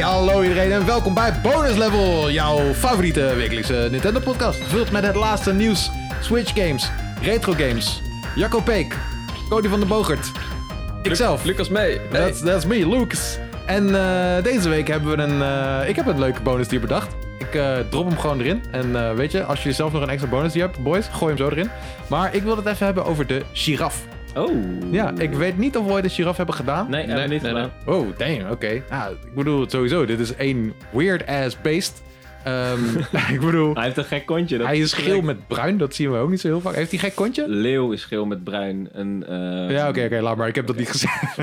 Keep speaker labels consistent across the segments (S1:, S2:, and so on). S1: hallo iedereen en welkom bij Bonus Level, jouw favoriete wekelijkse Nintendo podcast. Gevuld met het laatste nieuws, Switch games, retro games, Jacco Peek, Cody van den Bogert, ikzelf.
S2: Lucas mee. Hey.
S1: That's, that's me, Lucas. En eh, deze week hebben we een. eh, ik heb een leuke bonus die bedacht. Ik eh, drop hem gewoon erin. En eh, weet je, als je zelf nog een extra bonus die hebt, boys, gooi hem zo erin. Maar ik wil het even hebben over de giraf.
S2: Oh.
S1: Ja, ik weet niet of we ooit de giraf hebben gedaan.
S3: Nee, hebben we niet gedaan.
S1: Oh, damn, oké. Ah, ik bedoel, sowieso, dit is één weird-ass beest. Ehm, ik bedoel,
S3: Hij heeft een gek kontje. dat
S1: hij is
S3: gek.
S1: geel met bruin, dat zien we ook niet zo heel vaak. Heeft hij gek kontje?
S2: Leeuw is geel met bruin. Een eh,
S1: Ja, oké, oké, laat maar. Ik heb dat niet gezegd.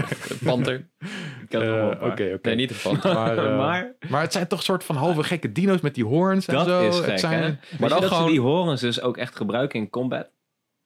S3: Panter.
S2: ik ken er nog wel een
S1: Eh,
S2: paar.
S1: oké, oké.
S3: Nee, niet een panter.
S1: Maar, eh,
S3: Maar-
S1: maar het zijn toch soort van halve gekke dino's met die hoorns en
S2: Dat
S1: zo.
S2: is
S1: Het
S2: gek,
S1: zijn-
S2: hè?
S1: Maar
S2: Maar
S1: dan
S2: dat
S1: gewoon...
S2: ze die horens dus ook echt gebruiken in combat.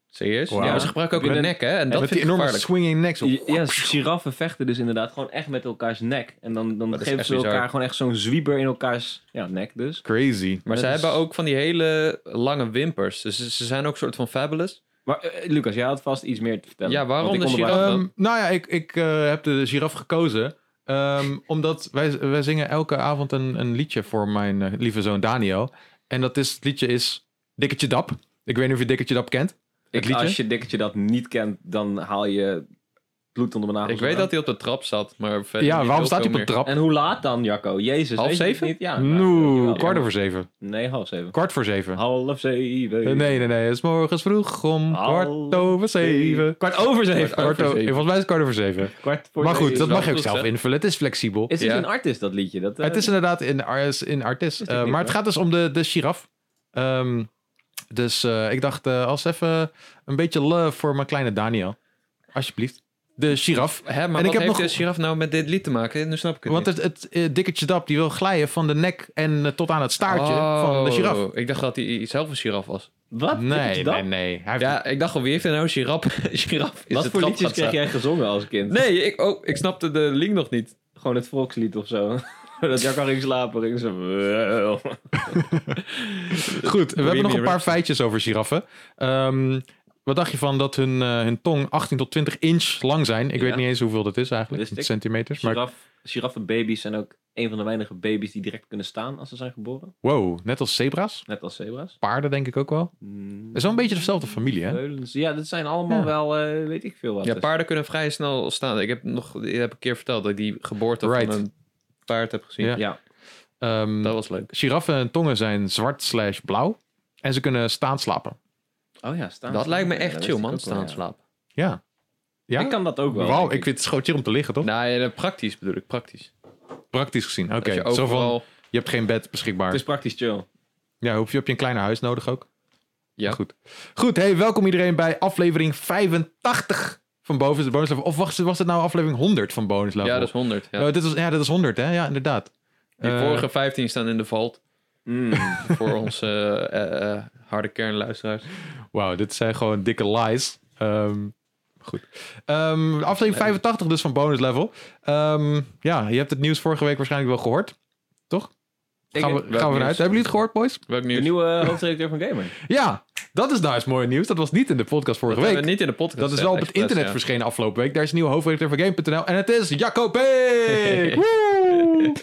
S3: Serieus?
S1: Wauw.
S3: Ja, maar ze gebruiken ook
S2: Heb je
S3: hun
S2: een-
S3: nek, hè? En
S1: Ja,
S3: dat
S1: met
S3: vind
S1: die
S3: ik
S1: enorme
S3: gevaarlijk.
S1: swinging necks. op.
S2: Ja, giraffen vechten dus inderdaad gewoon echt met elkaars nek. En dan, dan
S3: Dat is
S2: geven
S3: echt
S2: ze elkaar
S3: bizar.
S2: gewoon echt zo'n zwieber in elkaars ja, nek dus.
S1: Crazy.
S3: Maar ze
S2: Dat is-
S3: hebben ook van die hele lange wimpers. Dus ze ze zijn ook soort van fabulous.
S2: Maar eh, Lucas, jij had vast iets meer te vertellen.
S3: Ja, waarom
S2: Want ik
S3: de
S2: onderbrak-
S3: giraf?
S1: Ehm, nou ja, ik, ik eh, heb de giraf gekozen. ehm, omdat wij, wij zingen elke avond een, een liedje voor mijn eh, lieve zoon Daniel. En dat is, het liedje is Dikketje Dap. Ik weet niet of je Dikketje Dap kent.
S2: Ik-
S1: liedje?
S2: Als je dikketje dat niet kent, dan haal je bloed onder mijn nagels.
S3: Ik weet
S2: vandaan.
S3: dat hij op de trap zat, maar verder
S1: ja,
S3: niet
S1: waarom
S3: heel
S1: staat hij op
S3: veel
S1: de trap?
S2: En hoe laat dan, Jacco? Jezus.
S3: Half
S2: weet je het
S3: zeven?
S2: niet? Ja, nou,
S1: Noe,
S2: jawel.
S1: kwart over zeven.
S2: Nee, half zeven.
S1: Kwart voor zeven.
S2: Half zeven.
S1: Nee, nee, nee. Het is morgens vroeg om
S2: Half
S1: kwart over zeven.
S2: Kwart over
S1: Kwart,
S2: zeven.
S3: over
S1: over,
S3: zeven.
S1: volgens mij is het kwart over zeven.
S2: Kwart voor
S1: maar goed,
S2: zeven.
S1: dat
S3: wel
S1: mag je ook
S3: goed,
S1: zelf
S3: hè?
S1: invullen. Het is flexibel.
S2: Is het
S3: Ja.
S2: een artist, dat liedje? Dat, eh,
S1: Het is inderdaad in, Ars- in Artis.
S2: Is dit
S1: Eh,
S2: niet,
S1: maar het
S2: hoor.
S1: gaat dus om de, de giraf. Ehm, dus eh, ik dacht, eh, als even een beetje love voor mijn kleine Daniel. Alsjeblieft. De giraf. En
S3: Hè, maar
S1: ik
S3: wat
S1: heb
S3: heeft
S1: nog-
S3: de giraf nou met dit lied te maken? Nu snap ik het
S1: Want
S3: niet.
S1: het, het eh, dikketje dap, die wil glijden van de nek en eh, tot aan het staartje van de
S3: Oh,
S1: giraf.
S3: Ik dacht dat hij zelf een giraf was.
S2: Wat? Dikketje
S1: Nee,
S2: Dap?
S1: nee, nee. Hij heeft-
S3: Ja, ik dacht al, wie heeft er nou giraf? giraf is
S2: Wat
S3: de
S2: voor
S3: trap
S2: liedjes
S3: gaat
S2: kreeg
S3: staan.
S2: jij gezongen als kind?
S3: Nee, ik, oh, ik snapte de link nog niet.
S2: Gewoon het volkslied of zo. dat Jacco ging slapen, ging zo... "Wel."
S1: Goed, we hebben nog een paar
S3: Rhapsody.
S1: feitjes over giraffen. Ehm, wat dacht je van dat hun, eh, hun tong 18 tot 20 inch lang zijn? Ik
S2: Ja.
S1: weet niet eens hoeveel dat is eigenlijk.
S2: Wist ik.
S1: Centimeters. Maar
S2: Giraf, giraffenbaby's zijn ook een van de weinige baby's die direct kunnen staan als ze zijn geboren.
S1: wow, net als zebra's.
S2: Net als zebra's.
S1: Paarden denk ik ook wel.
S2: Mm.
S1: Het is wel een beetje dezelfde familie, hè?
S2: Veulens. Ja, dat zijn allemaal
S1: Ja.
S2: wel, eh, weet ik veel wat.
S3: Ja,
S2: Dus-
S3: paarden kunnen vrij snel staan. Ik heb nog ik heb een keer verteld dat ik die geboorte
S1: Right.
S3: van een paard heb gezien.
S1: Ja.
S2: Ja.
S1: Ehm,
S3: Dat was leuk.
S1: Giraffen en tongen zijn zwart slash blauw. En ze kunnen staan slapen.
S2: Oh ja, staan.
S3: dat lijkt me
S2: Ja,
S3: echt
S2: dat
S3: chill,
S2: wist ik
S3: man.
S2: ook wel,
S3: Staan
S2: ja.
S3: slapen.
S1: Ja. Ja?
S2: Ik kan dat ook wel.
S1: Wauw,
S2: denk
S1: ik vind het schootje om te liggen, toch?
S3: Nou ja, praktisch bedoel ik, praktisch.
S1: Praktisch gezien. Oké,
S3: Dat je
S1: zo van,
S3: overal-
S1: je hebt geen bed beschikbaar.
S2: Het is praktisch chill.
S1: Ja, hoef je, heb je een kleiner huis nodig ook?
S3: Ja.
S1: Goed. Goed, hey, welkom iedereen bij aflevering 85 van Bonus Bonus Level. Of was, was het nou aflevering 100 van Bonus Level?
S3: Ja, dat is 100. Ja.
S1: Oh, dit was, ja, dat is 100, hè? Ja, inderdaad.
S3: die
S1: Eh,
S3: vorige 15 staan in de vault
S2: Mm.
S3: voor onze eh, eh, harde kernluisteraars.
S1: Wauw, dit zijn gewoon dikke lies. Ehm, goed. Ehm, aflevering 85 dus van bonus level. Ehm, ja, je hebt het nieuws vorige week waarschijnlijk wel gehoord. Toch? Gaan we, gaan we
S3: welk
S1: vanuit.
S3: nieuws?
S1: Hebben jullie het gehoord, boys?
S3: Welk
S2: De
S3: nieuws?
S2: nieuwe eh, hoofdredacteur van Gamer.
S1: Ja, dat is nou eens mooi nieuws. Dat was niet in de podcast vorige
S3: Dat hebben
S1: week.
S3: we niet in de podcast.
S1: dat is
S3: gezet,
S1: wel op het
S3: expres,
S1: internet
S3: ja.
S1: verschenen afgelopen week. Daar is de nieuwe hoofdredacteur van Game.nl. En het is Jacco Beek! Woe!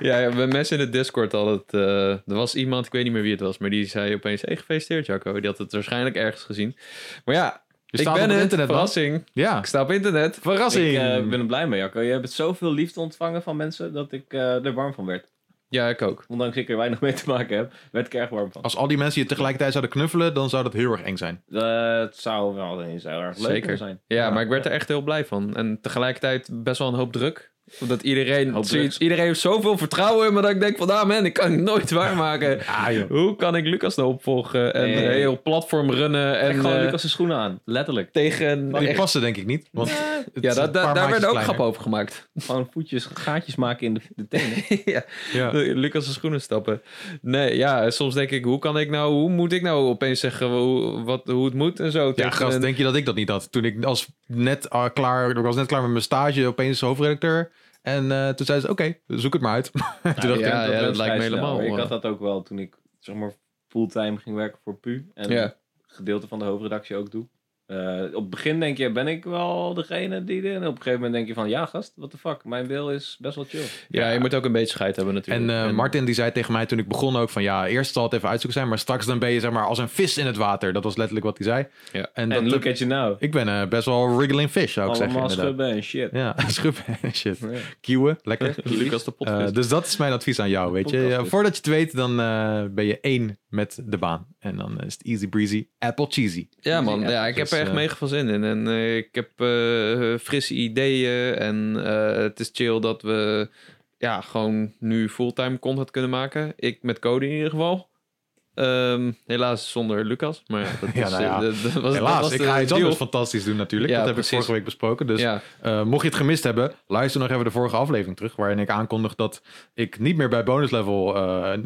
S3: Ja, ja, we mensen in het Discord hadden het. eh, er was iemand, ik weet niet meer wie het was, maar die zei opeens: Hey, gefeliciteerd, Jacco. Die had het waarschijnlijk ergens gezien. Maar ja, ik
S1: staat op
S3: ben
S1: het
S3: het,
S1: internet, man.
S3: verrassing.
S1: Ja,
S3: Ik sta op internet.
S1: verrassing.
S2: Ik eh, ben er blij mee, Jacco. Je hebt zoveel liefde ontvangen van mensen dat ik eh, er warm van werd.
S3: Ja, ik ook.
S2: Ondanks ik er weinig mee te maken heb, werd ik er erg warm van.
S1: Als al die mensen je tegelijkertijd zouden knuffelen, dan zou dat heel erg eng zijn.
S2: Eh, het zou wel eens heel erg leuk
S3: Zeker.
S2: kunnen zijn.
S3: Ja, maar ik werd er echt heel blij van. En tegelijkertijd best wel een hoop druk. Omdat iedereen,
S2: Hoop
S3: zoiets- iedereen heeft zoveel vertrouwen in me dat ik denk van, ah man, ik kan het nooit waarmaken.
S1: Ah, joh.
S3: Hoe kan ik Lucas nou opvolgen en
S2: Nee.
S3: een heel platform runnen en
S2: En gewoon
S3: eh,
S2: Lucas' schoenen aan. Letterlijk.
S3: tegen...
S1: Die
S3: echt-
S1: passen denk ik niet. Want het
S3: ja,
S1: is een
S3: dat,
S1: paar
S3: daar
S1: maatjes
S3: werden ook
S1: kleiner.
S3: grappen over gemaakt.
S2: Gewoon voetjes, gaatjes maken in de, de tenen.
S3: ja.
S1: Ja.
S3: Lucas' schoenen stappen. Nee, ja, soms denk ik, hoe kan ik nou, hoe moet ik nou opeens zeggen hoe, wat, hoe het moet en zo.
S1: Ja,
S3: tegen
S1: gast,
S3: een-
S1: denk je dat ik dat niet had? Toen ik als net eh, klaar, ik was net klaar met mijn stage, opeens hoofdredacteur. En eh, toen zei ze, oké, zoek het maar uit. toen dacht ik,
S3: ja, ja, dat
S2: went
S3: lijkt me
S2: vrij snel.
S3: helemaal,
S2: Ik
S3: eh.
S2: had dat ook wel toen ik zeg maar fulltime ging werken voor PU. En
S3: Ja.
S2: een gedeelte van de hoofdredactie ook doe. Eh, Eh, op het begin denk je, ben ik wel degene die dit... En op een gegeven moment denk je van, ja gast, what the fuck. Mijn wil is best wel chill.
S3: Ja, je moet ook een beetje scheid hebben natuurlijk.
S1: En eh,
S3: En-
S1: Martin die zei tegen mij toen ik begon ook van ja, eerst zal het even uitzoeken zijn, maar straks dan ben je zeg maar als een vis in het water. Dat was letterlijk wat hij zei.
S3: Ja.
S1: En
S2: En
S1: dat,
S2: look at you now.
S1: ik ben eh, best wel wriggling fish zou ik
S2: Allemaal
S1: zeggen inderdaad.
S2: schubben en shit.
S1: Ja, schubben en shit.
S2: Ja.
S1: Kieuwen, lekker.
S3: Lucas de
S1: Eh,
S3: podcast.
S1: dus dat is mijn advies aan jou, weet je.
S2: Podcast
S1: Ja,
S2: is.
S1: voordat je het weet, dan eh, ben je één met de baan. En dan is het easy breezy, apple cheesy.
S3: Ja, man. Ja, ik
S1: dus,
S3: heb er echt
S1: eh,
S3: mega veel zin in. En eh, ik heb eh, frisse ideeën. En eh, het is chill dat we ja, gewoon nu fulltime content kunnen maken. Ik met Cody in ieder geval. Ehm, helaas zonder Lucas. Maar ja, dat,
S1: Ja,
S3: is,
S1: nou ja.
S3: eh, dat- dat was, dat
S1: Helaas,
S3: was
S1: ik
S3: de
S1: ga iets
S3: deal.
S1: anders fantastisch doen natuurlijk.
S3: Ja,
S1: dat heb
S3: precies.
S1: ik vorige week besproken. Dus
S3: Ja,
S1: eh, mocht je het gemist hebben, luister nog even de vorige aflevering terug. Waarin ik aankondig dat ik niet meer bij bonus level eh, eh,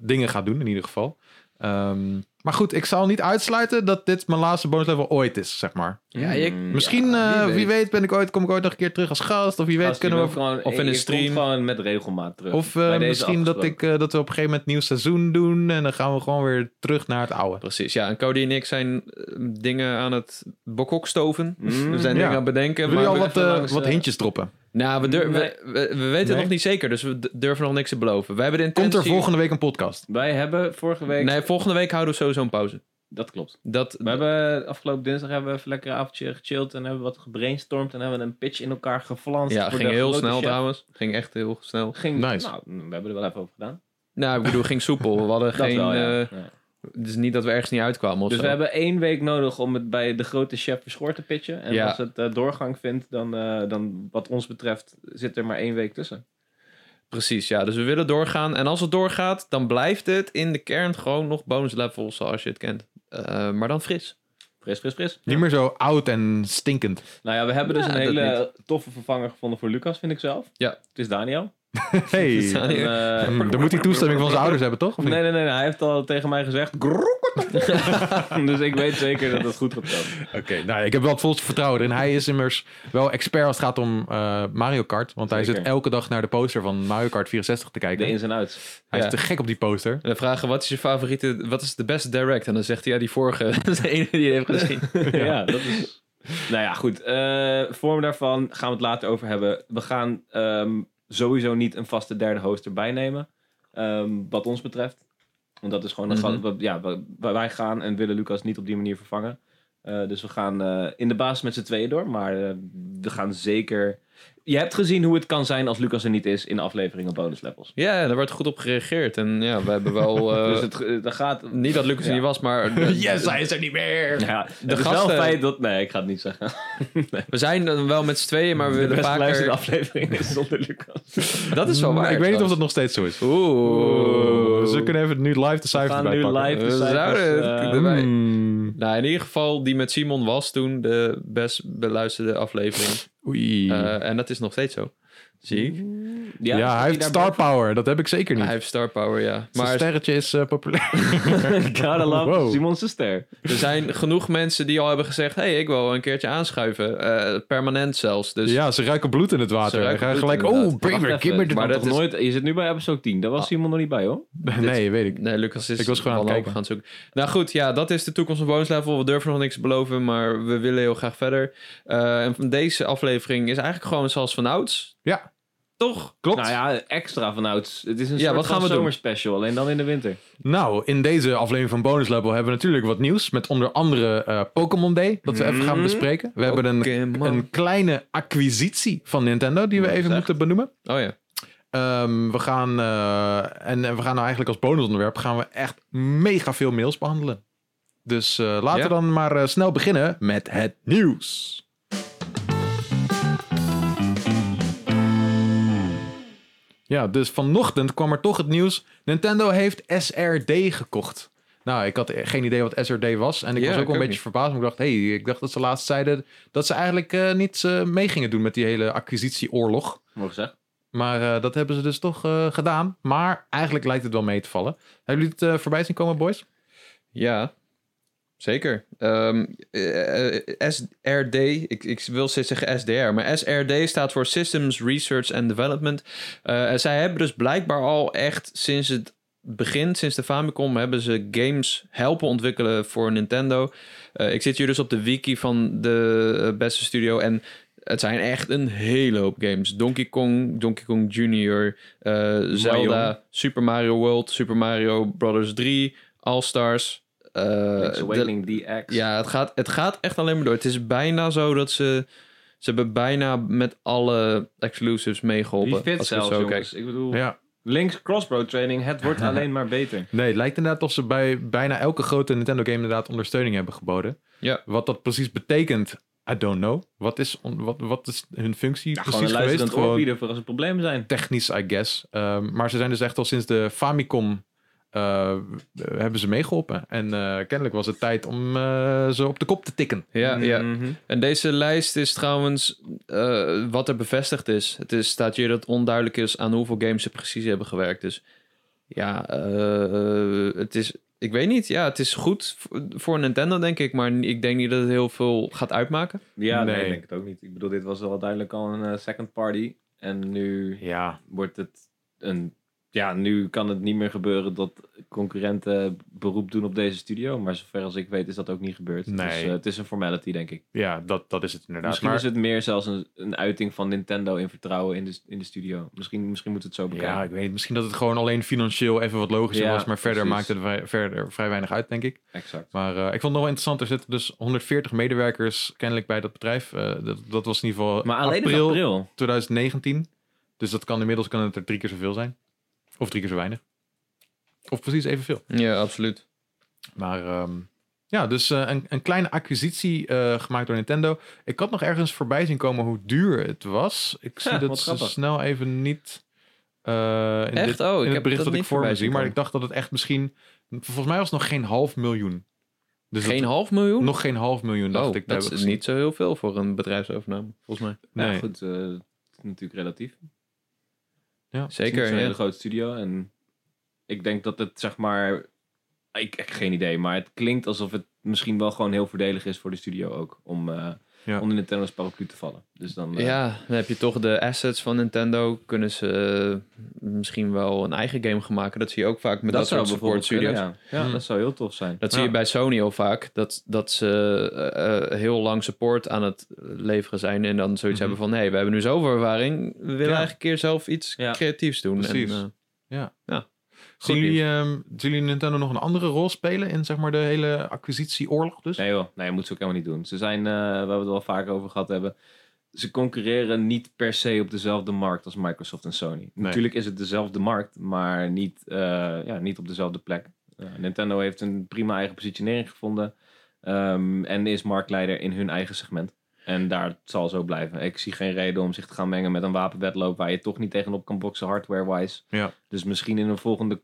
S1: dingen ga doen in ieder geval. Ehm, maar goed, ik zal niet uitsluiten dat dit mijn laatste bonus level ooit is, zeg maar.
S3: ja, je-
S2: Mm,
S1: Misschien,
S3: Ja,
S1: eh,
S3: wie
S1: wie,
S3: weet.
S1: weet, ben ik ooit, kom ik ooit nog een keer terug als gast. Of wie weet,
S2: Gast, je
S1: kunnen we
S2: bent gewoon,
S3: of in
S2: je-
S3: een
S2: je
S3: stream.
S2: komt gewoon met regelmaat terug.
S1: Of eh,
S2: Bij deze
S1: misschien dat, ik,
S2: afgesproken.
S1: eh, dat we op een gegeven moment een nieuw seizoen doen. En dan gaan we gewoon weer terug naar het oude.
S3: precies. Ja, en Cody en ik zijn eh, dingen aan het bokhok stoven.
S2: Mm,
S3: we zijn
S1: ja.
S3: dingen aan het bedenken.
S1: Wil je
S3: maar
S1: al
S3: we-
S1: wat,
S2: even
S1: eh,
S2: langs,
S1: wat
S2: eh,
S1: hintjes droppen?
S3: Nou, we, dur- we- we,
S2: Nee.
S3: we weten het
S1: Nee.
S3: nog niet zeker. Dus we d- durven nog niks te beloven. We hebben de
S1: Komt
S3: intentie...
S1: er volgende week een podcast?
S2: Wij hebben vorige week...
S3: Nee, volgende week houden we sowieso een pauze.
S2: Dat klopt.
S3: Dat,
S2: We hebben eh, afgelopen dinsdag hebben we even lekker een avondje gechilled en hebben wat gebrainstormd en hebben we een pitch in elkaar geflanst.
S3: Ja,
S2: voor
S3: ging
S2: de
S3: heel
S2: grote
S3: snel
S2: chef.
S3: trouwens. Ging echt heel snel.
S2: Ging,
S1: Nice.
S2: Nou, we hebben er wel even over gedaan.
S3: Nou, ik bedoel, ging soepel. We hadden
S2: Dat
S3: geen...
S2: wel, ja.
S3: eh,
S2: Ja.
S3: het is niet dat we ergens niet uitkwamen of
S2: Dus
S3: zo.
S2: we hebben één week nodig om het bij de grote chef Verschoor te pitchen. En
S3: Ja.
S2: als het eh, doorgang vindt, dan, eh, dan wat ons betreft zit er maar één week tussen.
S3: Precies, ja. Dus we willen doorgaan. En als het doorgaat, dan blijft het in de kern gewoon nog bonus levels zoals je het kent. Eh, maar dan fris.
S2: Fris, fris, fris.
S1: Niet meer zo oud en stinkend.
S2: Nou ja, we hebben dus
S3: Ja,
S2: een
S3: dat
S2: hele toffe vervanger gevonden voor Lucas, vind ik zelf.
S3: Ja.
S2: Het is Daniel.
S1: Hey.
S3: Ja.
S2: En, eh,
S1: Hm, dan moet hij toestemming van zijn ouders hebben, toch? Of niet?
S2: Nee, nee, nee, nee, Hij heeft al tegen mij gezegd. "Grrrr." dus ik weet zeker dat het goed gaat komen.
S1: Oké, nou, ik heb wel het volste vertrouwen erin. Hij is immers wel expert als het gaat om eh, Mario Kart. Want hij
S2: Zeker.
S1: zit elke dag naar de poster van Mario Kart 64 te
S2: De
S1: kijken.
S2: ins en outs.
S1: Hij
S3: Ja.
S1: is te gek op die poster.
S3: En dan vragen, wat is je favoriete... Wat is de best direct? En dan zegt hij, ja, die vorige. Dat is de ene die hij heeft gezien.
S2: ja. dat is. Nou ja, goed. Eh vorm daarvan gaan we het later over hebben. We gaan ehm, sowieso niet een vaste derde host erbij nemen. ehm, wat ons betreft. Want dat is gewoon. een
S3: Mhm.
S2: gat- we- ja, we- wij gaan en willen Lucas niet op die manier vervangen. Eh, dus we gaan eh, in de basis met z'n tweeën door. Maar eh, we gaan zeker. Je hebt gezien hoe het kan zijn als Lucas er niet is in de afleveringen bonus levels.
S3: Ja, daar werd goed op gereageerd. En ja, we hebben wel... eh,
S2: dus het, ge- er gaat.
S3: Niet dat Lucas er
S2: Ja.
S3: niet was, maar...
S1: Yes, hij is er niet meer!
S2: Ja, het is wel
S3: gasten-
S2: feit dat. Nee, ik ga het niet zeggen.
S3: We zijn dan wel met z'n tweeën, maar we
S2: de
S3: willen
S2: best
S3: vaker...
S2: geluisterde aflevering is zonder Lucas.
S3: Dat is wel waar.
S1: Mm, ik weet niet of
S3: trouwens.
S1: dat nog steeds zo is.
S3: Oeh.
S1: Dus we kunnen even nu live de cijfers
S2: gaan
S1: erbij
S2: nu
S1: pakken.
S2: live de
S3: We
S2: cijfers,
S3: zouden het
S2: eh,
S3: kunnen erbij.
S1: Hmm.
S3: Nou, in ieder geval, die met Simon was toen de best beluisterde aflevering.
S1: Oei.
S3: Eh, en dat is nog steeds zo. Zie ik.
S1: ja,
S2: is
S1: hij heeft
S2: daar
S1: star power. Dat heb ik zeker niet.
S3: Hij heeft star power, ja.
S1: Zijn
S3: Maar
S1: sterretje is eh, populair.
S2: boven? Gotta love
S1: Wow.
S2: Simon zijn ster.
S3: er zijn genoeg mensen die al hebben gezegd... hé, hey, ik wil een keertje aanschuiven. Eh, permanent zelfs. Dus
S1: ja, ze ruiken bloed in het water.
S3: Ze
S1: Ze
S3: ruiken
S1: gaan
S3: bloed
S1: gelijk,
S3: inderdaad.
S1: oh, Braver,
S2: Wacht
S1: give
S2: even,
S1: me the-
S3: maar
S2: maar
S3: dat
S2: dat
S3: is-
S2: nooit, je zit nu bij episode 10. Daar was
S3: Ah.
S2: Simon nog niet bij, hoor.
S1: Nee, weet ik.
S3: Nee, Lucas is
S1: Ik was gewoon aan het
S3: wanhopig
S1: kijken.
S3: gaan zoeken. Nou goed, ja, dat is de toekomst van bonus level. We durven nog niks te beloven, maar we willen heel graag verder. Eh, en van deze aflevering is eigenlijk gewoon zoals vanouds.
S1: Ja.
S3: Toch?
S1: Klopt.
S2: Nou ja, extra vanouds. Het is een
S3: Ja,
S2: soort
S3: wat gaan
S2: van
S3: we doen?
S2: zomerspecial, alleen dan in de winter.
S1: Nou, in deze aflevering van Bonus Level hebben we natuurlijk wat nieuws. Met onder andere eh, Pokémon Day, dat we even gaan
S2: Mhm.
S1: bespreken. We hebben een,
S3: Pokémon.
S1: een kleine acquisitie van Nintendo die we
S2: Wat
S1: even
S2: zeg.
S1: moeten benoemen.
S3: Oh ja.
S1: Ehm, we gaan, eh, en, en we gaan nou eigenlijk als bonusonderwerp gaan we echt mega veel mails behandelen. Dus eh, laten
S3: Ja.
S1: we dan maar eh, snel beginnen met het nieuws. Ja, dus vanochtend kwam er toch het nieuws. Nintendo heeft SRD gekocht. Nou, ik had geen idee wat SRD was. En ik
S3: Ja,
S1: was ook wel een
S3: ik ook
S1: beetje
S3: niet.
S1: verbaasd. want Ik dacht, hé, hey, ik dacht dat ze laatst zeiden dat ze eigenlijk eh, niets eh, mee gingen doen met die hele acquisitieoorlog.
S2: Mogen zeggen.
S1: Maar eh, dat hebben ze dus toch eh, gedaan. Maar eigenlijk lijkt het wel mee te vallen. Hebben jullie het eh, voorbij zien komen, boys?
S3: Ja, zeker. Ehm, eh, eh, SRD, ik, ik wil steeds zeggen SDR, maar SRD staat voor Systems Research and Development. Eh, en zij hebben dus blijkbaar al echt sinds het begin, sinds de Famicom, hebben ze games helpen ontwikkelen voor Nintendo. Eh, ik zit hier dus op de wiki van de eh, beste studio en het zijn echt een hele hoop games. Donkey Kong, Donkey Kong Jr., eh, Zelda, Super Mario World, Super Mario Brothers 3, All Stars. eh,
S2: Link's
S3: de-
S2: Awakening DX.
S3: ja, het gaat, het gaat echt alleen maar door. Het is bijna zo dat ze... Ze hebben bijna met alle exclusives meegeholpen.
S2: Wie fit
S3: als ik het
S2: zelfs,
S3: zo
S2: jongens.
S3: kijk.
S2: Ik bedoel,
S1: Ja.
S2: links crossbow training, het wordt alleen maar beter.
S1: Nee, het lijkt inderdaad of ze bij bijna elke grote Nintendo game inderdaad ondersteuning hebben geboden.
S3: Ja.
S1: Wat dat precies betekent, I don't know. Wat is, on- wat, wat is hun functie
S2: Ja, gewoon een
S1: precies geweest?
S2: luisterend oor bieden voor als er problemen zijn.
S1: technisch, I guess. Ehm, maar ze zijn dus echt al sinds de Famicom eh, hebben ze meegeholpen. En eh, kennelijk was het tijd om eh, ze op de kop te tikken.
S3: Ja, ja.
S2: Mhm.
S3: En deze lijst is trouwens eh, wat er bevestigd is. Het is, staat hier dat het onduidelijk is aan hoeveel games ze precies hebben gewerkt. Dus ja, eh, eh, het is, ik weet niet. Ja, het is goed v- voor Nintendo, denk ik. Maar ik denk niet dat het heel veel gaat uitmaken.
S2: Ja, nee.
S1: Nee.
S2: ik denk het ook niet. Ik bedoel, dit was wel duidelijk al een eh, second party. En nu
S1: Ja,
S2: wordt het een... Ja, nu kan het niet meer gebeuren dat concurrenten beroep doen op deze studio. Maar zover als ik weet is dat ook niet gebeurd. Dus
S1: Nee.
S2: eh, het is een formality, denk ik.
S1: ja dat, dat is het inderdaad.
S2: misschien
S1: maar,
S2: is het meer zelfs een, een uiting van Nintendo in vertrouwen in de, in de studio. Misschien, misschien moet het zo bekijken.
S1: ja, ik weet niet. Misschien dat het gewoon alleen financieel even wat logischer
S2: Ja,
S1: was. Maar verder
S2: precies.
S1: maakt het wij- verder vrij weinig uit, denk ik.
S2: exact.
S1: Maar eh, ik vond het nog wel interessant. Er zitten dus 140 medewerkers kennelijk bij dat bedrijf. Eh, dat, dat was in ieder geval
S2: Maar alleen
S1: april,
S2: in april.
S1: 2019. Dus dat kan inmiddels kan het er drie keer zoveel zijn. Of drie keer zo weinig. Of precies evenveel.
S3: Ja, absoluut.
S1: Maar ehm, ja, dus eh, een, een kleine acquisitie eh, gemaakt door Nintendo. Ik had nog ergens voorbij zien komen hoe duur het was. Ik zie
S2: Ja,
S1: dat
S2: wat
S1: ze
S2: grappig.
S1: snel even niet... eh, in
S3: Echt?
S1: dit-
S3: Oh, ik
S1: in het
S3: heb
S1: bericht
S3: dat
S1: dat ik voor
S3: niet
S1: me
S3: voorbij
S1: zie.
S3: zien
S1: Maar ik
S3: komen.
S1: dacht dat het echt misschien... Volgens mij was het nog geen half miljoen. Dus dat-
S3: Geen half miljoen?
S1: nog geen half miljoen, dacht
S3: oh,
S1: ik. te
S3: dat
S1: hebben
S3: is
S1: gezien.
S3: niet zo heel veel voor een bedrijfsovername, volgens mij.
S2: Ja,
S1: Nee.
S2: goed, eh, het is natuurlijk relatief. Het is
S3: Zeker,
S2: een
S3: ja.
S2: hele grote studio. En ik denk dat het, zeg maar... Ik heb geen idee, maar het klinkt alsof het misschien wel gewoon heel voordelig is voor de studio ook. Om eh
S1: Ja.
S2: onder Nintendo's paraplu te vallen. Dus dan... eh,
S3: Ja, dan heb je toch de assets van Nintendo. Kunnen ze eh, misschien wel een eigen game gaan maken. Dat zie je ook vaak met dat, soort support
S2: kunnen,
S3: studios.
S2: ja. Ja,
S1: Hmm.
S2: dat zou heel tof zijn.
S3: Dat zie
S1: Ja.
S3: je bij Sony heel vaak. Dat, dat ze eh, eh, heel lang support aan het leveren zijn. En dan zoiets
S1: Mhm.
S3: hebben van... hé, hey, we hebben nu zoveel ervaring. We willen
S1: Ja.
S3: eigenlijk een keer zelf iets
S2: Ja.
S3: creatiefs doen.
S1: Precies.
S3: En, eh,
S1: Zien
S3: Goed
S1: jullie, ehm, zien jullie Nintendo nog een andere rol spelen in zeg maar, de hele acquisitieoorlog? Dus?
S2: Nee joh, nee, dat moet ze ook helemaal niet doen. Ze zijn, eh waar we het al vaker over gehad hebben... Ze concurreren niet per se op dezelfde markt als Microsoft en Sony. Natuurlijk is het dezelfde markt, maar niet, eh, ja, niet op dezelfde plek. Eh, Nintendo heeft een prima eigen positionering gevonden. ehm, en is marktleider in hun eigen segment. En daar zal zo blijven. Ik zie geen reden om zich te gaan mengen met een wapenwedloop... waar je toch niet tegenop kan boksen hardware-wise.
S1: Ja.
S2: Dus misschien in een volgende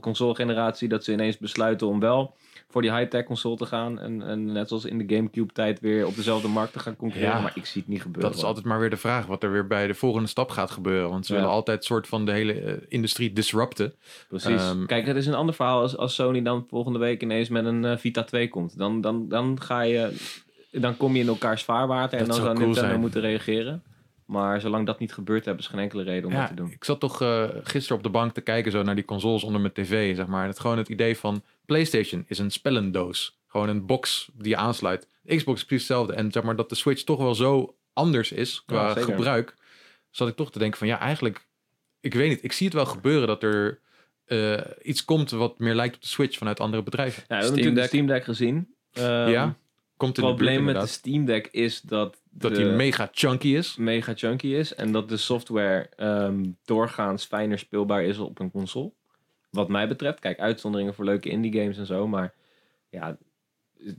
S2: console-generatie... dat ze ineens besluiten om wel voor die high-tech console te gaan. En, en net zoals in de Gamecube-tijd weer op dezelfde markt te gaan concurreren.
S1: Ja.
S2: Maar ik zie het niet gebeuren.
S1: Dat is altijd maar weer de vraag wat er weer bij de volgende stap gaat gebeuren. Want ze
S2: Ja.
S1: willen altijd soort van de hele eh, industrie disrupten.
S2: Precies.
S1: Ehm,
S2: Kijk, het is een ander verhaal als, als Sony dan volgende week ineens met een eh, Vita 2 komt. Dan, dan, dan ga je... Dan kom je in elkaars vaarwater en
S1: Dat
S2: dan
S1: zou
S2: zou
S1: cool
S2: Nintendo
S1: zijn.
S2: moeten reageren. Maar zolang dat niet gebeurt, hebben ze geen enkele reden om dat
S1: Ja,
S2: te doen.
S1: ik zat toch eh, gisteren op de bank te kijken zo naar die consoles onder mijn tv. Zeg maar. En het gewoon het idee van PlayStation is een spellendoos. Gewoon een box die je aansluit. De Xbox is precies hetzelfde. En zeg maar dat de Switch toch wel zo anders is qua
S2: zeker.
S1: gebruik. Zat ik toch te denken van ja, eigenlijk... Ik weet niet, ik zie het wel gebeuren dat er eh, iets komt wat meer lijkt op de Switch vanuit andere bedrijven.
S2: Ja, we hebben
S3: Steam
S2: natuurlijk de
S3: Deck.
S2: Steam Deck gezien. Ehm,
S1: ja, komt
S2: Het
S1: in de buurt
S2: probleem met de
S1: inderdaad.
S2: Steam Deck is dat...
S1: dat
S2: de-
S1: hij mega chunky is.
S2: mega chunky is. En dat de software ehm, doorgaans fijner speelbaar is op een console. Wat mij betreft. Kijk, uitzonderingen voor leuke indie games en zo. Maar ja, ik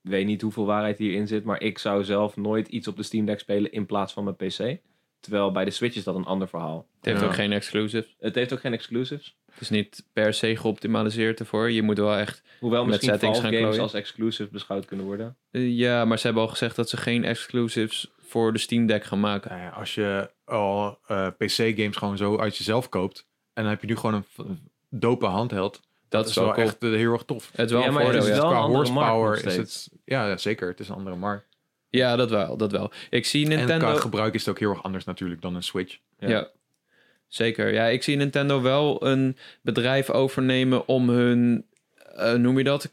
S2: weet niet hoeveel waarheid hierin zit. Maar ik zou zelf nooit iets op de Steam Deck spelen in plaats van mijn PC. Terwijl bij de Switch is dat een ander verhaal.
S3: het heeft
S1: Ja.
S3: ook geen exclusives.
S2: Het heeft ook geen exclusives.
S3: Het is niet per se geoptimaliseerd ervoor. Je moet wel echt...
S2: Hoewel
S3: Met
S2: misschien
S3: settings
S2: Valve
S3: gaan
S2: games
S3: klooien.
S2: als exclusive beschouwd kunnen worden.
S3: eh, ja, maar ze hebben al gezegd dat ze geen exclusives voor de Steam Deck gaan maken.
S1: Nou ja, als je al eh, PC-games gewoon zo uit jezelf koopt. En dan heb je nu gewoon een v- dope handheld.
S3: Dat,
S1: Dat
S3: is
S1: is
S3: wel
S1: wel
S3: cool.
S1: echt eh, heel erg tof.
S3: Het is wel
S2: Ja,
S3: een
S2: maar het
S3: voordeel,
S2: is
S3: ja.
S2: wel een
S1: Qua
S2: andere markt
S1: horsepower
S2: nog
S1: is het... Ja, ja, zeker. Het is een andere markt.
S3: Ja, dat wel, dat wel. Ik zie
S1: En
S3: Nintendo...
S1: qua gebruik is het ook heel erg anders natuurlijk dan een Switch.
S2: Ja.
S3: Ja. Zeker. Ja, ik zie Nintendo wel een bedrijf overnemen om hun, eh, noem je dat,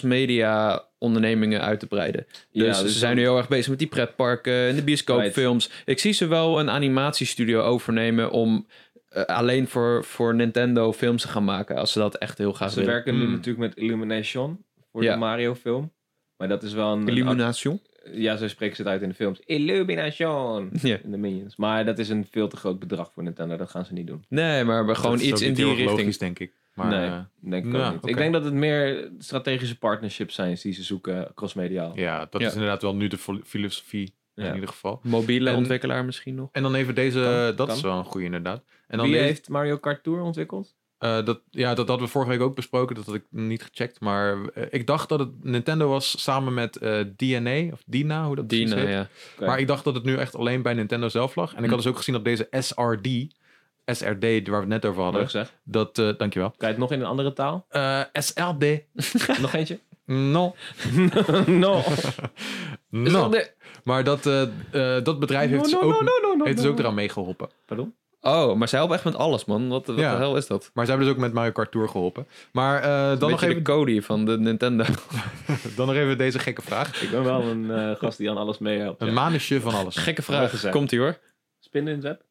S3: cross-media ondernemingen uit te breiden. Dus,
S2: Ja, dus
S3: ze zijn nu heel erg bezig met die pretparken en de bioscoopfilms. Ik zie ze wel een animatiestudio overnemen om eh, alleen voor, voor Nintendo films te gaan maken, als ze dat echt heel graag
S2: Ze
S3: willen.
S2: werken nu
S1: Mm.
S2: natuurlijk met Illumination voor
S3: Ja.
S2: de Mario film. Maar dat is wel een...
S3: Illumination?
S2: ja, zo spreken ze het uit in de films. Illumination!
S3: Ja.
S2: In de Minions. Maar dat is een veel te groot bedrag voor Nintendo. Dat gaan ze niet doen.
S3: Nee, maar we- gewoon
S1: Dat is
S3: iets
S1: ook
S3: in
S1: niet
S3: die
S1: heel erg
S3: richting.
S1: logisch, denk ik. Maar,
S2: nee,
S1: eh,
S2: denk ik ook
S1: nou,
S2: niet. Ik
S1: oké.
S2: denk dat het meer strategische partnerships zijn die ze zoeken, crossmediaal.
S1: ja, dat
S3: Ja.
S1: is inderdaad wel nu de fil- filosofie
S2: Ja.
S1: in ieder geval.
S3: Mobiele
S1: En-
S3: ontwikkelaar misschien nog.
S1: En dan even deze,
S2: Kan,
S1: dat
S2: kan.
S1: is wel een goede inderdaad. En dan
S2: Wie
S1: deze-
S2: heeft Mario Kart Tour ontwikkeld?
S1: eh, dat, ja, dat hadden we vorige week ook besproken, dat had ik niet gecheckt. Maar eh, ik dacht dat het Nintendo was samen met eh, DNA, of Dina, hoe dat precies
S3: Dina,
S1: heet.
S3: ja.
S2: Oké.
S1: Maar ik dacht dat het nu echt alleen bij Nintendo zelf lag. En ik
S3: Hm.
S1: had dus ook gezien dat deze SRD, SRD, waar we het net over
S2: Mooi
S1: hadden,
S2: gezegd. Kan
S1: dat, eh, dankjewel.
S2: je het nog in een andere taal?
S1: Eh, SRD,
S2: nog eentje?
S1: no,
S2: no.
S1: no. Maar dat, eh, eh, dat bedrijf heeft, dus ook, heeft dus ook eraan meegeholpen.
S2: Pardon?
S3: Oh, maar zij helpen echt met alles, man. Wat, wat
S1: Ja.
S3: de hel is dat?
S1: Maar ze hebben dus ook met Mario Kart Tour geholpen. Maar eh, dan, nog even,
S3: de Cody van de Nintendo.
S1: dan nog even deze gekke vraag.
S2: Ik ben wel een eh, gast die aan alles meehelpt.
S1: Een
S2: Ja.
S1: manusje van alles.
S3: Gekke
S2: Mooi
S3: vraag.
S2: gezegd.
S3: Komt ie hoor.
S2: Spinnen in het web?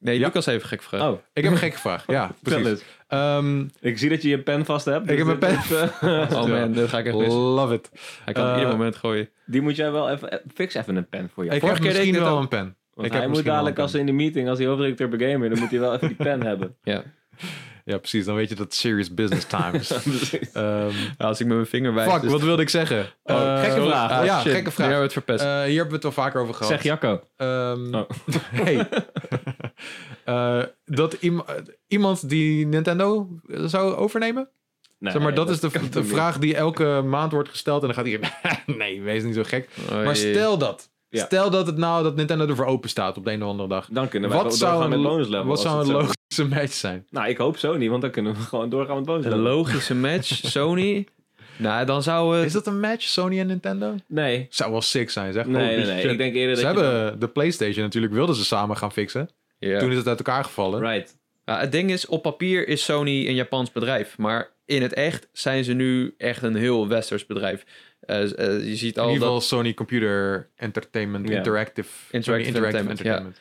S3: Nee,
S1: Ja.
S3: Lucas heeft een gekke vraag.
S2: Oh,
S1: Ik heb een gekke vraag. Ja,
S2: vertel
S1: precies.
S2: eens.
S1: Ehm,
S2: Ik zie dat je je pen vast hebt.
S1: Ik heb mijn pen
S2: dit, eh,
S3: Oh man, dat ga ik echt mis.
S1: love it.
S3: Hij kan
S1: Eh,
S3: ieder moment gooien.
S2: die moet jij wel even... eh, Fix even een pen voor jou.
S1: Ik
S3: vorige
S1: heb
S3: keer deed ik
S1: misschien
S3: het
S1: wel
S3: al.
S1: een pen.
S2: Want
S1: ik heb
S2: hij moet
S1: misschien wel
S2: dadelijk
S1: een
S2: als in de meeting, als hij hoofdredacteur begamen, dan moet hij wel even die pen hebben.
S3: Ja.
S1: Ja, precies. Dan weet je dat serious business time is. Ehm,
S3: Ja, Als ik met mijn vinger wijs.
S1: fuck,
S3: is- dus- Oh,
S1: wat wilde ik zeggen? Eh,
S2: gekke
S1: sorry.
S2: vraag.
S1: Ah,
S3: Ah,
S1: ja,
S3: shit.
S1: gekke
S3: Nu
S1: vraag.
S3: hebben we het verpest.
S1: Eh, hier hebben we het al vaker over gehad.
S2: Zeg Jacco.
S1: Ehm,
S2: Oh.
S1: hey. Eh, dat iem- iemand die Nintendo zou overnemen?
S2: Nee,
S1: zeg maar, dat, is
S2: kan
S1: de, de
S2: toch niet.
S1: vraag die elke maand wordt gesteld. En dan gaat iedereen... nee, wees niet zo gek.
S3: Oh,
S1: Eh, Maar
S3: jee.
S1: stel dat.
S2: Ja.
S1: Stel dat het nou dat Nintendo ervoor open staat op de een of andere dag.
S2: Dan kunnen we
S1: Wat zou
S2: doorgaan
S1: een,
S2: met bonuslevel.
S1: wat
S2: als
S1: zou
S2: het
S1: een
S2: zo-
S1: logische match zijn?
S2: Nou, ik hoop zo niet, want dan kunnen we gewoon doorgaan met
S3: Een
S2: bonuslevel.
S3: logische match, Sony. Nou, dan zou het...
S1: Is dat een match, Sony en Nintendo?
S2: Nee.
S1: Zou wel sick zijn, zeg.
S2: Nee,
S1: Holy
S2: nee, nee.
S1: shit.
S2: Ik denk eerder dat
S1: Ze
S2: je
S1: hebben de PlayStation natuurlijk, wilden ze samen gaan fixen.
S3: Ja.
S1: Toen is het uit elkaar gevallen.
S2: dan- Right.
S3: Ja, Nou, het ding is, op papier is Sony een Japans bedrijf. Maar in het echt zijn ze nu echt een heel westers bedrijf. Eh, eh, je ziet
S1: In
S3: al
S1: ieder
S3: dat
S1: geval Sony Computer Entertainment
S2: Ja.
S1: Interactive. Sony
S3: Interactive Entertainment,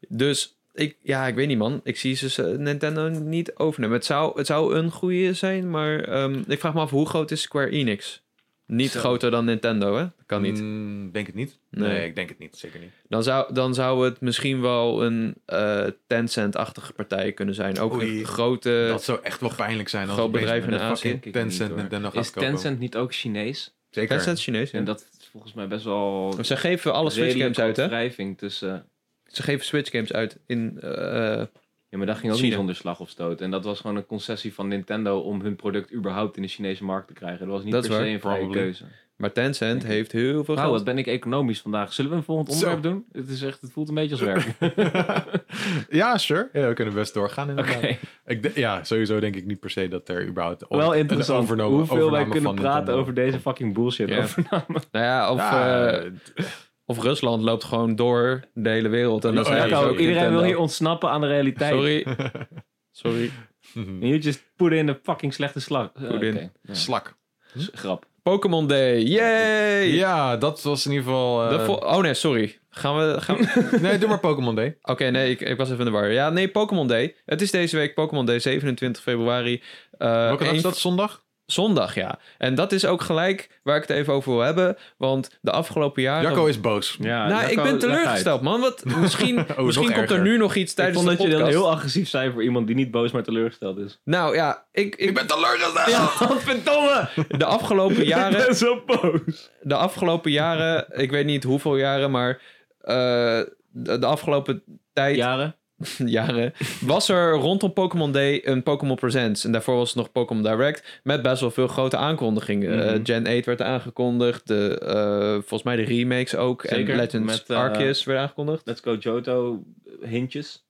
S1: Ja.
S3: Dus ik, ja, ik weet niet, man. Ik zie ze eh, Nintendo niet overnemen. Het zou, het zou een goede zijn, maar ehm, ik vraag me af hoe groot is Square Enix? Niet
S2: Zo.
S3: groter dan Nintendo, hè? Dat kan niet.
S1: Mm, denk het niet.
S3: Nee.
S1: nee, ik denk het niet. Zeker niet.
S3: Dan zou, dan zou het misschien wel een eh, Tencent-achtige partij kunnen zijn. Ook
S1: Oei.
S3: een grote.
S1: dat zou echt wel pijnlijk zijn als
S3: Eh, groot
S1: opeens
S3: bedrijf in
S1: een
S3: Azië.
S1: fucking
S2: Kijk ik niet,
S1: Tencent
S2: hoor.
S1: Nintendo gaat
S2: Is
S1: kopen.
S2: Tencent niet ook Chinees?
S1: Zeker.
S3: Tencent Chinees. Ja.
S2: En dat is volgens mij best wel...
S3: Want Ze geven alle Switch
S2: redelijke
S3: games uit, hè?
S2: wrijving tussen...
S3: Ze geven Switch games uit in. eh, eh,
S2: Ja, maar dat ging ook
S3: China.
S2: niet zonder slag of stoot. En dat was gewoon een concessie van Nintendo om hun product überhaupt in de Chinese markt te krijgen. Dat was niet
S3: Dat is
S2: per se
S3: waar.
S2: een vrije
S1: Probably.
S2: keuze.
S3: maar Tencent
S2: Oké.
S3: heeft heel veel
S2: Nou,
S3: geld.
S2: wat ben ik economisch vandaag. Zullen we een volgend
S1: Zo.
S2: onderwerp doen? Het, is echt, het voelt een beetje als werk. Oké.
S1: ja, sure. Ja, we kunnen best doorgaan inderdaad. Ik de- ja, sowieso denk ik niet per se dat er überhaupt ooit
S2: Wel
S1: een
S2: interessant
S1: overnomen-
S2: hoeveel wij
S1: overname
S2: kunnen
S1: van
S2: praten
S1: Nintendo.
S2: over deze fucking bullshit.
S3: Ja.
S2: overname.
S3: Nou ja, of,
S1: Ja,
S3: eh, of Rusland loopt gewoon door de hele wereld. En dan
S1: Oh, ja,
S3: zijn ze
S1: Jacco,
S3: ook
S2: Iedereen wil
S3: Nintendo.
S2: hier ontsnappen aan de realiteit.
S3: Sorry.
S2: eh,
S3: Sorry.
S1: mhm.
S2: En you just put in een fucking slechte slag. Eh,
S3: Put in.
S2: oké. Ja.
S1: Slak.
S2: S- Grap.
S3: Pokémon Day. Yay!
S1: Ja, dat was in ieder geval... eh,
S3: De vol- oh nee, sorry. Gaan we... Gaan we-
S1: nee, doe maar Pokémon Day.
S3: Oké, nee, ik, ik was even in de war. Ja, nee, Pokémon Day. Het is deze week Pokémon Day, 27 februari. Eh,
S1: Welke dag
S3: één-
S1: is dat? Zondag?
S3: Zondag, ja. En dat is ook gelijk waar ik het even over wil hebben. Want de afgelopen jaren...
S1: Jacco is boos.
S2: Ja,
S3: Nou, ik ben teleurgesteld, man. Want misschien, misschien
S1: Oh, nog
S3: komt er
S1: erger.
S3: nu nog iets tijdens
S2: ik vond
S3: de
S2: dat je dan
S3: podcast.
S2: heel agressief zijn voor iemand die niet boos maar teleurgesteld is.
S3: Nou ja, ik... ik...
S1: ben teleurgesteld!
S2: Godverdomme!
S3: De afgelopen jaren...
S2: Ik ben zo boos.
S3: de afgelopen jaren, ik weet niet hoeveel jaren, maar eh, de, de afgelopen tijd,
S2: Jaren?
S3: jaren, was er rondom Pokémon Day een Pokémon Presents. En daarvoor was het nog Pokémon Direct met best wel veel grote aankondigingen.
S2: Mhm.
S3: Eh, Gen 8 werd aangekondigd, de, eh, volgens mij de remakes ook.
S2: Zeker,
S3: en Legends
S2: met, eh,
S3: Arceus werd aangekondigd.
S2: Let's go Johto hintjes.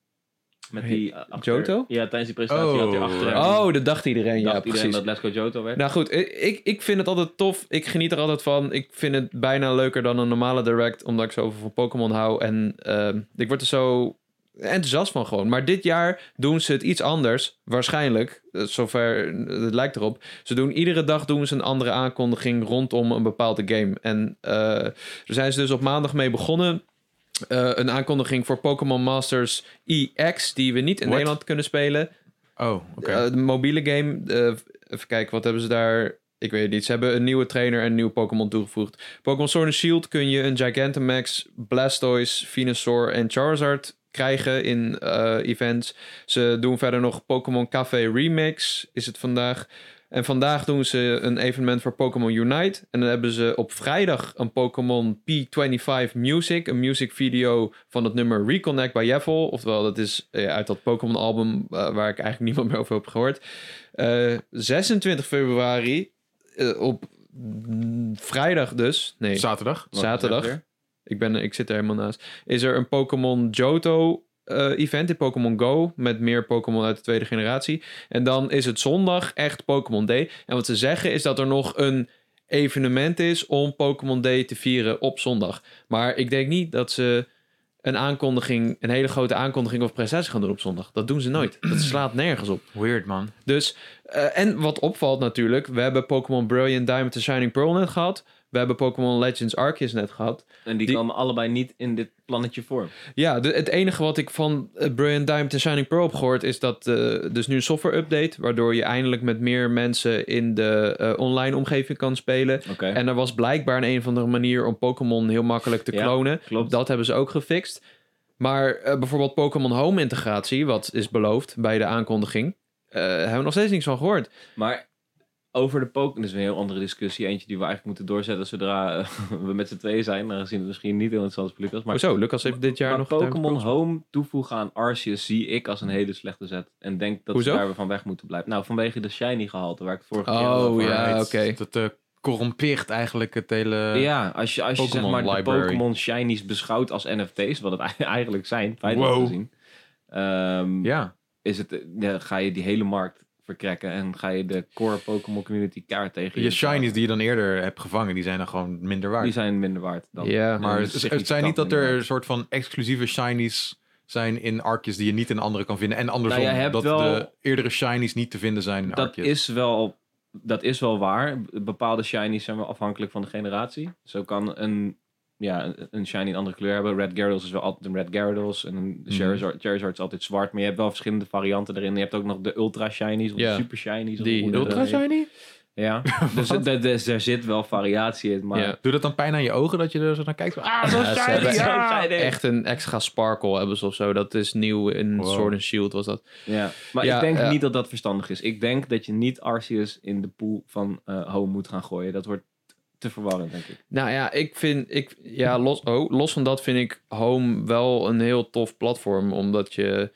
S2: Met die eh, achter-
S3: Johto?
S2: Ja, tijdens die presentatie
S1: Oh.
S2: had hij achter hem.
S3: Oh, dat dacht iedereen,
S2: dacht
S3: ja,
S2: iedereen
S3: precies.
S2: dat Let's go Johto werd.
S3: Nou goed, ik, ik- ik vind het altijd tof. Ik geniet er altijd van. Ik vind het bijna leuker dan een normale direct, omdat ik zoveel van Pokémon hou. En ehm, ik word er zo enthousiast van gewoon. Maar dit jaar doen ze het iets anders. Waarschijnlijk, eh, zover eh, het lijkt erop. Ze doen iedere dag doen ze een andere aankondiging rondom een bepaalde game. En eh, daar zijn ze dus op maandag mee begonnen. Eh, een aankondiging voor Pokémon Masters EX, die we niet in
S1: What?
S3: Nederland kunnen spelen.
S1: Oh, oké.
S3: Eh, de mobiele game. eh, even kijken, wat hebben ze daar? Ik weet het niet. Ze hebben een nieuwe trainer en een nieuw Pokémon toegevoegd. Pokémon Sword and Shield kun je een Gigantamax, Blastoise, Venusaur en Charizard krijgen in eh, events. Ze doen verder nog Pokémon Café Remix, is het vandaag. En vandaag doen ze een evenement voor Pokémon Unite. En dan hebben ze op vrijdag een Pokémon P25 Music. Een music video van het nummer Reconnect bij Jeffel. Oftewel, dat is eh, uit dat Pokémon album eh, waar ik eigenlijk niemand meer over heb gehoord. Eh, 26 februari, eh, op mm, vrijdag dus. Nee,
S1: Zaterdag.
S2: Wat
S3: Zaterdag.
S2: is het weer?
S3: ik, ben, ik zit er helemaal naast. Is er een Pokémon Johto eh, event in Pokémon Go. Met meer Pokémon uit de tweede generatie. En dan is het zondag echt Pokémon Day. En wat ze zeggen is dat er nog een evenement is om Pokémon Day te vieren op zondag. Maar ik denk niet dat ze een aankondiging, een hele grote aankondiging of presentatie gaan doen op zondag. Dat doen ze nooit. Dat slaat nergens op.
S1: Weird, man.
S3: Dus, eh, en wat opvalt natuurlijk, we hebben Pokémon Brilliant Diamond en Shining Pearl net gehad. We hebben Pokémon Legends Arceus net gehad.
S2: En die,
S3: Die-
S2: kwamen allebei niet in dit plannetje voor.
S3: Ja, de- het enige wat ik van eh, Brilliant Diamond en Shining Pearl heb gehoord... is dat eh dus nu een software update... waardoor je eindelijk met meer mensen in de eh, online omgeving kan spelen.
S2: Oké,
S3: En er was blijkbaar een of andere manier om Pokémon heel makkelijk te
S2: Ja,
S3: klonen.
S2: klopt.
S3: Dat hebben ze ook gefixt. Maar eh, bijvoorbeeld Pokémon Home integratie, wat is beloofd bij de aankondiging... eh, hebben we nog steeds niks van gehoord.
S2: Maar over de Pokémon is een heel andere discussie. Eentje die we eigenlijk moeten doorzetten zodra eh, we met z'n tweeën zijn. Aangezien het misschien niet heel interessant voor Lucas. Maar,
S3: Hoezo, Lucas heeft dit jaar
S2: maar
S3: nog...
S2: Pokémon Home toevoegen aan Arceus zie ik als een hele slechte zet. En denk dat
S3: Hoezo?
S2: ze daar weer van weg moeten blijven. Nou, vanwege de shiny gehalte waar ik het vorige keer
S3: Oh,
S2: over
S3: ja.
S2: had.
S3: oké.
S1: Dat eh, corrompeert eigenlijk het hele...
S2: Ja, als je, als je zeg
S3: Pokémon
S2: maar de
S3: library.
S2: Pokémon shinies beschouwt als NFT's, wat het ei- eigenlijk zijn, feitelijk
S1: Wow.
S2: gezien. ehm,
S1: Ja.
S2: is het, eh, ja, ga je die hele markt verkrekken en ga je de core Pokémon community kaart tegen
S1: Je shinies die je dan eerder hebt gevangen, die zijn dan gewoon minder waard.
S2: Die zijn minder waard dan.
S3: Ja,
S1: Maar
S2: Ja,
S1: het,
S2: significant
S1: het zijn niet dat er
S2: minder.
S1: een soort van exclusieve shinies zijn in arkjes die je niet in andere kan vinden. En andersom,
S2: Nou, je hebt
S1: dat
S2: wel-
S1: de eerdere shinies niet te vinden zijn in
S2: Dat
S1: arkjes.
S2: is wel, dat is wel waar. Bepaalde shinies zijn wel afhankelijk van de generatie. Zo kan een, ja, een- een shiny een andere kleur hebben. Red Gyarados is wel altijd een Red Gyarados. En een
S3: Mhm.
S2: Charizard, Charizard is altijd zwart. Maar je hebt wel verschillende varianten erin. Je hebt ook nog de ultra shinies of
S3: Ja.
S2: de super shinies. of
S3: Die
S2: hoe dat
S1: Ultra
S2: heet.
S1: shiny?
S2: Ja, dus,
S1: Wat?
S2: er- dus er zit wel variatie in. Maar
S3: Ja.
S1: Doe dat dan pijn aan je ogen dat je er zo naar kijkt? Ah, zo
S3: Ja, ze
S1: shiny!
S3: hebben
S1: ja!
S3: echt een extra sparkle hebben ze of zo. Dat is nieuw in
S1: Wow.
S3: Sword and Shield was dat.
S2: Ja, maar
S3: Ja,
S2: ik denk
S3: ja.
S2: niet dat dat verstandig is. Ik denk dat je niet Arceus in de pool van eh Home moet gaan gooien. Dat wordt te verwarrend, denk ik.
S3: Nou ja, ik vind, ik, ja, los, oh, los van dat vind ik Home wel een heel tof platform. Omdat je,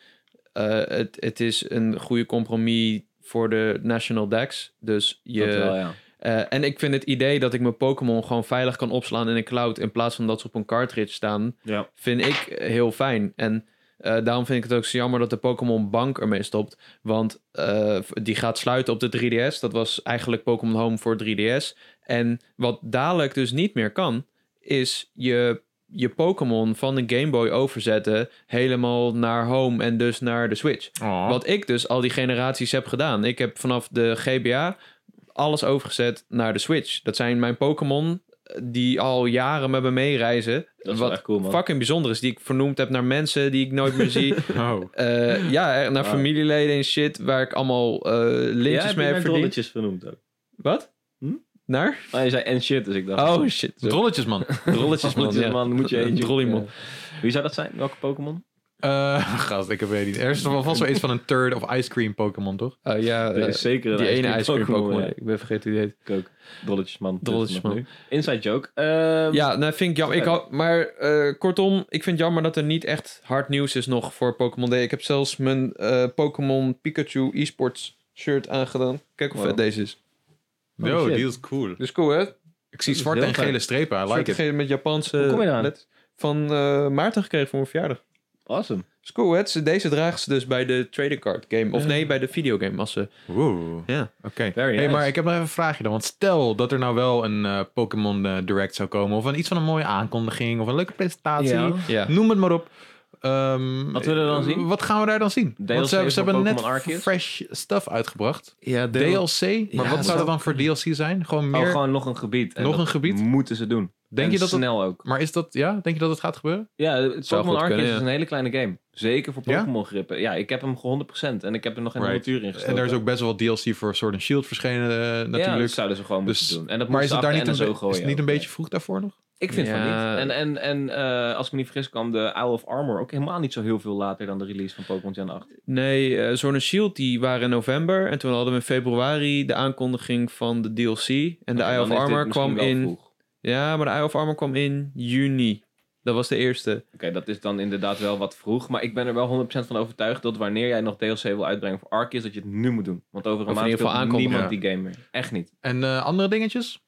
S3: eh, het, het is een goede compromis voor de National Decks. Dus je,
S2: Dat wel, ja.
S3: eh, en ik vind het idee dat ik mijn Pokémon gewoon veilig kan opslaan in een cloud. In plaats van dat ze op een cartridge staan.
S2: ja.
S3: vind ik heel fijn. En eh, daarom vind ik het ook zo jammer dat de Pokémon Bank ermee stopt. Want eh, die gaat sluiten op de 3DS. Dat was eigenlijk Pokémon Home voor 3DS. En wat dadelijk dus niet meer kan, is je, je Pokémon van een Game Boy overzetten helemaal naar Home en dus naar de Switch.
S1: Oh.
S3: Wat ik dus al die generaties heb gedaan. Ik heb vanaf de GBA alles overgezet naar de Switch. Dat zijn mijn Pokémon eh, die al jaren met me meereizen.
S2: Dat is wel
S3: wat
S2: echt cool, man.
S3: fucking bijzonder is. Die ik vernoemd heb naar mensen die ik nooit meer zie.
S1: Oh.
S3: Eh, ja, naar
S2: Wow.
S3: familieleden en shit. Waar ik allemaal eh lintjes mee heb verdiend.
S2: rolletjes vernoemd ook.
S3: Wat?
S2: Hm?
S3: Naar?
S2: Maar je zei en shit, dus ik dacht...
S3: Oh shit. Zo.
S1: Drolletjes, man.
S3: Rolletjes, man.
S2: Rolletjes,
S3: ja.
S2: oh, man, moet je
S3: Een
S2: eentje...
S3: Drolliemon.
S2: eh, wie zou dat zijn? Welke Pokémon?
S1: Eh, gast, ik weet niet. Er is wel vast wel iets van een turd of ice cream Pokémon, toch?
S3: Oh ja,
S2: Er
S3: eh,
S2: is zeker een
S3: die ene
S2: ijscream
S3: ijscream Pokémon.
S2: ja.
S3: Ik ben vergeten hoe die heet.
S2: Ik ook. Drolletjesman. dit is
S3: Drolletjesman.
S2: nog nu. Inside joke. Ehm,
S3: Ja, nou vind ik jammer. Ik
S2: Oké.
S3: hou- maar eh, kortom, ik vind het jammer dat er niet echt hard nieuws is nog voor Pokémon D. Ik heb zelfs mijn eh, Pokémon Pikachu esports shirt aangedaan. Kijk hoe
S2: Wow.
S3: vet deze is.
S2: Oh,
S1: Yo,
S2: shit.
S1: die is cool.
S3: Dus cool, hè?
S1: Ik zie
S2: is
S1: zwarte
S2: heel
S1: en
S2: fijn.
S1: gele strepen. I like it.
S3: Met Japanse
S2: Hoe kom je eraan?
S3: letters. van eh, Maarten gekregen voor mijn verjaardag.
S2: Awesome.
S3: Dus cool, hè? Ze- Deze dragen ze dus bij de trading card game.
S1: Eh.
S3: Of nee, bij de videogame. Als ze...
S1: Woe.
S3: Ja.
S1: Oké.
S2: Very
S1: Hey,
S2: nice.
S1: maar ik heb nog even een vraagje dan. Want stel dat er nou wel een eh, Pokémon eh, Direct zou komen. Of een, iets van een mooie aankondiging. Of een leuke presentatie.
S2: Ja.
S3: Ja.
S1: Noem het maar op. ehm,
S2: Wat willen we dan zien?
S1: Wat gaan we daar dan zien?
S2: DLC
S1: Want ze, ze
S2: voor
S1: hebben net
S2: Pokémon Arceus?
S1: fresh stuff uitgebracht.
S3: Ja,
S1: DLC? Maar
S3: Ja,
S1: wat zou
S3: zo-
S1: dat dan voor DLC zijn? Gewoon meer...
S2: Oh, gewoon nog een gebied. En
S1: Nog
S2: dat
S1: een gebied?
S2: Moeten ze doen.
S1: denk
S2: En
S1: je dat het-
S2: snel ook.
S1: Maar is dat... Ja? Denk je dat het gaat gebeuren?
S2: Ja, het
S3: Zou
S2: Pokémon
S3: goed
S2: Arceus
S3: kunnen,
S2: is
S3: ja.
S2: een hele kleine game. Zeker voor
S1: Ja?
S2: Pokémon grippen. Ja, ik heb hem ge 100% en ik heb er nog geen
S1: Right.
S2: 100 uur in gestoken.
S1: En daar is ook best wel wat DLC voor Sword and Shield verschenen eh,
S2: Ja, dat
S1: natuurlijk.
S2: zouden ze gewoon
S1: Dus-
S2: moeten doen. En dat
S1: maar is het daar niet een,
S2: zo
S1: be-
S2: gooien.
S1: is het niet een
S2: ook.
S1: beetje vroeg daarvoor nog?
S2: Ik vind van
S3: Ja.
S2: niet. En, en, en eh, als ik me niet vergis kwam de Isle of Armor ook helemaal niet zo heel veel later dan de release van Pokémon Gen 8.
S3: Nee, eh Sword and Shield die waren in november. En toen hadden we in februari de aankondiging van de DLC. En de
S2: Oké,
S3: Eye of
S2: dan is dit
S3: Armor
S2: misschien
S3: kwam
S2: wel
S3: in...
S2: vroeg. Oké,
S3: Ja, maar de Eye of Armor kwam in juni. Dat was de eerste.
S2: dat is dan inderdaad wel wat vroeg. Maar ik ben er wel 100% van overtuigd dat wanneer jij nog DLC wil uitbrengen voor Arceus, dat je het nu moet doen. Want over een
S3: Of in
S2: maand
S3: ieder geval
S2: speelt
S3: aankondigen.
S2: niemand die game meer. Echt niet.
S1: En eh, andere dingetjes?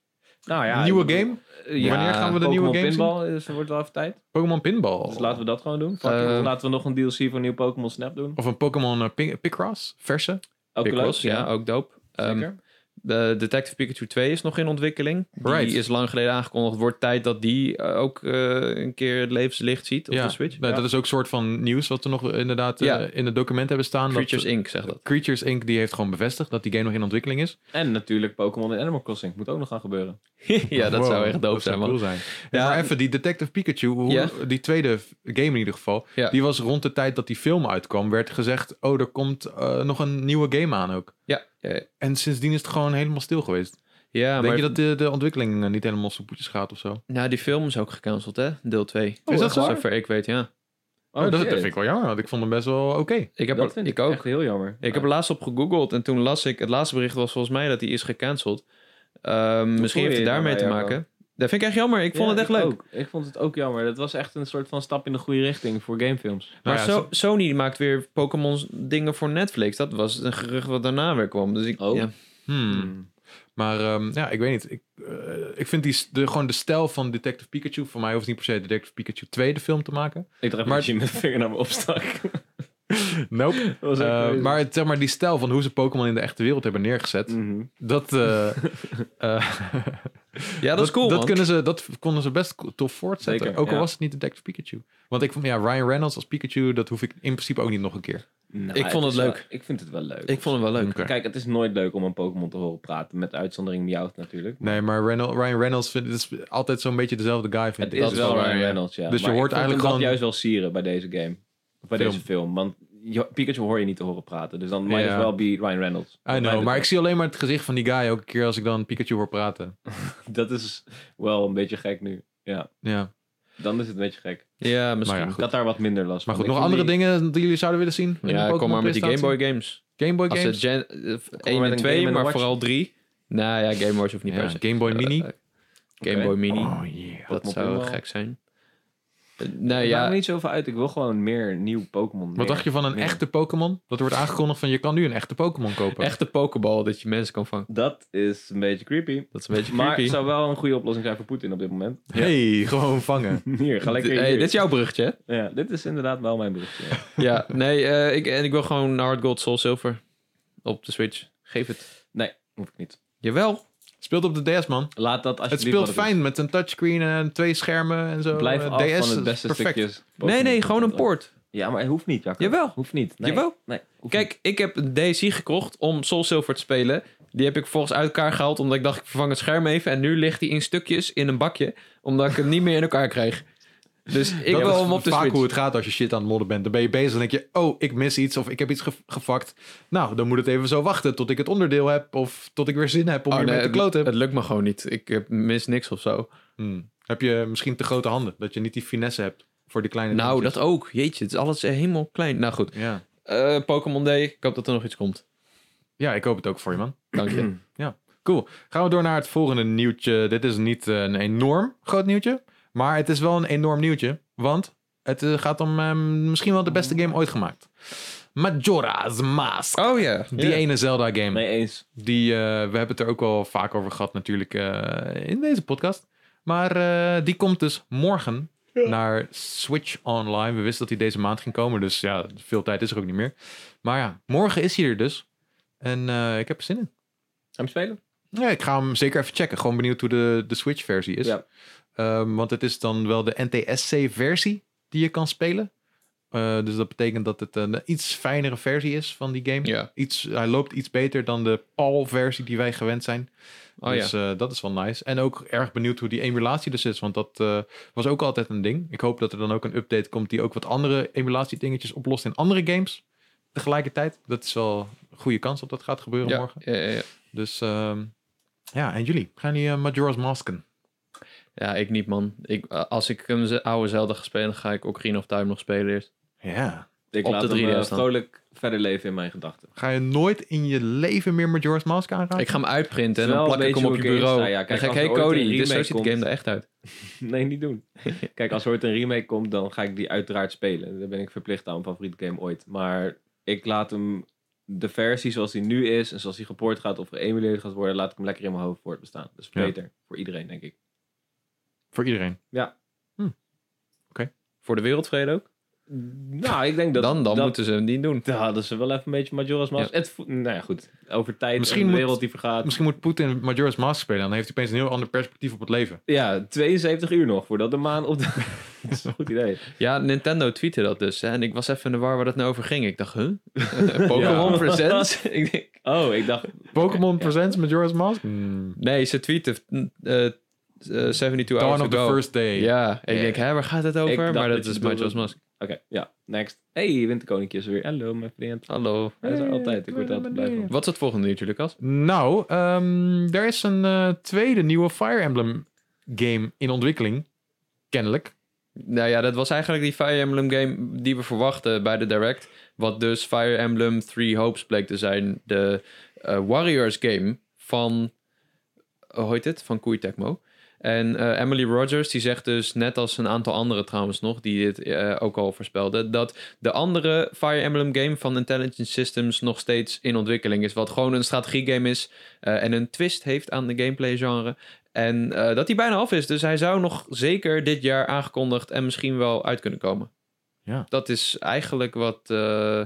S2: Nou ja,
S1: nieuwe
S2: ik bedoel,
S1: game?
S2: eh, ja,
S1: Wanneer gaan we de
S2: Pokémon
S1: nieuwe game zien?
S2: Pinball, eh, wordt wel even tijd.
S1: Pokémon Pinball.
S2: Dus laten we dat gewoon doen.
S3: Eh,
S2: Of laten we nog een DLC voor nieuw Pokémon Snap doen.
S1: Of een Pokémon eh, Pin- Picross? Verse?
S2: Ook
S3: Big
S2: leuk.
S3: Boss, ja, ook dope. Ehm,
S2: Zeker.
S3: de Detective Pikachu 2 is nog in ontwikkeling.
S1: Right.
S3: Die is lang geleden aangekondigd. Wordt tijd dat die eh, ook eh, een keer het levenslicht ziet op
S1: ja.
S3: de Switch.
S1: Nou,
S2: Ja.
S1: Dat is ook een soort van nieuws wat we nog inderdaad eh,
S3: Ja.
S1: in het document hebben staan.
S3: Creatures
S1: dat, eh,
S3: Inc. zegt dat.
S1: Creatures Inc. die heeft gewoon bevestigd dat die game nog in ontwikkeling is.
S2: En natuurlijk Pokémon en Animal Crossing. Moet ook nog gaan gebeuren.
S3: ja, dat
S1: Wow,
S3: zou echt dope
S1: dat zou
S3: zijn, man.
S1: cool zijn.
S3: Ja.
S1: maar even, die Detective Pikachu, hoe,
S3: Ja.
S1: die tweede game in ieder geval,
S3: Ja.
S1: die was rond de tijd dat die film uitkwam, werd gezegd, oh, er komt eh, nog een nieuwe game aan ook.
S3: Ja, ja, ja.
S1: En sindsdien is het gewoon helemaal stil geweest.
S3: ja
S1: Denk
S3: maar
S1: je dat de, de ontwikkeling eh, niet helemaal soepeltjes gaat of zo?
S3: nou, die film is ook gecanceld, hè? Deel 2.
S1: Oh, Is dat echt waar?
S3: Zover ik weet, ja.
S1: Oh, dat, dat
S2: shit.
S1: vind ik wel jammer, want ik vond hem best wel oké.
S3: Ik heb
S2: dat
S3: er-
S2: vind
S3: ik
S2: ik
S3: ook.
S2: echt heel jammer.
S3: Ik heb er laatst op gegoogeld en toen las ik... Het laatste bericht was volgens mij dat die is gecanceld. Ehm, misschien
S2: je
S3: heeft het
S2: je
S3: daarmee te
S2: daarbij, Jaco?
S3: maken. Dat vind ik echt jammer. Ik vond
S2: Ja,
S3: het echt leuk.
S2: ook. Ik vond het ook jammer. Dat was echt een soort van stap in de goede richting voor gamefilms.
S3: Maar
S1: Nou ja,
S3: So- Sony maakt weer Pokémon dingen voor Netflix. Dat was een gerucht wat daarna weer kwam. Dus ik,
S2: Oh.
S3: ja.
S1: Hmm.
S2: Hmm.
S1: Maar ehm, ja, ik weet niet. Ik, eh, ik vind die, s- de, gewoon de stijl van Detective Pikachu... Voor mij hoeft niet per se Detective Pikachu 2 de film te maken.
S2: Ik dacht
S1: Maar-
S2: dat je met de vinger naar me opstak.
S1: Nope.
S2: Dat was echt
S1: Eh,
S2: crazy.
S1: maar, het- zeg maar die stijl van hoe ze Pokémon in de echte wereld hebben neergezet...
S2: Mhm.
S1: Dat, eh, eh,
S3: ja, dat, is cool,
S1: Dat,
S3: man.
S1: kunnen ze, dat konden ze best co- tof voortzetten.
S2: Zeker,
S1: ook al
S2: ja.
S1: was het niet Detective Pikachu. Want ik vond, ja, Ryan Reynolds als Pikachu... dat hoef ik in principe ook niet nog een keer.
S2: Nou,
S3: Ik vond het
S2: is wel-
S3: leuk.
S2: ik vind het wel leuk.
S3: Ik vond het wel leuk.
S1: Oké.
S2: Kijk, het is nooit leuk om een Pokémon te horen praten. Met uitzondering Meowth natuurlijk.
S1: Nee, maar Reynolds, Ryan Reynolds vindt, is altijd zo'n beetje dezelfde guy. Vind
S2: Het
S1: ik.
S2: is
S3: is
S2: wel
S3: wel
S2: Ryan
S3: waar, ja.
S2: Reynolds, ja.
S1: Dus je
S2: Maar ik
S1: hoort
S2: vond hem
S1: eigenlijk
S2: dat
S1: gewoon-
S2: juist wel sieren bij deze game. Of Bij
S1: Film.
S2: deze film. Want je- Pikachu hoor je niet te horen praten. Dus dan might
S1: Ja.
S2: as well be Ryan Reynolds.
S1: I
S2: Wat mij
S1: know, maar ik
S2: betreft.
S1: zie alleen maar het gezicht van die guy... elke keer als ik dan Pikachu hoor praten.
S2: Dat is wel een beetje gek nu.
S1: Ja.
S2: Dan is het een beetje gek.
S3: Ja, misschien.
S1: Maar ja,
S2: Ik had daar wat minder last
S1: Maar goed,
S2: van. Ik
S1: nog
S2: vond
S1: andere
S2: die-
S1: dingen die jullie zouden willen zien? in de
S3: Ja,
S1: Pokémon
S3: kom maar met die Game
S1: presentatie?
S3: Boy games.
S1: Game Boy
S3: Als
S1: games?
S3: het Gen eh, 1
S2: met
S3: en
S2: een
S3: 2,
S2: Game and
S3: maar
S2: Watch.
S3: vooral 3. Nou ja, Game Watch hoeft niet
S1: Ja,
S3: per se.
S1: Game Boy
S3: Eh,
S1: Mini?
S3: eh, Game Boy Mini.
S1: oh yeah.
S3: dat
S2: Pokémon
S3: zou
S2: Pinball.
S3: gek zijn. Eh, nou
S2: Ik maak
S3: ja,
S2: me niet zoveel uit. Ik wil gewoon meer nieuw Pokémon. meer.
S1: Wat dacht je van een
S2: meer.
S1: echte Pokémon? Dat wordt aangekondigd van je kan nu een echte Pokémon kopen.
S3: echte Pokéball dat je mensen kan vangen.
S2: Dat is een beetje creepy.
S3: Dat is een beetje
S2: Maar
S3: creepy.
S2: het zou wel een goede oplossing zijn voor Poetin op dit moment.
S1: Hey, gewoon vangen.
S2: Hier, ga lekker
S3: Hey,
S2: hier.
S3: dit is jouw bruggetje, hè?
S2: ja, dit is inderdaad wel mijn berichtje. ja.
S3: ja, nee, eh, ik, en ik wil gewoon Hard Gold Soul Silver op de Switch. Geef het.
S2: Nee, hoef ik niet.
S3: Jawel.
S1: Speelt op de DS, man.
S2: Laat dat alsjeblieft
S1: Het speelt
S2: wat is.
S1: fijn met een touchscreen en twee schermen en zo.
S2: Blijf
S1: Eh,
S2: af
S1: DS
S2: van
S1: is
S2: het beste
S1: perfect.
S2: stukjes.
S3: Nee,
S2: Pokémon
S3: nee,
S2: content
S3: gewoon een
S2: ook.
S3: poort.
S2: Ja, maar het hoeft niet, Jacco.
S3: Jawel.
S2: Hoeft niet. Nee.
S3: Jawel.
S2: Nee, hoeft
S3: Kijk, ik heb een DC gekocht om Soul Silver te spelen. Die heb ik volgens uit elkaar gehaald omdat ik dacht ik vervang het scherm even. En nu ligt die in stukjes in een bakje omdat ik het niet meer in elkaar krijg. Dus ik
S1: dat
S3: wil
S1: is
S3: hem op de
S1: vaak
S3: Switch.
S1: hoe het gaat als je shit aan het modden bent. Dan ben je bezig en denk je, oh, ik mis iets of ik heb iets ge gefakt. Nou, dan moet het even zo wachten tot ik het onderdeel heb of tot ik weer zin heb om
S3: Oh,
S1: weer
S3: nee,
S1: mee te kloten.
S3: het, het lukt me gewoon niet. Ik eh, mis niks of zo.
S1: Hmm. Heb je misschien te grote handen? Dat je niet die finesse hebt voor die kleine
S3: nou,
S1: dingetjes.
S3: dat ook. Jeetje, het is alles eh, helemaal klein. Nou goed,
S1: Ja.
S3: Eh, Pokémon Day. Ik hoop dat er nog iets komt.
S1: ja, ik hoop het ook voor je, man.
S3: Dank je.
S2: Hmm.
S1: Cool. Gaan we door naar het volgende nieuwtje. Dit is niet eh, een enorm groot nieuwtje, maar het is wel een enorm nieuwtje. Want het eh, gaat om eh, misschien wel de beste game ooit gemaakt. Majora's Mask.
S3: Oh ja.
S1: Die
S3: Ja.
S1: ene Zelda game.
S2: Mee eens.
S1: Die, eh, we hebben het er ook wel vaak over gehad natuurlijk eh, in deze podcast. Maar eh, die komt dus morgen naar Switch Online. We wisten dat hij deze maand ging komen, dus ja, veel tijd is er ook niet meer. Maar ja, morgen is hij er dus. En eh, ik heb er zin in.
S2: Gaan we spelen?
S1: Ja, ik ga hem zeker even checken. Gewoon benieuwd hoe de, de Switch-versie is.
S2: Ja.
S1: Ehm, want het is dan wel de NTSC-versie die je kan spelen. Eh, dus dat betekent dat het een iets fijnere versie is van die game.
S3: Ja.
S1: Iets, hij loopt iets beter dan de PAL-versie die wij gewend zijn.
S3: Oh
S1: dus
S3: ja.
S1: eh, dat is wel nice. En ook erg benieuwd hoe die emulatie dus is. Want dat eh, was ook altijd een ding. Ik hoop dat er dan ook een update komt die ook wat andere emulatiedingetjes oplost in andere games. Tegelijkertijd. Dat is wel een goede kans dat dat gaat gebeuren
S3: Ja,
S1: morgen.
S3: ja, ja, ja.
S1: Dus ehm, ja, en jullie? Gaan die eh, Majora's Masken?
S3: Ja, ik niet, man. Ik, eh, als ik een ze- oude Zelda ga spelen, dan ga ik Ocarina of Time nog spelen eerst.
S1: Ja.
S2: Ik
S3: Op
S2: laat
S3: de
S2: hem
S3: 3DS
S2: eh,
S3: dan.
S2: vrolijk verder leven in mijn gedachten.
S1: Ga je nooit in je leven meer Majora's Mask aanraken?
S3: Ik ga hem uitprinten en
S2: Wel
S3: dan
S2: een
S3: plak ik
S2: beetje
S3: hem op
S2: hoe
S3: je
S2: ik erin
S3: bureau.
S2: sta, ja.
S3: dan
S2: Kijk,
S3: ga ik,
S2: als
S3: hey
S2: er ooit
S3: Cody,
S2: een
S3: dit zo
S2: remake
S3: ziet de
S2: komt-
S3: game er echt uit.
S2: Nee, niet doen. Kijk, als er ooit een remake komt, dan ga ik die uiteraard spelen. Daar ben ik verplicht aan, mijn favoriete game ooit. Maar ik laat hem, de versie zoals die nu is, en zoals die gepoord gaat of geëmuleerd gaat worden, laat ik hem lekker in mijn hoofd voortbestaan. Dat is
S1: Ja.
S2: beter voor iedereen, denk ik.
S1: Voor iedereen.
S3: Voor de wereldvrede ook.
S2: Nou, ik denk dat...
S3: dan dan
S2: dat,
S3: moeten ze hem niet doen.
S2: dan hadden ze wel even een beetje Majora's Mask. Het vo- nou ja, goed. Over
S1: Misschien
S2: tijd Misschien de
S1: moet-
S2: wereld die vergaat.
S1: Misschien moet Poetin Majora's Mask spelen. Dan heeft hij opeens een heel ander perspectief op het leven.
S2: Ja, 72 uur nog voordat de maan op de... dat is een goed idee.
S3: Ja, Nintendo tweette dat dus. hè, En ik was even in de war waar het nou over ging. Ik dacht, huh? Pokémon
S2: Ja.
S3: Presents? ik denk,
S2: Oh, ik dacht...
S1: Pokémon Presents Majora's Mask? Hmm.
S3: nee, ze tweette eh, eh, 72
S1: Dawn
S3: hours
S1: of the
S3: ago.
S1: first day.
S3: Ja, ik
S2: Ja.
S3: denk, hè, waar gaat het over?
S2: dacht
S3: Maar
S2: dat
S3: dat
S2: je
S3: is
S2: bedoelde-
S3: Majora's Mask.
S2: Oké, ja, next. Hey, Winterkoninkje is er weer. Hallo, mijn vriend.
S3: Hallo.
S2: Hij is er altijd. Ik word er altijd blij van.
S3: Wat is het volgende nieuwtje, Lucas?
S1: Nou, ehm, er is een eh, tweede nieuwe Fire Emblem game in ontwikkeling. Kennelijk.
S3: Nou ja, dat was eigenlijk die Fire Emblem game die we verwachten bij de Direct. Wat dus Fire Emblem Three Hopes bleek te zijn. De eh, Warriors game van... Hoe heet het? Van Koei Tecmo. En eh, Emily Rogers die zegt dus, net als een aantal anderen trouwens nog, die dit eh, ook al voorspelden, dat de andere Fire Emblem game van Intelligent Systems nog steeds in ontwikkeling is. Wat gewoon een strategiegame is eh, en een twist heeft aan de gameplay genre. En eh, dat hij bijna af is. Dus hij zou nog zeker dit jaar aangekondigd en misschien wel uit kunnen komen.
S1: Ja.
S3: Dat is eigenlijk wat, eh,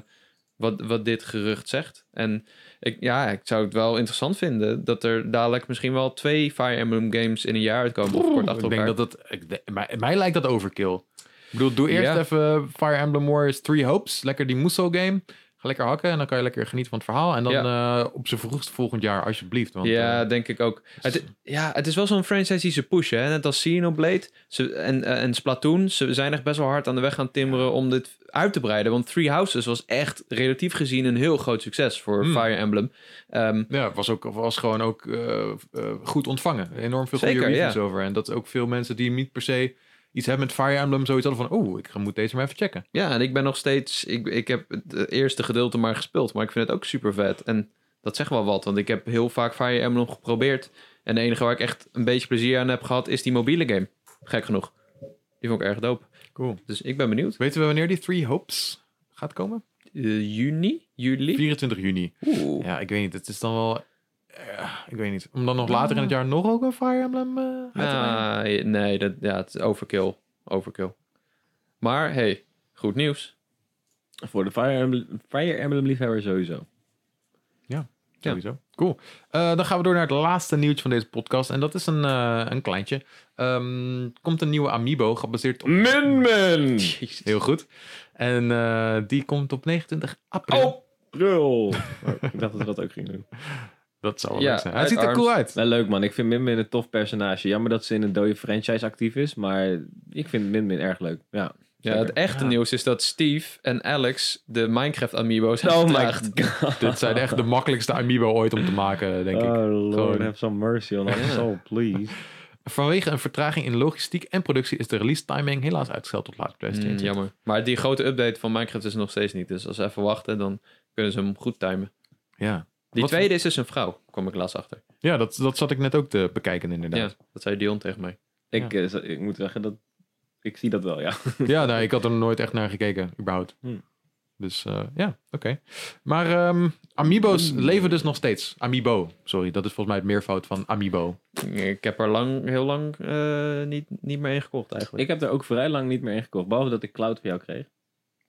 S3: wat, wat dit gerucht zegt. En ik, ja, ik zou het wel interessant vinden dat er dadelijk misschien wel twee Fire Emblem games in een jaar uitkomen. Of kort achter
S1: ik denk dat
S3: elkaar.
S1: dat... ik de- mij, mij lijkt dat overkill. Ik bedoel, doe eerst
S3: Ja.
S1: even Fire Emblem Warriors Three Hopes. Lekker die Musou game. Ga lekker hakken en dan kan je lekker genieten van het verhaal. En dan eh, op zijn vroegst volgend jaar, alsjeblieft. Want,
S3: ja,
S1: eh,
S3: denk ik ook. Het, ja, het is wel zo'n franchise die ze pushen. Hè? Net als Xenoblade ze, en, eh, en Splatoon. Ze zijn echt best wel hard aan de weg gaan timmeren om dit uit te breiden. Want Three Houses was echt relatief gezien een heel groot succes voor
S1: Hmm.
S3: Fire Emblem. Ehm,
S1: ja, was, ook, was gewoon ook eh, eh, goed ontvangen. Enorm veel goede
S3: Zeker,
S1: reviews over. En dat ook veel mensen die niet per se iets hebben met Fire Emblem... zoiets hadden van, oh, ik moet deze maar even checken.
S3: ja, en ik ben nog steeds... Ik, ik heb het eh, eerste gedeelte maar gespeeld. Maar ik vind het ook super vet. En dat zegt wel wat. Want ik heb heel vaak Fire Emblem geprobeerd. En de enige waar ik echt een beetje plezier aan heb gehad... is die mobiele game. Gek genoeg. Die vond ik erg dope.
S1: Cool.
S3: Dus ik ben benieuwd.
S1: Weten we wanneer die Three Hopes gaat komen?
S3: Eh, juni? Juli?
S1: 24 juni.
S3: Oeh.
S1: Ja, ik weet niet. Het is dan wel... eh, ik weet niet. Om dan nog later in het jaar nog ook een Fire Emblem eh, uit te brengen?
S3: Ah, nee, dat, ja, het is overkill. Overkill. Maar hey, goed nieuws.
S2: Voor de Fire Emblem, Fire Emblem liefhebber sowieso.
S3: ja.
S1: Sowieso. Cool. Eh, dan gaan we door naar het laatste nieuwtje van deze podcast. En dat is een, eh, een kleintje. Ehm, er komt een nieuwe Amiibo gebaseerd op...
S2: Min Min!
S1: Heel goed. En eh, die komt op 29 april.
S2: Oh, brul! Oh, ik dacht dat we dat ook gingen doen.
S1: Dat zou wel
S3: Ja,
S1: leuk zijn. Hij
S3: uit
S1: ziet er
S3: Arms.
S1: cool uit.
S2: Nou, leuk man. Ik vind Min Min een tof personage. Jammer dat ze in een dode franchise actief is, maar ik vind Min Min erg leuk. Ja.
S3: Ja, het echte
S1: Ja.
S3: nieuws is dat Steve en Alex de Minecraft amiibo's Mm, hebben
S2: Oh my
S3: gedraagd.
S2: god.
S1: Dit zijn echt de makkelijkste Amiibo ooit om te maken, denk
S3: Eh.
S1: ik.
S2: Oh lord,
S1: Gewoon.
S2: have some mercy on us all, please.
S1: Vanwege een vertraging in logistiek en productie is de release timing helaas uitgesteld tot later
S3: Mm,
S1: 2022.
S3: jammer. Maar die grote update van Minecraft is er nog steeds niet. Dus als ze even wachten, dan kunnen ze hem goed timen.
S1: Ja,
S3: Die
S1: Wat
S3: tweede is dus een vrouw, kwam ik laatst achter.
S1: ja dat, dat zat ik net ook te bekijken
S3: Ja,
S1: inderdaad.
S3: dat zei Dion tegen mij.
S2: Ik, eh, zo- ik moet zeggen dat ik zie dat wel, ja.
S1: Ja, nou, ik had er nooit echt naar gekeken, überhaupt.
S2: Hmm.
S1: Dus eh, ja, oké. Maar ehm, Amiibo's
S2: Hmm.
S1: leven dus nog steeds. Amiibo, sorry, dat is volgens mij het meervoud van Amiibo.
S3: Ik heb er lang, heel lang eh, niet, niet meer in gekocht eigenlijk.
S2: Ik heb er ook vrij lang niet meer in gekocht, behalve dat ik Cloud voor jou kreeg.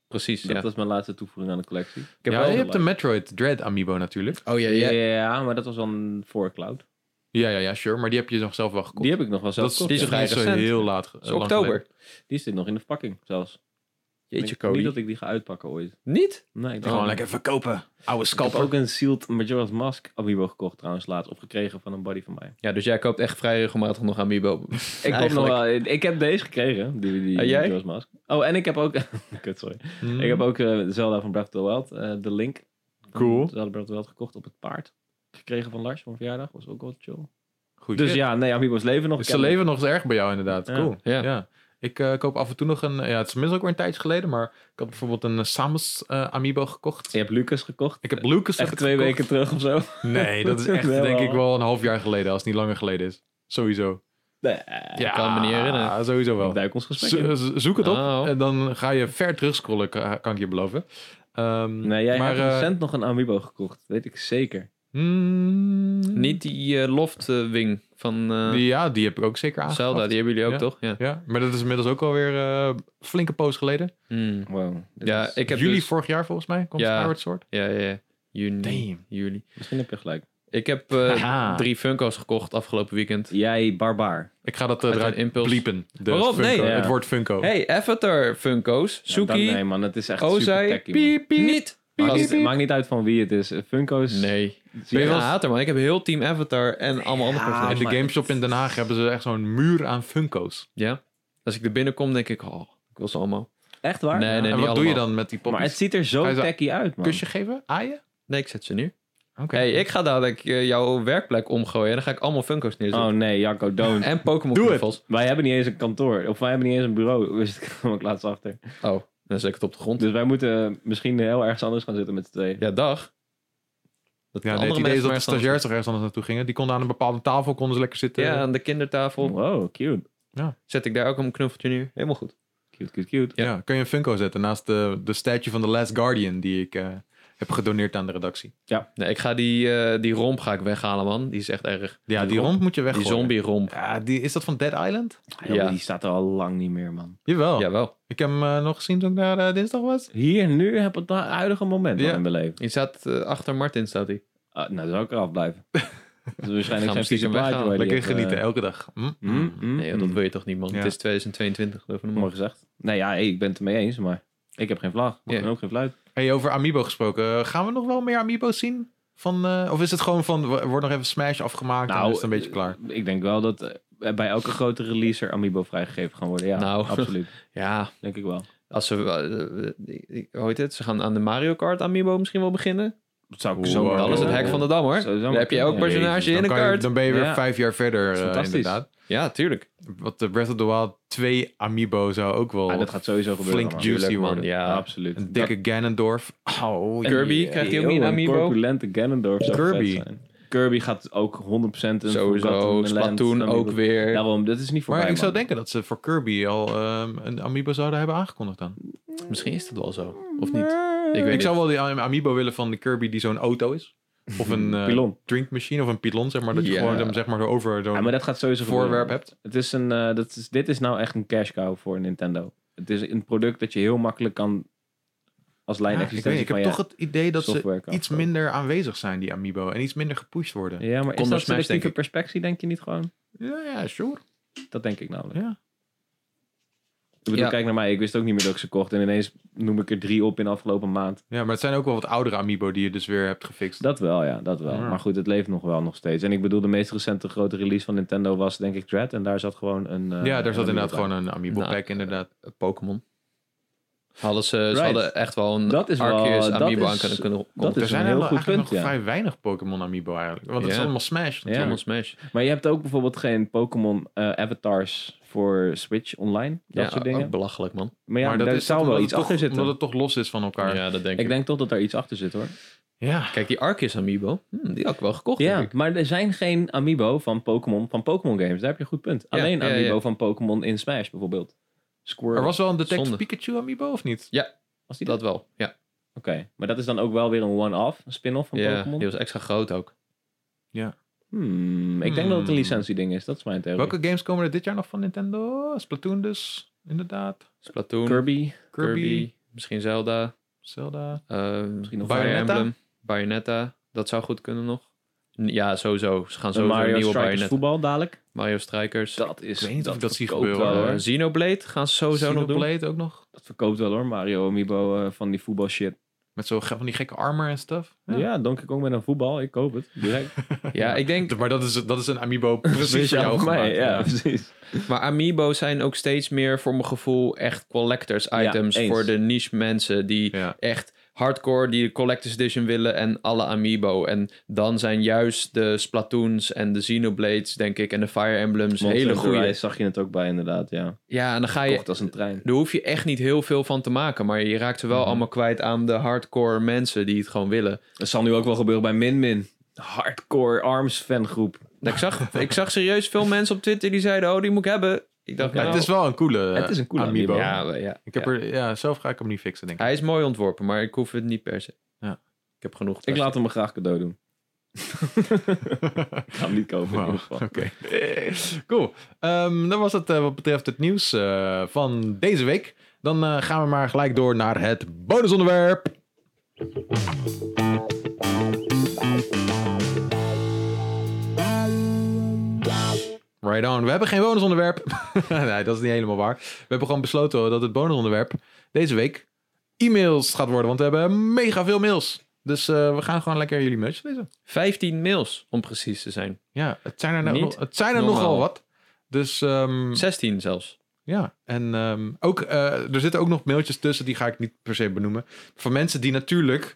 S3: Precies,
S2: Dat
S3: ja.
S2: was mijn laatste toevoeging aan de collectie. Ik
S1: Ja, je hebt
S2: geliked.
S1: de Metroid Dread Amiibo natuurlijk.
S3: Oh ja,
S2: Ja, maar dat was dan voor Cloud.
S1: Ja, ja, ja, sure. Maar die heb je nog zelf wel gekocht.
S2: Die heb ik nog wel zelf
S1: dat is, die
S2: gekocht.
S1: is
S3: ja.
S1: nog niet zo
S3: Vrij recent.
S1: heel laat. ge-
S3: is
S1: lang
S3: oktober.
S1: geleden.
S2: Die zit nog in de verpakking zelfs.
S3: Jeetje,
S2: Ik denk
S3: Cody.
S2: Niet dat ik die ga uitpakken ooit. Oh,
S3: Niet?
S2: Nee, ik
S1: Gewoon
S2: denk-
S1: lekker verkopen. Oude
S2: Ik heb
S1: scalper.
S2: ook een Sealed Majora's Mask Amiibo gekocht trouwens laatst. Of gekregen van een buddy van mij.
S3: Ja, dus jij koopt echt vrij regelmatig nog Amiibo.
S2: Ik, kom nog wel, ik heb deze gekregen. Die, die
S3: En jij?
S2: Majora's Mask. Oh, en ik heb ook... Kut, sorry.
S1: Hmm.
S2: Ik heb ook eh, Zelda van Breath of the Wild. eh, de Link. van
S1: Cool.
S2: Zelda Breath of the Wild gekocht op het paard. Gekregen van Lars van verjaardag. Was ook wel chill.
S1: Goed.
S2: Dus ja, nee, Amiibo's leven nog.
S1: Is
S2: Ik
S1: Ze
S2: heb-
S1: leven nog eens erg bij jou inderdaad.
S2: Ja.
S1: Cool.
S3: Ja.
S1: Ja. Ik eh, koop af en toe nog een... Ja, het is minstens ook weer een tijdje geleden, maar ik had bijvoorbeeld een eh, Samus eh, amiibo gekocht.
S2: Je hebt Lucas gekocht.
S1: Ik heb Lucas
S2: Echt twee
S1: gekocht.
S2: weken terug of zo.
S1: Nee, dat is echt
S2: Wel.
S1: denk ik wel een half jaar geleden, als het niet langer geleden is. Sowieso.
S2: Nee,
S1: ja,
S3: kan me niet herinneren.
S1: Sowieso wel.
S2: Ik duik ons gesprek in.
S1: Zo- zo- zoek het op
S3: Oh.
S1: en dan ga je ver terugscrollen, ka- kan ik je beloven. Ehm,
S2: Mm. Nee, jij
S1: maar,
S2: hebt
S1: eh,
S2: recent nog een Amiibo gekocht. Weet ik zeker.
S1: hmm,
S3: Niet die eh, loft eh, wing van eh,
S1: Die, ja, die heb ik ook zeker aangekocht.
S3: Zelda, die hebben jullie ook
S1: Ja.
S3: toch? Ja.
S1: Ja, maar dat is inmiddels ook alweer eh flinke poos geleden.
S3: Hmm.
S2: Wow. dit
S3: Ja,
S2: is-
S3: ik heb
S1: Juli
S3: dus-
S1: vorig jaar volgens mij komt
S3: Ja.
S1: ja. Skyward Sword.
S3: ja, ja, ja. Juni,
S1: Damn.
S3: juli.
S2: Misschien heb je gelijk.
S3: Ik heb eh,
S1: Haha.
S3: drie Funko's gekocht afgelopen weekend.
S2: Jij barbaar.
S1: Ik ga dat eh,
S3: Uit een
S1: eruit
S3: impuls.
S1: bliepen. De
S3: Waarom?
S1: Funko,
S3: Nee,
S2: ja.
S1: Het woord Funko.
S3: Hey, Avatar Funko's,
S2: Ja,
S3: Suki, Oh,
S2: dan- nee man, het is echt
S3: Ozai,
S2: super techie, man.
S1: Piep, piep.
S3: niet.
S1: piep,
S2: Maakt
S1: piep,
S2: niet,
S1: piep.
S2: maakt niet uit van wie het is. Eh, Funko's.
S3: Nee,
S2: zie
S3: ben
S2: je nou?
S3: je
S2: wel.
S3: een hater man. Ik heb heel Team Avatar en allemaal andere
S2: Ja.
S3: personages.
S1: In de
S2: maar-
S1: gameshop in Den Haag hebben ze echt zo'n muur aan Funko's.
S3: Ja. Als ik er binnenkom denk ik, oh, ik wil ze allemaal.
S2: Echt waar?
S3: Nee, nee.
S1: en
S3: niet
S1: wat doe je
S3: allemaal.
S1: dan met die
S2: Maar
S1: poppies?
S2: het ziet er
S1: Ga
S2: zo
S1: je zo-
S2: techie uit man.
S1: Kusje geven? Aaien?
S3: Nee, ik zet ze neer.
S1: Oké.
S3: Hey, ik ga dadelijk eh, jouw werkplek omgooien en dan ga ik allemaal Funko's neerzetten.
S2: Oh nee, Janko, don't.
S3: En Pokémon
S1: Doe het.
S3: knuffels.
S2: Wij hebben niet eens een kantoor. Of wij hebben niet eens een bureau. Dus ik kwam ik laatst achter.
S3: Oh, dan zet ik het op de grond.
S2: Dus wij moeten misschien heel ergens anders gaan zitten met z'n tweeën.
S3: Ja, dag. Dat
S1: Ja, nee, het idee is dat de stagiairs toch ergens anders naartoe gingen. Die konden aan een bepaalde tafel konden ze lekker zitten.
S3: Ja, aan de kindertafel
S2: Wow, cute.
S3: zet ik daar ook een knuffeltje neer. Helemaal goed.
S2: Cute, cute, cute.
S1: Ja, kun je een Funko zetten naast de, de statue van The Last Guardian die ik eh, heb gedoneerd aan de redactie.
S3: Nee, ik ga die, eh, die romp ga ik weghalen, man. Die is echt erg.
S1: Ja, die romp moet je
S3: Die
S1: weggooien.
S3: zombie romp.
S1: Ja, die, is dat van Dead Island?
S2: Ah, joh,
S3: Ja.
S2: Die staat er al lang niet meer, man.
S1: Jawel.
S3: Jawel.
S1: Ik heb hem eh, nog gezien toen ik daar eh, dinsdag was.
S2: Hier, nu, heb het da- huidige moment
S1: Ja.
S2: al in mijn leven.
S3: Die staat eh, achter Martin, staat die.
S2: Ah, nou, dan zou ik eraf blijven. Dat is
S3: hem
S2: waarschijnlijk zijn vieze
S3: stiekem
S2: plaatje.
S3: weghalen.
S2: waar die
S1: Lekker
S2: heeft, eh,
S1: genieten, elke dag. Mm.
S2: mm, mm,
S3: Nee, joh,
S2: mm.
S3: dat wil je toch niet, man.
S1: Ja.
S3: Het is 2022, geloof ik.
S2: Mooi gezegd. Nee, ja, hey, ik ben het ermee eens, maar ik heb geen vlag. Ik
S3: Ja.
S2: ben ook geen fluit.
S1: Hey, over Amiibo gesproken. eh, gaan we nog wel meer Amiibo's zien? Van, eh, of is het gewoon van, wo- wordt nog even Smash afgemaakt en dan is het een beetje klaar?
S2: eh, Ik denk wel dat eh, bij elke grote release er Amiibo vrijgegeven gaan worden. Ja,
S3: Nou.
S2: absoluut.
S3: Ja,
S2: Denk ik wel.
S3: als ze... eh, eh, eh, hoe heet het? Ze gaan aan de Mario Kart amiibo misschien wel beginnen.
S2: Dat zou ik
S1: Oh, Wow.
S2: zo maar
S3: Dat is het
S2: willen.
S3: hek van de dam, hoor.
S2: Zo zou
S3: Daar
S2: maar
S3: heb je
S2: kunnen,
S3: elk eh,
S2: ja.
S3: personage
S1: Dan,
S3: in een
S1: kan je-
S3: kaart.
S1: dan ben je weer
S2: Ja.
S1: vijf jaar verder, eh,
S2: fantastisch.
S1: inderdaad.
S3: Ja, tuurlijk.
S1: Want de Breath of the Wild 2 Amiibo zou ook wel
S2: Ah, dat gaat sowieso gebeuren.
S1: flink
S2: man.
S1: juicy
S3: Tuurlijk, man.
S1: worden.
S2: Ja,
S3: Ja.
S2: absoluut.
S1: Een dikke Ganondorf. Oh,
S2: Dat-
S1: ja.
S3: Kirby,
S2: Yeah.
S3: krijgt hij ook niet
S2: Oh,
S3: een Amiibo?
S2: corpulente Ganondorf zou
S1: Kirby.
S2: vet zijn. Kirby gaat ook 100% een Forgotten
S3: Sowieso.
S2: Land
S3: Splatoon
S2: Amiibo.
S3: ook weer.
S2: Daarom, dat is niet
S1: Maar
S2: voorbij,
S1: ik zou
S2: man.
S1: denken dat ze voor Kirby al ehm, een Amiibo zouden hebben aangekondigd dan.
S3: Misschien is dat wel zo. Of niet? Ik weet
S1: ik
S3: niet.
S1: zou wel die am- Amiibo willen van de Kirby die zo'n auto is. Of een eh,
S2: Pilon.
S1: drinkmachine of een pilon, zeg maar. Dat je
S3: Ja.
S1: gewoon hem, zeg maar, zo over zo'n
S2: Ja, maar dat gaat sowieso
S1: voorwerp
S2: gebeuren.
S1: hebt.
S2: Het is een, eh, dat is, dit is nou echt een cash cow voor Nintendo. Het is een product dat je heel makkelijk kan als lijn
S1: Ja, ik,
S2: existentie
S1: weet, ik
S2: van
S1: heb
S2: je
S1: toch het idee dat ze
S2: software kan
S1: iets
S2: verkopen.
S1: minder aanwezig zijn, die Amiibo. En iets minder gepusht worden.
S2: Ja, maar is
S3: door
S2: dat
S3: Smash, denk
S2: selectieve
S3: ik.
S2: perspectie, denk je niet gewoon?
S1: Ja, ja, sure.
S2: Dat denk ik namelijk.
S1: Ja.
S2: Ik bedoel,
S3: Ja.
S2: kijk naar mij. Ik wist ook niet meer dat ik ze kocht. En ineens noem ik er drie op in de afgelopen maand.
S1: Ja, maar het zijn ook wel wat oudere Amiibo die je dus weer hebt gefixt.
S2: Dat wel, ja. Dat wel.
S1: Ja.
S2: Maar goed, het leeft nog wel nog steeds. En ik bedoel, de meest recente grote release van Nintendo was denk ik Dread. En daar zat gewoon een... eh,
S1: ja, daar
S2: een
S1: zat inderdaad
S2: amiibo
S1: gewoon een Amiibo
S3: Nou,
S1: pack, inderdaad.
S3: Pokémon. Hadden ze, ze
S2: Right.
S3: hadden echt wel een
S2: Dat is wel-
S3: Arceus
S2: dat
S3: Amiibo
S2: is-
S3: aan kunnen kunnen
S2: dat
S3: komen.
S2: is
S1: Er zijn
S2: een Dus heel
S1: eigenlijk
S2: goed
S1: nog
S2: punt, ja.
S1: vrij weinig Pokémon Amiibo eigenlijk. Want het is
S3: Ja.
S1: allemaal Smash
S2: Ja.
S1: natuurlijk.
S3: Smash.
S2: bij. Maar je hebt ook bijvoorbeeld geen Pokémon eh, avatars voor Switch online. Dat
S3: ja,
S2: soort dingen.
S3: ook belachelijk, man.
S2: maar ja,
S1: oh, maar
S2: daar zou
S1: omdat
S2: wel
S1: het
S2: iets
S1: toch-
S2: achter zitten.
S1: Omdat het toch los is van elkaar. Ja.
S3: Ja, dat denk ik.
S2: Ik denk toch dat daar iets achter zit, hoor.
S3: Kijk, die Arceus Amiibo, hm, die had ik wel gekocht.
S2: Ja,
S3: denk ik.
S2: maar er zijn geen amiibo van Pokémon van Pokémon games. Daar heb je een goed punt.
S3: Ja,
S2: Alleen
S3: ja,
S2: amiibo
S3: ja.
S2: van Pokémon in Smash bijvoorbeeld. Squirtle.
S1: Er was wel een Detective
S3: Zonde.
S1: Pikachu Amiibo, of niet?
S2: Was die dat?
S3: Dat wel, ja.
S2: Oké, maar dat is dan ook wel weer een one-off, een spin-off van
S3: ja
S2: Pokémon.
S3: Die was extra groot ook.
S2: Hmm, ik denk dat het een
S1: Hmm.
S2: licentieding is. Dat is mijn theorie.
S1: Welke games komen er dit jaar nog van Nintendo? Splatoon dus, inderdaad.
S3: Splatoon, Kirby,
S2: Kirby.
S1: Kirby,
S3: misschien Zelda,
S1: Zelda.
S3: eh,
S2: Misschien nog
S3: Fire
S1: Bayonetta?
S3: Emblem, Bayonetta. Dat zou goed kunnen nog. Ja, sowieso. Ze gaan sowieso een
S2: Mario
S3: nieuwe
S2: Strikers
S3: Bayonet.
S2: voetbal dadelijk.
S3: Mario Strikers.
S2: Dat is,
S1: weet niet of ik dat zie
S2: verkoopt
S1: gebeuren,
S2: wel,
S1: hoor.
S3: Eh,
S2: hoor.
S3: Xenoblade gaan ze sowieso nog doen.
S1: Xenoblade ook nog.
S2: Dat verkoopt wel hoor, Mario Amiibo eh, van die voetbal shit.
S1: Met zo ge- van die gekke armor en stuff.
S2: Ja, Donkey Kong met een voetbal, ik koop het. Direct.
S3: Ja, ik denk...
S1: Maar dat is, dat is een amiibo precies voor
S2: Speciaal
S1: jou
S2: voor mij,
S1: gemaakt.
S2: ja, precies.
S3: Maar Amiibo's zijn ook steeds meer voor mijn gevoel echt collectors
S2: Ja,
S3: items
S2: eens.
S3: voor de niche mensen die
S1: Ja.
S3: echt hardcore die de collectors edition willen en alle Amiibo. En dan zijn juist de Splatoons en de Xenoblades, denk ik, en de Fire Emblems
S2: Monster
S3: hele
S2: Hunter
S3: goede.
S2: Rise zag je het ook bij inderdaad, ja.
S3: Ja, en dan ga je...
S2: Kocht als een trein.
S3: Daar hoef je echt niet heel veel van te maken, maar je raakt ze wel
S1: Mhm.
S3: allemaal kwijt aan de hardcore mensen die het gewoon willen.
S2: Dat zal nu ook wel gebeuren bij Min Min. Hardcore Arms fangroep.
S3: Nou, Ik zag, ik zag serieus veel mensen op Twitter die zeiden, oh, die moet ik hebben. Ik dacht,
S1: Ja,
S3: nou,
S1: het is wel een coole,
S2: Het is een coole
S1: amiibo.
S2: amiibo.
S3: ja, we- ja,
S1: Ik heb
S3: ja.
S1: Er, ja, zelf ga ik hem niet fixen, denk ik.
S3: Hij is mooi ontworpen, maar ik hoef het niet per se.
S1: Ja.
S3: Ik heb genoeg.
S2: Ik laat hem me graag cadeau doen. ik ga hem niet kopen in
S1: Wauw,
S2: ieder
S1: oké.
S2: geval.
S1: Cool. Ehm dat was het eh, wat betreft het nieuws eh, van deze week. Dan eh, gaan we maar gelijk door naar het bonusonderwerp. Right on. We hebben geen bonusonderwerp. nee, dat is niet helemaal waar. We hebben gewoon besloten dat het bonusonderwerp deze week e-mails gaat worden. Want we hebben mega veel mails. Dus eh, we gaan gewoon lekker jullie mailtjes lezen.
S3: 15 mails, om precies te zijn.
S1: Ja, het zijn er, nou-
S3: Niet
S1: het zijn er
S3: normaal.
S1: nogal wat. Dus
S3: Hm.
S1: ehm,
S3: 16 zelfs.
S1: ja, en ehm, ook, eh, er zitten ook nog mailtjes tussen, die ga ik niet per se benoemen. Van mensen die natuurlijk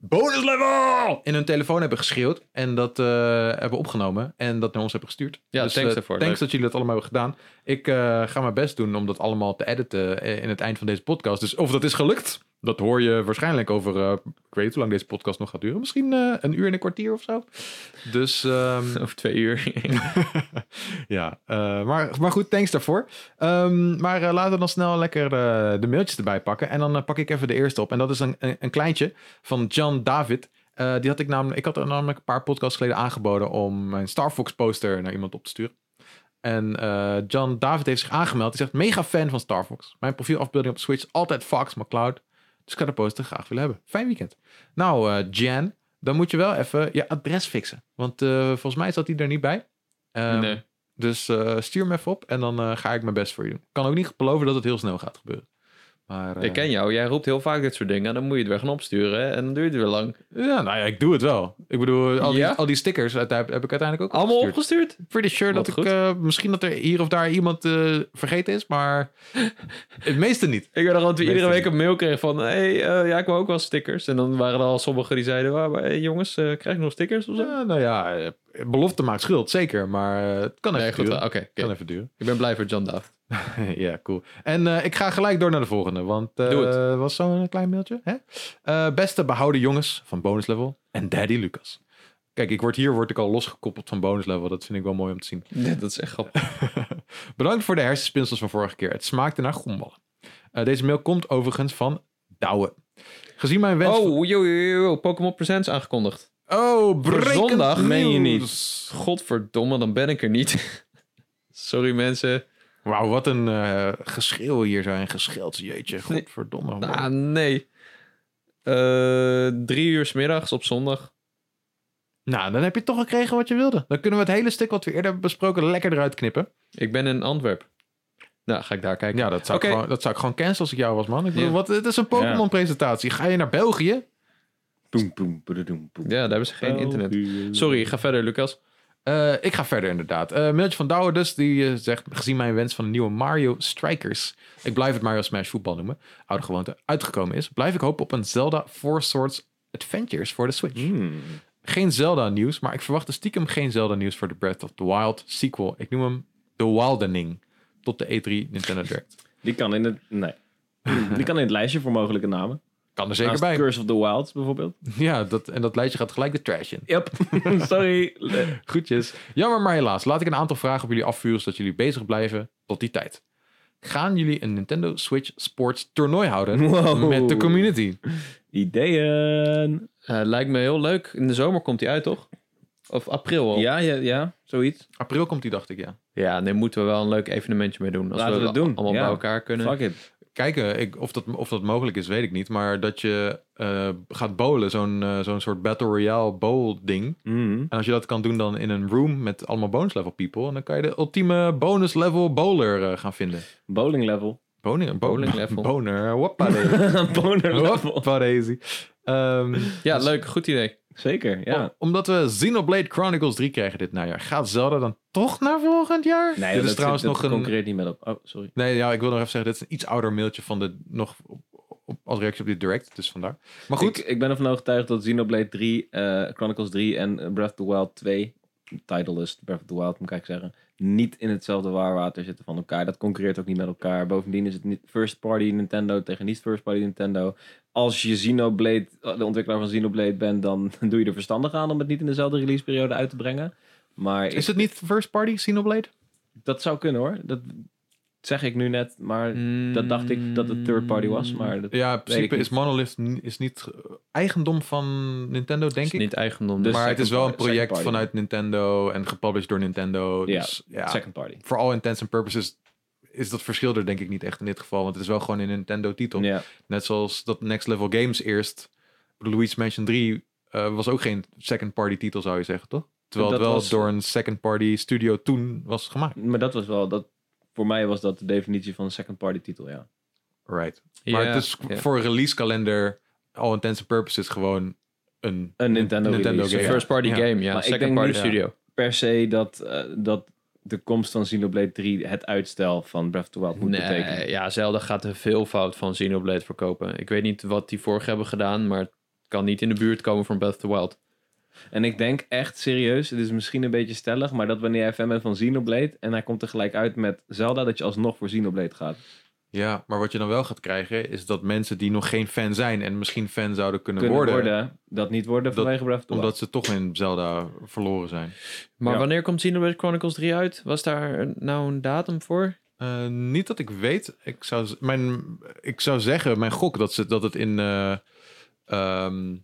S1: bonus level in hun telefoon hebben geschreeuwd en dat eh, hebben opgenomen en dat naar ons hebben gestuurd.
S3: Ja,
S1: Dus,
S3: thanks
S1: eh,
S3: daarvoor.
S1: Thanks
S3: Leuk.
S1: dat jullie dat allemaal hebben gedaan. Ik eh, ga mijn best doen om dat allemaal te editen eh, in het eind van deze podcast. Dus of dat is gelukt, dat hoor je waarschijnlijk over, eh, ik weet niet hoe lang deze podcast nog gaat duren. Misschien eh, een uur en een kwartier of zo. Dus ehm,
S3: Over twee uur.
S1: ja, eh, maar, maar goed, thanks daarvoor. Ehm, maar eh, laten we dan snel lekker eh, de mailtjes erbij pakken. En dan eh, pak ik even de eerste op. En dat is een, een, een kleintje van Jan David. Eh, die had ik namelijk, ik had er namelijk een paar podcasts geleden aangeboden om mijn Star Fox poster naar iemand op te sturen. En eh Jan David heeft zich aangemeld. Hij zegt, mega fan van Star Fox. Mijn profielafbeelding op Switch, altijd Fox, maar cloud. Dus ik ga de poster graag willen hebben. Fijn weekend. Nou, eh, Jan, dan moet je wel even je adres fixen. Want eh, volgens mij zat hij er niet bij. Ehm,
S3: nee.
S1: dus eh, stuur me even op en dan eh, ga ik mijn best voor je doen. Ik kan ook niet beloven dat het heel snel gaat gebeuren. Maar, eh,
S3: Ik ken jou. Jij roept heel vaak dit soort dingen. En dan moet je het weer gaan opsturen. hè, En dan duurt het weer lang.
S1: Ja, nou ja, ik doe het wel. Ik bedoel, al die,
S3: Ja?
S1: al die stickers uit- heb, heb ik uiteindelijk ook
S3: Allemaal
S1: opgestuurd.
S3: opgestuurd?
S1: Pretty sure
S3: Wat
S1: dat ik...
S3: goed.
S1: eh, misschien dat er hier of daar iemand eh, vergeten is, maar het meeste niet.
S3: Ik weet nog dat we
S1: Weet
S3: iedere
S1: ik
S3: week een mail kregen van... hey, eh, ja, ik wil ook wel stickers. En dan waren er al sommigen die zeiden... "Waar, maar, hey, jongens, eh, krijg ik nog stickers of zo?
S1: Ja, nou ja, eh, belofte maakt schuld, zeker. Maar eh, het kan even
S3: nee, goed.
S1: duren.
S3: Oké, oké.
S1: kan even duren.
S3: ik ben blij voor John Daft.
S1: ja, cool. En eh, ik ga gelijk door naar de volgende, want eh
S3: Doe
S1: was zo'n klein mailtje. Hè? Eh, beste behouden jongens van bonus level en Daddy Lucas. Kijk, ik word hier word ik al losgekoppeld van bonus level. Dat vind ik wel mooi om te zien.
S3: dat is echt grappig.
S1: Bedankt voor de hersenspinsels van vorige keer. Het smaakte naar gomballen. Eh, deze mail komt overigens van Douwe. Gezien mijn wens...
S3: Oh, yo, yo, yo, yo, Pokémon Presents aangekondigd.
S1: oh
S3: Voor zondag meen je niet.
S1: nieuws.
S3: Godverdomme, dan ben ik er niet. Sorry mensen.
S1: Wauw, wat een eh, geschreeuw hier zo en gescheld. Jeetje, godverdomme.
S3: Ah, nee. Eh, drie uur 's middags op zondag.
S1: Nou, dan heb je toch gekregen wat je wilde. Dan kunnen we het hele stuk wat we eerder hebben besproken lekker eruit knippen.
S3: Ik ben in Antwerpen. Nou, ga ik daar kijken.
S1: Ja, dat zou,
S3: Oké.
S1: ik, gewoon, dat zou ik gewoon cancelen als ik jou was, man. Ik bedoel,
S3: Ja.
S1: wat, het is een Pokémon-presentatie. Ga je naar België?
S2: Boem, boem, boededoem, boem.
S3: Ja, daar hebben ze geen
S2: Oh,
S3: internet. Sorry, ga verder, Lucas.
S1: Eh, ik ga verder, inderdaad. Eh mailtje van Douwe dus, die eh, zegt... Gezien mijn wens van een nieuwe Mario Strikers... Ik blijf het Mario Smash voetbal noemen. Oude gewoonte uitgekomen is. Blijf ik hopen op een Zelda Four Swords Adventures voor de Switch.
S2: Hmm.
S1: Geen Zelda nieuws, maar ik verwachtte stiekem geen Zelda nieuws voor de Breath of the Wild sequel. Ik noem hem The Wildening. Tot de E3 Nintendo Direct.
S2: Die kan in het... Nee. Die kan in het lijstje voor mogelijke namen.
S1: Kan er zeker
S2: Naast
S1: bij.
S2: Curse of the Wild bijvoorbeeld.
S1: Ja, dat, en dat lijstje gaat gelijk de trash in.
S2: Yep. Sorry.
S1: Goedjes. Jammer, maar helaas. Laat ik een aantal vragen op jullie afvuren, zodat jullie bezig blijven tot die tijd. Gaan jullie een Nintendo Switch Sports toernooi houden
S2: Wow.
S1: met de community?
S2: Ideeën.
S3: Eh, lijkt me heel leuk. In de zomer komt hij uit, toch? Of april al?
S2: Ja, ja, ja. Zoiets.
S1: April komt die, dacht ik, ja.
S3: ja nee, moeten we wel een leuk evenementje mee doen. Als
S2: Laten
S3: we
S2: we
S3: dat
S2: het doen,
S3: allemaal
S2: ja.
S3: bij elkaar kunnen.
S2: Fuck it.
S1: Ik kijken eh, ik, of, dat, of dat mogelijk is, weet ik niet. Maar dat je eh, gaat bowlen, zo'n eh, zo'n soort Battle Royale bowl ding.
S2: Hmm.
S1: En als je dat kan doen dan in een room met allemaal bonus level people... en dan kan je de ultieme bonus level bowler eh, gaan vinden.
S2: Bowling level.
S1: Boning, bo-
S3: Bowling level.
S1: Boner, whoppadee.
S2: Boner level.
S1: Whoppadee. Ehm,
S3: Ja, leuk. Goed idee.
S2: Zeker, ja.
S1: om- omdat we Xenoblade Chronicles 3 krijgen dit najaar. Gaat Zelda dan toch naar volgend jaar?
S2: Nee,
S1: dit
S2: dat
S1: is trouwens
S2: dat
S1: nog een...
S2: concurreert niet met op. Oh, sorry.
S1: Nee, ja, ik wil nog even zeggen, dit is een iets ouder mailtje van de nog op, op- als reactie op dit direct, dus vandaar. Maar goed,
S2: Ik, ik ben ervan overtuigd dat Xenoblade 3, eh, Chronicles 3 en eh, Breath of the Wild 2, Titleist Breath of the Wild moet ik eigenlijk zeggen, niet in hetzelfde waarwater zitten van elkaar. Dat concurreert ook niet met elkaar. Bovendien is het niet first party Nintendo tegen niet first party Nintendo. Als je Xenoblade, eh, de ontwikkelaar van Xenoblade bent, dan doe je er verstandig aan om het niet in dezelfde releaseperiode uit te brengen. Maar ik-
S1: is het niet first party Xenoblade?
S2: dat zou kunnen hoor. Dat zeg ik nu net, maar Mm. dat dacht ik dat het third party was. Maar dat,
S1: Ja, in
S2: ik
S1: principe
S2: niet.
S1: is Monolith n- is niet eh, eigendom van Nintendo,
S3: Is
S1: denk ik.
S3: niet eigendom.
S2: Dus-
S1: maar het is wel een
S2: second party,
S1: project
S2: second party.
S1: vanuit Nintendo en gepublished door Nintendo.
S2: Ja,
S1: Dus ja,
S2: second party.
S1: voor all intents and purposes is dat verschil er denk ik niet echt in dit geval, want het is wel gewoon een Nintendo titel.
S2: Ja.
S1: Net zoals dat Next Level Games eerst, Luigi's Mansion 3 eh, was ook geen second party titel zou je zeggen, toch? Terwijl het
S2: Dat
S1: wel
S2: was-
S1: door een second party studio toen was gemaakt.
S2: Maar dat was wel, dat, voor mij was dat de definitie van een second party titel, ja.
S1: Right. Maar het is
S3: ja.
S1: voor release kalender, all intents and purposes, gewoon een...
S2: Een Nintendo,
S1: Nintendo game.
S2: release. First
S3: first party
S1: Ja.
S3: game, ja.
S2: Maar ik
S3: Second
S2: denk
S3: party
S2: niet-
S3: studio.
S2: per se dat, eh, dat de komst van Xenoblade 3 het uitstel van Breath of the Wild moet betekenen.
S3: Nee, ja, Zelda gaat een veelvoud van Xenoblade verkopen. Ik weet niet wat die vorig hebben gedaan, maar het kan niet in de buurt komen van Breath of the Wild.
S2: En ik denk echt serieus, het is misschien een beetje stellig, maar dat wanneer jij fan bent van Xenoblade en hij komt tegelijk uit met Zelda, dat je alsnog voor Xenoblade gaat.
S1: Ja, maar wat je dan wel gaat krijgen, is dat mensen die nog geen fan zijn en misschien fan zouden kunnen,
S2: Kunnen worden,
S1: worden,
S2: dat niet worden
S1: Dat-
S2: vanwege Breath of the Wild.
S1: omdat ze toch in Zelda verloren zijn.
S3: Maar
S2: Ja.
S3: wanneer komt Xenoblade Chronicles 3 uit? Was daar een- nou een datum voor?
S1: Eh, niet dat ik weet. Ik zou, z- mijn, ik zou zeggen, mijn gok, dat, ze, dat het in eh, ehm,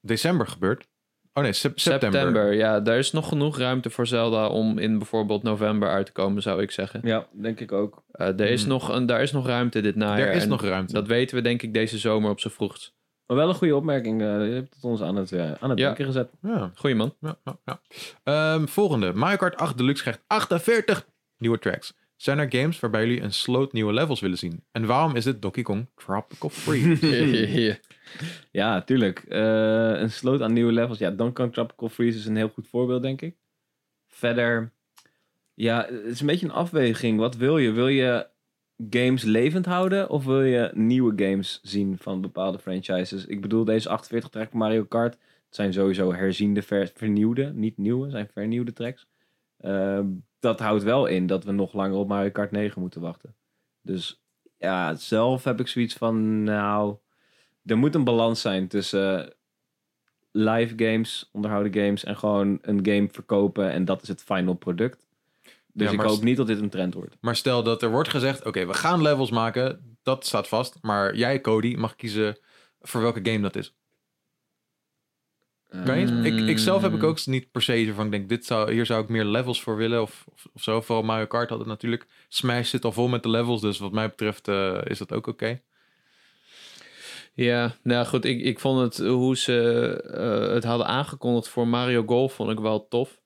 S1: december gebeurt. Oh nee, sep- september.
S3: Ja, daar is nog genoeg ruimte voor Zelda om in bijvoorbeeld november uit te komen, zou ik zeggen.
S2: Ja, denk ik ook.
S3: Eh, er is
S1: Hmm.
S3: nog een, daar is nog ruimte dit najaar.
S1: Er is
S3: en
S1: nog ruimte.
S3: Dat weten we denk ik deze zomer op z'n vroegst.
S2: Maar wel een goede opmerking, eh, je hebt het ons aan het, eh, aan het
S3: Ja.
S2: denken gezet.
S1: Ja,
S3: Goeie man.
S1: ja, ja, ja. Ehm, volgende. Mario Kart 8 Deluxe krijgt 48 nieuwe tracks. Zijn er games waarbij jullie een sloot nieuwe levels willen zien? En waarom is dit Donkey Kong Tropical Freeze?
S2: Ja, tuurlijk. Eh, een sloot aan nieuwe levels. Ja, Donkey Kong Tropical Freeze is een heel goed voorbeeld, denk ik. Verder, ja, het is een beetje een afweging. Wat wil je? Wil je games levend houden of wil je nieuwe games zien van bepaalde franchises? Ik bedoel, deze 48 track Mario Kart het zijn sowieso herziende, ver- vernieuwde, niet nieuwe, het zijn vernieuwde tracks. Ehm, dat houdt wel in dat we nog langer op Mario Kart 9 moeten wachten. Dus ja, zelf heb ik zoiets van, nou, er moet een balans zijn tussen eh, live games, onderhouden games en gewoon een game verkopen en dat is het final product. Dus
S1: Ja,
S2: ik
S1: maar-
S2: hoop niet dat dit een trend wordt.
S1: maar stel dat er wordt gezegd, oké, we gaan levels maken. Dat staat vast. Maar jij, Cody, mag kiezen voor welke game dat is. Kan je het?
S3: Mm.
S1: Ik, ik zelf heb ik ook niet per se zo van, ik denk, dit zou, hier zou ik meer levels voor willen of, of, of zo. Vooral Mario Kart had het natuurlijk. Smash zit al vol met de levels, dus wat mij betreft eh, is dat ook oké.
S3: Ja, nou goed, ik, ik vond het hoe ze eh, het hadden aangekondigd voor Mario Golf vond ik wel tof.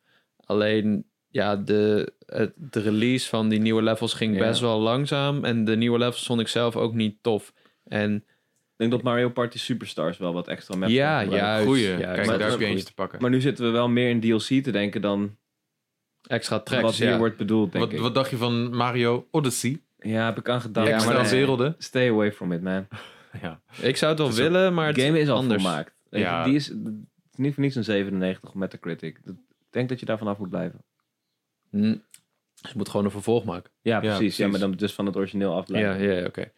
S3: Alleen ja, de, het, de release van die nieuwe levels ging
S2: Ja.
S3: best wel langzaam en de nieuwe levels vond ik zelf ook niet tof. En
S2: Ik denk dat Mario Party Superstars wel wat extra met
S3: ja,
S2: gebruikt.
S3: juist,
S1: Goeie,
S3: juist.
S1: kijk,
S2: maar
S1: daar
S2: dat
S1: heb je
S2: is
S1: eentje
S2: goed.
S1: te pakken.
S2: Maar nu zitten we wel meer in DLC te denken dan
S3: extra tracks.
S2: wat hier
S3: ja.
S2: wordt bedoeld, denk
S1: Wat,
S2: ik.
S1: wat dacht je van Mario Odyssey?
S2: Ja, heb ik aan gedacht.
S1: Ja,
S3: Ja,
S1: Extra
S3: maar dat-
S1: werelden.
S2: Stay away from it, man.
S1: Ja.
S3: Ik zou het wel
S1: Het is
S3: willen, maar het
S2: De game is al
S3: anders.
S2: gemaakt. Weet je,
S1: Ja.
S2: Die is, het is niet voor niets een 97 op Metacritic. Dat- Ik denk dat je daar vanaf moet blijven.
S3: Hm, ze moet gewoon een vervolg maken.
S2: Ja, precies. Ja,
S1: precies.
S2: maar dan dus van het origineel afblijven.
S3: Ja, ja, oké.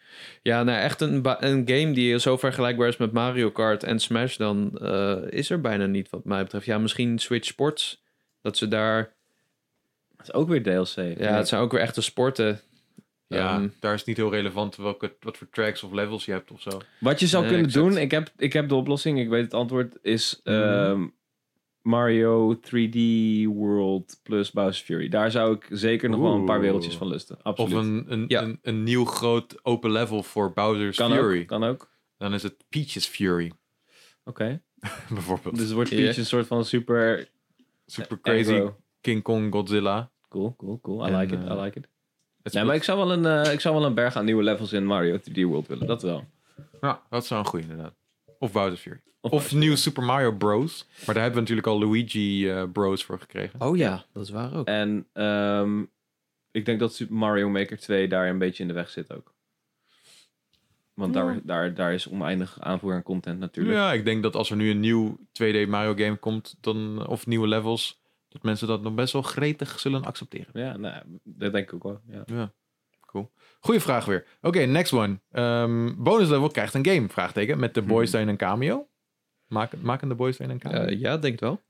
S3: Ja, nou echt een, ba- een game die zo vergelijkbaar is met Mario Kart en Smash, dan eh, is er bijna niet wat mij betreft. Ja, misschien Switch Sports, dat ze daar...
S2: Het is ook weer DLC.
S3: Ja, het zijn ook weer echte sporten.
S1: Ja,
S3: Ehm,
S1: daar is niet heel relevant welke, wat voor tracks of levels je hebt of zo.
S2: Wat je zou
S3: Nee,
S2: kunnen
S3: exact.
S1: Mhm.
S2: doen, ik heb, ik heb de oplossing, ik weet het antwoord, is ehm, Mario 3D World plus Bowser Fury. Daar zou ik zeker nog wel een paar
S4: Oeh.
S2: wereldjes van lusten.
S1: Of
S2: Absoluut.
S1: een, een,
S3: Ja.
S1: een, een nieuw groot open level voor Bowser's
S2: kan
S1: Fury.
S2: ook. Kan ook. Oké.
S1: Dan is het Peach's Fury, bijvoorbeeld.
S2: Dus het wordt
S3: Ja.
S2: Peach een soort van super
S1: Super crazy
S2: aggro.
S1: King Kong Godzilla.
S2: Cool, cool, cool. I
S1: En,
S2: like it, I
S1: eh,
S2: like it.
S1: Het
S2: Nee, maar ik zou, wel een, eh, ik zou wel een berg aan nieuwe levels in Mario 3D World willen. Dat wel.
S1: Ja, dat zou een goeie inderdaad. Of Bowser Fury.
S2: Of
S1: Of, nieuw Super Mario Bros. Maar daar hebben we natuurlijk al Luigi eh, Bros voor gekregen.
S3: Oh ja, dat is waar ook.
S2: En ehm, ik denk dat Super Mario Maker 2 daar een beetje in de weg zit ook. Want daar, daar, daar is oneindig aanvoer aan content natuurlijk.
S1: Ja, ik denk dat als er nu een nieuw 2D Mario game komt, dan, of nieuwe levels, dat mensen dat nog best wel gretig zullen accepteren.
S2: Ja, nou, dat denk ik ook wel. Ja.
S1: Goeie vraag weer. Oké, next one. Ehm, bonus level krijgt een game, vraagteken. Met de boys daarin een cameo. Maken, maken de boys daarin een cameo?
S3: Hmm. Eh, ja, denk het wel.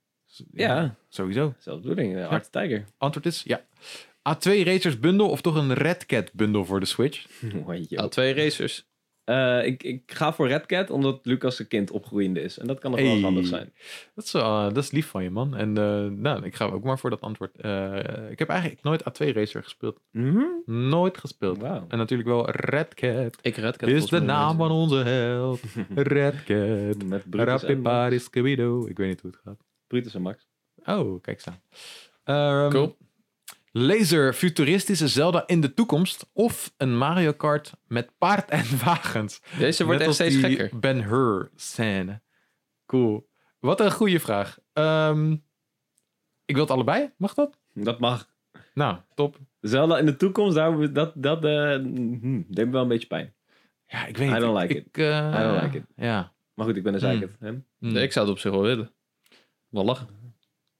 S2: ja,
S1: Sowieso.
S2: zelfde bedoeling. eh, Hard Tiger.
S1: Antwoord is ja. A2 Racers bundel of toch een Red Cat bundel voor de Switch?
S2: Mooi, joh.
S3: Ja, twee racers.
S2: Eh, ik, ik ga voor Red Cat, omdat Lucas een kind opgroeiende is. En dat kan nog wel
S1: Hey.
S2: handig zijn.
S1: Dat is, wel, eh, dat is lief van je, man. En eh, nou, ik ga ook maar voor dat antwoord. Eh, ik heb eigenlijk nooit A2 Racer gespeeld. Nooit gespeeld.
S2: Wauw.
S1: Mhm. En natuurlijk wel Red Cat.
S3: Ik red Cat
S1: Is
S3: volgens
S1: de
S3: mij
S1: naam
S3: nooit.
S1: van onze held. Red Cat.
S2: Met Brutus en, Max.
S1: Rapipari Skibido. Ik weet niet hoe het gaat.
S2: Brutus en Max.
S1: Oh, kijk staan. Ehm,
S3: Cool.
S1: Laser futuristische Zelda in de toekomst. Of een Mario Kart met paard en wagens.
S3: Deze wordt echt steeds gekker.
S1: Ben Hur scène. Cool. Wat een goede vraag. Ehm, ik wil het allebei. Mag dat?
S2: Dat mag.
S1: Nou, top.
S2: Zelda in de toekomst, daar, dat, dat eh, hm, deed me wel een beetje pijn.
S1: Ja, ik weet
S2: I
S1: niet.
S2: don't like
S1: ik, Ik, eh,
S2: I don't like it.
S1: Ja.
S2: Maar goed, ik ben een
S1: Hmm.
S2: zeikert. hè?
S1: Hm.
S3: Ik zou het op zich wel willen. Wel lachen.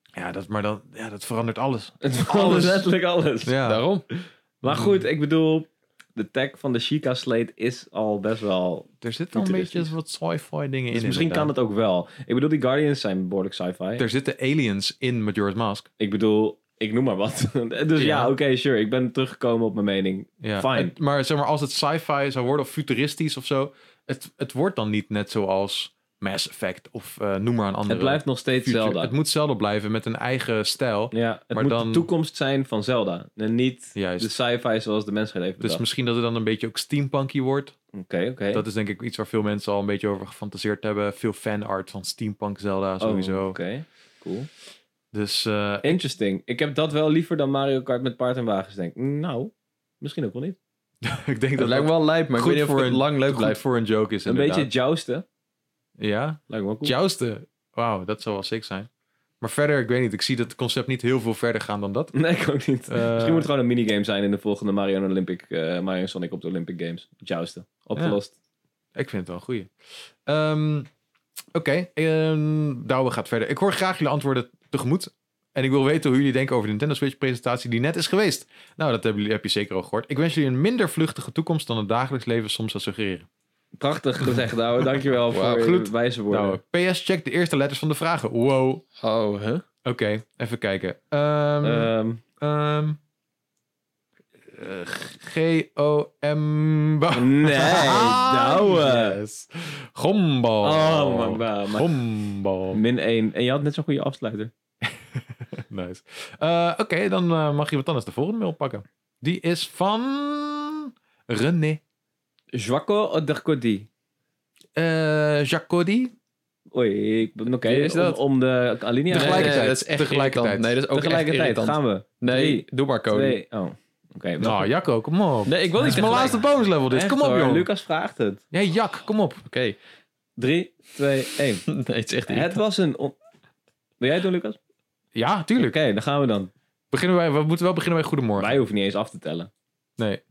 S1: Ja, dat, maar dat, ja, dat verandert alles.
S2: Het alles.
S1: Alles.
S2: Letterlijk alles.
S1: Ja.
S3: Daarom.
S1: Mm.
S2: Maar goed, ik bedoel, de tag van de Chica Slate is al best wel...
S1: Er zitten al een beetje
S2: Futuristisch.
S1: wat sci-fi dingen in.
S2: Dus misschien kan het ook wel. Ik bedoel, die Guardians zijn behoorlijk sci-fi.
S1: Er zitten aliens in Majora's Mask.
S2: Ik bedoel, ik noem maar wat. dus ja,
S1: Ja.
S2: oké, sure. Ik ben teruggekomen op mijn mening.
S1: Ja.
S2: Fine.
S1: Het- maar zeg maar, als het sci-fi zou worden of futuristisch of zo, het, het wordt dan niet net zoals Mass Effect of eh, noem maar een andere.
S2: Het blijft nog steeds
S1: future.
S2: Zelda.
S1: Het moet Zelda blijven met een eigen stijl.
S2: ja, het
S1: maar
S2: moet de
S1: dan-
S2: toekomst zijn van Zelda. En niet
S1: Juist.
S2: de sci-fi zoals de mensheid heeft
S1: dus
S2: bedacht.
S1: misschien dat het dan een beetje ook steampunky wordt.
S2: Oké, oké.
S1: Dat is denk ik iets waar veel mensen al een beetje over gefantaseerd hebben. Veel fanart van steampunk Zelda
S2: Oh,
S1: sowieso.
S2: Oké, cool.
S1: Dus eh,
S2: Interesting. Ik heb dat wel liever dan Mario Kart met paard en wagens, denk ik. Nou, misschien ook wel niet.
S1: ik denk
S3: Het
S1: dat dat
S3: lijkt me wel lijp, maar ik
S1: Goed
S3: weet niet of
S1: voor
S3: het
S1: een-
S3: lang leuk
S1: goed
S3: blijft.
S1: voor een joke is
S2: Een
S1: inderdaad.
S2: beetje jousten.
S1: Ja,
S2: Lijkt me wel cool.
S1: jousten. Wauw, dat zou wel sick zijn. Maar verder, ik weet niet. Ik zie dat concept niet heel veel verder gaan dan dat.
S2: Nee, ik ook niet.
S1: Eh,
S2: Misschien moet het gewoon een minigame zijn in de volgende Mario en Olympic, eh, Mario en Sonic op de Olympic Games. Jousten. Opgelost.
S1: Ik vind het wel een goeie. Ehm, Oké, ehm, Douwe gaat verder. Ik hoor graag jullie antwoorden tegemoet. En ik wil weten hoe jullie denken over de Nintendo Switch presentatie die net is geweest. Nou, dat hebben jullie, heb je zeker al gehoord. Ik wens jullie een minder vluchtige toekomst dan het dagelijks leven soms zou suggereren.
S2: Prachtig gezegd, ouwe. Dankjewel
S3: Wauw,
S2: voor
S1: goed.
S2: je wijze woorden.
S1: Nou, PS, check de eerste letters van de vragen. Wow. Oké,
S3: Oh, hè?
S1: even kijken. Ehm,
S2: Ehm,
S1: ehm, eh, G-O-M...
S2: nee,
S3: Ah,
S1: nou,
S2: ouwe.
S1: Ah, Yes. Gombo.
S2: Oh, man, man, man.
S1: Gombo.
S2: Min 1. En je had net zo'n goede afsluiter.
S1: Nice. Eh, Oké, dan eh, mag iemand anders de volgende mail pakken. Die is van René
S2: Joaco Dercodi.
S1: eh Jacody.
S2: Oei, ik ben- oké.
S3: Wie is dat?
S2: Om, om de alinea.
S1: De gelijke- Tegelijkertijd.
S3: Nee, dat
S1: Tegelijkertijd.
S3: is echt irritant. Nee, dat is ook echt
S2: Tegelijkertijd
S3: irritant.
S2: gaan we.
S3: Nee,
S2: Drie,
S3: doe maar code.
S2: Twee. Oh, oké. wel.
S1: Nou, Jacco, kom op.
S3: Nee, ik wil
S1: Dit
S3: niet
S1: is mijn laatste bonus level
S3: Dus
S1: dit.
S2: Echt
S1: Kom op,
S2: hoor,
S1: joh.
S2: Lucas vraagt het.
S1: Jij, Jak, kom op.
S3: Oké.
S2: 3, 2, 1.
S3: nee, het is echt
S2: Het
S3: irritant.
S2: was een... on- Wil jij het doen, Lucas? Oké,
S1: Ja, tuurlijk.
S2: dan gaan we dan.
S1: Beginnen wij, we moeten wel beginnen bij Goedemorgen.
S2: Wij hoeven niet eens af te tellen.
S1: Nee.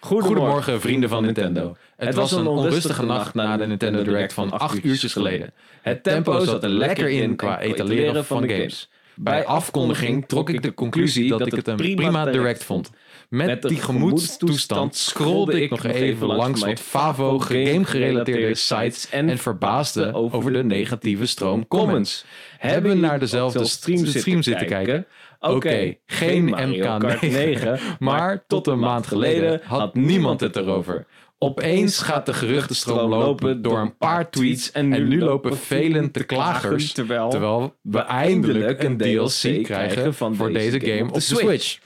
S2: Goedemorgen,
S1: Goedemorgen, vrienden van Nintendo. Het, was een onrustige nacht na de Nintendo Direct van acht uurtjes geleden.
S2: Het tempo zat er lekker in qua etaleren van de games.
S1: Bij afkondiging trok ik de conclusie dat ik het een prima direct vond. Met die gemoedstoestand scrolde ik nog even langs wat Favo game-gerelateerde sites en verbaasde over de negatieve stroom comments.
S2: Hebben
S1: Hebben naar
S2: jullie
S1: dezelfde
S2: op
S1: stream stream zitten kijken?
S2: Oké,
S1: geen
S2: Mario
S1: MK9,
S2: Kart 9,
S1: maar tot een maand geleden had niemand het erover. Opeens gaat de geruchtenstroom lopen door een paar tweets en nu lopen velen te klagers.
S2: Terwijl,
S1: Terwijl we eindelijk een DLC krijgen voor deze game op de Switch.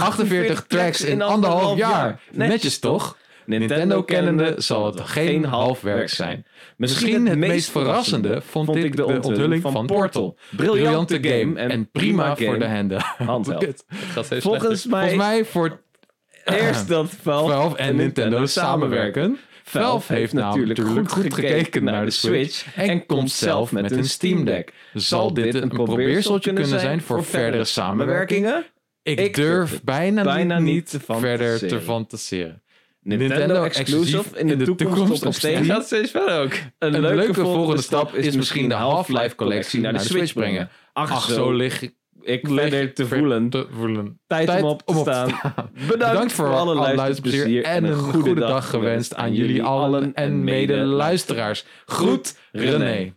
S1: 48 tracks in anderhalf jaar. Netjes toch? Nintendo kennende zal het geen halfwerk zijn. Misschien het meest verrassende vond ik de onthulling van Portal. Briljante game en prima voor de handen.
S2: handheld.
S1: Kut.
S3: Het gaat steeds slechter.
S2: Volgens mij,
S1: Volgens mij voor
S2: eerst dat Valve,
S1: Valve en Nintendo samenwerken. Valve heeft natuurlijk goed, goed gekeken naar de Switch en komt zelf met een Steam Deck. Zal dit een probeerseltje kunnen zijn voor verdere samenwerking?
S2: samenwerkingen?
S1: Ik,
S2: Ik
S1: durf bijna,
S2: bijna
S1: niet,
S2: niet te
S1: verder
S2: fantaseren.
S1: te fantaseren.
S2: Nintendo exclusive in de toekomst op
S3: Het
S2: Steam.
S3: gaat steeds verder ook.
S2: Een
S1: leuke volgende stap is misschien de Half-Life collectie naar de Switch brengen.
S2: Ach,
S1: Ach, zo lig ik
S2: ik
S1: lig
S2: verder te
S1: ver-
S2: voelen.
S1: te voelen.
S2: Tijd om op te staan. Bedankt,
S1: Bedankt voor alle luisterplezier en een goede dag gewenst aan jullie allen en mede-luisteraars. Groet, René.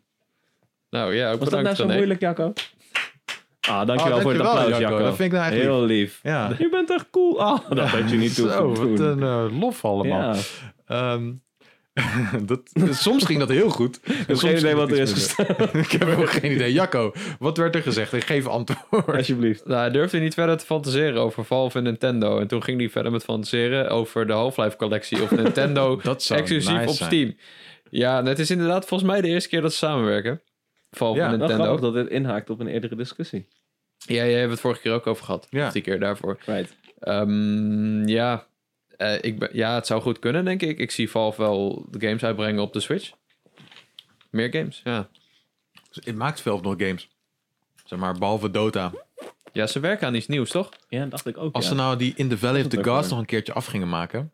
S3: Nou ja, ook
S2: Was dat nou
S3: bedankt
S2: zo
S3: René.
S2: moeilijk, Jacco? Ah, dankjewel
S1: Ah,
S2: voor het
S1: dankjewel,
S2: applaus,
S1: Jacco.
S2: Jacco.
S1: Dat vind ik nou echt
S2: Heel lief.
S1: Ja.
S2: Je bent echt cool. Ah, dat had je niet toe
S1: Zo, wat een eh, lof allemaal.
S2: Ja.
S1: Ehm, dat, soms ging dat heel goed. Ik heb
S2: geen idee wat er is
S1: Ik heb helemaal geen idee. Jacco, wat werd er gezegd? Ik geef antwoord.
S2: Alsjeblieft.
S3: Nou, hij durfde niet verder te fantaseren over Valve en Nintendo. En toen ging hij verder met fantaseren over de Half-Life collectie of Nintendo
S1: Dat zou
S3: exclusief
S1: nice
S3: op
S1: zijn.
S3: Steam. Ja, en het is inderdaad volgens mij de eerste keer dat ze samenwerken. Valve
S1: Ja,
S3: en
S2: Wel grappig
S3: Nintendo.
S2: dat dit inhaakt op een eerdere discussie.
S3: Ja, jij hebt het vorige keer ook over gehad.
S1: Ja.
S3: Of Die keer daarvoor.
S2: Right.
S3: Ehm, ja. Eh, ik ben, ja, het zou goed kunnen, denk ik. Ik zie Valve wel de games uitbrengen op de Switch. Meer games, ja.
S1: Het maakt Valve nog games. Zeg maar, behalve Dota.
S3: Ja, ze werken aan iets nieuws, toch?
S2: Ja, dacht ik ook.
S1: Als
S2: ja.
S1: ze nou die In the Valley of
S2: Dat
S1: the
S2: is ook
S1: Gods
S2: waar.
S1: nog een keertje af gingen maken.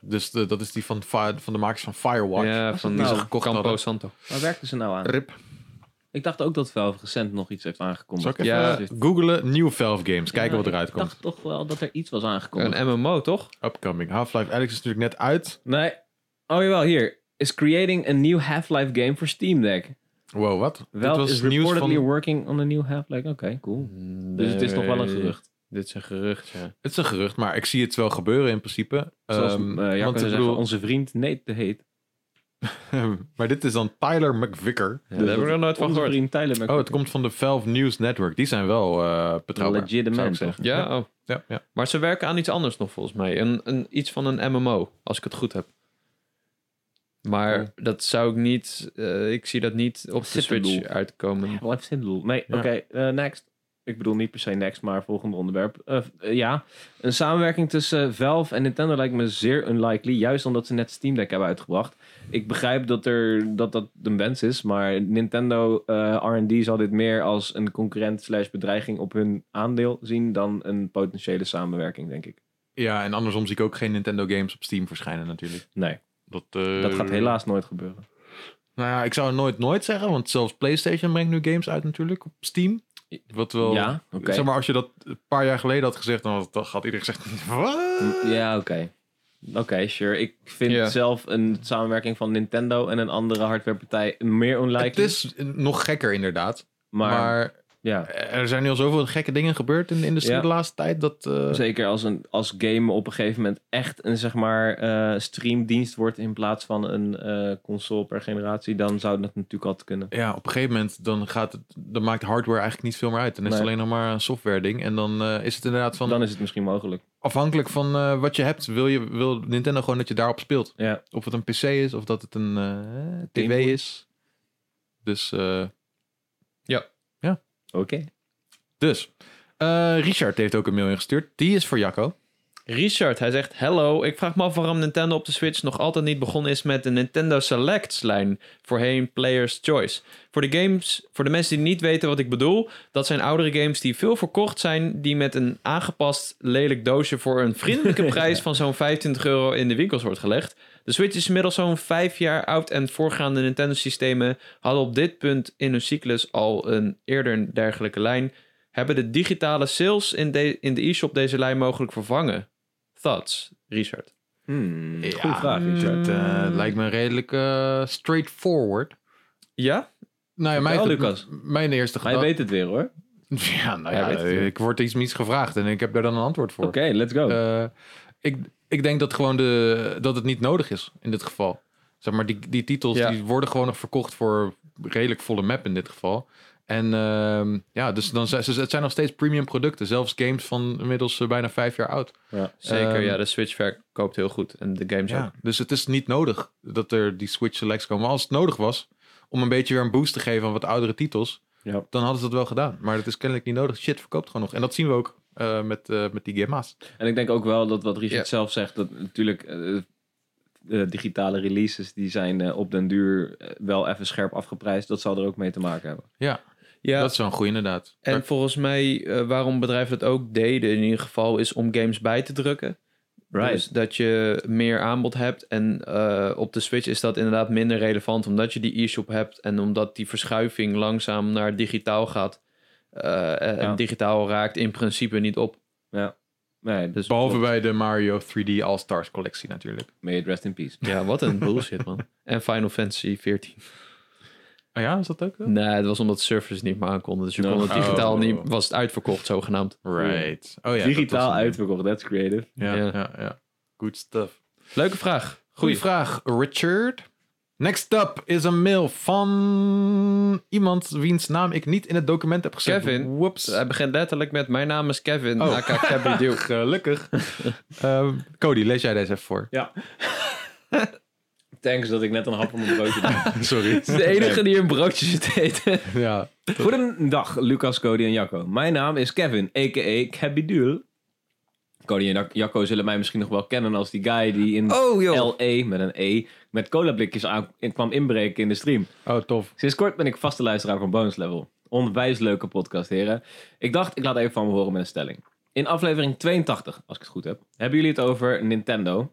S1: Dus de- dat is die van, Fi- van de makers van Firewatch.
S3: Ja, van
S2: het nou?
S3: Campo
S1: hadden.
S3: Santo.
S2: Waar werkten ze nou aan?
S1: Rip.
S2: Ik dacht ook dat Valve recent nog iets heeft
S1: Zal
S2: aangekondigd.
S1: ik even
S3: Ja.
S1: googlen? Nieuw Valve games. Kijken wat eruit
S2: Ik
S1: komt.
S2: dacht toch wel dat er iets was aangekondigd.
S3: Een MMO, toch?
S1: Upcoming. Half-Life Alex is natuurlijk net uit.
S2: Nee. Oh jawel, hier. Is creating a new Half-Life game for Steam Deck.
S1: Wow, wat?
S2: Wel is reportedly working on a new Half-Life. Oké, cool. Dus het is nog wel een gerucht.
S3: Dit is een gerucht, ja.
S1: Het is een gerucht, maar ik zie het wel gebeuren in principe.
S2: Zoals
S1: Ehm,
S2: um, Jacco
S1: want ik
S2: zei,
S1: bedoel-
S2: onze vriend Nate de Heet.
S1: maar dit is dan Tyler McVicker.
S3: daar heb ik nog nooit van
S2: Dus Onze
S3: gehoord.
S2: vriend Tyler
S1: Oh, het komt van de Valve News Network. Die zijn wel eh betrouwbaar.
S2: Legitimate.
S1: zou ik zeggen.
S3: Ja, oh.
S1: Ja, ja.
S3: maar ze werken aan iets anders nog volgens mij. Een, een, iets van een MMO, als ik het goed heb. Maar
S2: Oh.
S3: dat zou ik niet... eh, ik zie dat niet op de
S2: Citadel.
S3: Switch uitkomen.
S2: Half-Life Citadel. Nee,
S1: Ja.
S2: oké, eh, next. Ik bedoel niet per se next, maar volgende onderwerp. Eh, eh, ja, een samenwerking tussen eh, Valve en Nintendo lijkt me zeer unlikely. Juist omdat ze net Steam Deck hebben uitgebracht. Ik begrijp dat er, dat, dat een wens is, maar Nintendo eh, R&D zal dit meer als een concurrent slash bedreiging op hun aandeel zien dan een potentiële samenwerking, denk ik.
S1: Ja, en andersom zie ik ook geen Nintendo games op Steam verschijnen natuurlijk.
S2: Nee,
S1: Dat, eh,
S2: dat gaat helaas nooit gebeuren.
S1: Nou ja, ik zou nooit nooit zeggen, want zelfs PlayStation brengt nu games uit natuurlijk op Steam. Wat wel...
S2: Ja, oké.
S1: Zeg maar, als je dat een paar jaar geleden had gezegd, dan had, dan had iedereen gezegd... Wat?
S2: Ja, oké. Oké, sure. Ik vind
S3: Ja.
S2: zelf een samenwerking van Nintendo en een andere hardwarepartij meer
S1: Het
S2: unlikely.
S1: is nog gekker inderdaad.
S2: maar,
S1: Maar,
S2: ja,
S1: er zijn nu al zoveel gekke dingen gebeurd in de industrie
S2: Ja.
S1: de laatste tijd. Dat, eh,
S2: zeker als, een, als game op een gegeven moment echt een zeg maar, eh, streamdienst wordt in plaats van een eh, console per generatie, dan zou dat natuurlijk altijd kunnen.
S1: Ja, op een gegeven moment dan gaat het, dan maakt hardware eigenlijk niet veel meer uit. Dan is het
S2: Nee.
S1: alleen nog maar een software ding. En dan eh, is het inderdaad van
S2: Dan is het misschien mogelijk.
S1: afhankelijk van eh, wat je hebt, wil, je, wil Nintendo gewoon dat je daarop speelt.
S2: Ja.
S1: Of het een PC is, of dat het een eh, TV
S2: Gameboy.
S1: is. Dus, eh,
S2: Oké.
S1: dus. Eh, Richard heeft ook een mail ingestuurd. Die is voor Jacco.
S3: Richard, hij zegt: Hello, ik vraag me af waarom Nintendo op de Switch nog altijd niet begonnen is met de Nintendo Selects-lijn, voorheen Player's Choice. Voor de games, voor de mensen die niet weten wat ik bedoel, dat zijn oudere games die veel verkocht zijn, die met een aangepast lelijk doosje voor een vriendelijke prijs van zo'n 25 euro in de winkels wordt gelegd. De Switch is inmiddels zo'n 5 jaar oud en voorgaande Nintendo-systemen hadden op dit punt in hun cyclus al een eerder een dergelijke lijn. Hebben de digitale sales in de, in de e-shop deze lijn mogelijk vervangen? Thoughts, Richard.
S2: Hmm,
S1: Ja.
S2: Goeie vraag, Richard.
S1: Het eh, lijkt me redelijk eh, straightforward.
S3: Ja?
S1: Nou ja, mijn,
S2: Wel, Lucas.
S1: mijn eerste
S2: Hij
S1: gedachte...
S2: weet het weer hoor.
S1: Ja, nou
S2: Hij
S1: ja,
S2: weet het.
S1: ik word iets mis gevraagd en ik heb daar dan een antwoord voor.
S2: Oké, let's go.
S1: Eh, ik, ik denk dat, gewoon de, dat het niet nodig is in dit geval. Zeg maar, die, die titels
S3: Ja.
S1: die worden gewoon nog verkocht voor redelijk volle map in dit geval. En ehm, ja, dus dan zijn, ze- het zijn nog steeds premium producten. Zelfs games van inmiddels eh, bijna vijf jaar oud.
S3: Zeker,
S1: Ehm,
S3: ja, de Switch verkoopt heel goed. En de games ook.
S1: Ja, dus het is niet nodig dat er die Switch selects komen. Maar als het nodig was om een beetje weer een boost te geven aan wat oudere titels,
S2: Ja.
S1: dan hadden ze dat wel gedaan. Maar dat is kennelijk niet nodig. Shit verkoopt gewoon nog. En dat zien we ook eh, met, eh, met die Gamma's.
S2: En ik denk ook wel dat wat Richard
S3: Ja.
S2: zelf zegt, dat natuurlijk eh, de digitale releases, die zijn eh, op den duur eh, wel even scherp afgeprijsd. Dat zal er ook mee te maken hebben.
S3: Ja,
S1: Dat is wel een goeie inderdaad.
S3: En volgens mij, eh, waarom bedrijven dat ook deden in ieder geval, is om games bij te drukken.
S2: Right.
S3: Dus dat je meer aanbod hebt. En eh, op de Switch is dat inderdaad minder relevant, omdat je die e-shop hebt en omdat die verschuiving langzaam naar digitaal gaat. Eh, en
S2: Ja.
S3: digitaal raakt in principe niet op.
S2: Nee, dus
S3: Dus
S1: Behalve bij de Mario 3D All-Stars collectie natuurlijk.
S2: may it rest in peace.
S3: Ja, wat een bullshit, man. En Final Fantasy 14.
S1: Oh ja, is dat ook wel?
S3: Nee, het was omdat servers niet meer aankonden. Dus je
S2: No.
S3: kon het digitaal
S1: Oh.
S3: niet... Was het uitverkocht, zogenaamd.
S1: Right. Oh ja,
S2: Digitaal
S1: dat was hem.
S2: uitverkocht, that's creative.
S1: Ja,
S3: Ja.
S1: ja, ja. Good stuff.
S3: Leuke vraag.
S1: Goeie
S3: Goeie vraag.
S1: vraag, Richard. Next up is een mail van iemand wiens naam ik niet in het document heb gezet.
S3: Kevin. Ehm,
S1: Whoops.
S3: Hij begint letterlijk met... Mijn naam is Kevin,
S1: Oh.
S3: aka Kevin Deal.
S1: Gelukkig. Ehm, Cody, lees jij deze even voor.
S2: Thanks dat ik net een hap op mijn broodje deed.
S1: Sorry.
S3: Het is de enige die een broodje zit eten.
S1: ja.
S2: Goedendag, Lucas, Cody en Jacco. Mijn naam is Kevin, a.k.a. Cabidul. Cody en Jac- Jacco zullen mij misschien nog wel kennen als die guy die in
S3: Oh,
S2: LA met een E met colablikjes aan kwam inbreken in de stream.
S1: Oh, tof.
S2: Sinds kort ben ik vaste luisteraar van Bonus Level. Onwijs leuke podcast, heren. Ik dacht, ik laat even van me horen met een stelling. In aflevering 82, als ik het goed heb, hebben jullie het over Nintendo.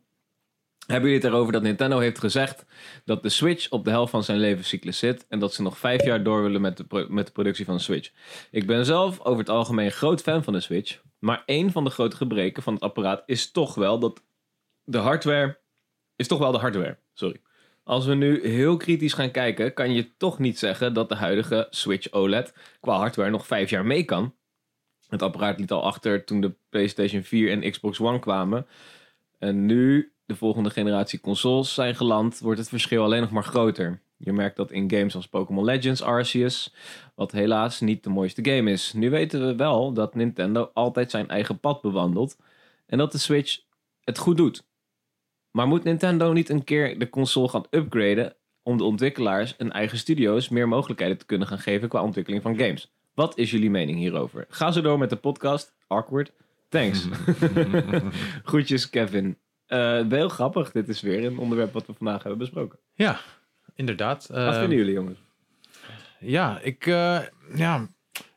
S2: Hebben jullie het erover dat Nintendo heeft gezegd dat de Switch op de helft van zijn levenscyclus zit en dat ze nog vijf jaar door willen met de, pro- met de productie van de Switch? Ik ben zelf over het algemeen groot fan van de Switch, maar één van de grote gebreken van het apparaat is toch wel dat de hardware. Is toch wel de hardware, sorry. Als we nu heel kritisch gaan kijken, kan je toch niet zeggen dat de huidige Switch OLED qua hardware nog vijf jaar mee kan. Het apparaat liet al achter toen de PlayStation 4 en Xbox One kwamen. En nu de volgende generatie consoles zijn geland, wordt het verschil alleen nog maar groter. Je merkt dat in games als Pokémon Legends Arceus, wat helaas niet de mooiste game is. Nu weten we wel dat Nintendo altijd zijn eigen pad bewandelt en dat de Switch het goed doet. Maar moet Nintendo niet een keer de console gaan upgraden om de ontwikkelaars en eigen studio's meer mogelijkheden te kunnen gaan geven qua ontwikkeling van games? Wat is jullie mening hierover? Ga zo door met de podcast. Awkward. Thanks. Groetjes, Kevin. Eh heel grappig. Dit is weer een onderwerp wat we vandaag hebben besproken.
S1: Ja, inderdaad.
S2: Wat
S1: Ehm,
S2: vinden jullie, jongens?
S1: Ja, ik... eh, ja,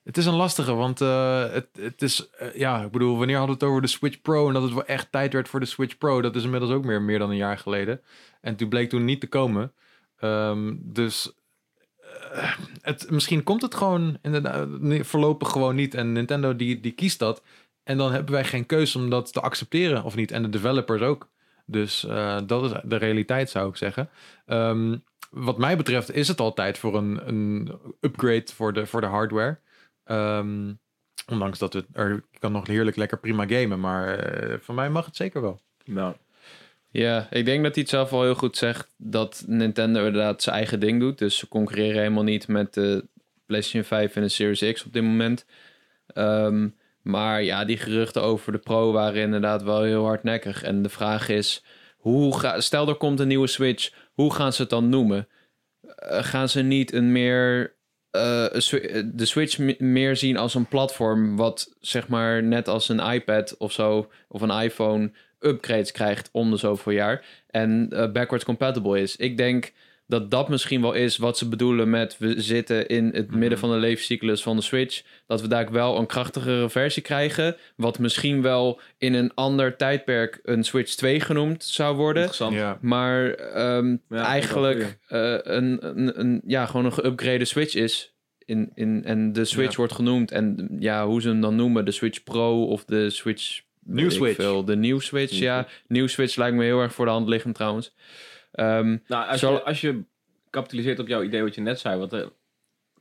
S1: het is een lastige, want eh, het, het is... eh, ja, ik bedoel, wanneer hadden we het over de Switch Pro... en dat het wel echt tijd werd voor de Switch Pro? Dat is inmiddels ook meer, meer dan een jaar geleden. En toen bleek toen niet te komen. Ehm, dus... eh, het, misschien komt het gewoon inderdaad, nee, voorlopig gewoon niet. En Nintendo die, die kiest dat. En dan hebben wij geen keuze om dat te accepteren of niet. En de developers ook. Dus eh, dat is de realiteit, zou ik zeggen. Ehm, wat mij betreft is het altijd voor een, een upgrade voor de, voor de hardware. Ehm, ondanks dat het er je kan nog heerlijk lekker prima gamen. Maar eh, van mij mag het zeker wel.
S2: Nou,
S3: Ja, ik denk dat hij het zelf al heel goed zegt dat Nintendo inderdaad zijn eigen ding doet. Dus ze concurreren helemaal niet met de PlayStation 5 en de Series X op dit moment. Ehm, maar ja, die geruchten over de Pro waren inderdaad wel heel hardnekkig. En de vraag is, hoe ga, stel er komt een nieuwe Switch, hoe gaan ze het dan noemen? Eh, gaan ze niet een meer, eh, een swi- eh, de Switch me- meer zien als een platform wat zeg maar net als een iPad of zo, of een iPhone upgrades krijgt om de zoveel jaar. En eh, backwards compatible is. Ik denk dat dat misschien wel is wat ze bedoelen met we zitten in het midden van de levenscyclus van de Switch. Dat we daar wel een krachtigere versie krijgen. Wat misschien wel in een ander tijdperk een Switch 2 genoemd zou worden.
S2: interessant.
S3: Maar ehm,
S2: wel
S3: eigenlijk eh, een, een, een, ja, gewoon een geüpgrade Switch is. In, in, en de Switch
S1: Ja.
S3: wordt genoemd. En ja, hoe ze hem dan noemen. De Switch Pro of de Switch...
S1: Nieuw
S3: weet ik
S1: Switch.
S3: veel. De nieuw Switch,
S2: Nieuw
S3: ja. Nieuw Switch lijkt me heel erg voor de hand liggend trouwens. Ehm,
S2: Nou, als,
S3: Zal-
S2: je, als je kapitaliseert op jouw idee wat je net zei, wat eh,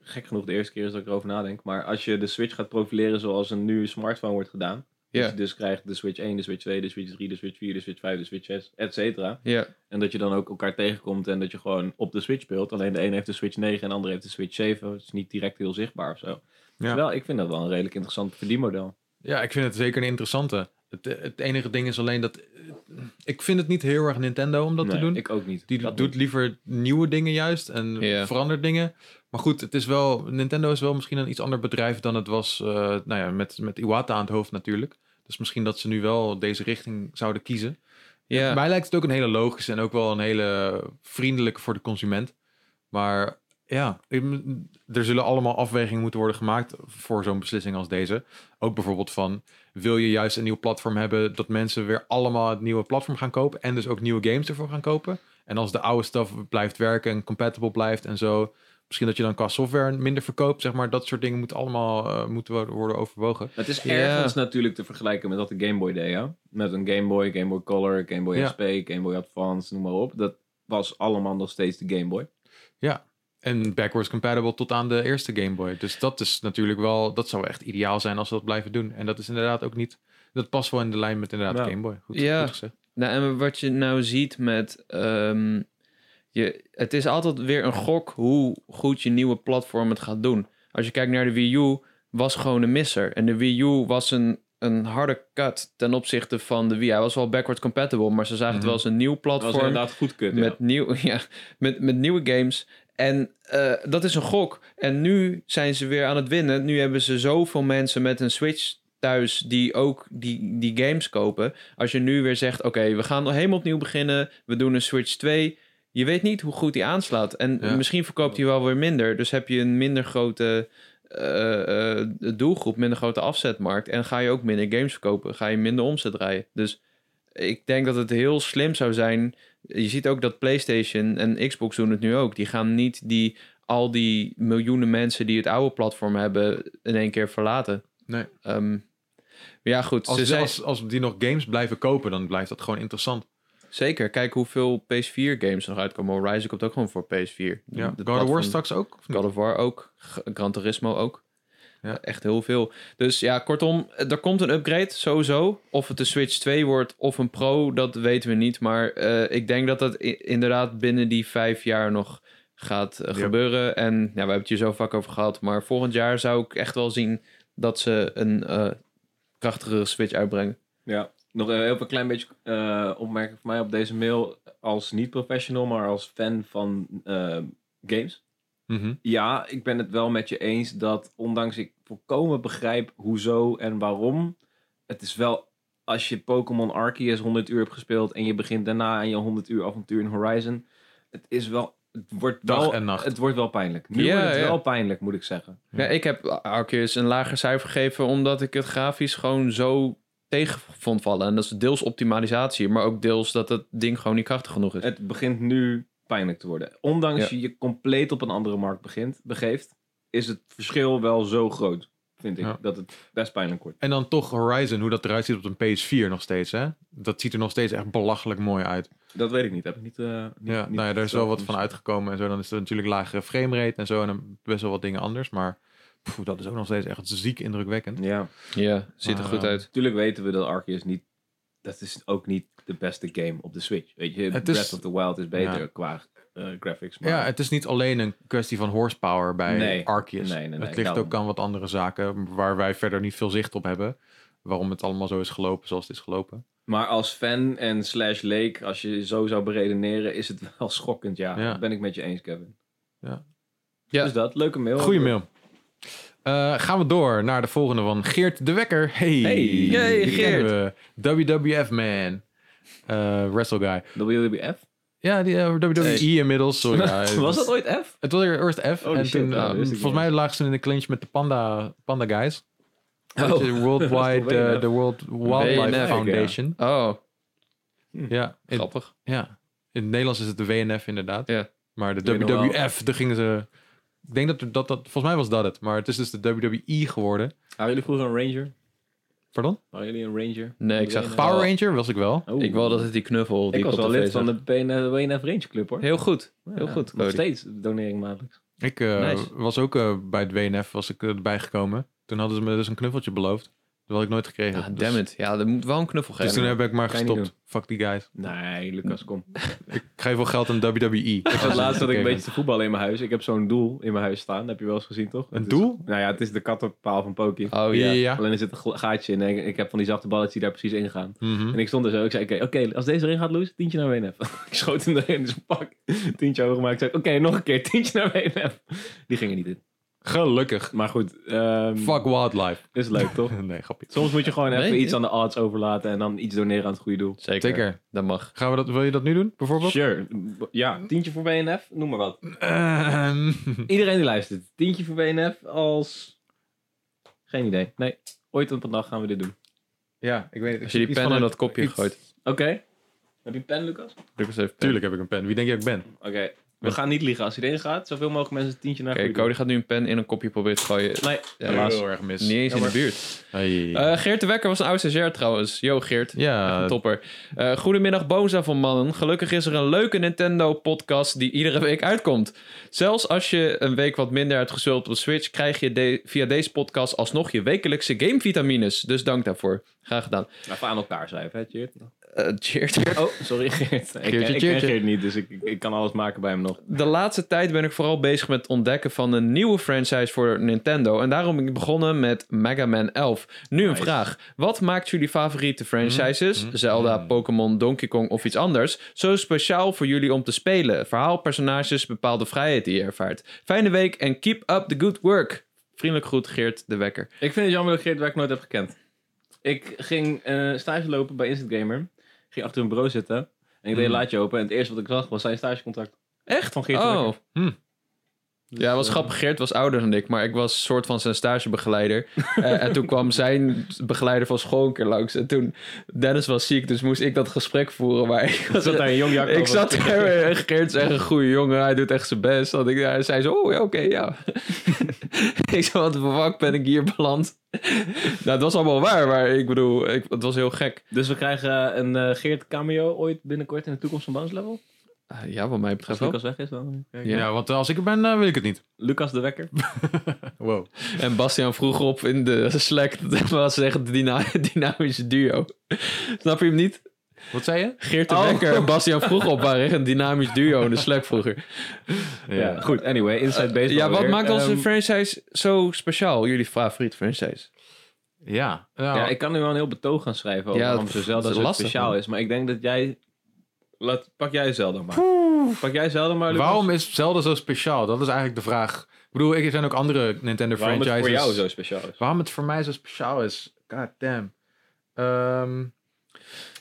S2: gek genoeg de eerste keer is dat ik erover nadenk, maar als je de Switch gaat profileren zoals een nu smartphone wordt gedaan,
S3: Ja.
S2: Dat je dus krijgt de Switch 1, de Switch 2, de Switch 3, de Switch 4, de Switch 5, de Switch 6, et cetera.
S3: Ja,
S2: En dat je dan ook elkaar tegenkomt en dat je gewoon op de Switch speelt. Alleen de een heeft de Switch 9 en de ander heeft de Switch 7. Het is niet direct heel zichtbaar of zo.
S1: Ja.
S2: Wel, ik vind dat wel een redelijk interessant verdienmodel.
S1: Ja, ik vind het zeker een interessante. Het, het enige ding is alleen dat... eh, Ik vind het niet heel erg Nintendo om dat te
S2: Nee,
S1: doen.
S2: Ik ook niet.
S1: Die
S2: Dat
S1: doet liever nieuwe dingen juist en
S3: Ja.
S1: verandert dingen. Maar goed, het is wel, Nintendo is wel misschien een iets ander bedrijf dan het was eh, nou ja, met, met Iwata aan het hoofd natuurlijk. Dus misschien dat ze nu wel deze richting zouden kiezen.
S3: ja.
S1: Mij lijkt het ook een hele logische en ook wel een hele vriendelijke voor de consument. Maar ja, ik- er zullen allemaal afwegingen moeten worden gemaakt voor zo'n beslissing als deze. Ook bijvoorbeeld van, wil je juist een nieuw platform hebben dat mensen weer allemaal het nieuwe platform gaan kopen en dus ook nieuwe games ervoor gaan kopen? En als de oude stuff blijft werken en compatible blijft en zo, misschien dat je dan qua software minder verkoopt, zeg maar. Dat soort dingen moeten allemaal eh, moeten worden overwogen.
S2: Het is
S3: Ja.
S2: ergens natuurlijk te vergelijken met wat de Game Boy deed, ja? Met een Game Boy, Game Boy Color, Game Boy
S1: Ja.
S2: SP, Game Boy Advance, noem maar op. Dat was allemaal nog steeds de Game Boy.
S1: En backwards compatible tot aan de eerste Game Boy. Dus dat is natuurlijk wel, dat zou echt ideaal zijn als ze dat blijven doen. En dat is inderdaad ook niet, dat past wel in de lijn met inderdaad
S2: Ja.
S1: Game Boy. Goed,
S3: Ja.
S1: goed gezegd.
S3: Nou, en wat je nou ziet met... ehm, je, het is altijd weer een gok hoe goed je nieuwe platform het gaat doen. Als je kijkt naar de Wii U, was gewoon een misser. En de Wii U was een, een harde cut ten opzichte van de Wii. Hij was wel backwards compatible, maar ze zagen
S1: Mhm.
S3: het wel als een nieuw
S2: Dat was
S3: platform.
S2: inderdaad goed kut, ja.
S3: met, nieuw, ja, met, met nieuwe games. En eh, dat is een gok. En nu zijn ze weer aan het winnen. Nu hebben ze zoveel mensen met een Switch thuis die ook die, die games kopen. Als je nu weer zegt, oké, we gaan helemaal opnieuw beginnen. We doen een Switch 2. Je weet niet hoe goed die aanslaat. En
S1: Ja.
S3: misschien verkoopt hij wel weer minder. Dus heb je een minder grote eh, eh, doelgroep, minder grote afzetmarkt. En ga je ook minder games verkopen. Ga je minder omzet draaien. Dus ik denk dat het heel slim zou zijn je ziet ook dat PlayStation en Xbox doen het nu ook. Die gaan niet die, al die miljoenen mensen die het oude platform hebben in één keer verlaten.
S1: Nee.
S3: Ehm, maar ja, goed.
S1: Als,
S3: ze zijn,
S1: als, als die nog games blijven kopen, dan blijft dat gewoon interessant.
S3: Zeker. Kijk hoeveel PS4 games er nog uitkomen. Horizon komt ook gewoon voor PS4.
S1: Ja.
S3: De
S1: God of War
S3: platform-
S1: straks ook? of niet?
S3: God of War ook. G- Gran Turismo ook.
S1: Ja.
S3: Echt heel veel. Dus ja, kortom, er komt een upgrade sowieso. Of het de Switch 2 wordt of een Pro, dat weten we niet. Maar eh, ik denk dat dat i- inderdaad binnen die vijf jaar nog gaat eh,
S1: Ja.
S3: gebeuren. En ja, we hebben het hier zo vaak over gehad. Maar volgend jaar zou ik echt wel zien dat ze een eh, krachtigere Switch uitbrengen.
S2: Ja, nog eh, even een klein beetje eh opmerking van mij op deze mail. Als niet-professional, maar als fan van eh, games.
S1: Mhm.
S2: Ja, ik ben het wel met je eens dat ondanks ik volkomen begrijp hoezo en waarom. Het is wel als je Pokémon Arceus 100 uur hebt gespeeld en je begint daarna aan je 100 uur avontuur in Horizon. Het is wel, het wordt
S1: Dag
S2: wel,
S1: en nacht.
S2: Het wordt wel pijnlijk. Nu
S3: Ja,
S2: wordt het
S3: ja.
S2: wel pijnlijk, moet ik zeggen.
S3: Ja. ik heb ah, Arceus dus een lager cijfer gegeven omdat ik het grafisch gewoon zo tegen vond vallen. En dat is deels optimalisatie, maar ook deels dat het ding gewoon niet krachtig genoeg is.
S2: Het begint nu pijnlijk te worden. Ondanks je je compleet op een andere markt begint, begeeft, is het verschil wel zo groot, vind ik,
S1: Ja.
S2: dat het best pijnlijk wordt.
S1: En dan toch Horizon, hoe dat eruit ziet op een PS4 nog steeds. Hè? Dat ziet er nog steeds echt belachelijk mooi uit.
S2: Dat weet ik niet. Heb ik niet. eh, niet-
S1: Ja,
S2: niet
S1: nou ja, daar is wel wat
S2: zelf
S1: van uitgekomen en zo. Dan is er natuurlijk lagere framerate en zo. En dan best wel wat dingen anders. Maar pff, dat is ook nog steeds echt ziek indrukwekkend.
S2: Ja.
S3: Ja, ziet er
S1: Maar,
S2: Ah.
S3: goed
S1: eh,
S3: uit.
S2: Natuurlijk weten we dat Arceus niet... Dat is ook niet de beste game op de Switch. Weet je,
S1: Het
S2: Breath
S1: is-
S2: of the Wild is beter
S1: Ja.
S2: qua eh, graphics. Maar
S1: Ja, het is niet alleen een kwestie van horsepower bij
S2: Nee,
S1: Arceus.
S2: nee, nee, nee,
S1: het ligt
S2: daarom.
S1: ook aan wat andere zaken waar wij verder niet veel zicht op hebben. Waarom het allemaal zo is gelopen zoals het is gelopen.
S2: Maar als fan en slash leek, als je zo zou beredeneren, is het wel schokkend. Ja,
S1: Ja.
S2: dat ben ik met je eens, Kevin.
S1: Ja.
S3: Ja.
S2: Dus dat, leuke mail.
S1: Goeie mail. Eh, gaan we door naar de volgende van Geert de Wekker. Hey,
S2: Hey.
S1: Die
S3: Hey,
S1: kennen we. WWF man. Eh wrestle guy.
S2: WWF?
S1: Ja, die eh, WWE inmiddels. Sorry, ja, het
S2: Was dat ooit F?
S1: Het was er eerst F.
S2: Holy
S1: en
S2: shit,
S1: toen,
S2: ja,
S1: eh,
S2: dat wist ik
S1: volgens mij
S2: niet.
S1: lagen ze in de clinch met de Panda, panda Guys.
S2: Oh.
S1: Dat is de
S2: Dat
S1: Worldwide,
S2: is toch
S1: eh,
S2: WNF?
S1: de World Wildlife
S3: WNF, ja.
S1: Foundation.
S3: Oh,
S1: Ja. in,
S3: grappig.
S1: ja, in het Nederlands is het de WNF inderdaad.
S3: Ja.
S1: Maar de
S2: Weet nog wel.
S1: WWF, daar gingen ze... Ik denk dat, er- dat dat... Volgens mij was dat het. Maar het is dus de WWE geworden.
S2: Waren jullie vroeger een ranger?
S1: Pardon?
S2: Waren jullie een ranger?
S3: Nee, ik zag
S1: Power
S3: Oh.
S1: Ranger was ik wel.
S2: Oh.
S3: Ik wil dat het die knuffel... Die
S2: Ik was
S3: ik op
S2: wel
S3: tv
S2: lid van
S3: zag.
S2: de WNF Ranger Club, hoor.
S3: Heel goed, heel
S2: Ja,
S3: goed.
S2: Nog
S3: Cody.
S2: steeds donering maandelijks.
S1: Ik eh,
S3: Nice.
S1: was ook eh, bij het WNF was ik erbij gekomen. Toen hadden ze me dus een knuffeltje beloofd. Dat had ik nooit gekregen.
S3: Ah,
S1: Dus-
S3: damn it. Ja, er moet wel een knuffel
S1: Dus
S3: geven.
S1: toen heb ik maar
S2: Kan je niet
S1: gestopt. Fuck die guys.
S2: Nee, Lucas, kom.
S1: Ik geef wel geld aan WWE.
S2: Ik zat laatst dat ik een
S1: Oké,
S2: beetje te voetballen in mijn huis. Ik heb zo'n doel in mijn huis staan. Dat heb je wel eens gezien, toch?
S1: Een
S2: Het is-
S1: doel?
S2: nou ja, het is de kattenpaal van Poki.
S3: Oh
S1: Ja,
S3: ja.
S1: ja, ja.
S2: Alleen er zit een gla- gaatje in. En ik, ik heb van die zachte balletjes die daar precies in gaan.
S1: Mhm.
S2: En ik stond er zo. Ik zei, oké, oké, als deze erin gaat, Loes, tientje naar WNF. ik schoot hem erin, dus een pak. Tientje hoog gemaakt. Ik zei, oké, nog een keer, tientje naar WNF. Die gingen niet in.
S1: Gelukkig.
S2: Maar goed, ehm,
S1: Fuck wildlife.
S2: is leuk, toch?
S1: nee, grapje.
S2: Soms moet je gewoon
S3: Nee,
S2: even
S3: nee.
S2: iets aan de odds overlaten en dan iets doneren aan het goede doel.
S3: Zeker.
S1: Zeker.
S3: Dat mag.
S1: Gaan we dat, wil je dat nu doen, bijvoorbeeld?
S2: Sure. Ja, tientje voor WNF, noem maar wat.
S1: Ehm,
S2: Iedereen die luistert, tientje voor WNF als... Geen idee. Nee, ooit op een dag gaan we dit doen.
S1: ja, ik weet het.
S3: Als je die
S1: Iets
S3: pen
S1: van
S3: in
S1: een-
S3: dat kopje
S1: iets-
S3: gooit.
S2: Oké. Heb je een pen, Lucas?
S3: Lucas heeft pen.
S1: Tuurlijk heb ik een pen. Wie denk je dat ik ben?
S2: Oké. We gaan niet liegen. Als hij erin gaat, zoveel mogelijk mensen een tientje naar
S3: Oké,
S2: goede
S3: Cody gaat nu een pen in een kopje proberen te gooien.
S2: doel. Nee,
S3: Ja, helaas.
S1: erg mis.
S3: Niet eens in de
S1: Jammer.
S3: buurt.
S1: Hey.
S3: Eh, Geert de Wekker was een oud stagiair trouwens. Yo Geert. Echt
S1: ja,
S3: een topper. Eh, goedemiddag Boza van mannen. Gelukkig is er een leuke Nintendo-podcast die iedere week uitkomt. Zelfs als je een week wat minder hebt gezult op de Switch... krijg je de- via deze podcast alsnog je wekelijkse gamevitamines. Dus dank daarvoor. Graag gedaan.
S2: even aan elkaar schrijven, hè, Geert?
S3: Eh cheers.
S2: Oh, sorry, Geert. ik,
S1: Geertje,
S2: ik ken
S1: Geertje.
S2: Geert niet, dus ik, ik, ik kan alles maken bij hem nog.
S3: De laatste tijd ben ik vooral bezig met het ontdekken van een nieuwe franchise voor Nintendo. En daarom ben ik begonnen met Mega Man 11. Nu een
S2: Nice.
S3: vraag. Wat maakt jullie favoriete franchises, Zelda, Pokémon, Donkey Kong of iets anders, zo speciaal voor jullie om te spelen? Verhaal, personages, bepaalde vrijheid die je ervaart. Fijne week en keep up the good work. Vriendelijk groet, Geert de Wekker.
S2: Ik vind het jammer dat Geert Werk nooit heb gekend. Ik ging eh stage lopen bij Instant Gamer. Ging achter een bureau zitten. En ik deed een laadje open. En het eerste wat ik zag was zijn stagecontract. Echt? Van Geert de Wekker. Dus, eh,
S3: Oh.
S1: Hm.
S3: Ja, het was grappig. Geert was ouder dan ik, maar ik was soort van zijn stagebegeleider. Eh, en toen kwam zijn begeleider van school een keer langs. En toen, Dennis was ziek, dus moest ik dat gesprek voeren. Maar ik, was,
S2: Zat daar een jong jak
S3: ik
S2: over.
S3: zat er en Geert is echt een goede jongen. Hij doet echt zijn best. Dat ik, hij zei zo, oh ja, oké, ja. ik zei, wat voor vak ben ik hier beland? nou, het was allemaal waar, maar ik bedoel, ik, het was heel gek.
S2: Dus we krijgen eh, een eh, Geert cameo ooit binnenkort in de toekomst van Bounce Level.
S3: Ah, ja, wat mij
S2: Als
S3: betreft wel.
S2: Lucas weg is dan. Kijk.
S1: ja, want als ik er ben, eh, wil ik het niet.
S2: Lucas de Wekker.
S1: Wow.
S3: En Bastiaan vroeg op in de Slack, dat was echt een dyna dynamische duo. Snap je hem niet?
S1: Wat zei je?
S3: Geert de
S2: Oh.
S3: Wekker en Bastiaan vroeg op waren echt een dynamisch duo in de Slack vroeger.
S2: Ja. Eh, goed. Anyway, Inside Baseball
S3: ja, wat
S2: weer.
S3: maakt onze
S2: Ehm,
S3: franchise zo speciaal? Jullie favoriete franchise?
S1: Ja. Nou,
S2: Ja, ik kan nu wel een heel betoog gaan schrijven over
S3: Ja,
S2: waarom
S3: pff,
S2: ze
S3: dat
S2: Zelda
S3: is
S2: zo
S3: lastig,
S2: speciaal
S3: man.
S2: is. Maar ik denk dat jij... Laat, pak jij Zelda maar. Pak jij Zelda maar, Lucas.
S1: Waarom is Zelda zo speciaal? Dat is eigenlijk de vraag. Ik bedoel, er zijn ook andere Nintendo
S2: Waarom het
S1: franchises.
S2: voor jou zo speciaal is?
S1: Waarom het voor mij zo speciaal is? God damn. Ehm,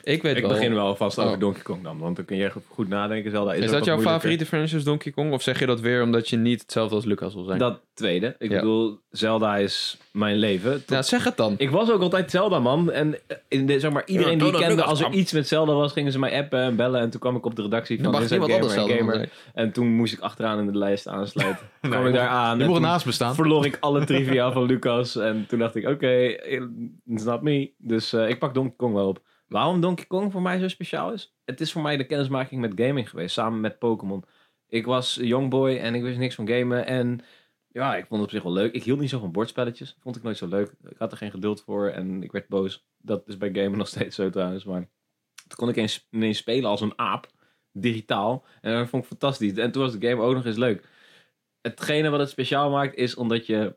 S3: Ik weet
S2: Ik
S3: wel.
S2: begin wel vast
S3: Oh.
S2: over Donkey Kong dan, want dan kun je goed nadenken. Zelda is
S3: Is
S2: ook
S3: dat
S2: wat
S3: jouw
S2: moeilijker.
S3: favoriete franchise Donkey Kong? Of zeg je dat weer omdat je niet hetzelfde als Lucas wil zijn?
S2: Dat tweede. Ik
S3: Ja.
S2: bedoel, Zelda is mijn leven. Tot-
S3: Nou, zeg het dan.
S2: Ik was ook altijd Zelda, man. En eh, in de, zeg maar, iedereen die ik kende, als er iets met Zelda was, gingen ze mij appen en bellen. En toen kwam ik op de redactie
S3: Dan
S2: van
S3: mag
S2: Inside
S3: niemand
S2: Gamer
S3: anders
S2: en
S3: Zelda dan
S2: Gamer.
S3: zijn.
S2: En toen moest ik achteraan in de lijst aansluiten. Toen
S1: Nee,
S2: kwam
S1: je
S2: ik
S1: mocht-
S2: daar aan.
S1: je
S2: en
S1: mocht
S2: toen
S1: naast me staan.
S2: verloor ik alle trivia van Lucas. En toen dacht ik, oké, eh, snap me. Dus eh, ik pak Donkey Kong wel op. Waarom Donkey Kong voor mij zo speciaal is? Het is voor mij de kennismaking met gaming geweest, samen met Pokémon. Ik was een young boy en ik wist niks van gamen. En ja, ik vond het op zich wel leuk. Ik hield niet zo van bordspelletjes. Vond ik nooit zo leuk. Ik had er geen geduld voor en ik werd boos. Dat is bij gamen nog steeds zo trouwens. Maar toen kon ik eens, ineens spelen als een aap, digitaal. En dat vond ik fantastisch. En toen was de game ook nog eens leuk. Hetgene wat het speciaal maakt is omdat je,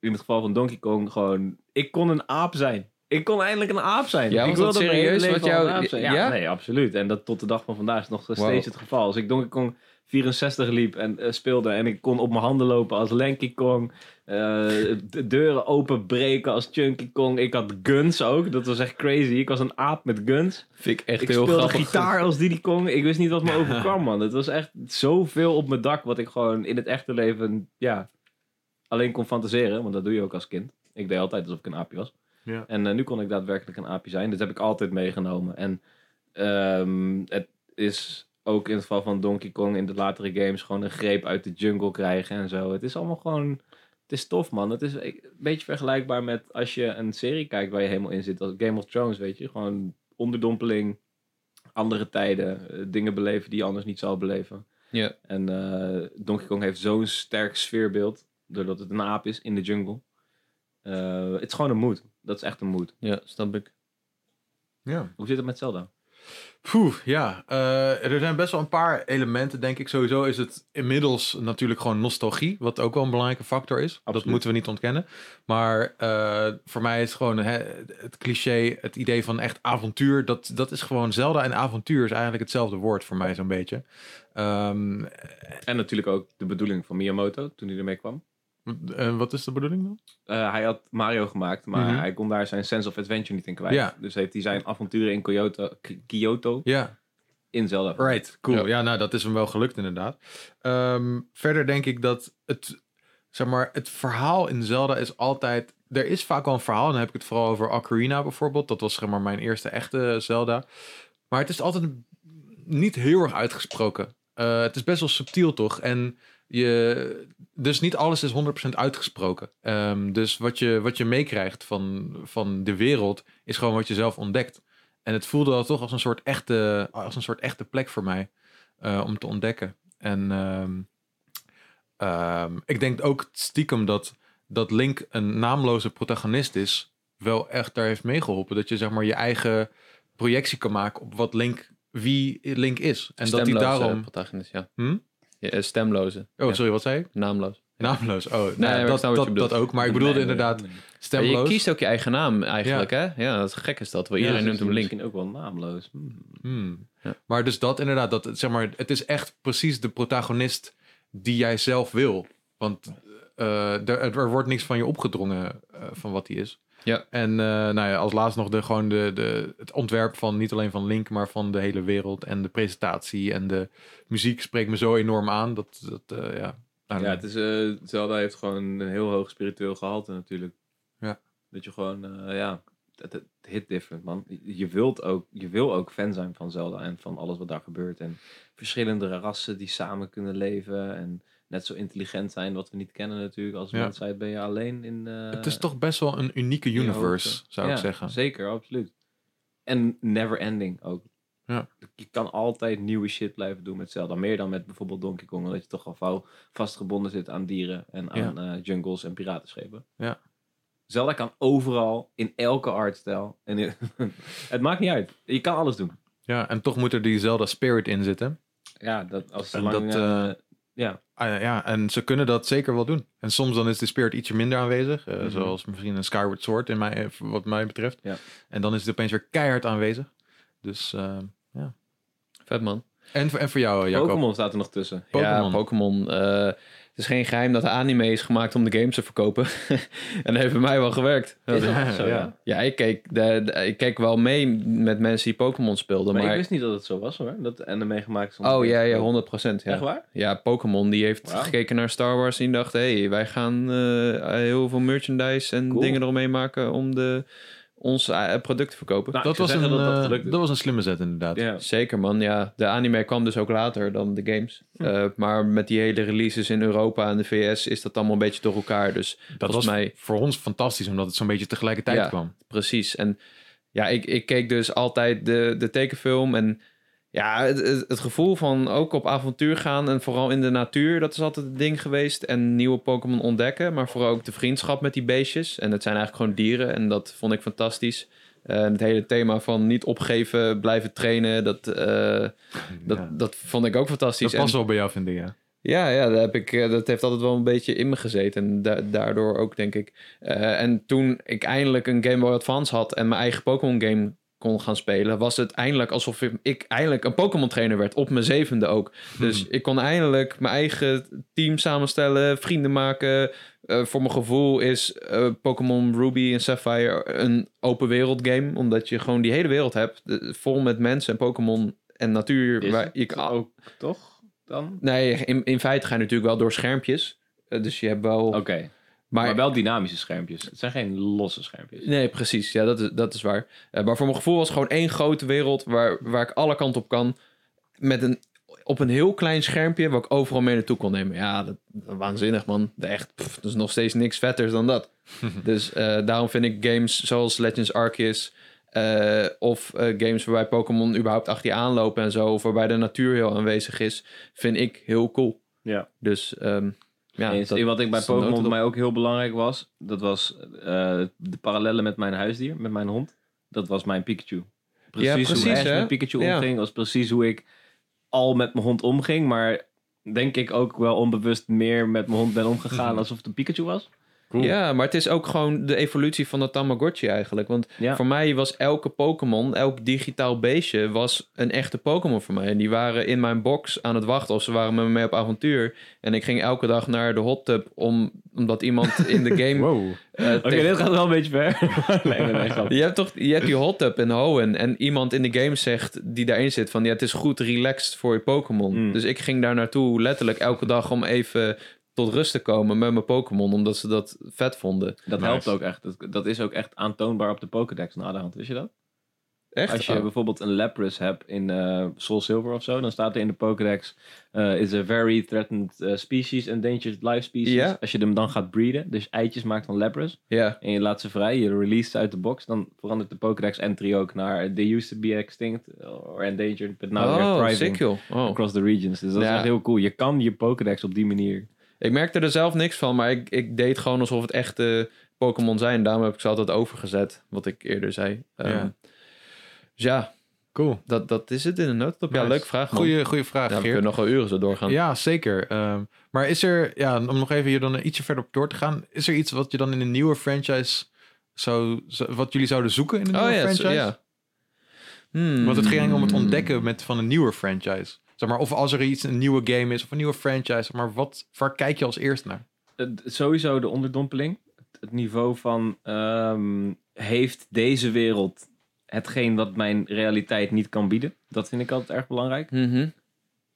S2: in het geval van Donkey Kong, gewoon... Ik kon een aap zijn. Ik kon eindelijk een aap zijn.
S3: Ja,
S2: ik
S3: was dat
S2: wilde mijn hele
S3: serieus
S2: leven
S3: wat
S2: al
S3: jou-
S2: een aap zijn. Ja,
S3: ja?
S2: nee, absoluut. En dat tot de dag van vandaag is nog steeds
S3: Wauw.
S2: het geval. Als ik Donkey Kong 64 liep en eh, speelde en ik kon op mijn handen lopen als Lanky Kong, eh, de deuren openbreken als Chunky Kong. Ik had guns ook, dat was echt crazy. Ik was een aap met guns.
S3: Vind ik echt
S2: ik
S3: heel
S2: speelde
S3: grappig.
S2: gitaar als Diddy Kong. Ik wist niet wat me overkwam, man. Het was echt zoveel op mijn dak wat ik gewoon in het echte leven ja, alleen kon fantaseren. Want dat doe je ook als kind. Ik deed altijd alsof ik een aapje was.
S1: Ja.
S2: En eh, nu kon ik daadwerkelijk een aapje zijn. Dit heb ik altijd meegenomen. En ehm, het is ook in het geval van Donkey Kong in de latere games gewoon een greep uit de jungle krijgen en zo. Het is allemaal gewoon... Het is tof, man. Het is een beetje vergelijkbaar met als je een serie kijkt waar je helemaal in zit. Als Game of Thrones, weet je. Gewoon onderdompeling, andere tijden, eh, dingen beleven die je anders niet zou beleven.
S3: Ja.
S2: En eh, Donkey Kong heeft zo'n sterk sfeerbeeld, doordat het een aap is in de jungle. Eh, Eh, het is gewoon een moed. Dat is echt een moed.
S3: Ja, snap ik.
S1: Ja.
S2: Hoe zit het met Zelda?
S1: Poeh, ja. Eh, er zijn best wel een paar elementen, denk ik. Sowieso is het inmiddels natuurlijk gewoon nostalgie, wat ook wel een belangrijke factor is. Dat
S2: Absoluut.
S1: moeten we niet ontkennen. Maar eh, voor mij is het gewoon hè, het cliché, het idee van echt avontuur. Dat, dat is gewoon Zelda en avontuur is eigenlijk hetzelfde woord voor mij zo'n beetje. Ehm,
S2: En natuurlijk ook de bedoeling van Miyamoto toen hij ermee kwam.
S1: eh, wat is de bedoeling dan?
S2: Eh, hij had Mario gemaakt, maar
S1: Mhm.
S2: hij kon daar zijn sense of adventure niet in kwijt.
S1: Ja.
S2: Dus heeft hij zijn avonturen in Kyoto, K- Kyoto
S1: Ja.
S2: in Zelda.
S1: Right, cool.
S3: Ja.
S1: Ja. nou, dat is hem wel gelukt inderdaad. Ehm, verder denk ik dat het, zeg maar, het verhaal in Zelda is altijd... Er is vaak wel een verhaal. En dan heb ik het vooral over Ocarina bijvoorbeeld. Dat was zeg maar mijn eerste echte Zelda. Maar het is altijd niet heel erg uitgesproken. Eh, het is best wel subtiel toch? En je, dus niet alles is 100% uitgesproken. Ehm, dus wat je, wat je meekrijgt van, van de wereld is gewoon wat je zelf ontdekt. En het voelde al toch als een soort echte, als een soort echte plek voor mij eh, om te ontdekken. En ehm, ehm, ik denk ook stiekem dat, dat Link een naamloze protagonist is, wel echt daar heeft meegeholpen. Dat je zeg maar je eigen projectie kan maken op wat Link, wie Link is. En dat hij
S3: Stemloze
S1: daarom.
S3: protagonist, ja.
S1: Hm?
S3: Ja, eh, stemloze.
S1: Oh,
S3: Ja,
S1: sorry, wat zei ik?
S3: Naamloos.
S1: Naamloos. Oh, nee,
S3: maar ik
S1: dat,
S3: snap wat je
S1: dat,
S3: bedoelt.
S1: dat ook. Maar ik bedoelde
S2: Nee,
S1: inderdaad
S2: nee.
S3: Ja, je
S1: stemloos.
S3: kiest ook je eigen naam eigenlijk, hè? Ja, dat is gek is dat. wel. Iedereen
S2: Ja,
S3: noemt
S2: dus
S3: hem Link.
S2: Misschien ook wel naamloos. Hmm.
S1: Hmm.
S3: Ja.
S1: Maar dus dat inderdaad, dat, het, zeg maar, het is echt precies de protagonist die jij zelf wil. Want eh, er, er wordt niks van je opgedrongen eh, van wat hij is.
S3: Ja.
S1: En eh, nou ja, als laatst nog de, gewoon de, de, het ontwerp van niet alleen van Link, maar van de hele wereld. En de presentatie en de muziek spreekt me zo enorm aan. Dat, dat eh, ja. Nou,
S2: Ja, het is, eh, Zelda heeft gewoon een heel hoog spiritueel gehalte natuurlijk.
S1: Ja.
S2: Dat je gewoon, eh, ja, het, het hit different man. Je, wilt ook, je wil ook fan zijn van Zelda en van alles wat daar gebeurt. En verschillende rassen die samen kunnen leven en net zo intelligent zijn wat we niet kennen natuurlijk. Als
S1: Ja.
S2: mensheid ben je alleen in... eh,
S1: het is toch best wel een unieke
S2: in je
S1: universe,
S2: hoofd, eh.
S1: zou ik
S2: Ja,
S1: zeggen.
S2: zeker, absoluut. En never ending ook.
S1: Ja.
S2: Je kan altijd nieuwe shit blijven doen met Zelda. Meer dan met bijvoorbeeld Donkey Kong. Omdat je toch al vauw vastgebonden zit aan dieren en aan eh, jungles en piratenschepen.
S1: Ja.
S2: Zelda kan overal, in elke artstijl. En in- het maakt niet uit. Je kan alles doen.
S1: Ja, en toch moet er die Zelda spirit in zitten.
S2: Ja, dat, als
S1: En
S2: zolang,
S1: dat,
S2: eh,
S1: eh, Ah, ja, en ze kunnen dat zeker wel doen. En soms dan is de spirit ietsje minder aanwezig. eh,
S2: Mhm.
S1: Zoals misschien een Skyward Sword, in mij, eh, wat mij betreft.
S2: Ja.
S1: En dan is het opeens weer keihard aanwezig. Dus, eh,
S3: Vet man.
S1: en, voor- en voor jou, eh, Jacob.
S2: Pokémon staat er nog tussen.
S1: Pokémon.
S3: Ja, Pokémon. eh, het is geen geheim dat de anime is gemaakt om de games te verkopen. en dat heeft bij mij wel gewerkt.
S2: Is dat
S1: Ja,
S2: zo,
S1: ja.
S2: ja.
S3: Ja, ik keek, de, de- ik keek wel mee met mensen die Pokémon speelden.
S2: Maar,
S3: Maar,
S2: ik wist niet dat het zo was hoor. Dat de anime gemaakt is. om-
S3: Oh ja, ja, 100 procent.
S2: Echt
S3: Ja,
S2: waar?
S3: ja Pokémon die heeft
S2: Wauw.
S3: gekeken naar Star Wars en dacht... hé, hey, wij gaan eh, heel veel merchandise en
S2: Cool.
S3: dingen eromheen maken... om de, ons eh, product te verkopen.
S2: Nou, ik
S1: Dat,
S2: zou
S1: was een,
S2: zeggen dat dat
S1: eh,
S2: gelukt is.
S1: dat was een slimme zet inderdaad.
S2: Ja.
S3: Zeker man, ja. De anime kwam dus ook later dan de games.
S1: Hm.
S3: Eh, maar met die hele releases in Europa en de VS is dat allemaal een beetje door elkaar. Dus
S1: Dat was
S3: volgens mij
S1: voor ons fantastisch, omdat het zo'n beetje tegelijkertijd
S3: Ja.
S1: kwam.
S3: precies. En ja, ik, ik keek dus altijd de, de tekenfilm en ja, het, het, het gevoel van ook op avontuur gaan en vooral in de natuur, dat is altijd het ding geweest. En nieuwe Pokémon ontdekken, maar vooral ook de vriendschap met die beestjes. En dat zijn eigenlijk gewoon dieren en dat vond ik fantastisch. Eh, En het hele thema van niet opgeven, blijven trainen, dat, eh, dat,
S1: ja.
S3: dat vond ik ook fantastisch.
S1: Dat past
S3: En-
S1: wel bij jou, vind ik, ja.
S3: ja, ja dat, heb ik, eh, dat heeft altijd wel een beetje in me gezeten. En da- daardoor ook, denk ik. Eh, en toen ik eindelijk een Game Boy Advance had en mijn eigen Pokémon game kon gaan spelen, was het eindelijk alsof ik, ik eindelijk een Pokémon trainer werd. Op mijn zevende ook.
S2: Hmm.
S3: Dus ik kon eindelijk mijn eigen team samenstellen, vrienden maken. Eh, voor mijn gevoel is eh, Pokémon Ruby en Sapphire een open wereld game. Omdat je gewoon die hele wereld hebt. eh, vol met mensen en Pokémon en natuur.
S2: Is
S3: waar je
S2: het
S3: kan-
S2: ook toch dan?
S3: Nee, in, in feite ga je natuurlijk wel door schermpjes. Eh, dus je hebt wel.
S2: Oké.
S3: maar,
S2: Maar, wel dynamische schermpjes. Het zijn geen losse schermpjes.
S3: Nee, precies. Ja, dat is, dat is waar. Eh, maar voor mijn gevoel was het gewoon één grote wereld waar, waar ik alle kanten op kan. Met een, op een heel klein schermpje waar ik overal mee naartoe kon nemen. Ja, dat, dat waanzinnig man. Echt, pff, dat is nog steeds niks vetters dan dat. dus eh, daarom vind ik games zoals Legends Arceus. eh, of eh, games waarbij Pokémon überhaupt achter je aanlopen en zo. Of waarbij de natuur heel aanwezig is. Vind ik heel cool.
S2: Ja.
S3: Dus ehm, Ja,
S2: Eens.
S3: dat-
S2: wat ik bij
S3: is een
S2: Pokémon voor
S3: notendop.
S2: mij ook heel belangrijk was, dat was eh, de parallellen met mijn huisdier, met mijn hond. Dat was mijn Pikachu. Precies, hoe
S3: precies,
S2: Ash
S3: hè?
S2: met Pikachu
S3: Ja.
S2: omging, was precies hoe ik al met mijn hond omging. Maar denk ik ook wel onbewust meer met mijn hond ben omgegaan alsof het een Pikachu was.
S1: Cool.
S3: Ja, maar het is ook gewoon de evolutie van de Tamagotchi eigenlijk. Want
S2: Ja.
S3: voor mij was elke Pokémon, elk digitaal beestje, was een echte Pokémon voor mij. En die waren in mijn box aan het wachten of ze waren met me mee op avontuur. En ik ging elke dag naar de hot tub om, omdat iemand in de game...
S1: Wow.
S3: eh,
S2: Oké,
S3: tegen-
S2: dit gaat wel een beetje ver. nee, nee, nee, grap.
S3: Je hebt toch je hebt die hot tub in Hoenn en iemand in de game zegt die daarin zit van ja, het is goed relaxed voor je Pokémon.
S2: Mm.
S3: Dus ik ging daar naartoe letterlijk elke dag om even tot rust te komen met mijn Pokémon, omdat ze dat vet vonden.
S2: Dat
S1: Nice.
S2: helpt ook echt. Dat, dat is ook echt aantoonbaar op de Pokédex na de hand. Wist je dat?
S3: Echt?
S2: Als je
S3: Oh.
S2: bijvoorbeeld een Lapras hebt in eh, Soul Silver of zo, dan staat er in de Pokédex: eh, is a very threatened eh, species, endangered life species.
S3: Ja.
S2: Als je hem dan gaat breeden, dus eitjes maakt van Lapras
S3: Ja.
S2: en je laat ze vrij, je release ze uit de box, dan verandert de Pokédex entry ook naar eh, they used to be extinct or endangered,
S1: Nou,
S2: but now they're
S3: oh,
S2: thriving
S3: sick joh. Oh.
S2: across the regions. Dus dat is
S3: Ja.
S2: echt heel cool. Je kan je Pokédex op die manier.
S3: Ik merkte er zelf niks van, maar ik, ik deed gewoon alsof het echte Pokémon zijn. Daarom heb ik ze altijd overgezet, wat ik eerder zei. Ehm,
S1: Ja.
S3: Dus ja,
S1: Cool.
S3: dat, dat is het in een notendop. Ja,
S1: Nice.
S3: leuke vraag. man.
S1: Goeie, goeie
S3: Ja,
S1: vraag,
S3: we
S1: Geert.
S3: kunnen nog wel uren zo doorgaan.
S1: Ja, zeker. Ehm, maar is er, ja, om nog even hier dan ietsje verder op door te gaan, is er iets wat je dan in een nieuwe franchise zou, zou- wat jullie zouden zoeken in een
S3: Oh
S1: nieuwe
S3: ja,
S1: franchise?
S3: zo- ja. Hmm.
S1: Want het ging om het ontdekken met, van een nieuwe franchise. Zeg maar, of als er iets, een nieuwe game is of een nieuwe franchise, zeg maar wat, waar kijk je als eerst naar?
S2: Het- sowieso de onderdompeling. Het- Het niveau van ehm, heeft deze wereld hetgeen wat mijn realiteit niet kan bieden? Dat vind ik altijd erg belangrijk.
S3: Mhm.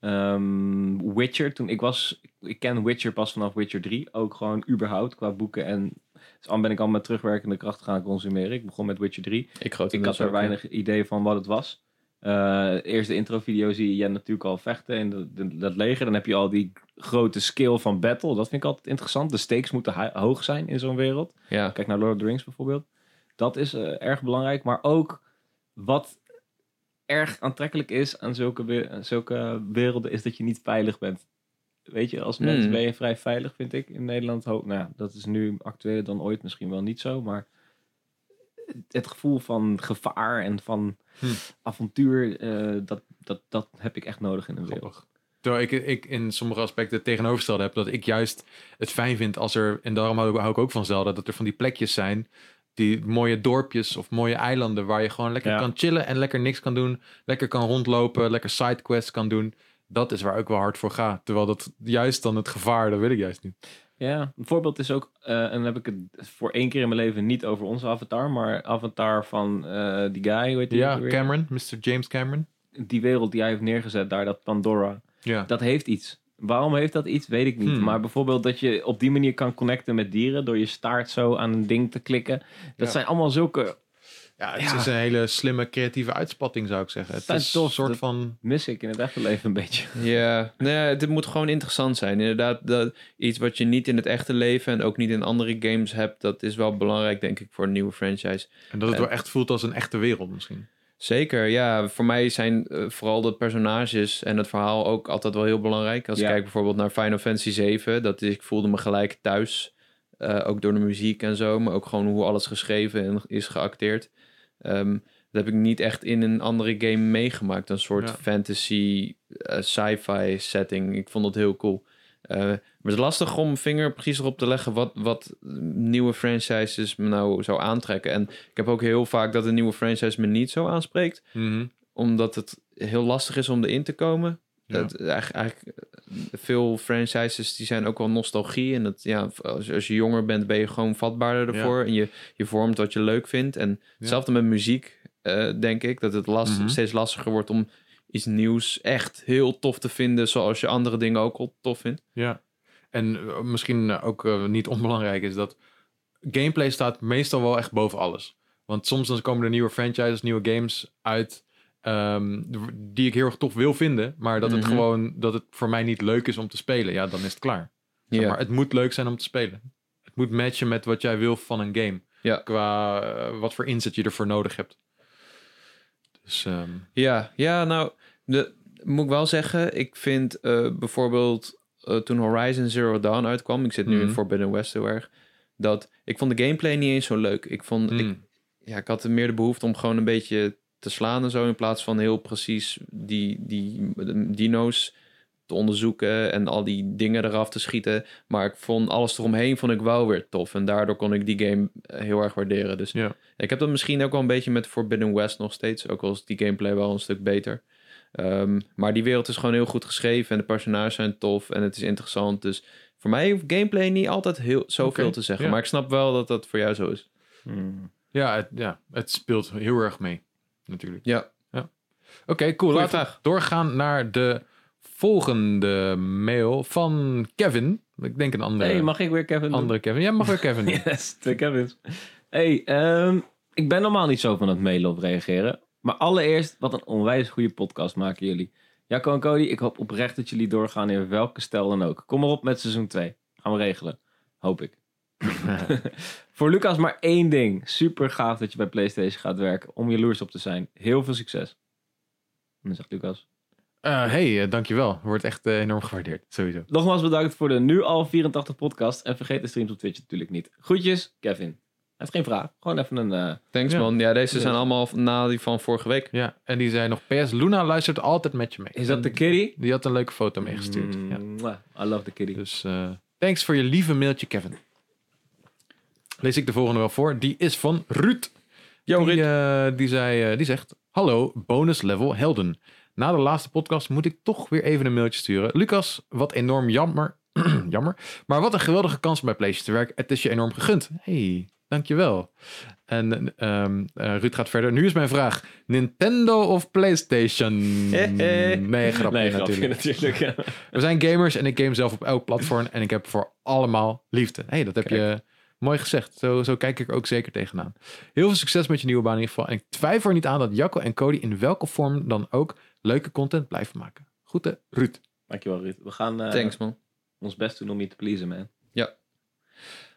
S2: Ehm, Witcher, toen ik was, ik ken Witcher pas vanaf Witcher 3, ook gewoon überhaupt qua boeken en dus al ben ik al met terugwerkende kracht gaan consumeren. Ik begon met Witcher 3.
S3: Ik, groot
S2: Ik had er weinig idee van wat het was. Eh eerst de introvideo zie je natuurlijk al vechten in de- de- dat leger. Dan heb je al die grote skill van battle. Dat vind ik altijd interessant. De stakes moeten hi- hoog zijn in zo'n wereld.
S3: Ja.
S2: Kijk naar Lord of the Rings bijvoorbeeld. Dat is eh, erg belangrijk. Maar ook wat erg aantrekkelijk is aan zulke, we- aan zulke werelden... is dat je niet veilig bent. Weet je, als mens
S3: Hmm.
S2: ben je vrij veilig, vind ik. In Nederland, ho- nou, ja, dat is nu actueler dan ooit misschien wel niet zo. Maar het gevoel van gevaar en van
S1: Hm.
S2: avontuur, eh, dat, dat, dat heb ik echt nodig in een wereld.
S1: Grappig. Terwijl ik, ik in sommige aspecten het tegenovergestelde heb. Dat ik juist het fijn vind als er, en daarom hou hou ik ook van Zelda, dat er van die plekjes zijn. Die mooie dorpjes of mooie eilanden waar je gewoon lekker
S2: Ja.
S1: kan chillen en lekker niks kan doen. Lekker kan rondlopen, lekker sidequests kan doen. Dat is waar ik wel hard voor ga. Terwijl dat juist dan het gevaar, dat wil ik juist niet.
S2: Ja, een voorbeeld is ook, eh, en dan heb ik het voor één keer in mijn leven niet over onze avatar, maar avatar van eh, die guy, hoe heet die
S1: Ja,
S2: ook weer?
S1: Cameron, Mr. James Cameron.
S2: Die wereld die hij heeft neergezet daar, dat Pandora,
S1: Ja,
S2: dat heeft iets. Waarom heeft dat iets, weet ik niet.
S1: Hmm.
S2: Maar bijvoorbeeld dat je op die manier kan connecten met dieren door je staart zo aan een ding te klikken. Dat
S1: Ja.
S2: zijn allemaal zulke,
S1: ja het
S2: Ja.
S1: is een hele slimme creatieve uitspatting zou ik zeggen. Het
S2: Dat is
S1: is een
S2: tof,
S1: soort
S2: dat-
S1: van...
S2: mis ik in het echte leven een beetje.
S3: Ja, nee, dit moet gewoon interessant zijn. Inderdaad, dat, iets wat je niet in het echte leven en ook niet in andere games hebt, dat is wel belangrijk, denk ik, voor een nieuwe franchise.
S1: En dat het wel echt voelt als een echte wereld misschien.
S3: Zeker, ja. Voor mij zijn eh, vooral de personages en het verhaal ook altijd wel heel belangrijk. Als
S2: Ja.
S3: ik kijk bijvoorbeeld naar Final Fantasy 7, dat is, ik voelde me gelijk thuis. Eh, ook door de muziek en zo, maar ook gewoon hoe alles geschreven en is geacteerd. Ehm, dat heb ik niet echt in een andere game meegemaakt. Een soort
S1: Ja.
S3: fantasy, eh, sci-fi setting. Ik vond dat heel cool. Eh, maar het is lastig om vinger precies erop te leggen wat, wat nieuwe franchises me nou zou aantrekken. En ik heb ook heel vaak dat een nieuwe franchise me niet zo aanspreekt
S1: Mhm.
S3: omdat het heel lastig is om erin te komen.
S1: Ja.
S3: Het, eigenlijk, eigenlijk, eh, veel franchises die zijn ook wel nostalgie. En dat, ja, als, als je jonger bent, ben je gewoon vatbaarder
S1: Ja.
S3: ervoor. En je, je vormt wat je leuk vindt. En hetzelfde met muziek, eh, denk ik. Dat het last,
S1: Mhm.
S3: steeds lastiger wordt om iets nieuws echt heel tof te vinden. Zoals je andere dingen ook al tof vindt.
S1: Ja. En eh, misschien eh, ook eh, niet onbelangrijk is dat gameplay staat meestal wel echt boven alles. Want soms dan komen er nieuwe franchises, nieuwe games uit ehm, die ik heel erg tof wil vinden, maar dat het
S3: Mhm.
S1: gewoon dat het voor mij niet leuk is om te spelen. Ja, dan is het klaar. Zeg
S3: Ja.
S1: Maar het moet leuk zijn om te spelen. Het moet matchen met wat jij wil van een game.
S3: Ja.
S1: Qua eh, wat voor inzet je ervoor nodig hebt. Dus ehm,
S3: Ja, ja, nou, de, moet ik wel zeggen, ik vind eh, bijvoorbeeld eh, toen Horizon Zero Dawn uitkwam, ik zit nu in
S1: Mhm.
S3: Forbidden West heel erg, dat ik vond de gameplay niet eens zo leuk. Ik vond, ik,
S1: Mm.
S3: ja, ik had meer de behoefte om gewoon een beetje te slaan en zo, in plaats van heel precies die, die dino's te onderzoeken en al die dingen eraf te schieten. Maar ik vond alles eromheen vond ik wel weer tof en daardoor kon ik die game eh, heel erg waarderen. Dus
S1: Ja.
S3: ik heb dat misschien ook wel een beetje met Forbidden West nog steeds, ook al is die gameplay wel een stuk beter. Ehm, maar die wereld is gewoon heel goed geschreven en de personages zijn tof en het is interessant. Dus voor mij hoeft gameplay niet altijd heel, zoveel
S1: Oké,
S3: te zeggen.
S1: ja.
S3: Maar ik snap wel dat dat voor jou zo is.
S1: Hmm. Ja, het, ja, het speelt heel erg mee. Natuurlijk.
S3: Ja.
S1: Oké, cool.
S3: Goeie
S1: Laten we
S3: vraag.
S1: doorgaan naar de volgende mail van Kevin. Ik denk een andere,
S2: Hey, mag ik weer Kevin doen?
S1: andere Kevin. Ja, mag wel Kevin. doen.
S2: Yes, twee Kevins. Hey, ehm, ik ben normaal niet zo van het mailen of reageren. Maar allereerst, wat een onwijs goede podcast maken jullie. Jacco en Cody, ik hoop oprecht dat jullie doorgaan in welke stijl dan ook. Kom maar op met seizoen 2. Gaan we regelen. Hoop ik. Voor Lucas maar één ding. Super gaaf dat je bij PlayStation gaat werken om jaloers op te zijn. Heel veel succes. En dan zegt Lucas.
S1: Eh, hey, eh, dankjewel. Wordt echt eh, enorm gewaardeerd. Sowieso.
S2: Nogmaals bedankt voor de nu al 84 podcast. En vergeet de streams op Twitch natuurlijk niet. Groetjes, Kevin. Hij heeft geen vraag. Gewoon even een... eh,
S3: Thanks
S1: Ja.
S3: man. Ja, deze
S2: Ja.
S3: zijn allemaal na die van vorige week.
S1: Ja, en die zei nog PS, Luna luistert altijd met je mee.
S2: Is Mm. dat de
S1: En
S2: kitty?
S1: Die had een leuke foto meegestuurd. Ja.
S2: Mwah, I love the kitty.
S1: Dus eh, thanks voor je lieve mailtje, Kevin. Lees ik de volgende wel voor. Die is van Ruud.
S3: Yo,
S1: die,
S3: Ruud.
S1: eh, die, zei, eh, die zegt: Hallo, bonus level helden. Na de laatste podcast moet ik toch weer even een mailtje sturen. Lucas, wat enorm jammer. jammer. Maar wat een geweldige kans om bij Playstation te werken. Het is je enorm gegund. hey, dankjewel. En ehm eh, Ruud gaat verder. Nu is mijn vraag: Nintendo of PlayStation? Nee, grapje
S2: nee, grapje
S1: natuurlijk.
S2: natuurlijk. ja.
S1: We zijn gamers en ik game zelf op elk platform. En ik heb voor allemaal liefde. hey, dat heb je mooi gezegd. Zo, zo kijk ik er ook zeker tegenaan. Heel veel succes met je nieuwe baan in ieder geval. En ik twijfel er niet aan dat Jacco en Cody in welke vorm dan ook leuke content blijven maken. Goed hè, Ruud?
S2: Dankjewel, Ruud. We gaan eh,
S3: Thanks man.
S2: ons best doen om je te pleasen, man.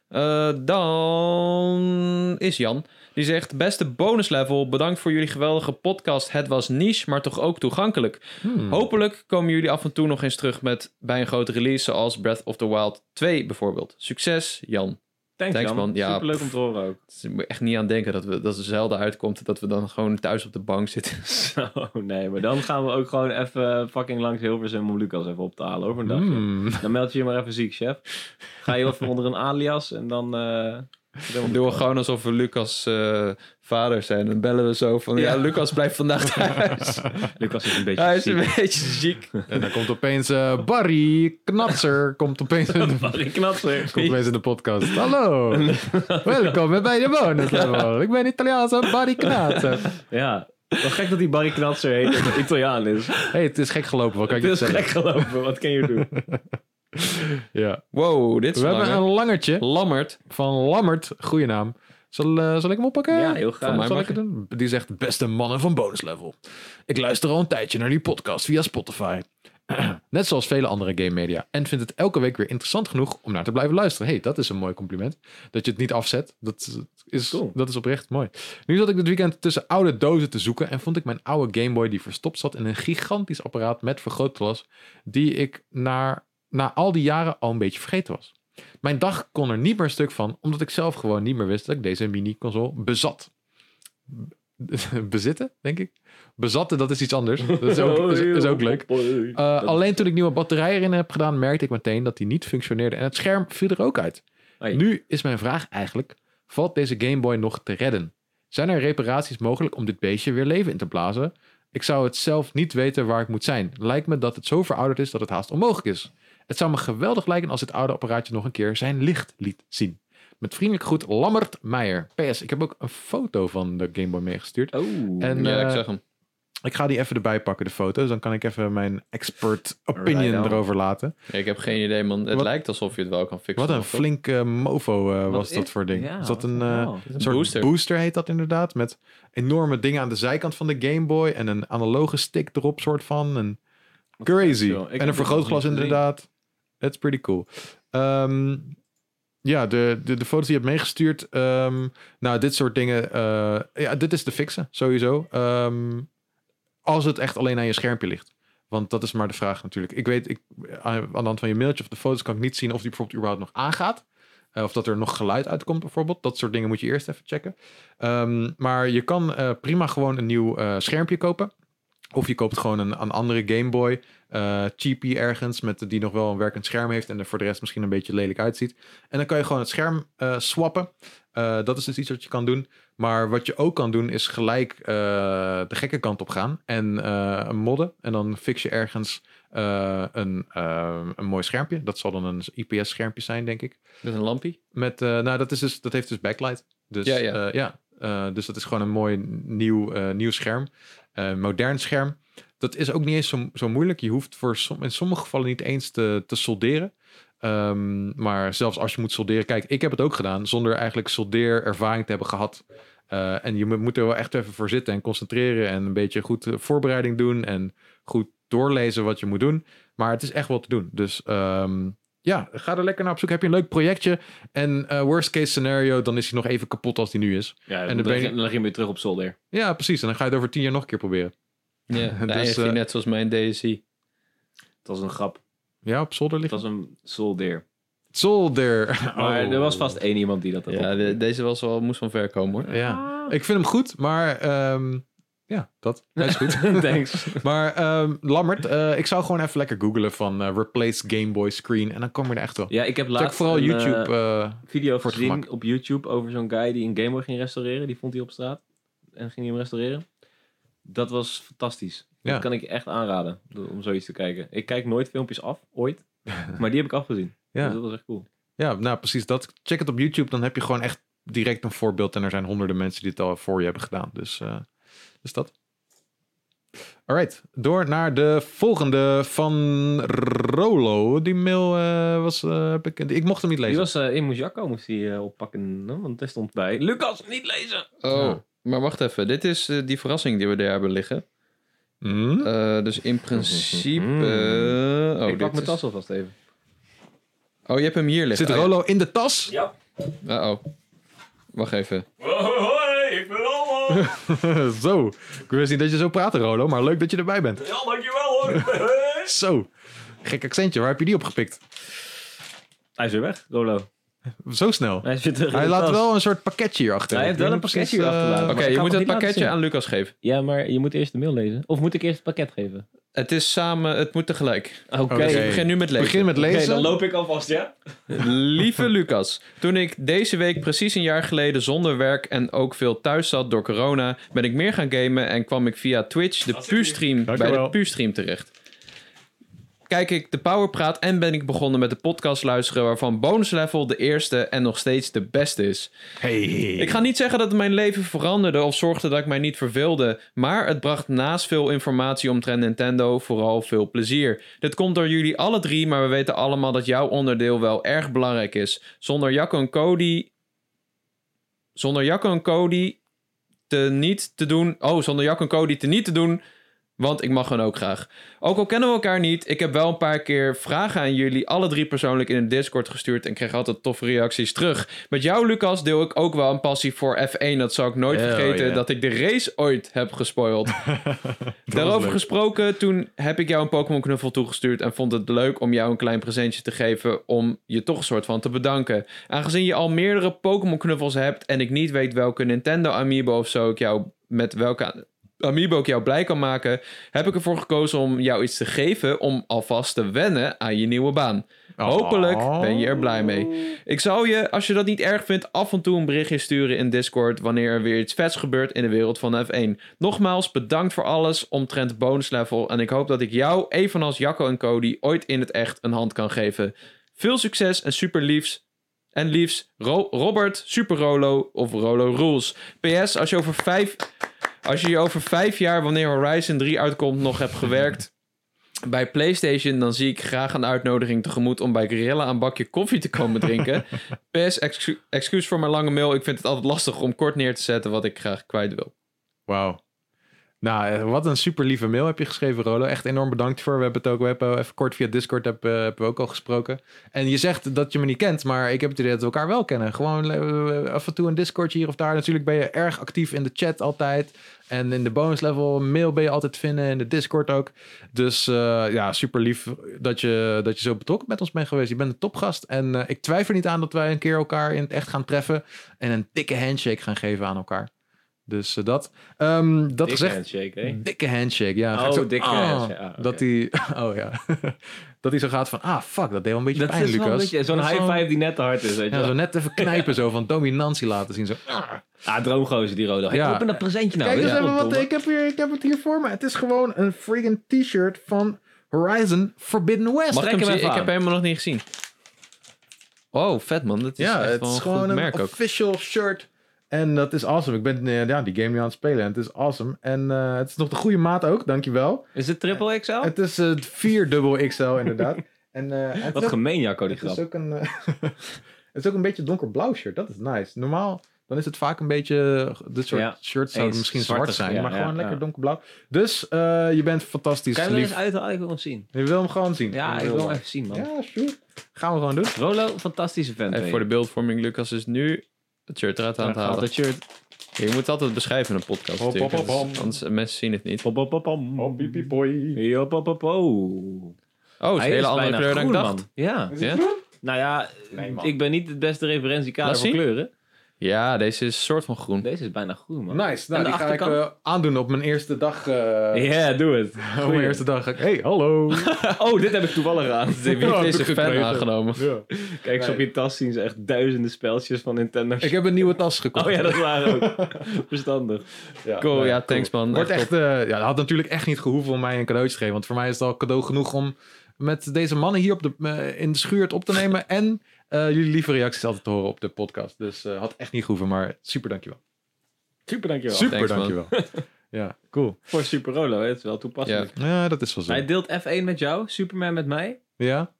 S3: Eh, dan is Jan. Die zegt, beste bonuslevel, bedankt voor jullie geweldige podcast. Het was niche, maar toch ook toegankelijk.
S2: Hm.
S1: Oh,
S3: Hopelijk komen jullie af en toe nog eens terug met, bij een grote release, zoals Breath of the Wild 2 bijvoorbeeld. Succes, Jan.
S2: Thanks,
S3: Thanks,
S2: man.
S3: man. Ja,
S2: Superleuk om
S3: pff.
S2: te horen ook.
S3: Dus ik moet echt niet aan denken dat, we, dat het zelden uitkomt dat we dan gewoon thuis op de bank zitten.
S2: Zo, nee, maar dan gaan we ook gewoon even fucking langs Hilversum om Lucas even op te halen over een dagje.
S1: Hmm.
S2: Dan meld je je maar even ziek, chef. Ga je even onder een alias en dan... eh,
S3: Dan doen we gewoon alsof we Lucas eh, vader zijn. Dan bellen we zo van, ja,
S2: Ja.
S3: Lucas blijft vandaag thuis.
S2: Lucas is een beetje
S3: Hij is
S2: ziek.
S3: een beetje ziek.
S1: En dan komt opeens eh, Barry Knatser. komt opeens in de,
S2: Barry Knatser.
S1: komt opeens in de podcast. Hallo, welkom bij de bonus level. Ik ben Italiaanse Barry Knatser.
S2: Ja, wel gek dat die Barry Knatser heet en een Italiaan is.
S1: hey, het is gek gelopen. Wat kan ik
S2: Het
S1: je
S2: is
S1: zeggen?
S2: gek gelopen, wat kan je doen?
S1: Ja.
S3: Wow, dit is
S1: We hebben
S3: lang, hè?
S1: een langertje.
S3: Lammert.
S1: van Lammert. Goeie naam. Zal, eh, zal ik hem oppakken?
S2: Ja, heel graag.
S1: Van mij
S3: Zal
S1: mag
S3: ik
S1: ik doen? Die zegt, beste mannen van bonus level. Ik luister al een tijdje naar die podcast via Spotify. Net zoals vele andere game media. En vind het elke week weer interessant genoeg om naar te blijven luisteren. hey, dat is een mooi compliment. Dat je het niet afzet. Dat is,
S2: Cool.
S1: dat is oprecht mooi. Nu zat ik dit weekend tussen oude dozen te zoeken. En vond ik mijn oude Game Boy die verstopt zat in een gigantisch apparaat met vergrootglas. Die ik naar, na al die jaren al een beetje vergeten was. Mijn dag kon er niet meer stuk van, omdat ik zelf gewoon niet meer wist dat ik deze mini-console bezat. Bezitten, denk ik. Bezatten, dat is iets anders. Dat is
S2: Oh,
S1: ook, is, is ook leuk. Eh, alleen toen ik nieuwe batterijen erin heb gedaan, merkte ik meteen dat die niet functioneerde en het scherm viel er ook uit.
S2: Hey.
S1: Nu is mijn vraag eigenlijk: valt deze Game Boy nog te redden? Zijn er reparaties mogelijk om dit beestje weer leven in te blazen? Ik zou het zelf niet weten waar ik moet zijn. Lijkt me dat het zo verouderd is dat het haast onmogelijk is. Het zou me geweldig lijken als dit oude apparaatje nog een keer zijn licht liet zien. Met vriendelijk groet Lammert Meijer. PS, ik heb ook een foto van de Game Boy meegestuurd.
S2: Oh.
S1: En
S3: ja, ik
S1: eh,
S3: zeg hem.
S1: ik ga die even erbij pakken, de foto's. Dan kan ik even mijn expert opinion
S2: Right on.
S1: erover laten.
S3: Ja, ik heb geen idee, man. Het
S1: Wat-
S3: lijkt alsof je het wel kan fixen.
S1: Wat een
S3: of zo.
S1: flinke mofo eh, was
S2: is-
S1: dat voor ding.
S2: Ja,
S1: is dat een
S2: wat
S1: eh,
S2: nou?
S3: Een
S1: soort
S3: booster.
S1: booster. heet dat inderdaad. Met enorme dingen aan de zijkant van de Game Boy. En een analoge stick erop soort van. En
S2: Wat
S1: crazy.
S2: vet, joh. Ik heb
S1: en een
S2: dit nog
S1: vergrootglas
S2: niet gezien.
S1: inderdaad. That's pretty cool. Ehm, ja, de, de, de foto's die je hebt meegestuurd. ehm, nou, dit soort dingen. eh, ja, dit is te fixen, sowieso. Ehm, als het echt alleen aan je schermpje ligt. Want dat is maar de vraag natuurlijk. Ik weet, ik, eh, aan de hand van je mailtje of de foto's kan ik niet zien of die bijvoorbeeld überhaupt nog aangaat. Eh, of dat er nog geluid uitkomt bijvoorbeeld. Dat soort dingen moet je eerst even checken. Ehm, maar je kan eh, prima gewoon een nieuw eh, schermpje kopen. Of je koopt gewoon een, een andere Game Boy eh cheapie ergens, met, die nog wel een werkend scherm heeft en er voor de rest misschien een beetje lelijk uitziet. En dan kan je gewoon het scherm eh, swappen. Eh, dat is dus iets wat je kan doen. Maar wat je ook kan doen, is gelijk eh, de gekke kant op gaan en eh, modden. En dan fix je ergens eh, een, eh, een mooi schermpje. Dat zal dan een IPS-schermpje zijn, denk ik.
S3: Met een lampje.
S1: Met, eh, nou, dat, is dus, dat heeft dus backlight. Dus,
S3: Ja,
S1: ja,
S3: ja.
S1: ja. Eh, dus dat is gewoon een mooi nieuw, eh, nieuw scherm. Eh, modern scherm. Dat is ook niet eens zo, zo moeilijk. Je hoeft voor som- in sommige gevallen niet eens te, te solderen. Ehm, maar zelfs als je moet solderen... Kijk, ik heb het ook gedaan zonder eigenlijk soldeerervaring te hebben gehad. Eh, en je moet- moet er wel echt even voor zitten en concentreren... en een beetje goed eh, voorbereiding doen... en goed doorlezen wat je moet doen. Maar het is echt wel te doen. Dus ehm, ja, ga er lekker naar op zoek. Heb je een leuk projectje? En eh, worst case scenario, dan is hij nog even kapot als hij nu is.
S2: Ja,
S1: dan
S2: dan,
S1: ben
S2: leg
S1: je-
S2: je, dan leg je hem weer terug op zolder.
S1: Ja, precies. En dan ga je het over tien jaar nog een keer proberen.
S3: Ja,
S1: Dus,
S3: nou, eigenlijk
S1: eh,
S3: net zoals mijn DSI.
S2: Dat was een grap.
S1: Ja, op zolder
S2: Dat
S1: ligt
S2: was een solder.
S1: Zolder.
S2: Maar
S1: Oh.
S2: er was vast één iemand die dat had
S3: Ja,
S2: op-
S3: de- deze was wel, moest van ver komen hoor.
S1: Ja, ik vind hem goed, maar ehm, ja, dat. Hij is goed.
S2: Thanks.
S1: maar ehm, Lammert, eh, ik zou gewoon even lekker googlen van eh, replace Game Boy screen. En dan kom je er echt wel.
S2: Ja, ik heb
S1: Check
S2: laatst
S1: vooral
S2: een,
S1: YouTube.
S2: eh,
S1: eh,
S2: video
S1: voor het
S2: gezien
S1: gemak.
S2: op YouTube over zo'n guy die een Game Boy ging restaureren. Die vond hij op straat en ging hem restaureren. Dat was fantastisch.
S1: Ja.
S2: Dat kan ik je echt aanraden om zoiets te kijken. Ik kijk nooit filmpjes af, ooit. Maar die heb ik afgezien.
S1: ja.
S2: Dus dat was echt cool.
S1: ja, nou precies dat. Check het op YouTube, dan heb je gewoon echt direct een voorbeeld. En er zijn honderden mensen die het al voor je hebben gedaan. Dus, eh dus dat. Alright, door naar de volgende van Rolo. Die mail eh, was... eh, heb ik, ik mocht hem niet
S2: Die
S1: lezen.
S2: was eh in Mojako, moest hij eh, oppakken. no? Want daar stond bij. Lucas, niet lezen!
S3: Oh,
S1: Ja.
S3: maar wacht even. Dit is eh, die verrassing die we daar hebben liggen.
S1: Hm?
S3: Eh, dus in principe...
S1: Hmm.
S2: Mm.
S3: eh, oh, dit
S2: ik pak mijn
S3: is-
S2: tas alvast even.
S3: Oh, je hebt hem hier
S2: eh,
S3: liggen.
S1: Zit Rolo in de tas?
S2: Ja.
S3: oh Wacht even.
S2: Hoi, ik ben Rolo!
S1: zo, ik wist niet dat je zo praatte Rolo, maar leuk dat je erbij bent.
S2: Ja, dankjewel hoor!
S1: Zo, gek accentje, waar heb je die opgepikt?
S2: Hij is weer weg, Rolo.
S1: Zo snel.
S2: Hij is weer terug in
S1: Hij
S2: de
S1: laat
S2: tas.
S1: wel een soort pakketje hierachter.
S2: Hij heeft
S1: Ik weet
S2: wel een
S1: niet
S2: pakketje
S1: precies,
S2: hierachter
S1: eh,
S2: laten.
S3: Oké,
S2: ik
S3: je
S2: kan
S3: moet dat
S2: het niet laten
S3: pakketje
S2: zien.
S3: aan Lucas geven.
S2: Ja, maar je moet eerst de mail lezen. Of moet ik eerst het pakket geven?
S3: Het is samen, het moet tegelijk.
S2: Oké.
S1: Oké.
S3: Dus ik begin nu met lezen.
S1: Begin met lezen.
S2: ik alvast, ja?
S3: Lieve Lucas, toen ik deze week precies een jaar geleden zonder werk en ook veel thuis zat door corona, ben ik meer gaan gamen en kwam ik via Twitch de puurstream, bij de
S1: Dankjewel.
S3: puurstream terecht. Kijk ik de Powerpraat en ben ik begonnen met de podcast luisteren waarvan Bonus Level de eerste en nog steeds de beste is.
S1: Hey.
S3: Ik ga niet zeggen dat het mijn leven veranderde of zorgde dat ik mij niet verveelde, maar het bracht naast veel informatie omtrent Nintendo vooral veel plezier. Dit komt door jullie alle drie, maar we weten allemaal dat jouw onderdeel wel erg belangrijk is. Zonder Jacco en Cody. Zonder Jacco en Cody te niet te doen. Oh, zonder Jacco en Cody te niet te doen. Want ik mag hen ook graag. Ook al kennen we elkaar niet, ik heb wel een paar keer vragen aan jullie alle drie persoonlijk in de Discord gestuurd en kreeg altijd toffe reacties terug. Met jou, Lucas, deel ik ook wel een passie voor F1. Dat zal ik nooit
S1: Hell
S3: vergeten
S1: yeah.
S3: dat ik de race ooit heb gespoild. Daarover gesproken, toen heb ik jou een Pokémon knuffel toegestuurd en vond het leuk om jou een klein presentje te geven om je toch een soort van te bedanken. Aangezien je al meerdere Pokémon knuffels hebt en ik niet weet welke Nintendo Amiibo of zo ik jou met welke Amiibo ik jou blij kan maken, heb ik ervoor gekozen om jou iets te geven om alvast te wennen aan je nieuwe baan.
S1: Oh.
S3: Hopelijk ben je er blij mee. Ik zal je, als je dat niet erg vindt, af en toe een berichtje sturen in Discord wanneer er weer iets vets gebeurt in de wereld van F1. Nogmaals, bedankt voor alles omtrent bonus level en ik hoop dat ik jou, evenals Jacco en Cody, ooit in het echt een hand kan geven. Veel succes en super liefs. En liefs Ro- Robert, Super Rolo of Rolo Rules. PS, als je over vijf, als je je over vijf jaar, wanneer Horizon 3 uitkomt, nog hebt gewerkt bij PlayStation, dan zie ik graag een uitnodiging tegemoet om bij Guerrilla een bakje koffie te komen drinken. PS, excu- excuus voor mijn lange mail. Ik vind het altijd lastig om kort neer te zetten wat ik graag kwijt wil.
S1: Wauw. Nou, eh, wat een super lieve mail heb je geschreven, Rolo. Echt enorm bedankt voor. We hebben het ook we hebben even kort via Discord heb, eh, hebben we ook al gesproken. En je zegt dat je me niet kent, maar ik heb het idee dat we elkaar wel kennen. Gewoon eh, af en toe een Discordje hier of daar. Natuurlijk ben je erg actief in de chat altijd. En in de bonus level mail ben je altijd te vinden. In de Discord ook. Dus eh, ja, super lief dat je, dat je zo betrokken met ons bent geweest. Je bent een topgast. En eh, ik twijfel niet aan dat wij een keer elkaar in het echt gaan treffen. En een dikke handshake gaan geven aan elkaar. Dus eh, dat. Ehm, dat
S2: Dikke
S1: gezegd. Hmm.
S2: handshake, hè?
S1: Dikke handshake, ja. Ga ik
S2: Oh,
S1: zo-
S2: dikke
S1: Ah.
S2: handshake, ah, oké.
S1: Dat hij, oh ja, dat hij zo gaat van, ah fuck, dat deed wel een beetje
S2: Dat
S1: pijn,
S2: is wel een
S1: Lucas.
S2: beetje zo'n
S1: Dat is
S2: high
S1: zo'n-
S2: five die net te hard is, weet je
S1: Ja,
S2: wel.
S1: zo net even knijpen zo, van dominantie laten zien. Zo. oh,
S2: Ah, droomgozer die rode.
S1: Ja.
S2: Ja. Open dat presentje nou.
S1: Kijk eens
S2: ja.
S1: even wat,
S2: Verdomme.
S1: ik heb, hier, ik heb het hier voor me. Het is gewoon een freaking t-shirt van Horizon Forbidden West.
S3: Mag ik hem
S2: Trek hem
S3: zien?
S2: even
S3: Ik
S2: aan.
S3: heb hem helemaal nog niet gezien. Oh, vet man. Dat is
S1: ja,
S3: echt
S1: het
S3: wel
S1: is
S3: een
S1: gewoon
S3: goed
S1: een
S3: merk ook.
S1: official shirt. En dat is awesome. Ik ben eh, ja, die game nu aan het spelen en het is awesome. En eh, het is nog de goede maat ook, dankjewel.
S2: Is het triple XL?
S1: Het is eh, 4 dubbel XL inderdaad. en, eh, en het is
S2: Wat
S1: ook-
S2: gemeen, Jacco, die
S1: Het is
S2: grap.
S1: ook een, eh, het is ook een beetje donkerblauw shirt. Dat is nice. Normaal dan is het vaak een beetje eh, dit soort
S2: Ja,
S1: shirts zouden
S2: eens
S1: misschien zwart
S2: zwartig,
S1: zijn,
S2: ja,
S1: maar
S2: ja,
S1: gewoon
S2: ja.
S1: lekker donkerblauw. Dus eh, je bent fantastisch
S2: Kan je hem eens
S1: lief.
S2: uit de icon zien?
S1: Je wil hem gewoon zien.
S2: Ja, ik wil hem even zien, man.
S1: Ja, sure. Gaan we gewoon doen.
S2: Rolo, fantastische vent.
S3: Even
S2: weet
S3: voor de
S2: je.
S3: beeldvorming, Lucas is nu het shirt eruit aan het
S2: Haalt
S3: halen.
S2: dat shirt.
S3: Je moet het altijd beschrijven in een podcast
S1: Hop,
S3: natuurlijk,
S1: hop, hop,
S3: anders- anders eh, mensen zien het niet.
S2: Pop, pop, pop, pom.
S1: Oh, boy.
S2: Yo, pop, pop, oh.
S3: Oh, het is een hele andere kleur dan ik dacht.
S2: Ja.
S3: Ja?
S2: Nou ja, ik ben niet het beste referentiekader
S3: Laat
S2: voor
S3: zien.
S2: kleuren.
S3: ja, deze is een soort van groen.
S2: Deze is bijna groen, man.
S1: Nice. Nou,
S2: de
S1: die ga ik
S2: achterkant?
S1: eh, aandoen op mijn eerste dag. eh,
S2: Ja, doe het.
S1: op mijn eerste dag. ga ik- Hey, hallo.
S2: Oh, dit heb ik toevallig aan. Oh,
S1: Ja,
S3: Wie heeft
S1: heb
S3: deze
S1: ik
S3: fan
S1: gekregen.
S3: aangenomen?
S1: Ja.
S2: Kijk, eens op je tas zien ze echt duizenden speltjes van Nintendo.
S1: Ik heb een nieuwe tas gekocht.
S2: Oh ja, dat waren ook. Verstandig.
S1: Ja.
S3: Cool,
S1: Nee,
S3: ja, thanks man.
S1: Wordt
S3: Echt
S1: echt, eh, ja, dat had natuurlijk echt niet gehoeven om mij een cadeautje te geven. Want voor mij is het al cadeau genoeg om met deze mannen hier op de, eh, in de schuur het op te nemen. en eh, jullie lieve reacties altijd te horen op de podcast. Dus eh, had echt niet gehoeven, maar super dankjewel.
S2: Super, dankjewel.
S1: Super
S3: Thanks, man.
S1: dankjewel. ja, cool.
S2: Voor Super Rolo, hè. het is wel toepasselijk.
S1: Ja, dat is wel zo.
S2: Hij deelt F1 met jou, Superman met mij.
S1: Ja.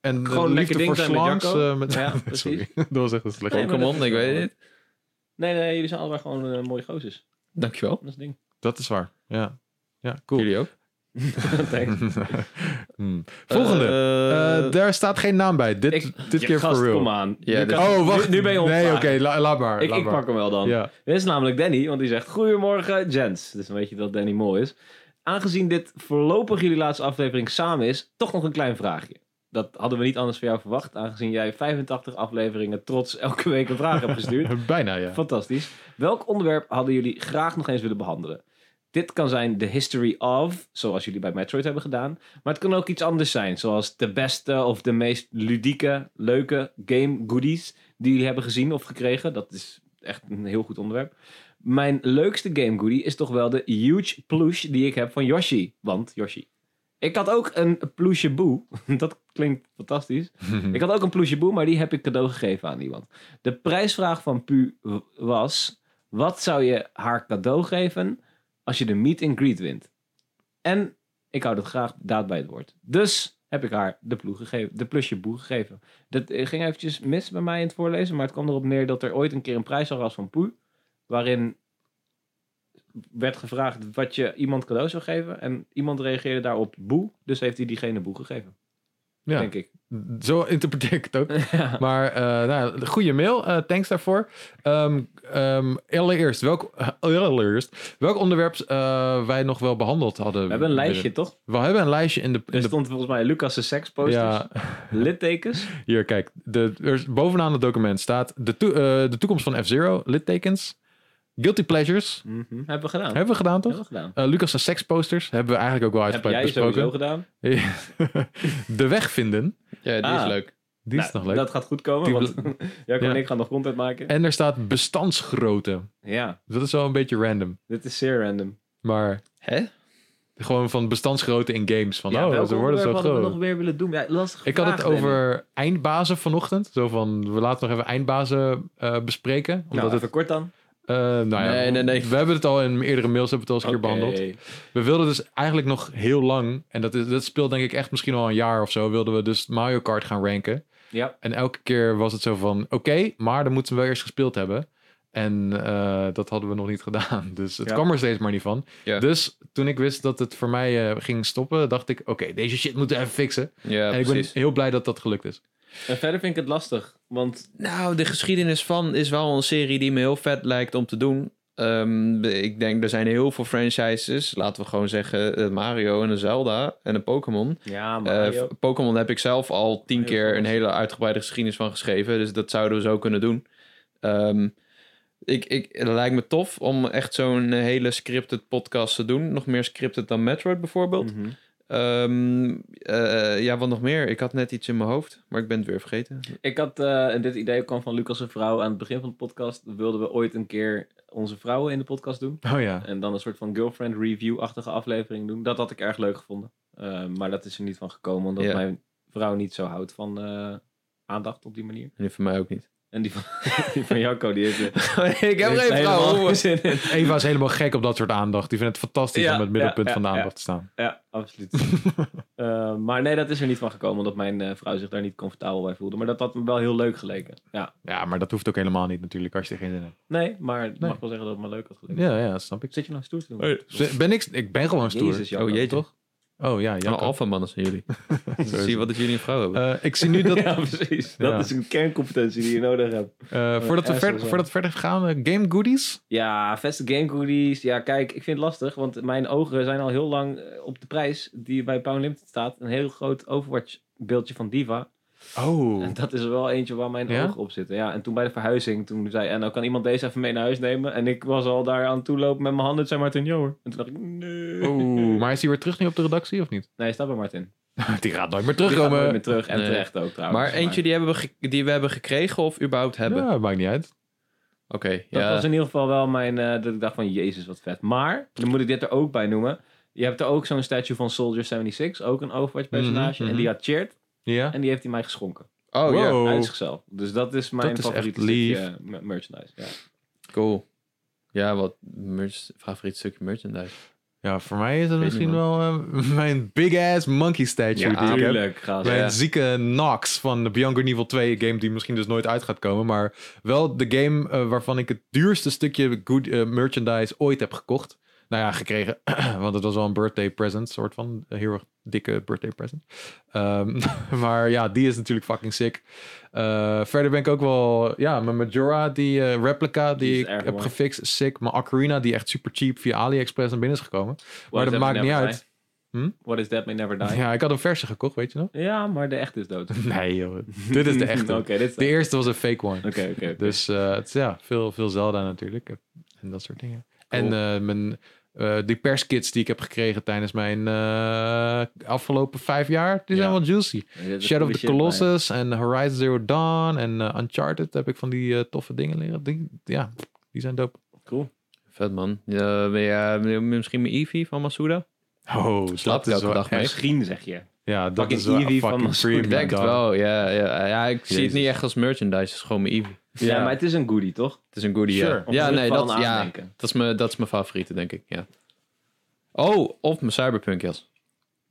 S1: En
S2: Gewoon
S1: eh,
S2: lekker
S1: liefde
S2: ding
S1: voor
S2: zijn met
S1: slangs.
S2: Jacco.
S1: eh, met...
S2: Ja,
S1: Sorry,
S2: precies.
S1: dat was echt een slecht.
S2: Nee, maar dat
S3: Pokémon,
S2: is
S3: ik weet
S2: wel-
S3: het.
S2: Nee, nee, jullie zijn allebei gewoon eh, mooie gozers.
S3: Dankjewel.
S2: Dat is het ding.
S1: Dat is waar. Ja, ja cool.
S3: Jullie ook.
S2: Thanks.
S1: Hmm. Volgende.
S3: Eh,
S1: Eh, daar staat geen naam bij. Dit,
S2: Ik-
S1: dit
S2: Ja,
S1: keer
S2: gast,
S1: voor real.
S2: Kom aan.
S3: Ja,
S2: Nu
S3: dit-
S2: kan-
S1: Oh, wacht.
S2: dus- Nu, nu ben je
S1: Nee, oké,
S2: ontslagen.
S1: la- laat maar.
S2: Ik,
S1: laat
S2: ik
S1: maar.
S2: pak hem wel dan.
S1: Ja.
S2: Dit is namelijk Danny, want die zegt: Goedemorgen, gents. Dus dan weet je dat Danny Mol is. Aangezien dit voorlopig jullie laatste aflevering samen is, toch nog een klein vraagje. Dat hadden we niet anders van jou verwacht, aangezien jij 85 afleveringen trots elke week een vraag hebt gestuurd.
S1: Bijna, ja.
S2: Fantastisch. Welk onderwerp hadden jullie graag nog eens willen behandelen? Dit kan zijn de history of, zoals jullie bij Metroid hebben gedaan. Maar het kan ook iets anders zijn, zoals de beste of de meest ludieke, leuke game goodies die jullie hebben gezien of gekregen. Dat is echt een heel goed onderwerp. Mijn leukste game goodie is toch wel de huge plush die ik heb van Yoshi. Want Yoshi. Ik had ook een pluche boe. Dat klinkt fantastisch. Ik had ook een pluche boe, maar die heb ik cadeau gegeven aan iemand. De prijsvraag van Pu w- was: wat zou je haar cadeau geven als je de meet and greet wint? En ik hou dat graag daad bij het woord. Dus heb ik haar de, ploeg gegeven, de plusje boe gegeven. Dat eh, ging eventjes mis bij mij in het voorlezen, maar het kwam erop neer dat er ooit een keer een prijs was van Pu, waarin werd gevraagd wat je iemand cadeau zou geven en iemand reageerde daarop boe, dus heeft hij diegene boe gegeven,
S1: Ja.
S2: denk ik.
S1: Zo interpreteer ik het ook.
S2: Ja.
S1: Maar eh nou, goede mail, eh, thanks daarvoor. Ehm, ehm, allereerst, welk, allereerst, welk onderwerp eh, wij nog wel behandeld hadden?
S2: We hebben een lijstje, toch?
S1: We hebben een lijstje in de... In
S2: Er
S1: de
S2: stond volgens mij Lucas' seksposters,
S1: ja,
S2: littekens.
S1: hier, kijk. De, er is- bovenaan het document staat de, toe- eh, de toekomst van F-Zero, littekens, Guilty Pleasures.
S2: Hebben we gedaan.
S1: Hebben we gedaan, toch?
S2: Hebben we gedaan.
S1: Eh, Lucas' seksposters hebben we eigenlijk ook wel
S2: Heb
S1: uitgebreid
S2: jij sowieso
S1: besproken.
S2: gedaan?
S1: de weg vinden,
S3: Ja, die
S2: Ah.
S3: is leuk.
S1: die is
S2: Nou,
S1: nog leuk.
S2: Dat gaat goed komen,
S1: Die
S2: want Jacco
S1: Ja.
S2: en ik gaan nog content maken.
S1: En er staat bestandsgrootte.
S2: Ja,
S1: Dat is wel een beetje random.
S2: dit is zeer random.
S1: Maar
S3: Hè?
S1: gewoon van bestandsgrootte in games. Van, oh,
S2: welke
S1: ze worden zo
S2: onderwerpen hadden we nog
S1: groot.
S2: meer willen doen? Ja, lastig
S1: Ik had het
S2: gevraagd, Danny.
S1: over eindbazen vanochtend. Zo van, we laten nog even eindbazen eh, bespreken. Omdat
S2: Nou,
S1: het,
S2: even kort dan.
S1: eh, nou ja,
S3: Nee, nee, nee.
S1: We hebben het al in eerdere mails hebben we het al eens een keer behandeld. We wilden dus eigenlijk nog heel lang, en dat, is, dat speelt denk ik echt misschien al een jaar of zo, wilden we dus Mario Kart gaan ranken.
S2: Ja.
S1: En elke keer was het zo van, oké, maar dan moeten we wel eerst gespeeld hebben. En eh, dat hadden we nog niet gedaan. Dus het
S2: Ja.
S1: kwam er steeds maar niet van.
S3: Ja.
S1: Dus toen ik wist dat het voor mij eh, ging stoppen, dacht ik: oké, deze shit moeten we even fixen.
S3: Ja,
S1: en ik ben
S3: precies.
S1: heel blij dat dat gelukt is.
S2: En verder vind ik het lastig, want
S3: Nou, de geschiedenis van is wel een serie die me heel vet lijkt om te doen. Ehm, ik denk, er zijn heel veel franchises. Laten we gewoon zeggen eh, Mario en een Zelda en een Pokémon.
S2: ja,
S3: Eh,
S2: Mario.
S3: v- Pokémon heb ik zelf al tien
S2: Mario
S3: keer
S2: Bros.
S3: een hele uitgebreide geschiedenis van geschreven. Dus dat zouden we zo kunnen doen. Ehm, ik, ik, het lijkt me tof om echt zo'n eh, hele scripted podcast te doen. Nog meer scripted dan Metroid bijvoorbeeld.
S2: Mhm.
S3: Ehm, eh, ja, wat nog meer? Ik had net iets in mijn hoofd, maar ik ben het weer vergeten.
S2: Ik had, eh, en dit idee kwam van Lucas' vrouw aan het begin van de podcast, wilden we ooit een keer onze vrouwen in de podcast doen.
S1: Oh ja.
S2: En dan een soort van girlfriend review-achtige aflevering doen. Dat had ik erg leuk gevonden. Eh, maar dat is er niet van gekomen, omdat
S3: Ja.
S2: mijn vrouw niet zo houdt van eh, aandacht op die manier.
S3: En die van mij ook niet.
S2: En die van, die van Jacco, die is er
S3: ik heb geen
S2: helemaal
S3: vrouw.
S2: geen zin in.
S1: Eva is helemaal gek op dat soort aandacht. Die vindt het fantastisch
S2: Ja,
S1: om het middelpunt
S2: ja,
S1: van de
S2: ja,
S1: aandacht te staan.
S2: Ja, absoluut. Eh, maar nee, dat is er niet van gekomen, omdat mijn eh, vrouw zich daar niet comfortabel bij voelde. Maar dat had me wel heel leuk geleken. Ja.
S1: Ja, maar dat hoeft ook helemaal niet natuurlijk als je er geen zin in hebt.
S2: Nee, maar ik mag wel zeggen dat het me leuk had geleken.
S1: Ja, ja, snap ik.
S2: Zit je nou stoer te doen?
S1: Z- Ben ik, ik ben gewoon stoer.
S2: Jezus, Jacco.
S3: Oh jee, toch?
S1: Oh ja, ja.
S3: Ja, alfa mannen zijn jullie. Zie wat dat jullie een vrouw hebben.
S1: Eh, ik zie nu dat,
S2: Ja, precies. Dat
S1: Ja.
S2: is een kerncompetentie die je nodig hebt.
S1: eh, voordat, we
S2: Assholes
S1: ver,
S2: wel.
S1: voordat we verder gaan, eh, game goodies.
S2: Ja, Veste Game Goodies. Ja, kijk, ik vind het lastig, want mijn ogen zijn al heel lang eh, op de prijs die bij Pound Limited staat. Een heel groot Overwatch-beeldje van Diva.
S1: Oh.
S2: En dat is er wel eentje waar mijn
S1: Ja?
S2: ogen op zitten. Ja, en toen bij de verhuizing, toen zei en nou kan iemand deze even mee naar huis nemen? En ik was al daar aan toe lopen met mijn handen, Het zei Martin, joh hoor. En toen dacht ik, nee.
S1: Oeh, maar is hij weer terug nu op de redactie of niet?
S2: Nee, staat bij Martin.
S1: Die gaat nooit meer
S2: Die gaat nooit
S1: terugkomen.
S2: meer terug en
S3: Nee.
S2: terecht ook trouwens.
S3: maar eentje die, hebben we ge- die we hebben gekregen of überhaupt hebben.
S1: Ja, maakt niet uit.
S3: Oké,
S2: Dat
S3: ja.
S2: was in ieder geval wel mijn... eh, dat ik dacht van, jezus, wat vet. Maar, dan moet ik dit er ook bij noemen. Je hebt er ook zo'n statue van Soldier 76. Ook een Overwatch-personage.
S1: Mhm,
S2: En die had cheered.
S1: Ja.
S2: En die heeft hij mij geschonken.
S3: Oh ja,
S1: Wow.
S2: Uit zichzelf. Dus dat is mijn
S1: Dat is echt
S2: favoriete
S1: lief.
S2: stukje, eh, me- merchandise. Ja.
S3: cool. Ja, wat merch, favoriet stukje merchandise.
S1: Ja, voor mij is dat
S3: Weet
S1: misschien
S3: niet,
S1: wel eh, mijn big ass monkey statue
S3: Ja,
S1: die ik heb.
S2: Tuurlijk, gaas.
S1: Mijn
S3: Ja.
S1: zieke Nox van de Beyond Good and Evil 2 game die misschien dus nooit uit gaat komen. Maar wel de game eh, waarvan ik het duurste stukje good eh, merchandise ooit heb gekocht. Nou ja, gekregen. Want het was wel een birthday present, soort van. Een heel erg dikke birthday present. Ehm, maar ja, die is natuurlijk fucking sick. Eh, verder ben ik ook wel... Ja, mijn Majora, die eh, replica die,
S2: Die is
S1: ik
S2: erg
S1: heb
S2: mooi.
S1: gefixt, is sick. Mijn Ocarina, die echt super cheap via AliExpress naar binnen is gekomen.
S2: What
S1: maar
S2: is
S1: dat maakt
S2: May
S1: niet
S2: Never
S1: uit.
S2: Die?
S1: Hm?
S2: What is that may never die? Ja,
S1: Ja, ik had een verse gekocht, weet je nog?
S2: maar de echte is dood.
S1: Nee joh, dit is de echte.
S2: Oké, dit is
S1: De
S2: de
S1: eerste was een fake one.
S2: Oké, oké. oké.
S1: Dus eh, het is ja, veel, veel Zelda natuurlijk. En dat soort dingen. En eh, mijn, eh, die perskits die ik heb gekregen tijdens mijn eh, afgelopen vijf jaar, die zijn
S2: Ja.
S1: wel juicy.
S2: Er
S1: Shadow
S2: zit goede
S1: of the
S2: shit bij.
S1: Colossus en Horizon Zero Dawn en eh, Uncharted heb ik van die eh, toffe dingen leren. Die, ja, die zijn dope.
S2: Cool.
S3: Vet man. Ja, ben je- misschien mijn Eevee van Masuda?
S1: Oh,
S3: Slaapt elke dag mee.
S2: Misschien zeg je.
S1: Ja, dat
S2: Fucking
S1: is wel
S2: Eevee
S1: een
S2: van
S1: fucking
S2: Mascoot.
S1: premium
S3: Ik denk het
S1: dog.
S3: wel, ja. ja, ja ik zie het
S2: Jezus.
S3: niet echt als merchandise, het is gewoon mijn Eevee.
S2: Ja, maar het is een goodie, toch?
S3: Het is een goodie, ja.
S1: Sure.
S2: Om
S3: ja.
S2: in
S3: nee,
S2: ieder geval
S3: dat,
S2: aan
S3: ja,
S2: te denken.
S3: dat, is mijn, dat is mijn favoriete, denk ik, ja. Oh, of mijn Cyberpunk jas.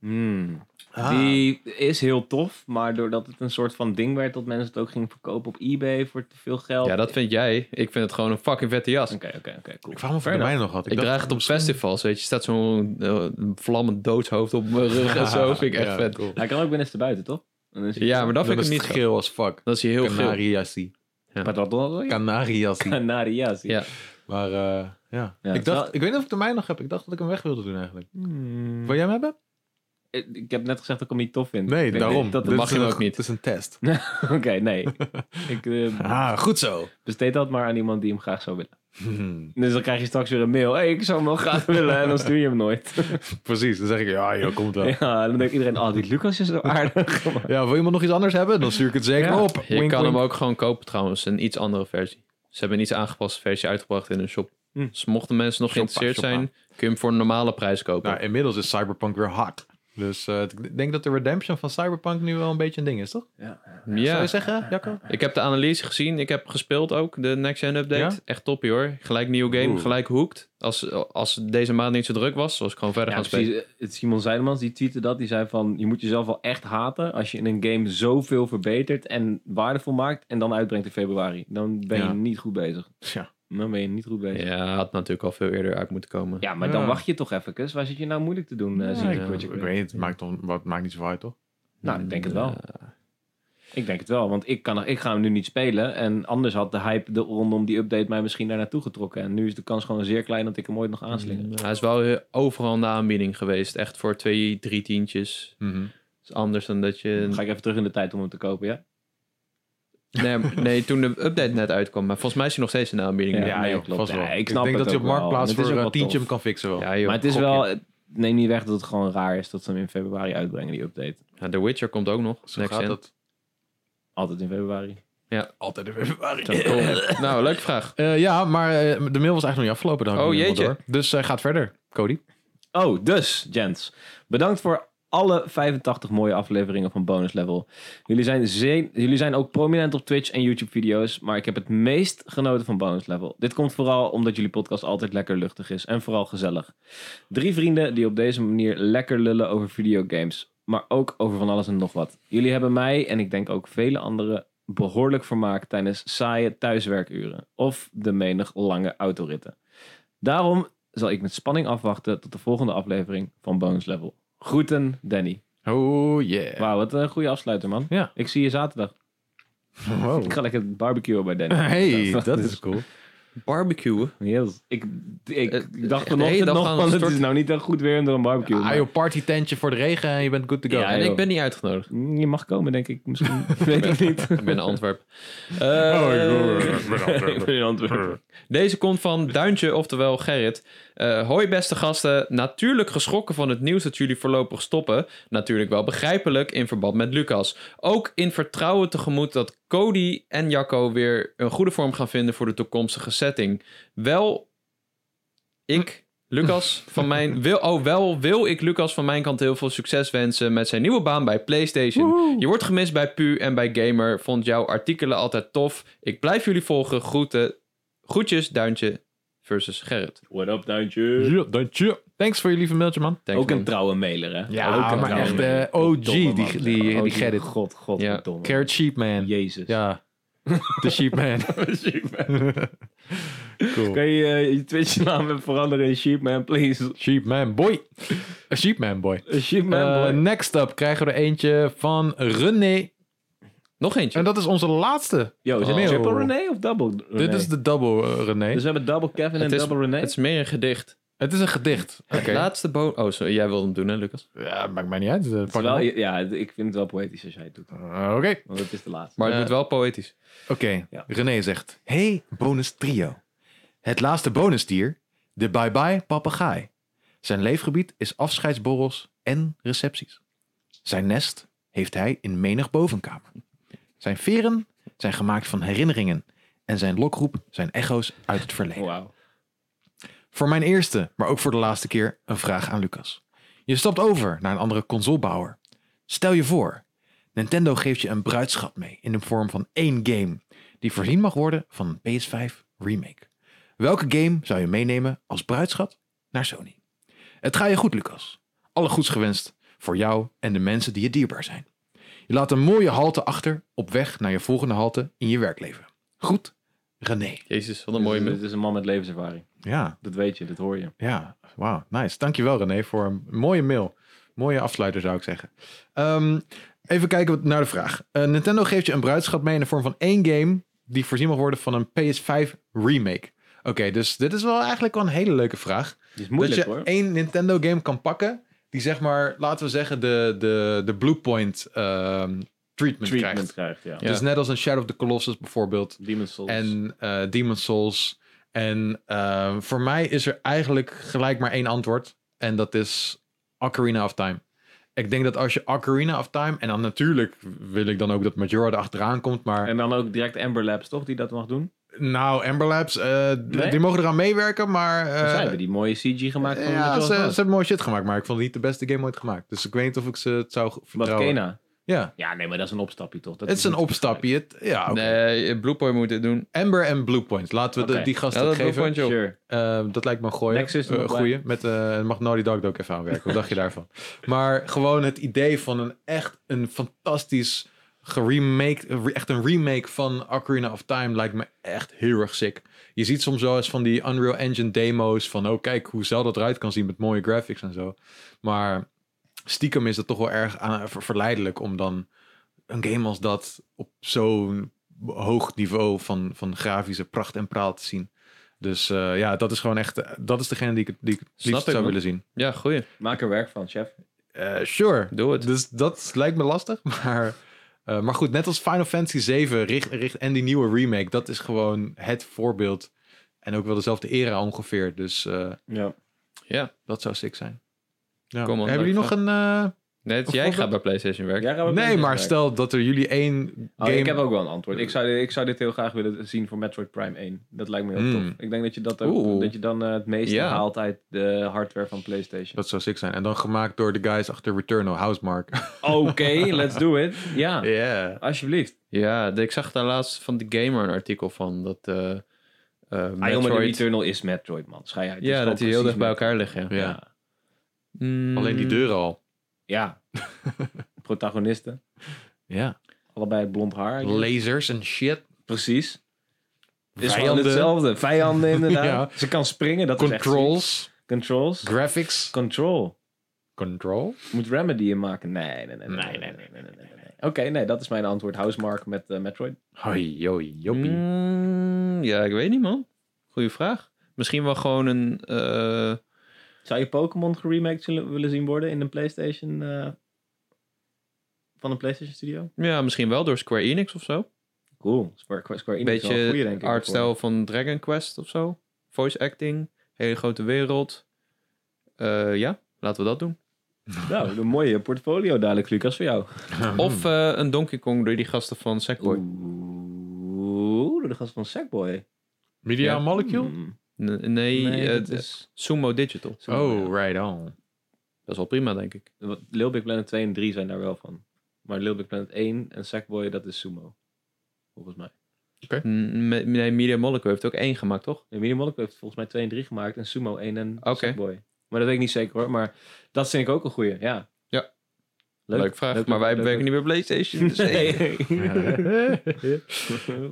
S2: Hmm.
S3: Ah.
S2: Die is heel tof, maar doordat het een soort van ding werd dat mensen het ook gingen verkopen op eBay voor te veel geld.
S3: Ja, dat vind jij. Ik vind het gewoon een fucking vette jas.
S2: Oké, oké, oké, cool.
S1: Ik vraag me of ik
S2: Fair
S1: de
S2: enough.
S1: mijne nog had.
S3: Ik
S1: dacht-
S3: draag het op festivals, weet je. Staat zo'n eh, vlammend doodshoofd op mijn rug en zo. Vind ik echt
S1: Ja,
S3: vet.
S1: cool.
S2: Hij kan ook binnen te buiten, toch? Dan is hij-
S3: Ja, maar dat
S1: Dan
S3: vind
S1: is
S3: ik
S1: het
S3: niet geel.
S1: geel als fuck.
S3: Dat is hij heel geel.
S1: Canariasi.
S2: Maar dat dan
S1: Canariasi.
S2: Canarias.
S3: Ja.
S1: Maar eh, ja.
S2: Ja,
S1: ik,
S2: het is
S1: dacht,
S2: wel- Hm.
S1: ik weet niet of ik de mijne nog heb. Ik dacht dat ik hem weg wilde doen eigenlijk. Wil jij hem hebben?
S2: Ik Hmm. ik heb net gezegd dat ik hem niet tof vind.
S1: Nee,
S2: Ik denk
S1: daarom.
S2: Dat,
S1: Dit
S3: mag
S1: is
S3: je
S1: een-
S3: ook niet.
S1: Het is een test.
S2: Oké, nee. Ik eh,
S1: Ah, goed zo.
S2: besteed dat maar aan iemand die hem graag zou willen. Dus dan krijg je straks weer een mail. hey, ik zou hem wel graag willen. En dan stuur je hem nooit.
S1: Precies, dan zeg ik, ja joh, komt wel.
S2: Ja, dan denkt iedereen, oh, die Lucas is zo aardig. Maar-
S1: Ja, wil iemand nog iets anders hebben? Dan stuur ik het zeker
S2: Ja.
S1: op.
S3: Je
S1: Wink,
S3: kan hem
S1: wink.
S3: ook gewoon kopen trouwens. Een iets andere versie. Ze hebben een iets aangepaste versie uitgebracht in hun shop.
S2: Hm.
S3: Dus mochten mensen nog
S1: Shoppa,
S3: geïnteresseerd
S1: shoppa.
S3: zijn, kun je hem voor een normale prijs kopen.
S1: Nou, inmiddels is Cyberpunk weer hot. Dus eh, ik denk dat de redemption van Cyberpunk nu wel een beetje een ding is, toch? Zou
S3: ja,
S1: je zeggen, Jacco?
S3: ik heb de analyse gezien. Ik heb gespeeld ook, de Next Gen update.
S1: Ja?
S3: Echt toppie hoor. Gelijk nieuw game,
S1: Oeh.
S3: gelijk hooked. Als, als deze maand niet zo druk was, was ik gewoon verder
S2: Ja,
S3: gaan spelen.
S2: precies. Eh, Het Simon Zijnemans, die tweette dat. Die zei van, je moet jezelf wel echt haten als je in een game zoveel verbetert en waardevol maakt en dan uitbrengt in februari. Dan ben je
S1: Ja.
S2: niet goed bezig.
S1: Ja.
S2: Dan ben je niet goed bezig. Ja,
S3: Ja, had natuurlijk al veel eerder uit moeten komen.
S2: maar dan
S1: Ja.
S2: wacht je toch even. Waar zit je nou moeilijk te doen? eh,
S1: Ja,
S2: zie je
S1: ik-
S2: Project
S1: ik,
S2: Red?
S1: weet niet, het maakt, toch- wat- maakt niet zo uit, toch?
S2: Nou, ik denk het wel.
S3: Ja.
S2: Ik denk het wel, want ik, kan, ik ga hem nu niet spelen. En anders had de hype de, rondom die update mij misschien daar naartoe getrokken. En nu is de kans gewoon zeer klein dat ik hem ooit nog aanslinger.
S3: Mm, Hij is wel eh, overal in de aanbieding geweest. Echt voor twee, drie tientjes.
S2: Mhm.
S3: Dat is anders dan dat je...
S2: Dan ga ik even terug in de tijd om hem te kopen, ja?
S3: Nee, nee, toen de update net uitkwam. Maar volgens mij is hij nog steeds in de aanbieding.
S2: Ja. nee, klopt.
S1: vast
S2: Nee, ik
S1: ik
S2: snap
S1: denk
S2: het
S1: dat je op
S2: ook wel.
S1: marktplaats
S2: Het is
S1: voor
S2: ook
S1: een
S2: wel
S1: tientje
S2: tof.
S1: hem kan fixen wel.
S3: Ja, joh,
S2: maar het is
S3: gokje.
S2: wel, het neemt niet weg dat het gewoon raar is dat ze hem in februari uitbrengen, die update.
S3: Ja, The Witcher komt ook nog.
S1: Zo
S3: Next
S1: gaat
S3: gen.
S1: dat
S2: Altijd in februari.
S1: altijd in februari.
S2: Zo cool.
S3: Nou, leuke vraag.
S1: Eh, ja, maar eh, de mail was eigenlijk nog niet afgelopen. Dan
S3: Oh, jeetje.
S1: Dus eh, gaat verder, Cody.
S2: Oh, dus, gents. Bedankt voor alle 85 mooie afleveringen van Bonus Level. Jullie zijn, ze- jullie zijn ook prominent op Twitch en YouTube-video's, maar ik heb het meest genoten van Bonus Level. Dit komt vooral omdat jullie podcast altijd lekker luchtig is en vooral gezellig. Drie vrienden die op deze manier lekker lullen over videogames, maar ook over van alles en nog wat. Jullie hebben mij en ik denk ook vele anderen behoorlijk vermaakt tijdens saaie thuiswerkuren of de menig lange autoritten. Daarom zal ik met spanning afwachten tot de volgende aflevering van Bonus Level. Groeten, Danny.
S1: Oh yeah.
S2: Wauw, wat een goede afsluiter, man.
S1: Ja. Oh.
S2: Ik zie je zaterdag.
S1: Wow.
S2: Ik ga lekker barbecuen bij Danny.
S1: Hey, dat is cool.
S3: Barbecue.
S2: Yes. Ik, ik,
S3: Eh,
S2: ik dacht
S3: eh,
S2: vanochtend
S3: hey, dan
S2: nog
S3: gaan
S2: van,
S3: we
S2: het is
S3: storten.
S2: nou niet echt goed weer om door een barbecue.
S1: Ah,
S2: maar-
S1: joh, party tentje voor de regen en je bent good to go.
S2: Ja,
S3: en
S2: joh.
S3: ik ben niet uitgenodigd.
S2: Mm, je mag komen, denk ik. Misschien weet ik niet.
S3: Ik ben in Antwerpen. Eh,
S2: Ik ben in Antwerpen.
S3: Deze komt van Duintje, oftewel Gerrit. Eh, hoi beste gasten, natuurlijk geschrokken van het nieuws dat jullie voorlopig stoppen. Natuurlijk wel begrijpelijk in verband met Lucas. Ook in vertrouwen tegemoet dat Cody en Jacco weer een goede vorm gaan vinden voor de toekomstige setting. Wel, ik, Lucas, van mijn... Wil, oh, wel wil ik Lucas van mijn kant heel veel succes wensen met zijn nieuwe baan bij PlayStation. Je wordt gemist bij Pu en bij Gamer. Vond jouw artikelen altijd tof. Ik blijf jullie volgen. Groeten. Groetjes, Duintje versus Gerrit.
S2: What up, Duintje?
S1: Ja, dankje. Thanks voor je lieve mailtje, man.
S3: Thanks,
S2: Ook een
S3: man.
S2: trouwe mailer, hè?
S1: Ja,
S2: Ook een
S1: maar
S2: trouwe
S1: echt
S2: mailer.
S1: eh OG, die,
S2: Domme man.
S1: die, die,
S2: OG,
S1: Gerrit.
S2: God, god,
S3: Ja.
S2: verdomme.
S1: Carrot Sheep Man.
S2: Jezus.
S1: Ja, de Sheep Man. cool.
S2: Kun je eh, je Twitch-naam even veranderen in Sheepman, please?
S1: Sheep Man Boy. A Sheep Man Boy.
S2: Sheepman,
S1: Eh,
S2: boy.
S1: next up krijgen we er eentje van René.
S3: Nog
S1: En
S3: eentje.
S1: dat is onze laatste.
S2: Yo, is het
S1: Oh.
S2: triple René of double René?
S1: Dit is de double eh, René.
S2: Dus we hebben double Kevin en
S3: Het is-
S2: double René?
S3: Het is meer een gedicht.
S1: Het is een gedicht. Oké.
S3: Laatste bo. Oh, sorry. Jij wilde hem doen, hè, Lucas?
S1: Ja, maakt mij niet uit. Eh, pak
S2: Terwijl,
S1: hem op.
S2: je- ja, ik vind het wel poëtisch als jij het doet.
S1: Eh, Oké.
S2: Want het is de laatste.
S3: Maar het
S1: Eh,
S3: moet wel poëtisch.
S1: Oké,
S2: Ja.
S1: René zegt: Hey, bonus trio. Het laatste bonusdier, de bye-bye papegaai. Zijn leefgebied is afscheidsborrels en recepties. Zijn nest heeft hij in menig bovenkamer. Zijn veren zijn gemaakt van herinneringen en zijn lokroep zijn echo's uit het verleden.
S2: Oh, Wauw.
S1: Voor mijn eerste, maar ook voor de laatste keer, een vraag aan Lucas. Je stapt over naar een andere consolebouwer. Stel je voor, Nintendo geeft je een bruidschat mee in de vorm van één game, die voorzien mag worden van een PS5 remake. Welke game zou je meenemen als bruidschat naar Sony? Het gaat je goed, Lucas. Alle goeds gewenst voor jou en de mensen die je dierbaar zijn. Je laat een mooie halte achter op weg naar je volgende halte in je werkleven. Goed, René.
S3: Jezus, wat een mooie
S2: Het
S3: munt.
S2: is een man met levenservaring.
S1: Ja,
S2: Dat weet je, dat hoor je.
S1: Ja, wauw. Nice. Dankjewel René voor een mooie mail. Mooie afsluiter zou ik zeggen. Ehm, even kijken wat- naar de vraag. Eh, Nintendo geeft je een bruidschat mee in de vorm van één game... die voorzien mag worden van een PS5 remake. Oké, dus dit is wel eigenlijk wel een hele leuke vraag.
S2: Het is moeilijk
S1: dat je
S2: hoor.
S1: één Nintendo game kan pakken... die zeg maar, laten we zeggen, de, de, de Bluepoint ehm, treatment, krijgt.
S2: Treatment krijgt, ja.
S3: Ja.
S1: Dus net als een Shadow of the Colossus bijvoorbeeld...
S2: Demon Souls.
S1: En eh Demon Souls. En eh, voor mij is er eigenlijk gelijk maar één antwoord. En dat is Ocarina of Time. Ik denk dat als je Ocarina of Time... En dan natuurlijk wil ik dan ook dat Majora erachteraan komt. Maar
S2: En dan ook direct Amber Labs, toch? Die dat mag doen.
S1: nou, Ember Labs, eh, d-
S2: Nee?
S1: die mogen eraan meewerken. Maar eh,
S2: Zij hebben die mooie CG gemaakt van
S1: ja,
S2: Majora's
S1: ze, ze
S2: Mask.
S1: hebben mooie shit gemaakt. Maar ik vond het niet de beste game ooit gemaakt. Dus ik weet niet of ik ze het zou
S2: Wat
S1: vertrouwen.
S2: Kena.
S1: Ja,
S2: Ja, nee, maar dat is een opstapje toch? Dat
S1: het is een
S2: niet-
S1: opstapje. Het, ja, oké.
S3: Nee, Bluepoint moet dit doen.
S1: Ember en Bluepoint. Laten we de-
S2: Oké.
S1: die gasten
S3: Ja, dat
S1: geven.
S3: Bluepoint, joh.
S2: Sure.
S1: Eh, dat lijkt me een goeie.
S2: Nexus er
S1: Eh,
S2: nog bij.
S1: goeie. Met, eh, mag Naughty Dog er ook even aanwerken. Wat dacht je daarvan? Maar gewoon het idee van een echt een fantastisch geremaked, re- echt een remake van Ocarina of Time lijkt me echt heel erg sick. Je ziet soms wel eens van die Unreal Engine demo's van oh kijk hoe Zelda eruit kan zien met mooie graphics en zo. Maar stiekem is het toch wel erg aan- ver- verleidelijk om dan een game als dat op zo'n hoog niveau van, van grafische pracht en praal te zien. Dus eh, ja, dat is gewoon echt, eh, dat is degene die ik, het- die ik het
S3: Snap
S1: liefst
S3: ik,
S1: zou
S3: man.
S1: willen zien.
S3: Ja, goeie.
S2: Maak er werk van, chef.
S1: Eh, sure,
S3: Doe het.
S1: dus dat lijkt me lastig. Maar, eh, maar goed, net als Final Fantasy 7 richt, richt, en die nieuwe remake, dat is gewoon het voorbeeld. En ook wel dezelfde era ongeveer. Dus eh,
S2: Ja.
S3: Ja.
S1: dat zou sick zijn. Ja.
S3: Kom op,
S1: Hebben jullie nog
S3: leuk,
S1: een. eh,
S3: Net
S1: Of
S3: jij
S1: wat-
S3: gaat bij PlayStation werken.
S2: Jij gaat wel
S1: nee,
S2: bezig
S1: maar
S2: werken.
S1: stel dat er jullie één
S2: Oh,
S1: game.
S2: ik heb ook wel een antwoord. Ik zou, ik zou dit heel graag willen zien voor Metroid Prime 1. Dat lijkt me heel
S1: Hmm.
S2: tof. Ik denk dat je, dat ook,
S3: Oeh.
S2: dat je dan eh, het meeste
S3: Ja.
S2: haalt uit de hardware van PlayStation.
S1: Dat zou sick zijn. En dan gemaakt door de guys achter Returnal, Housemark.
S2: Oké, let's do it. Ja,
S1: yeah.
S2: alsjeblieft.
S3: Ja, de- ik zag daar laatst van de Gamer een artikel van. Dat eh eh,
S2: Metroid.
S3: Metroid...
S2: Eternal is Metroid, man. Schei uit. Het is
S3: ja,
S2: gewoon
S3: dat die heel dicht
S2: precies
S3: bij elkaar liggen. Ja.
S1: Ja.
S2: Ja.
S3: Mm,
S1: Alleen die deuren al.
S2: Ja. Protagonisten.
S1: Ja.
S2: Allebei blond haar.
S1: Lasers en shit.
S2: Precies. Het is gewoon
S1: Vijanden.
S2: hetzelfde. Vijanden inderdaad. Ze kan springen. Dat Is echt
S1: Controls.
S2: ziek. Controls.
S1: Graphics.
S2: Control.
S1: Control.
S2: Moet Remedy hem maken? Nee, nee, nee. nee,
S1: Nee,
S2: nee, nee, nee, nee, nee. Oké, nee, dat is mijn antwoord. Housemark met eh, Metroid.
S1: Hoi, joi, joppie.
S3: mm, ja, ik weet niet, man. Goeie vraag. Misschien wel gewoon een... eh,
S2: Zou je Pokémon geremaked zullen- willen zien worden in een PlayStation... eh, van een PlayStation Studio?
S3: ja, misschien wel door Square Enix of zo.
S2: Cool. Square, Square Enix is wel een goeie,
S3: Beetje
S2: denk ik.
S3: artstijl van Dragon Quest of zo. Voice acting. Hele grote wereld. Eh, ja, laten we dat doen.
S2: Nou, een mooie portfolio dadelijk, Lucas, voor jou.
S3: Of eh, een Donkey Kong door die gasten van Sackboy.
S2: Oeh, door de gast van Sackboy.
S1: Media
S3: Ja.
S1: Molecule?
S2: Hmm.
S3: N- Nee,
S2: Nee,
S3: eh,
S2: dat is...
S3: Sumo Digital.
S2: Mm.
S1: Oh, right on.
S3: Dat is wel prima, denk ik.
S2: Wat- Little Big Planet 2 en 3 zijn daar wel van. Maar Little Big Planet 1 en Sackboy, dat is Sumo. Volgens mij.
S3: N- me- Nee, Media Molecule heeft ook één gemaakt, toch?
S2: En William Monaco heeft volgens mij 2 en 3 gemaakt. En Sumo 1 en
S3: Oké.
S2: Sackboy. Maar dat weet ik niet zeker hoor. Maar dat vind ik ook een goeie, ja.
S3: Ja.
S2: Leuk.
S3: Leuk vraag,
S2: Leuk,
S3: maar wij
S2: leuk,
S3: werken
S2: leuk.
S3: niet bij PlayStation. Dus hey.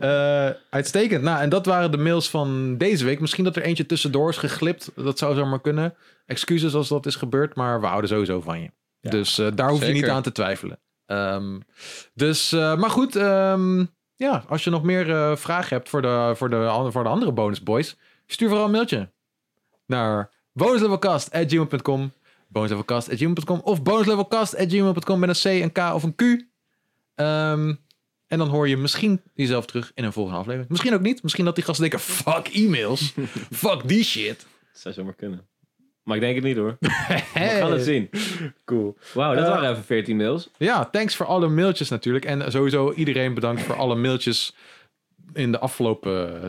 S1: Eh, uitstekend. Nou, en dat waren de mails van deze week. Misschien dat er eentje tussendoor is geglipt. Dat zou zomaar kunnen. Excuses als dat is gebeurd, maar we houden sowieso van je.
S2: Ja.
S1: Dus eh, daar hoef je
S3: Zeker.
S1: niet aan te twijfelen. Ehm, dus, eh, maar goed. ehm, ja, als je nog meer eh, vragen hebt voor de, voor, de, an- voor de andere bonus boys, stuur vooral een mailtje naar bonuslevelcast.gmail.com bonuslevelcast.gmail.com of bonuslevelcast.gmail.com met een C, een K of een Q. Ehm, en dan hoor je misschien jezelf terug in een volgende aflevering. Misschien ook niet. Misschien dat die gasten denken, fuck e-mails. fuck die shit.
S2: Dat zou zomaar kunnen. Maar ik denk het niet hoor. We gaan het zien. Cool. Wauw, dat
S1: Eh,
S2: waren even 14 mails.
S1: Ja, thanks voor alle mailtjes natuurlijk. En sowieso iedereen bedankt voor alle mailtjes in de afgelopen... eh,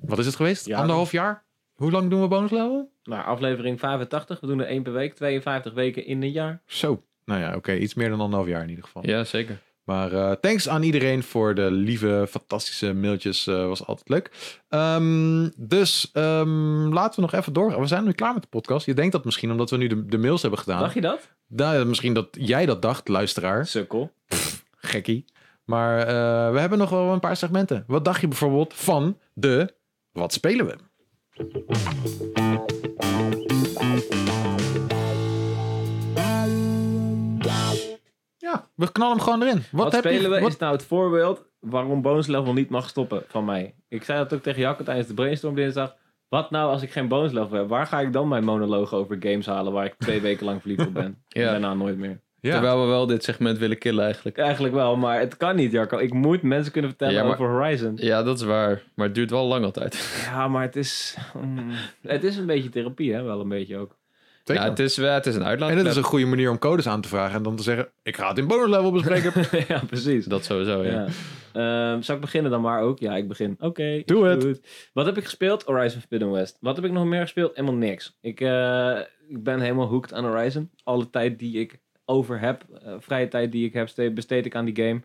S1: Wat is het geweest?
S2: Ja.
S1: Anderhalf jaar? Hoe lang doen we bonus level?
S2: Nou, aflevering 85. We doen er één per week. 52 weken in een jaar.
S1: Zo. Nou ja, oké. iets meer dan anderhalf jaar in ieder geval.
S3: Ja, zeker.
S1: Maar eh, thanks aan iedereen voor de lieve, fantastische mailtjes. eh, was altijd leuk. Ehm, dus ehm, laten we nog even doorgaan. We zijn nu klaar met de podcast. Je denkt dat misschien omdat we nu de, de mails hebben
S3: Ah.
S1: gedaan.
S2: Dacht je dat?
S1: Nou, misschien dat jij dat dacht, luisteraar.
S2: Sukkel.
S1: Gekkie. Maar eh, we hebben nog wel een paar segmenten. Wat dacht je bijvoorbeeld van de Wat spelen we? Ja, we knallen hem gewoon erin. Wat,
S2: Wat,
S1: heb
S2: spelen
S1: je,
S2: we
S1: wat-
S2: is nou het voorbeeld waarom bonus level niet mag stoppen van mij. Ik zei dat ook tegen Jacco tijdens de brainstorm dinsdag. Wat nou als ik geen bonus level heb? Waar ga ik dan mijn monoloog over games halen waar ik twee weken lang verliefd op ben?
S3: Ja.
S2: En daarna nooit meer.
S1: Ja.
S3: Terwijl we wel dit segment willen killen eigenlijk.
S2: Eigenlijk wel, maar het kan niet, Jacco. Ik moet mensen kunnen vertellen
S3: Ja, maar-
S2: over Horizon.
S3: Ja, dat is waar. Maar het duurt wel lang altijd.
S2: Ja, maar het is... mm, het is een beetje therapie, hè? Wel een beetje ook.
S1: Zeker.
S3: Ja, het, is, eh, het is een
S1: en
S3: uitlaatklep.
S1: dat is een goede manier om codes aan te vragen. En dan te zeggen, ik ga het in bonus level bespreken.
S2: ja, precies.
S3: Dat sowieso, ja.
S2: Ja. Ehm, zal ik beginnen dan maar ook? Ja, ik begin. Oké.
S1: Doe
S2: is
S1: het.
S2: goed. Wat heb ik gespeeld? Horizon Forbidden West. Wat heb ik nog meer gespeeld? Helemaal niks. Ik, eh, ik ben helemaal hooked aan Horizon. Alle tijd die ik over heb, eh, vrije tijd die ik heb, ste- besteed ik aan die game.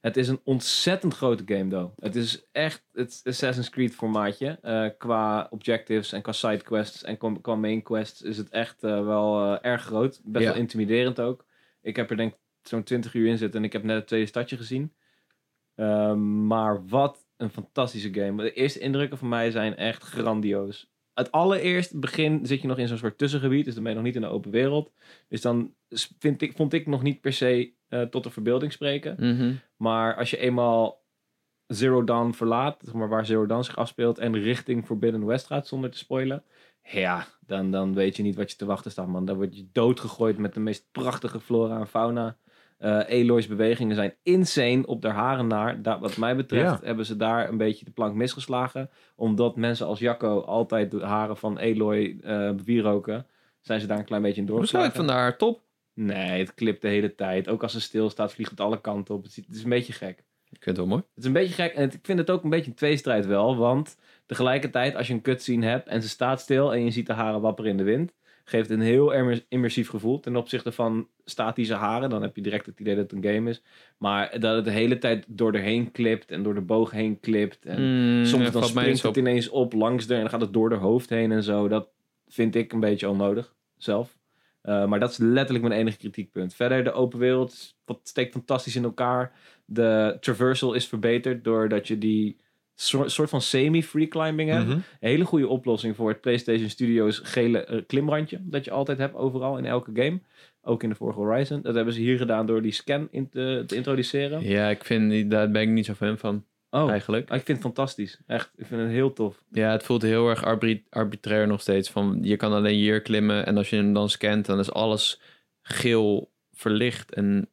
S2: Het is een ontzettend grote game, though. Het is echt het Assassin's Creed formaatje. Eh, qua objectives en qua side quests en qua- qua main quests is het echt eh, wel eh, erg groot. Best
S3: Ja.
S2: wel intimiderend ook. Ik heb er denk ik zo'n 20 uur in zit en ik heb net het tweede stadje gezien. Ehm, maar wat een fantastische game. De eerste indrukken van mij zijn echt grandioos. Het allereerst begin zit je nog in zo'n soort tussengebied, dus dan ben je nog niet in de open wereld. Dus dan s- vind ik, vond ik nog niet per se eh, tot de verbeelding spreken.
S3: Mhm.
S2: Maar als je eenmaal Zero Dawn verlaat, zeg maar waar Zero Dawn zich afspeelt, en richting Forbidden West gaat, zonder te spoilen, ja, dan, dan weet je niet wat je te wachten staat, man. Dan word je doodgegooid met de meest prachtige flora en fauna. Eh Aloy's bewegingen zijn insane op haar haren naar. Da- wat mij betreft hebben ze daar een beetje de plank misgeslagen. Omdat mensen als Jacco altijd de haren van Aloy eh bewieroken, zijn ze daar een klein beetje in
S3: Besluit
S2: doorgeslagen.
S3: van haar, top.
S2: Nee, het klipt de hele tijd. Ook als ze stilstaat, vliegt het alle kanten op. Het is- het is een beetje gek.
S3: Ik vind het wel mooi.
S2: Het is een beetje gek. En het- ik vind het ook een beetje een tweestrijd wel. Want tegelijkertijd, als je een cutscene hebt en ze staat stil en je ziet de haren wapperen in de wind, geeft het een heel immer- immersief gevoel. Ten opzichte van statische haren, dan heb je direct het idee dat het een game is. Maar dat het de hele tijd door erheen klipt en door de boog heen klipt. En
S3: Mm,
S2: soms
S3: ja,
S2: dan
S3: valt mij niet
S2: springt
S3: zo
S2: het ineens op langs er en dan gaat het door haar hoofd heen en zo. Dat vind ik een beetje onnodig zelf. Eh, maar dat is letterlijk mijn enige kritiekpunt. Verder, de open wereld is- wat steekt fantastisch in elkaar. De traversal is verbeterd doordat je die soort, soort van semi-free climbing hebt.
S1: Mhm.
S2: Een hele goede oplossing voor het PlayStation Studios gele eh, klimrandje. Dat je altijd hebt overal in elke game. Ook in de vorige Horizon. Dat hebben ze hier gedaan door die scan in te, te introduceren.
S3: Ja, ik vind, die- daar ben ik niet zo fan van,
S2: Oh,
S3: eigenlijk.
S2: ik vind het fantastisch. Echt, ik vind het heel tof.
S3: Ja, het voelt heel erg arbit- arbitrair nog steeds. Van, je kan alleen hier klimmen en als je hem dan scant, dan is alles geel verlicht. En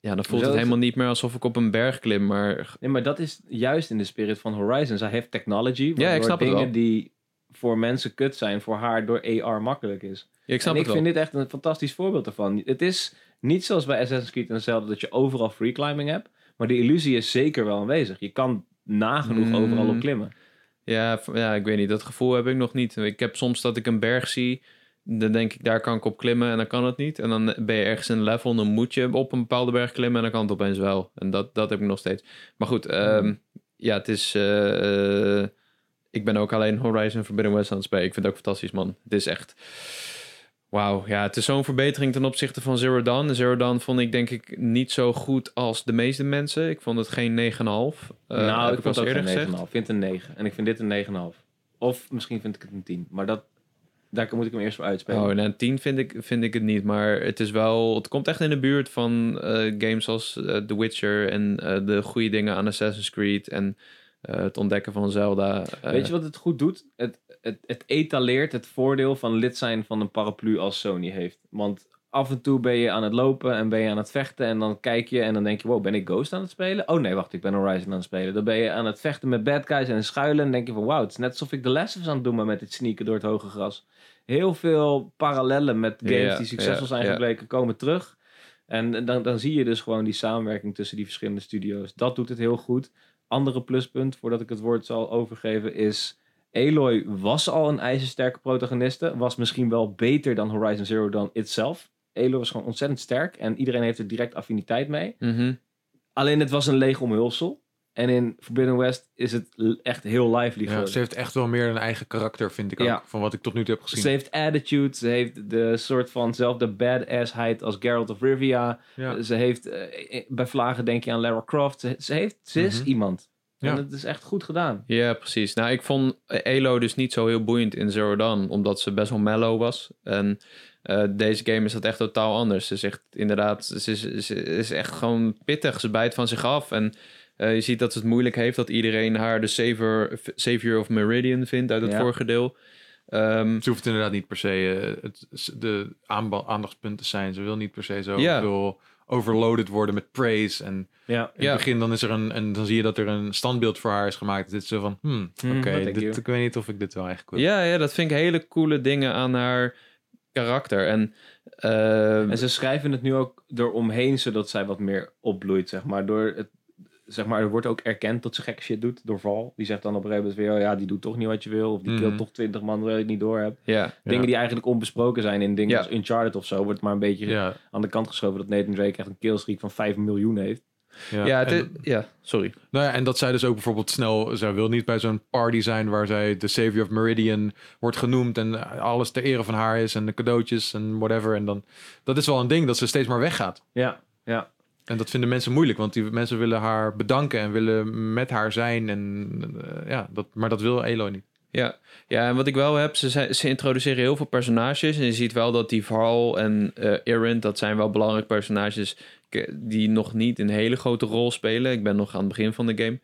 S3: ja, dan voelt
S2: Hoezo
S3: het
S2: is-
S3: helemaal niet meer alsof ik op een berg klim. Maar
S2: Nee, maar dat is juist in de spirit van Horizon. Zij heeft technology. waardoor
S3: ik snap het
S2: dingen
S3: wel.
S2: die voor mensen kut zijn, voor haar door AR makkelijk is.
S3: Ja, ik snap
S2: en ik
S3: het wel.
S2: vind dit echt een fantastisch voorbeeld ervan. Het is niet zoals bij Assassin's Creed en Zelda dat je overal free climbing hebt. Maar die illusie is zeker wel aanwezig. Je kan nagenoeg
S3: Mm.
S2: overal op klimmen.
S3: Ja, v- ja, ik weet niet. Dat gevoel heb ik nog niet. Ik heb soms dat ik een berg zie. Dan denk ik, daar kan ik op klimmen en dan kan het niet. En dan ben je ergens in een level en dan moet je op een bepaalde berg klimmen en dan kan het opeens wel. En dat, dat heb ik nog steeds. Maar goed, ehm, ja, het is... eh, eh, ik ben ook alleen Horizon Forbidden West aan het spelen. Ik vind het ook fantastisch, man. Het is echt... Wauw, ja, het is zo'n verbetering ten opzichte van Zero Dawn. Zero Dawn vond ik denk ik niet zo goed als de meeste mensen. Ik vond het geen 9,5. Eh, heb
S2: nou, ik
S3: al
S2: vond het ook
S3: eerder
S2: een 9,5.
S3: gezegd.
S2: Ik vind het een 9. En ik vind dit een 9,5. Of misschien vind ik het een 10. Maar dat, daar moet ik hem eerst voor uitspelen.
S3: Oh, nou, 10 vind ik, vind ik het niet, maar het is wel... Het komt echt in de buurt van eh, games als eh, The Witcher en eh, de goede dingen aan Assassin's Creed en eh, het ontdekken van Zelda. eh.
S2: Weet je wat het goed doet? Het, het, het etaleert het voordeel van lid zijn van een paraplu als Sony heeft. Want af en toe ben je aan het lopen en ben je aan het vechten. En dan kijk je en dan denk je, wow, ben ik Ghost aan het spelen? Oh nee, wacht, ik ben Horizon aan het spelen. Dan ben je aan het vechten met bad guys en schuilen. En dan denk je van, wauw, het is net alsof ik de lessen aan het doen ben met het sneaken door het hoge gras. Heel veel parallellen met games
S3: Ja,
S2: die succesvol
S3: ja,
S2: zijn
S3: ja.
S2: gebleken komen terug. En dan, dan zie je dus gewoon die samenwerking tussen die verschillende studio's. Dat doet het heel goed. Andere pluspunt, voordat ik het woord zal overgeven, is... Aloy was al een ijzersterke protagoniste. Was misschien wel beter dan Horizon Zero Dawn itself. Aloy was gewoon ontzettend sterk. En iedereen heeft er direct affiniteit mee.
S3: Mhm.
S2: Alleen het was een leeg omhulsel. En in Forbidden West is het l- echt heel lively
S1: Ja,
S2: geworden.
S1: ze heeft echt wel meer een eigen karakter, vind ik ook.
S2: Ja.
S1: Van wat ik tot nu toe heb gezien.
S2: Ze heeft attitude. Ze heeft de soort vanzelfde badassheid als Geralt of Rivia.
S1: Ja.
S2: Ze heeft, eh, eh, bij vlagen denk je aan Lara Croft. Ze, ze heeft, ze is
S1: Mhm.
S2: iemand.
S1: Ja.
S2: En dat is echt goed gedaan.
S3: Ja, precies. Nou, ik vond Elo dus niet zo heel boeiend in Zero Dawn, omdat ze best wel mellow was. En eh, deze game is dat echt totaal anders. Ze is echt inderdaad, ze is, ze is echt gewoon pittig. Ze bijt van zich af en eh, je ziet dat ze het moeilijk heeft dat iedereen haar de savior, savior of Meridian vindt uit het
S2: Ja.
S3: vorige deel. Ehm,
S1: Ze hoeft inderdaad niet per se eh, het, de aanba- aandachtspunt te zijn. Ze wil niet per se zo
S3: Ja.
S1: veel overloaded worden met praise. En
S2: Ja.
S1: in
S3: Ja.
S1: het begin dan, is er een, en dan zie je dat er een standbeeld voor haar is gemaakt. Dit is zo van, hmm,
S2: Hmm,
S1: oké,
S2: wat denk
S1: dit-
S2: je?
S1: ik weet niet of ik dit wel eigenlijk wil.
S3: ja, ja, dat vind ik hele coole dingen aan haar karakter. En, eh,
S2: En ze schrijven het nu ook eromheen, zodat zij wat meer opbloeit, zeg maar. Door het, zeg maar, er wordt ook erkend dat ze gek shit doet door Val. Die zegt dan op een gegeven moment weer, oh ja, die doet toch niet wat je wil. Of die
S1: Mhm.
S2: killt toch twintig man terwijl je het niet door hebt.
S3: ja,
S2: Dingen die eigenlijk onbesproken zijn in dingen
S3: Ja.
S2: als Uncharted of zo. Wordt maar een beetje
S1: Ja,
S2: aan de kant geschoven dat Nathan Drake echt een killstreak van 5 miljoen heeft.
S1: ja.
S3: ja, het
S1: en,
S3: is- ja, sorry.
S1: nou ja, en dat zij dus ook bijvoorbeeld snel... Zij wil niet bij zo'n party zijn waar zij de Savior of Meridian wordt genoemd... en alles ter ere van haar is en de cadeautjes en whatever. En dan, dat is wel een ding, dat ze steeds maar weggaat.
S2: Ja, ja.
S1: En dat vinden mensen moeilijk, want die mensen willen haar bedanken en willen met haar zijn. En, eh, ja, dat, maar dat wil Aloy niet.
S3: Ja. ja, en wat ik wel heb, ze, zijn- ze introduceren heel veel personages. En je ziet wel dat die Varl en eh Erin, dat zijn wel belangrijke personages ke- eh, die nog niet een hele grote rol spelen. Ik ben nog aan het begin van de game.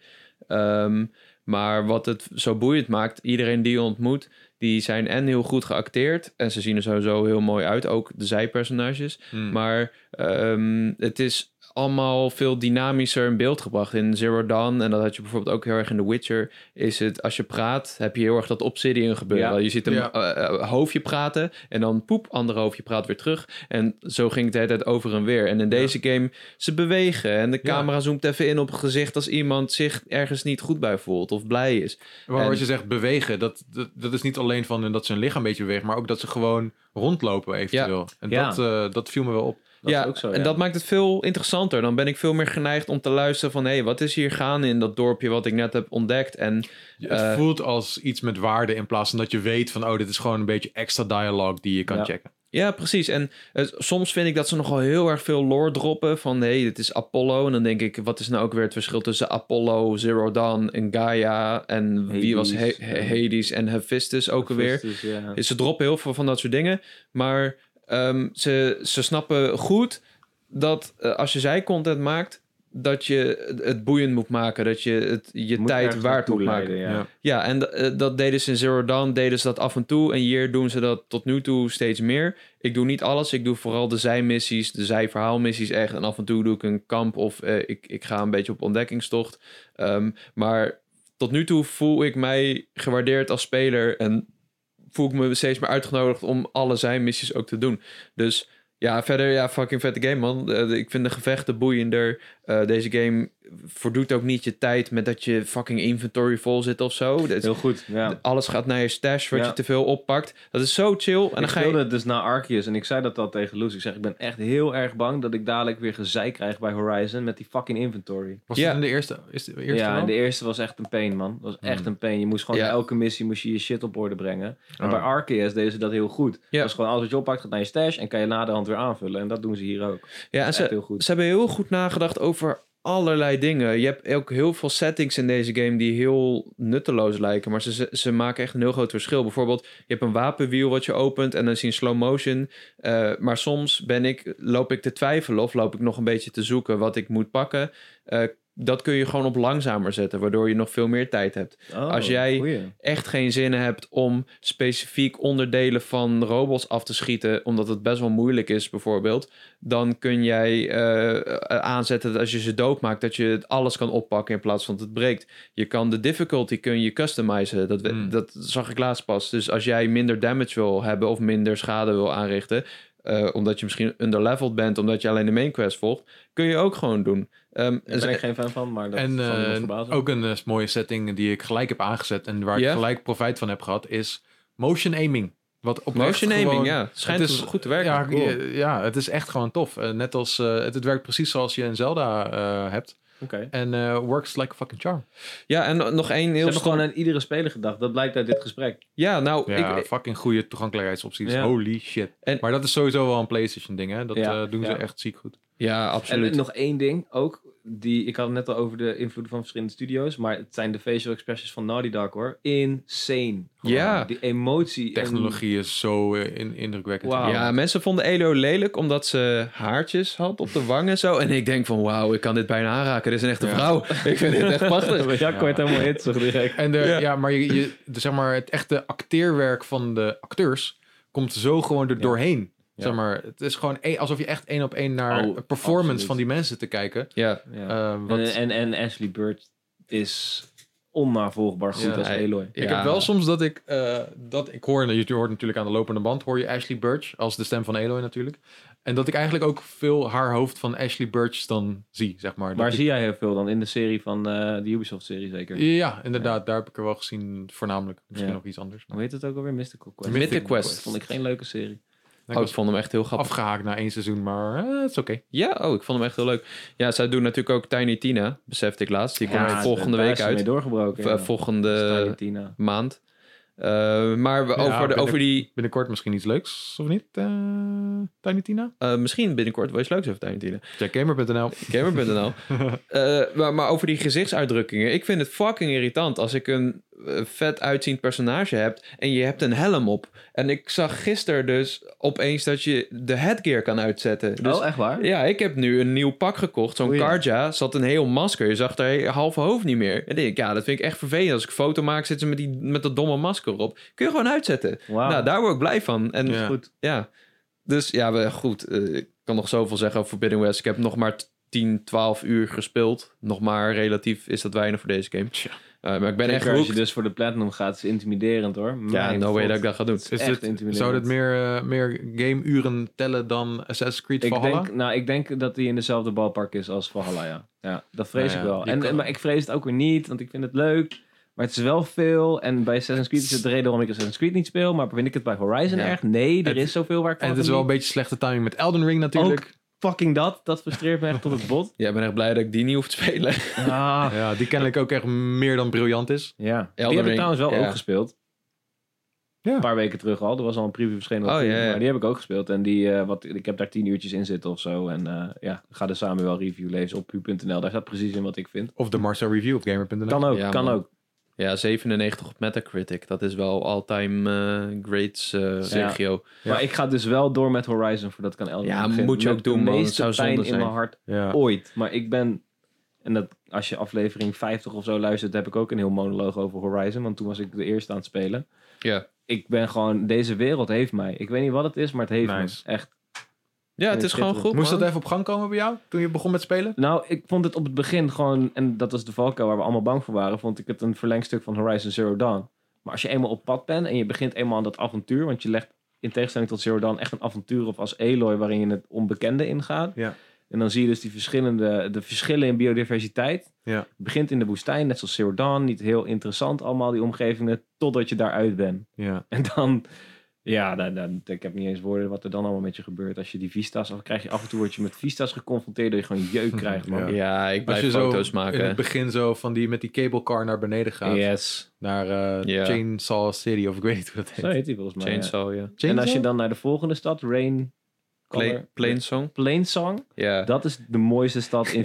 S3: Ehm, maar wat het zo boeiend maakt, iedereen die je ontmoet, die zijn en heel goed geacteerd. En ze zien er sowieso heel mooi uit, ook de zijpersonages.
S1: Hmm.
S3: Maar ehm, het is allemaal veel dynamischer in beeld gebracht. In Zero Dawn, en dat had je bijvoorbeeld ook heel erg in The Witcher, is het als je praat, heb je heel erg dat obsidian gebeuren.
S2: Ja.
S3: Je ziet een
S1: Ja.
S3: eh, eh, hoofdje praten en dan poep, ander hoofdje praat weer terug. En zo ging het de hele tijd over en weer. En in deze game, ze bewegen en de
S1: Ja.
S3: camera zoomt even in op het gezicht als iemand zich ergens niet goed bij voelt of blij is.
S1: Maar
S3: En-
S1: wat je zegt bewegen, dat, dat, dat is niet alleen van dat ze hun lichaam een beetje beweegt, maar ook dat ze gewoon rondlopen eventueel. En
S2: Ja.
S1: dat, eh, dat viel me wel op.
S2: Dat
S3: ja,
S2: is ook zo,
S3: en
S2: ja.
S3: dat maakt het veel interessanter. Dan ben ik veel meer geneigd om te luisteren van... hé, hey, wat is hier gaande in dat dorpje wat ik net heb ontdekt? En
S1: Het
S3: Eh,
S1: voelt als iets met waarde in plaats van dat je weet van, oh, dit is gewoon een beetje extra dialogue die je kan
S2: Ja.
S1: checken.
S3: Ja, precies. En eh, soms vind ik dat ze nogal heel erg veel lore droppen. Van hé, hey, dit is Apollo. En dan denk ik, wat is nou ook weer het verschil tussen Apollo, Zero Dawn en Gaia? En wie was
S2: Hades.
S3: He- He- Hades en Hephaestus ook alweer?
S2: Dus, ja.
S3: Ze droppen heel veel van dat soort dingen. Maar ehm, ze, ze snappen goed dat eh, als je zij content maakt, dat je het- het boeiend moet maken. Dat je het, je
S2: Moet
S3: tijd
S2: ergens
S3: waard
S2: naartoe
S3: moet maken.
S2: leiden,
S1: Ja.
S2: Ja.
S3: Ja, en d- eh, dat deden ze in Zero Dawn, deden ze dat af en toe. En hier doen ze dat tot nu toe steeds meer. Ik doe niet alles, ik doe vooral de zijmissies, de zijverhaalmissies echt. En af en toe doe ik een kamp of eh, ik, ik ga een beetje op ontdekkingstocht. Ehm, maar tot nu toe voel ik mij gewaardeerd als speler. En voel ik me steeds meer uitgenodigd om alle zijmissies ook te doen. Dus ja, verder, ja, fucking vette game, man. Eh, ik vind de gevechten boeiender. Eh, deze game verdoet ook niet je tijd met dat je fucking inventory vol zit of zo. Dat is-
S2: Heel goed, ja.
S3: alles gaat naar je stash, wat
S2: Ja.
S3: je te veel oppakt. Dat is zo chill. En dan
S2: ik
S3: ga
S2: speelde
S3: je...
S2: het dus na Arceus en ik zei dat al tegen Loes. Ik zeg, ik ben echt heel erg bang dat ik dadelijk weer gezeik krijg bij Horizon met die fucking inventory.
S1: Was
S3: Ja.
S1: dat in de eerste? Is de eerste
S2: ja,
S1: wel?
S2: en de eerste was echt een pain, man. Dat was
S3: Hmm.
S2: echt een pain. Je moest gewoon
S3: Ja.
S2: bij elke missie moest je je shit op orde brengen. En
S1: Oh.
S2: bij Arceus deden ze dat heel goed.
S3: Ja.
S2: Dat is gewoon alles wat je oppakt gaat naar je stash en kan je naderhand weer aanvullen. En dat doen ze hier ook.
S3: Ja, en
S2: Echt
S3: ze,
S2: heel goed.
S3: ze hebben heel goed nagedacht over allerlei dingen. Je hebt ook heel veel settings in deze game die heel nutteloos lijken. Maar ze- ze, ze maken echt een heel groot verschil. Bijvoorbeeld, je hebt een wapenwiel wat je opent en dan zie je slow motion. Eh, maar soms ben ik, loop ik te twijfelen of loop ik nog een beetje te zoeken wat ik moet pakken. Eh, dat kun je gewoon op langzamer zetten, waardoor je nog veel meer tijd hebt.
S2: Oh,
S3: Als jij-
S2: goeie.
S3: echt geen zin hebt om specifiek onderdelen van robots af te schieten, omdat het best wel moeilijk is, bijvoorbeeld, dan kun jij eh, eh, aanzetten dat als je ze doodmaakt, dat je het alles kan oppakken in plaats van dat het breekt. Je kan de difficulty kun je customizen. Dat, we-
S1: Hmm.
S3: dat zag ik laatst pas. Dus als jij minder damage wil hebben of minder schade wil aanrichten, eh, omdat je misschien underleveled bent, omdat je alleen de main quest volgt, kun je ook gewoon doen. Ehm,
S2: Daar ben ik geen fan van, maar dat
S1: En
S2: zal me
S1: eh,
S2: nog verbazen.
S1: ook een eh, mooie setting die ik gelijk heb aangezet en waar
S3: Ja?
S1: ik gelijk profijt van heb gehad, is motion aiming. Wat op
S3: Motion aiming,
S1: gewoon,
S3: ja. Schijnt
S1: het is-
S3: goed te werken.
S1: Ja,
S3: Cool.
S1: ja, ja, het is echt gewoon tof. Eh, net als eh, het, het werkt precies zoals je in Zelda eh, hebt.
S2: Oké.
S1: En eh, works like a fucking charm.
S3: Ja, en no- nog één
S2: Ze
S3: heel
S2: hebben gewoon aan iedere speler gedacht. Dat blijkt uit dit gesprek.
S3: Ja, nou,
S1: Ja,
S3: ik,
S1: fucking goede toegankelijkheidsopties.
S2: Ja.
S1: Holy shit.
S3: En-
S1: maar dat is sowieso wel een PlayStation ding, hè? Dat
S2: Ja,
S1: eh, doen ze
S2: ja.
S1: echt ziek goed.
S3: ja
S2: En
S3: absoluut.
S2: nog één ding ook. Die, ik had het net al over de invloeden van verschillende studio's. Maar het zijn de facial expressions van Naughty Dog hoor. Insane. Gewoon
S3: Ja.
S2: Die emotie. en-
S1: Technologie is zo eh, in, indrukwekkend.
S2: Wauw.
S3: ja, mensen vonden Elo lelijk omdat ze haartjes had op de wangen en zo. En ik denk van, wauw, ik kan dit bijna aanraken. Dit is een echte
S1: Ja.
S3: vrouw. Ik vind dit echt prachtig.
S2: Ja, ik word helemaal hitsig direct.
S1: En de,
S3: Ja.
S1: ja. maar, je, je, de, zeg maar het echte acteerwerk van de acteurs komt zo gewoon er
S2: Ja.
S1: doorheen.
S2: Ja.
S1: Zeg maar, het is gewoon één- alsof je echt één op één naar
S2: Oh,
S1: een performance
S2: absoluut.
S1: van die mensen te kijken.
S3: Ja,
S2: Ja.
S1: Eh, wat,
S2: en, en, en Ashley Bird is onnavolgbaar goed
S1: Ja,
S2: als
S3: hij-
S2: Eloy.
S1: Ik
S3: ja.
S1: heb wel soms dat ik eh, dat ik hoor, en je hoort natuurlijk aan de lopende band, hoor je Ashley Birch als de stem van Eloy natuurlijk. En dat ik eigenlijk ook veel haar hoofd van Ashley Birch dan zie, zeg maar. Dat
S2: Waar
S1: ik-
S2: zie jij heel veel dan? In de serie van eh, de Ubisoft-serie zeker?
S1: Ja, inderdaad, daar heb ik er wel gezien, voornamelijk. Misschien
S2: Ja.
S1: nog iets anders.
S2: Hoe heet het ook alweer? Mystical Quest.
S3: Mythic Quest.
S2: Vond ik geen leuke serie.
S1: Ik
S3: oh, ik
S1: was
S3: vond hem echt heel grappig.
S1: afgehaakt na één seizoen, maar eh, het is oké.
S3: Ja, oh, ik vond hem echt heel leuk. Ja, zij doen natuurlijk ook Tiny Tina, besefte ik laatst. Die komt
S2: Ja,
S3: volgende
S2: daar
S3: week
S2: is ze mee
S3: uit.
S2: doorgebroken.
S3: Of, eh,
S2: ja.
S3: volgende
S2: Tiny Tina.
S3: maand. Eh, maar we- over, de,
S1: binnen-
S3: over die...
S1: Binnenkort misschien iets leuks, of niet? eh Tiny Tina?
S3: eh, misschien binnenkort wel iets leuks over Tiny
S1: Jackgamer.nl.
S3: Gamer.nl. Eh, maar, maar over die gezichtsuitdrukkingen. Ik vind het fucking irritant als ik een eh, vet uitziend personage heb en je hebt een helm op. En ik zag gisteren dus opeens dat je de headgear kan uitzetten. Dus
S2: oh, echt waar?
S3: ja, ik heb nu een nieuw pak gekocht. Zo'n
S1: Oei.
S3: Karja zat een heel masker. Je zag daar he- half hoofd niet meer. En denk ik, ja, dat vind ik echt vervelend. Als ik een foto maak, zitten ze met, die, met dat domme masker op. Kun je gewoon uitzetten.
S2: Wauw.
S3: Nou, daar word ik blij van. En
S1: Ja.
S2: Goed.
S3: ja. Dus ja, we, goed. eh, ik kan nog zoveel zeggen over Forbidden West. Ik heb nog maar t- 10, 12 uur gespeeld. Nog maar relatief is dat weinig voor deze game. Eh, maar ik ben
S2: Zeker
S3: echt
S2: als
S3: hooked.
S2: je dus voor de platinum gaat, is intimiderend hoor.
S3: Ja,
S2: Mijn
S3: no way
S2: god.
S3: dat ik dat ga doen.
S1: Is
S2: Echt
S1: dit,
S2: intimiderend.
S1: zou dit meer, eh, meer game-uren tellen dan Assassin's Creed
S2: Ik
S1: Valhalla?
S2: denk, nou, ik denk dat hij in dezelfde balpark is als Valhalla, ja. ja dat vrees
S1: Nou ja,
S2: ik wel.
S1: je
S2: En,
S1: kan-
S2: Maar ik vrees het ook weer niet, want ik vind het leuk. Maar het is wel veel. En bij Assassin's Creed is het de reden waarom ik Assassin's Creed niet speel. Maar vind ik het bij Horizon
S3: Ja.
S2: erg? Nee, er
S1: Het-
S2: is zoveel waar ik van
S1: en het is wel
S2: geniet.
S1: een beetje slechte timing met Elden Ring natuurlijk.
S2: Fucking dat, dat frustreert me echt tot het bot.
S3: Ja, ik ben echt blij dat ik die niet hoef te spelen.
S2: Ah,
S1: Ja, die kennelijk ook echt meer dan briljant is.
S2: ja. Die
S3: Ring,
S2: heb ik trouwens wel
S3: ja.
S2: ook gespeeld.
S1: Ja.
S2: Een paar weken terug al. Er was al een preview verschenen. op
S3: Oh,
S2: Steam,
S3: ja, ja.
S2: Maar die heb ik ook gespeeld. En die, eh, wat, ik heb daar tien uurtjes in zitten of zo. En eh, ja, ga de Samuel review lezen op pu.nl. Daar staat precies in wat ik vind.
S1: Of de Marcel Review op gamer.nl.
S2: Kan ook,
S3: Ja,
S2: kan
S3: man.
S2: ook.
S3: Ja, 97 op Metacritic. Dat is wel all-time eh, grades eh regio.
S1: Ja.
S2: Maar ik ga dus wel door met Horizon voordat ik aan Elden
S3: Ja,
S2: Ring begin.
S3: moet je
S2: Met
S3: ook doen, man.
S2: De
S3: Het
S2: meeste
S3: zou zonde
S2: pijn in
S3: zijn.
S2: mijn hart
S1: ja.
S2: ooit. Maar ik ben... En dat, als je aflevering 50 of zo luistert, heb ik ook een heel monoloog over Horizon. Want toen was ik de eerste aan het spelen.
S3: Ja.
S2: Ik ben gewoon... Deze wereld heeft mij. Ik weet niet wat het is, maar het heeft
S1: Nice.
S2: me. Echt.
S3: Ja, het is gewoon goed.
S1: Moest dat
S3: man.
S1: even op gang komen bij jou toen je begon met spelen?
S2: Nou, ik vond het op het begin gewoon... En dat was de valkuil waar we allemaal bang voor waren. Vond ik het een verlengstuk van Horizon Zero Dawn. Maar als je eenmaal op pad bent en je begint eenmaal aan dat avontuur... Want je legt in tegenstelling tot Zero Dawn echt een avontuur op als Aloy... waarin je het onbekende ingaat.
S1: Ja.
S2: En dan zie je dus die verschillende, de verschillen in biodiversiteit.
S1: Ja.
S2: Het begint in de woestijn, net zoals Zero Dawn. Niet heel interessant allemaal, die omgevingen, totdat je daaruit bent.
S1: Ja.
S2: En dan, ja, dan, dan, ik heb niet eens woorden wat er dan allemaal met je gebeurt. Als je die vistas, of krijg je af en toe word je met vistas geconfronteerd dat je gewoon jeuk krijgt, man.
S1: Ja.
S3: Ja, ik
S1: Als
S3: blijf
S1: je zo
S3: foto's maken.
S1: in het begin zo van die, met die cablecar naar beneden gaat.
S2: Yes.
S1: Naar eh,
S3: Ja.
S1: Chainsaw City of ik weet niet hoe dat heet.
S2: Zo heet die volgens mij. ja.
S3: Chainsaw, ja.
S2: En als je dan naar de volgende stad, Rain...
S3: Pla-
S2: Color-
S3: Plainsong.
S2: Plainsong.
S3: Ja.
S2: Dat is de mooiste stad in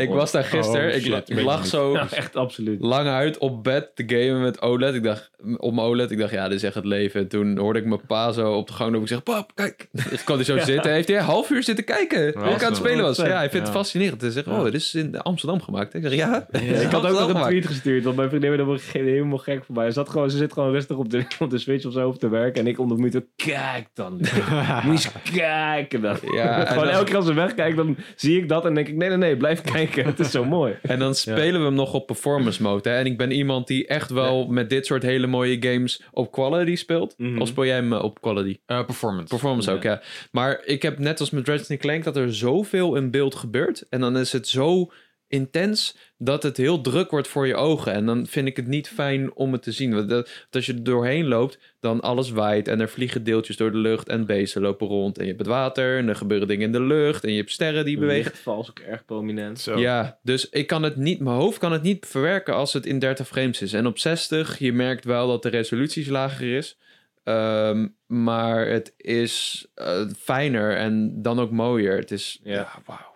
S3: Ik
S2: ooit.
S3: was daar gisteren.
S1: Oh,
S3: ik,
S1: shit,
S3: la-
S1: weet
S3: ik
S1: ik
S3: lag
S1: niet.
S3: zo
S2: Ja, echt absoluut.
S3: lang uit op bed te gamen met OLED. Ik dacht, op mijn OLED, ik dacht, ja, dit is echt het leven. En toen hoorde ik mijn pa zo op de gang lopen. Ik zeg, pap, kijk. Ik kwam hij zo zitten. Heeft hij een half uur zitten kijken. hoe ik aan het
S1: awesome.
S3: spelen was. Ja, hij vindt het
S1: Ja.
S3: fascinerend. Hij zegt, oh, dit is in Amsterdam gemaakt. Ik zeg, ja.
S2: Ik had ook nog een
S3: gemaakt.
S2: tweet gestuurd, want mijn vriendin werd er helemaal- helemaal gek voor mij. Ze, zat gewoon, ze zit gewoon rustig op de, op de Switch of zo op te werken. En ik onder de mute, kijk dan. Luc. Moet je eens kijken dan.
S3: Ja, en
S2: gewoon
S3: dan-
S2: elke keer als ze wegkijkt, dan zie ik dat en denk ik, nee, nee, nee, blijf kijken. Het is zo mooi.
S3: En dan spelen we hem nog op performance mode. Hè? En ik ben iemand die echt wel met dit soort hele mooie games op quality speelt.
S2: Mhm.
S3: Of speel jij hem eh, op quality?
S1: Eh, performance.
S3: Performance ook, ja. Maar ik heb net als met Ratchet Clank dat er zoveel in beeld gebeurt. En dan is het zo intens dat het heel druk wordt voor je ogen. En dan vind ik het niet fijn om het te zien. Want dat- want als je er doorheen loopt, dan alles waait. En er vliegen deeltjes door de lucht en beesten lopen rond. En je hebt het water en er gebeuren dingen in de lucht. En je hebt sterren die bewegen.
S2: vals ook erg prominent.
S1: Zo.
S3: Ja, dus ik kan het niet, mijn hoofd kan het niet verwerken als het in 30 frames is. En op 60, je merkt wel dat de resolutie lager is. Ehm, maar het is eh, fijner en dan ook mooier. Het is,
S2: Ja.
S3: wauw.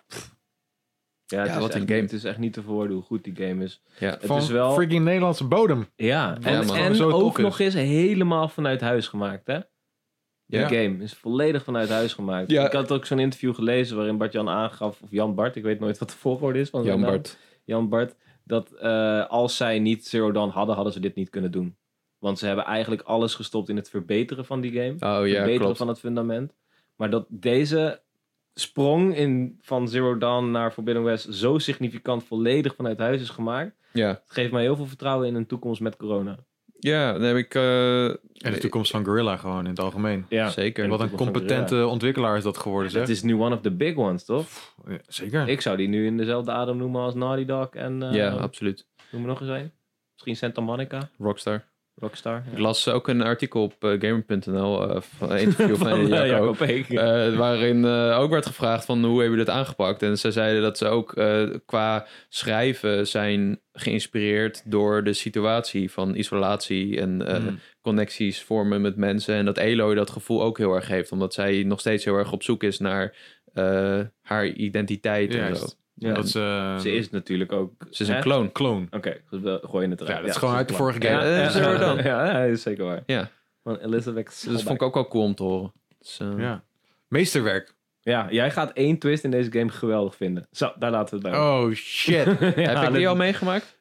S2: Ja,
S3: Ja,
S2: het is
S3: wat een
S2: echt-
S3: game.
S2: Het is echt niet te verwoorden hoe goed die game is.
S3: Ja.
S2: het
S1: Van
S2: is wel...
S1: freaking Nederlandse bodem.
S2: Ja,
S3: Ja,
S2: en,
S3: man.
S2: en
S1: Zo tof
S2: ook
S1: is.
S2: nog eens helemaal vanuit huis gemaakt, hè? De
S1: Ja.
S2: game is volledig vanuit huis gemaakt.
S3: Ja.
S2: Ik had ook zo'n interview gelezen waarin Bart-Jan aangaf, of Jan Bart, ik weet nooit wat de volgorde is van zijn
S3: Jan
S2: naam.
S3: Bart.
S2: Jan Bart, dat eh, als zij niet Zero Dawn hadden, hadden ze dit niet kunnen doen. Want ze hebben eigenlijk alles gestopt in het verbeteren van die game.
S3: Oh ja,
S2: verbeteren
S3: klopt.
S2: van het fundament. Maar dat deze sprong in, van Zero Dawn naar Forbidden West zo significant volledig vanuit huis is gemaakt,
S3: Ja,
S2: het geeft mij heel veel vertrouwen in een toekomst met corona.
S3: ja dan heb ik eh,
S1: En de toekomst van Gorilla gewoon in het algemeen.
S2: Ja,
S3: zeker.
S1: Wat
S2: de
S1: een
S2: toekomst van
S1: competente ontwikkelaar is dat geworden, zeg.
S2: Dus, eh, Het is nu one of the big ones, toch?
S1: Ja, Zeker.
S2: Ik zou die nu in dezelfde adem noemen als Naughty Dog en eh
S3: ja, absoluut.
S2: noem er nog eens een. Misschien Santa Monica.
S3: Rockstar.
S2: Rockstar.
S3: Ik las ook een artikel op eh, gamer.nl, eh, van een interview van,
S2: Van, eh,
S3: Jaco.
S2: Jacob Peek.
S3: Eh, waarin eh, ook werd gevraagd van hoe hebben jullie dit aangepakt? En ze zeiden dat ze ook eh, qua schrijven zijn geïnspireerd door de situatie van isolatie en eh,
S1: Mm.
S3: connecties vormen met mensen. En dat Eloy dat gevoel ook heel erg heeft, omdat zij nog steeds heel erg op zoek is naar eh, haar identiteit. En
S1: Juist.
S3: zo.
S2: Ja.
S1: Dat is, eh,
S2: Ze is natuurlijk ook...
S3: Ze is een
S2: Hè?
S3: kloon.
S1: een clone.
S2: Oké, dus we gooien het eruit.
S1: Ja, dat is gewoon uit de vorige
S2: Ja,
S1: game.
S3: Ja,
S2: ja,
S3: dat is
S2: ja,
S3: waar dan.
S2: ja, ja, dat is zeker waar.
S3: Ja.
S2: Van Elizabeth
S3: Dus dat vond ik
S2: Solberg.
S3: ook wel cool om te horen. Dus, eh,
S1: Ja. Meesterwerk.
S2: Ja, jij gaat één twist in deze game geweldig vinden. Zo, daar laten we het bij.
S1: Oh shit.
S2: Ja,
S3: Heb ik
S2: dit-
S3: die al meegemaakt?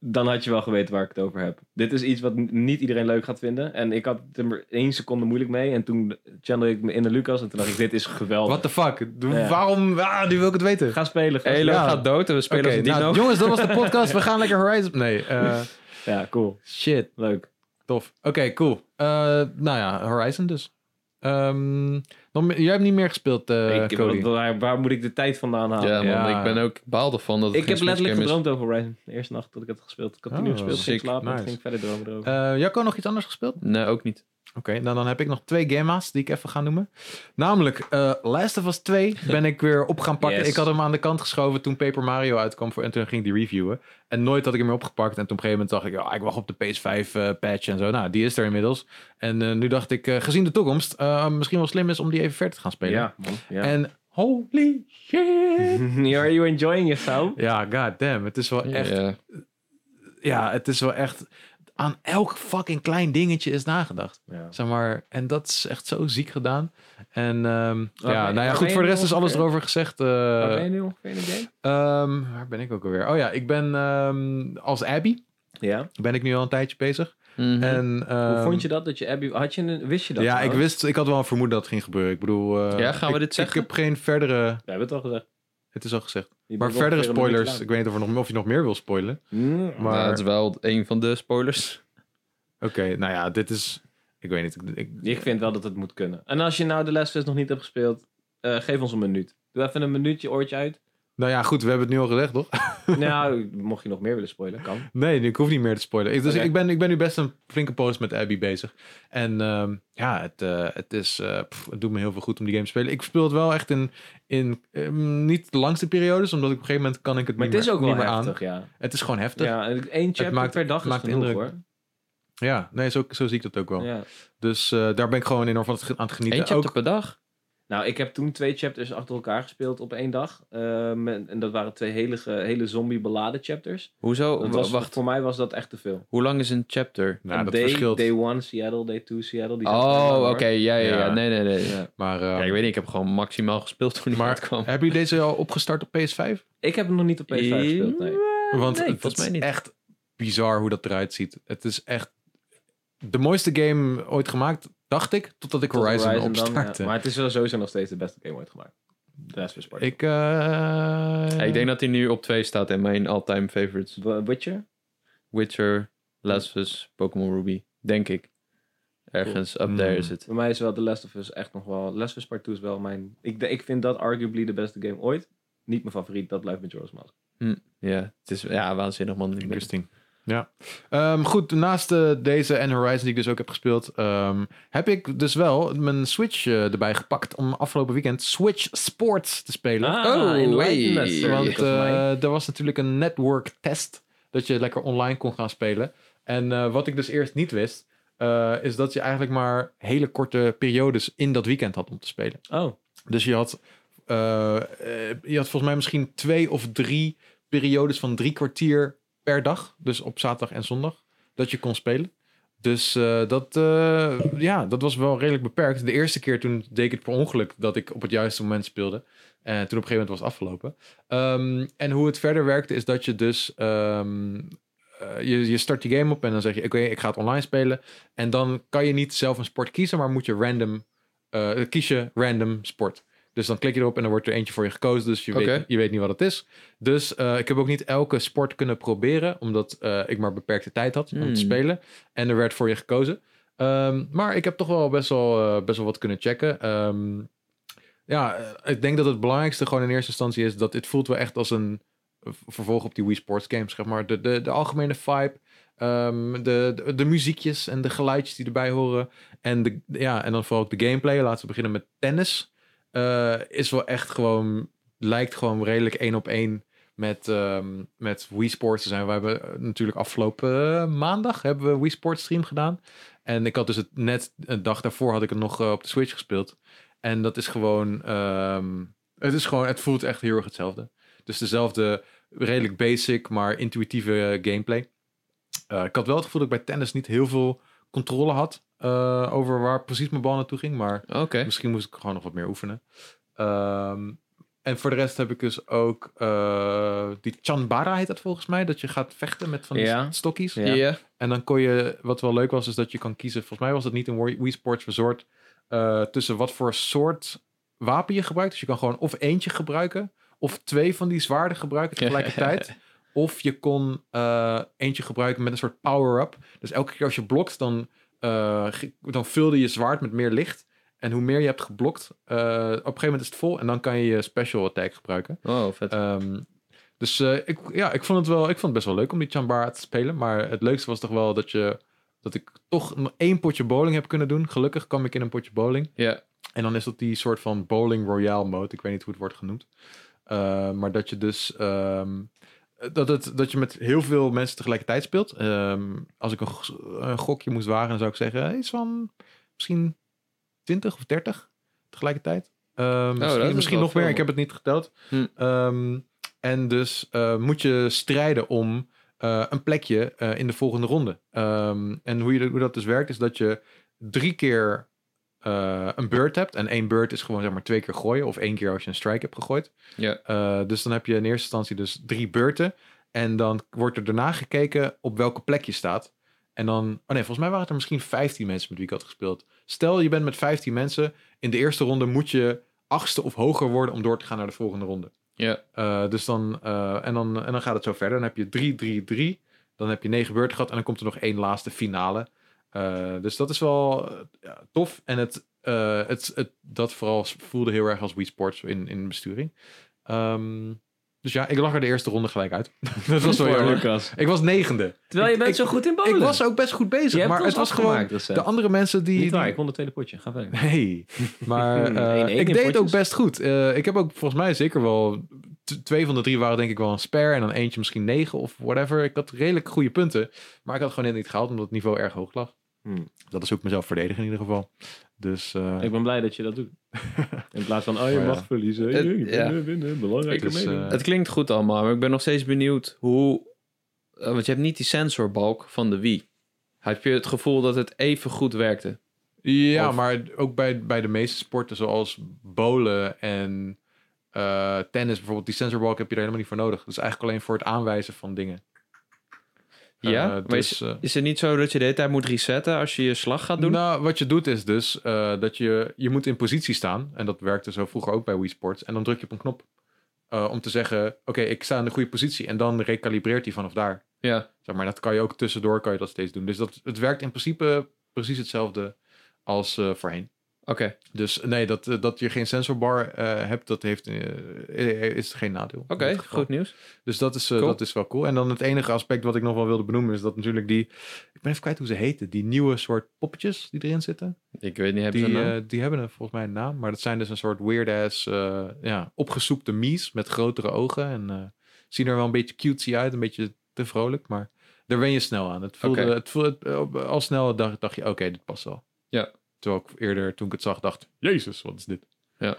S2: dan had je wel geweten waar ik het over heb. Dit is iets wat n- niet iedereen leuk gaat vinden. En ik had er maar één seconde moeilijk mee. En toen channelde ik me in naar Lucas. En toen dacht ik, dit is geweldig.
S1: What the fuck? De-
S2: Ja.
S1: Waarom? Ah, nu wil ik het weten.
S2: Ga spelen. Ga
S3: Eloy
S2: spelen.
S3: gaat dood en we spelen
S1: Oké,
S3: als een
S1: nou,
S3: dino.
S1: jongens, dat was de podcast. We gaan lekker Horizon. Nee, eh,
S2: Ja, cool.
S1: shit.
S2: Leuk.
S1: Tof. Oké, cool. Eh, nou ja, Horizon dus. Ehm, nog meer- jij hebt niet meer gespeeld, eh,
S2: ik,
S1: Cody.
S2: wa- waar, waar moet ik de tijd vandaan halen?
S3: ja, man,
S1: Ja.
S3: ik ben ook ik baal ervan dat het
S2: ik heb
S3: geen
S2: letterlijk
S3: Switch game is.
S2: gedroomd over Horizon. De eerste nacht dat ik het gespeeld. Ik had het nu
S1: Oh,
S2: gespeeld. Ging
S3: sick.
S2: slapen. en
S1: Nice.
S2: Ging verder dromen erover.
S1: Eh, Jacco, nog iets anders gespeeld?
S3: Nee, ook niet.
S1: Oké, nou dan heb ik nog twee gamma's die ik even ga noemen. Namelijk, eh Last of Us 2 ben ik weer op gaan pakken.
S2: Yes.
S1: Ik had hem aan de kant geschoven toen Paper Mario uitkwam voor, en toen ging ik die reviewen. En nooit had ik hem meer opgepakt. En toen op een gegeven moment dacht ik, ja, ik wacht op de PS5 eh, patch en zo. Nou, die is er inmiddels. En eh, nu dacht ik, eh, gezien de toekomst, eh, misschien wel slim is om die even verder te gaan spelen.
S2: ja, man. Ja. Mhm.
S1: En holy shit!
S2: Are you enjoying yourself?
S1: Ja, god damn. Het is wel echt
S3: Ja.
S1: ja, het is wel echt. Aan elk fucking klein dingetje is nagedacht.
S2: Ja.
S1: Zeg maar, en dat is echt zo ziek gedaan. En ehm,
S2: Waar ben
S1: ja,
S2: je-
S1: nou ja,
S2: waar
S1: goed,
S2: ben
S1: voor de
S2: je
S1: rest is alles
S2: ongeveer?
S1: erover gezegd. eh,
S2: Waar ben je nu ongeveer in de game?
S1: ehm, waar ben ik ook alweer? Oh ja, ik ben ehm, als Abby
S2: Ja.
S1: ben ik nu al een tijdje bezig.
S3: Mhm.
S1: En,
S2: Hoe
S1: ehm,
S2: vond je dat? dat je Abby, had je een, wist je dat?
S1: Ja, ik
S2: trouwens?
S1: wist, ik had wel een vermoeden dat het ging gebeuren. Ik bedoel, eh,
S3: Ja, gaan we
S1: ik-
S3: dit zeggen?
S1: Ik heb geen verdere.
S2: We hebben het al gezegd.
S1: Het is al gezegd.
S2: Je
S1: Maar
S2: bent ongeveer
S1: verdere
S2: een minuut
S1: spoilers.
S2: lang.
S1: Ik weet niet of, er nog, of je nog meer wil spoilen.
S2: Mm.
S1: Maar
S3: Nou, het
S1: oké,
S3: is wel een van de spoilers.
S1: nou ja, dit is. Ik weet niet. Ik, ik-
S2: Ik vind wel dat het moet kunnen. En als je nou de les nog niet hebt gespeeld, eh, geef ons een minuut. Doe even een minuutje oortje uit.
S1: nou ja, goed, we hebben het nu al gezegd, toch?
S2: nou, mocht je nog meer willen spoilen, kan.
S1: Nee, ik hoef niet meer te spoilen. Ik, dus
S2: Oké.
S1: ik, ben, ik ben nu best een flinke post met Abby bezig. En ehm, ja, het, eh, het, is, eh, pff, het doet me heel veel goed om die game te spelen. Ik speel het wel echt in, in eh, niet de langste periodes, omdat ik op een gegeven moment kan ik het
S2: Maar
S1: niet
S2: het is
S1: meer,
S2: ook wel
S1: niet meer aan.
S2: heftig, ja.
S1: Het is gewoon heftig. Ja,
S2: Ja, en één chapter
S1: maakt-
S2: per dag is
S1: maakt
S2: genoeg,
S1: indruk. nee, zo, zo zie ik dat ook wel.
S2: hoor. Ja.
S1: Dus eh, daar ben ik gewoon enorm van het ge- aan het
S3: Eén
S1: genieten.
S3: chapter
S1: Ook,
S3: per dag.
S2: Nou, ik heb toen twee chapters achter elkaar gespeeld op één dag. Ehm, en, en dat waren twee hele, ge- hele zombie-beladen chapters.
S3: Hoezo?
S2: Dat
S3: Wa-
S2: was,
S3: Wacht,
S2: Voor mij was dat echt te veel.
S3: hoe lang is een chapter?
S1: nou, dat
S2: day,
S1: verschilt.
S2: Day 1 Seattle, Day 2 Seattle. Die zijn allemaal,
S3: Oh,
S2: hoor.
S3: oké. Ja, ja, ja.
S1: Ja.
S3: Nee, nee, nee. Ja.
S1: Maar eh,
S3: ik weet niet. Ik heb gewoon maximaal gespeeld toen die
S1: Maar-
S3: uitkwam.
S1: hebben jullie deze al opgestart op PS5?
S2: Ik heb hem nog niet op PS5 gespeeld, nee.
S1: Want
S3: nee,
S1: het
S3: volgens
S1: is
S3: mij niet.
S1: echt bizar hoe dat eruit ziet. Het is echt de mooiste game ooit gemaakt, dacht ik, totdat ik
S2: Tot
S1: Horizon,
S2: Horizon dan,
S1: opstartte.
S2: ja. Maar het is wel sowieso nog steeds de beste game ooit gemaakt. De rest is Sparta.
S1: Ik, eh,
S3: Ja, ik denk dat hij nu op twee staat in mijn all-time favorites.
S2: W- Witcher?
S3: Witcher, Last of Us, Pokémon Ruby. Denk ik. Ergens up
S1: Mm.
S3: there is het.
S2: Voor mij is wel The Last of Us echt nog wel... Last of Us Part 2 is wel mijn... Ik, de- ik vind dat arguably de beste game ooit. Niet mijn favoriet, dat blijft Majora's Mask.
S3: Ja, het is ja, waanzinnig man. Ik ben-
S1: Interesting. Ja. Ehm, goed, naast eh, deze en Horizon die ik dus ook heb gespeeld, ehm, heb ik dus wel mijn Switch eh, erbij gepakt om afgelopen weekend Switch Sports te spelen.
S3: Oh,
S2: enlighten
S3: hey.
S2: us,
S3: Want,
S2: Lucas
S1: Want
S2: Meij.
S1: eh, er was natuurlijk een network test dat je lekker online kon gaan spelen. En eh, wat ik dus eerst niet wist, eh, is dat je eigenlijk maar hele korte periodes in dat weekend had om te spelen.
S2: oh,
S1: Dus je had, eh, eh, je had volgens mij misschien twee of drie periodes van drie kwartier per dag. Dus op zaterdag en zondag dat je kon spelen. Dus eh, dat, eh, ja, dat was wel redelijk beperkt. De eerste keer toen deed ik het per ongeluk dat ik op het juiste moment speelde. En toen op een gegeven moment was het afgelopen. Ehm, en hoe het verder werkte is dat je dus... ehm, eh, je, je start die game op en dan zeg je... Oké, ik ga het online spelen. En dan kan je niet zelf een sport kiezen, maar moet je random... eh, kies je random sport. Dus dan klik je erop en dan wordt er eentje voor je gekozen. Dus je,
S3: Oké.
S1: weet, je weet niet wat het is. Dus eh, ik heb ook niet elke sport kunnen proberen. Omdat eh, ik maar beperkte tijd had om
S3: Hmm.
S1: te spelen. En er werd voor je gekozen. Ehm, maar ik heb toch wel best wel, eh, best wel wat kunnen checken. Ehm, ja, eh, ik denk dat het belangrijkste gewoon in eerste instantie is dat dit voelt wel echt als een v- vervolg op die Wii Sports games, zeg maar. De, de, de algemene vibe, Ehm, de, de, de muziekjes en de geluidjes die erbij horen. En, de, ja, en dan vooral ook de gameplay. Laten we beginnen met tennis. Eh, is wel echt gewoon... Lijkt gewoon redelijk één op één met, ehm, met Wii Sports te zijn. We hebben eh, natuurlijk afgelopen eh, maandag hebben we Wii Sports stream gedaan. En ik had dus het net een dag daarvoor had ik het nog eh, op de Switch gespeeld. En dat is gewoon... ehm, het is gewoon... Het voelt echt heel erg hetzelfde. Dus dezelfde redelijk basic, maar intuïtieve eh, gameplay. Eh, ik had wel het gevoel dat ik bij tennis niet heel veel controle had eh, over waar precies mijn bal naartoe ging, maar
S3: Oké.
S1: misschien moest ik gewoon nog wat meer oefenen. Ehm, en voor de rest heb ik dus ook eh, die Chanbara heet dat volgens mij, dat je gaat vechten met van die
S2: Ja.
S1: st- stokjes.
S2: Ja.
S3: Ja.
S1: En dan kon je, wat wel leuk was, is dat je kan kiezen, volgens mij was dat niet in Wii Wii Sports Resort, eh, tussen wat voor soort wapen je gebruikt. Dus je kan gewoon of eentje gebruiken, of twee van die zwaarden gebruiken tegelijkertijd. of je kon eh, eentje gebruiken met een soort power-up. Dus elke keer als je blokt, dan, eh, ge- dan vulde je zwaard met meer licht. En hoe meer je hebt geblokt, eh, op een gegeven moment is het vol en dan kan je je special attack gebruiken.
S3: Oh, vet.
S1: Ehm, dus eh, ik, ja, ik vond het wel, ik vond het best wel leuk om die Chambara te spelen. Maar het leukste was toch wel dat je dat ik toch nog één potje bowling heb kunnen doen. Gelukkig kwam ik in een potje bowling.
S3: Ja.
S1: En dan is dat die soort van bowling royale mode. Ik weet niet hoe het wordt genoemd. Eh, maar dat je dus ehm, dat, het, dat je met heel veel mensen tegelijkertijd speelt. Ehm, als ik een, go- een gokje moest wagen, dan zou ik zeggen eh, iets van misschien 20 of 30 tegelijkertijd. Ehm,
S3: Oh, dat is
S1: misschien misschien
S3: wel
S1: nog meer,
S3: veel.
S1: ik heb het niet geteld.
S3: Hm.
S1: Ehm, en dus eh, moet je strijden om eh, een plekje eh, in de volgende ronde. Ehm, en hoe, je, hoe dat dus werkt, is dat je drie keer eh, een beurt hebt. En één beurt is gewoon zeg maar twee keer gooien. Of één keer als je een strike hebt gegooid.
S3: Ja.
S1: Eh, dus dan heb je in eerste instantie dus drie beurten. En dan wordt er daarna gekeken op welke plek je staat. En dan, oh nee, volgens mij waren het er misschien 15 mensen met wie ik had gespeeld. Stel je bent met 15 mensen. In de eerste ronde moet je achtste of hoger worden om door te gaan naar de volgende ronde.
S3: Ja.
S1: Eh, dus dan, eh, en dan, en dan gaat het zo verder. Dan heb je 3, 3, 3. Dan heb je 9 beurten gehad en dan komt er nog één laatste finale. Eh, dus dat is wel eh, ja, tof. En het, eh, het, het, dat vooral voelde heel erg als Wii Sports in, in besturing. Ehm, dus ja, ik lag er de eerste ronde gelijk uit. dat was wel heel leuk.
S2: Lucas.
S1: Ik was negende.
S2: Terwijl je
S1: Ik-
S2: bent
S1: ik-
S2: zo goed in bowlen.
S1: Ik was ook best goed
S2: Je
S1: bezig,
S2: hebt
S1: maar
S2: ons
S1: het was
S2: afgemaakt
S1: gewoon...
S2: recent.
S1: De andere mensen die...
S2: Niet waar,
S1: die-
S2: ik won het tweede potje. Ga verder.
S1: Nee, maar eh,
S2: Eén-één in
S1: ik deed ook
S2: Hmm, potjes.
S1: best goed. Eh, ik heb ook volgens mij zeker wel... t- Twee van de drie waren denk ik wel een spare... en dan eentje misschien negen of whatever. Ik had redelijk goede punten, maar ik had gewoon net niet gehaald... omdat het niveau erg hoog lag.
S2: Hmm.
S1: Dat is ook mezelf verdedigen in ieder geval. Dus eh,
S2: Ik ben blij dat je dat doet. In plaats van, oh, je
S1: Maar ja.
S2: mag verliezen.
S3: Het-
S2: je
S3: ja.
S2: winnen, winnen, belangrijke
S1: Dus,
S2: meedoen.
S1: eh,
S3: Het klinkt goed allemaal, maar ik ben nog steeds benieuwd hoe... eh, want je hebt niet die sensorbalk van de Wii. Heb je het gevoel dat het even goed werkte?
S1: Ja,
S3: Of-
S1: maar ook bij, bij de meeste sporten zoals bowlen en eh, tennis bijvoorbeeld, die sensorbalk heb je er helemaal niet voor nodig. Dat is eigenlijk alleen voor het aanwijzen van dingen.
S3: Ja,
S1: Eh,
S3: maar
S1: dus, eh,
S3: Is het niet zo dat je de hele tijd moet resetten als je je slag gaat doen?
S1: Nou, wat je doet is dus eh, dat je, je moet in positie staan. En dat werkte zo vroeger ook bij Wii Sports. En dan druk je op een knop eh, om te zeggen, oké, ik sta in de goede positie. En dan recalibreert hij vanaf daar.
S3: Ja,
S1: Zeg maar, dat kan je ook tussendoor kan je dat steeds doen. Dus dat, het werkt in principe precies hetzelfde als eh, voorheen.
S3: oké.
S1: Dus nee, dat, eh, dat je geen sensorbar eh, hebt, dat heeft, eh, is geen nadeel. in
S3: Oké,
S1: dit geval.
S3: goed nieuws.
S1: Dus dat is, eh,
S3: Cool.
S1: dat is wel cool. En dan het enige aspect wat ik nog wel wilde benoemen, is dat natuurlijk die... Ik ben even kwijt hoe ze heten. Die nieuwe soort poppetjes die erin zitten.
S3: Ik weet niet, heb je
S1: Die,
S3: een naam?
S1: eh, die hebben een, volgens mij een naam. Maar dat zijn dus een soort weird-ass, eh, ja, opgesoepte mies met grotere ogen. En eh, zien er wel een beetje cutesy uit, een beetje te vrolijk. Maar daar wen je snel aan. Het voelde,
S3: Oké.
S1: het voelde eh, op- al snel dacht, dacht je, oké, dit past wel.
S3: Ja.
S1: Terwijl ik eerder, toen ik het zag, dacht, jezus, wat is dit?
S3: Ja.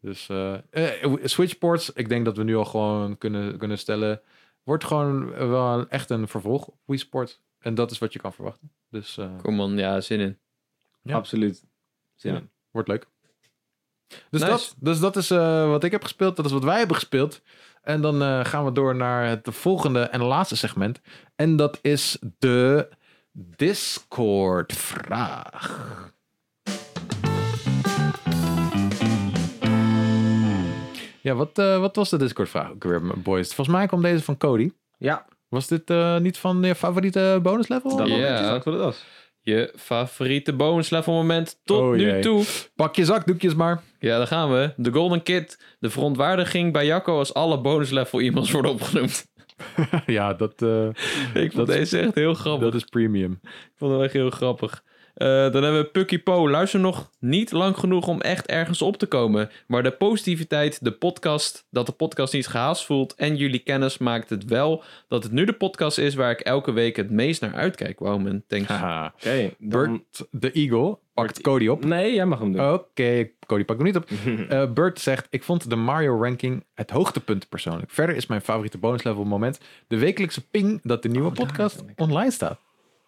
S1: Dus eh eh, Switchports, ik denk dat we nu al gewoon kunnen, kunnen stellen, wordt gewoon wel een- echt een vervolg op Wii Sport. En dat is wat je kan verwachten. Dus eh,
S3: Kom man, ja, zin in.
S1: ja.
S2: Absoluut. Zin
S1: Ja.
S2: in.
S1: Wordt leuk. Dus,
S3: Nice.
S1: dat, dus dat is eh, wat ik heb gespeeld. Dat is wat wij hebben gespeeld. En dan eh, gaan we door naar het volgende en laatste segment. En dat is de Discord-vraag. Ja, wat, eh, wat was de Discord-vraag ook weer, boys? Volgens mij kwam deze van Cody.
S2: Ja,
S1: Was dit eh, niet van je favoriete bonuslevel?
S2: dat
S3: Ja.
S2: was straks wat het was.
S3: Je favoriete bonuslevel moment tot
S1: Oh,
S3: nu
S1: jee.
S3: toe.
S1: Pak je zakdoekjes maar.
S3: Ja, daar gaan we. De Golden Kid. De verontwaardiging bij Jacco als alle bonuslevel emails worden opgenoemd.
S1: ja, dat, eh,
S3: Ik
S1: Dat
S3: vond deze echt heel grappig.
S1: dat is premium.
S3: Ik vond het echt heel grappig. Eh, dan hebben we Pucky Po. Luister nog niet lang genoeg om echt ergens op te komen. Maar de positiviteit, de podcast, dat de podcast niet gehaast voelt en jullie kennis maakt het wel dat het nu de podcast is waar ik elke week het meest naar uitkijk. Wow man, thanks.
S1: Haha.
S2: Oké, dan... Oh,
S1: Bert de Eagle pakt Cody op.
S2: Nee, jij mag hem doen.
S1: Oké, Cody pakt hem niet op. Eh Bert zegt, ik vond de Mario ranking het hoogtepunt persoonlijk. Verder is mijn favoriete bonuslevel moment de wekelijkse ping dat de nieuwe podcast online staat.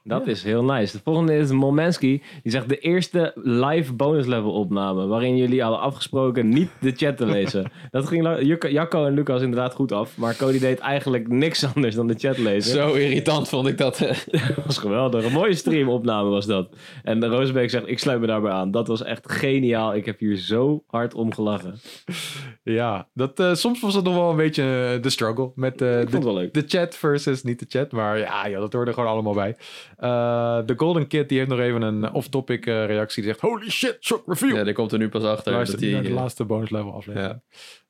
S2: Dat is heel nice. De volgende is Momenski. Die zegt de eerste live bonus level opname. Waarin jullie hadden afgesproken niet de chat te lezen. dat ging Lu- Jukka- Jacco en Lucas inderdaad goed af. Maar Cody deed eigenlijk niks anders dan de chat lezen.
S3: Zo irritant vond ik dat.
S2: Dat was geweldig. Een mooie streamopname was dat. En Roosbeek zegt ik sluit me daarbij aan. Dat was echt geniaal. Ik heb hier zo hard om gelachen. Ik
S1: Ja, dat, eh, soms was dat nog wel een beetje eh, de struggle met eh,
S2: vond het
S1: de,
S2: wel leuk.
S1: de chat versus niet de chat. Maar ja, joh, dat hoort er gewoon allemaal bij. Eh, de Golden Kid die heeft nog even een off-topic eh, reactie. Die zegt, holy shit, shock reveal.
S3: ja, daar komt er nu pas achter.
S1: Luister
S3: dat
S1: naar de
S3: die, eh,
S1: laatste bonus level aflevering.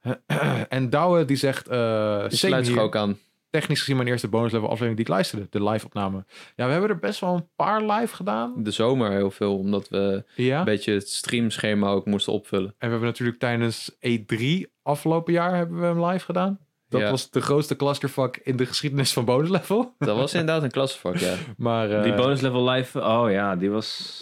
S3: ja,
S1: En Douwe die zegt, eh,
S3: die
S1: same
S3: sluit zich
S1: hier.
S3: ook aan.
S1: technisch gezien mijn eerste bonus level aflevering die ik luisterde. De live opname. Ja, we hebben er best wel een paar live gedaan.
S3: De zomer heel veel, omdat we
S1: Ja.
S3: een beetje het streamschema ook moesten opvullen.
S1: En we hebben natuurlijk tijdens E3 afgelopen jaar hebben we hem live gedaan. Dat
S3: Ja.
S1: was de grootste clusterfuck in de geschiedenis van bonus level.
S3: Dat was inderdaad een klassenvak, ja.
S1: Maar eh,
S2: Die bonus level live. Oh ja, die was.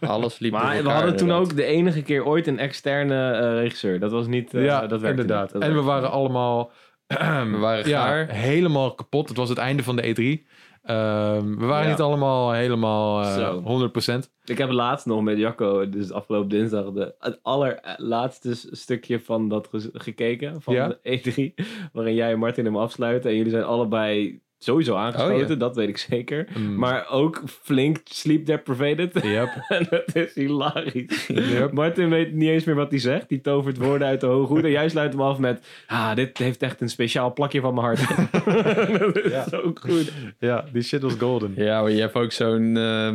S3: Alles liep door
S2: Maar we
S3: elkaar,
S2: hadden toen
S3: inderdaad.
S2: ook de enige keer ooit een externe eh, regisseur. Dat was niet. eh,
S1: ja,
S2: dat werkte
S1: inderdaad.
S2: niet. Dat
S1: en we
S2: werkte
S1: waren allemaal
S3: We waren
S1: ja,
S3: gaar.
S1: helemaal kapot. Het was het einde van de E3. Ehm, we waren
S2: Ja.
S1: niet allemaal helemaal
S2: Zo.
S1: eh 100%.
S2: Ik heb laatst nog met Jacco, dus afgelopen dinsdag, de, het allerlaatste s- stukje van dat ge- gekeken. Van
S1: Ja.
S2: de E3. Waarin jij en Martin hem afsluiten. En jullie zijn allebei sowieso aangesloten,
S3: Oh, ja.
S2: dat weet ik zeker.
S1: Mm.
S2: Maar ook flink sleep deprivated.
S1: Yep.
S2: en dat is hilarisch.
S1: Yep.
S2: Martin weet niet eens meer wat hij zegt. Die tovert woorden uit de hoge hoed. En jij sluit hem af met: Ah, dit heeft echt een speciaal plakje van mijn hart. dat is zo goed.
S1: ja, die shit was golden.
S3: Ja, maar je hebt ook zo'n eh,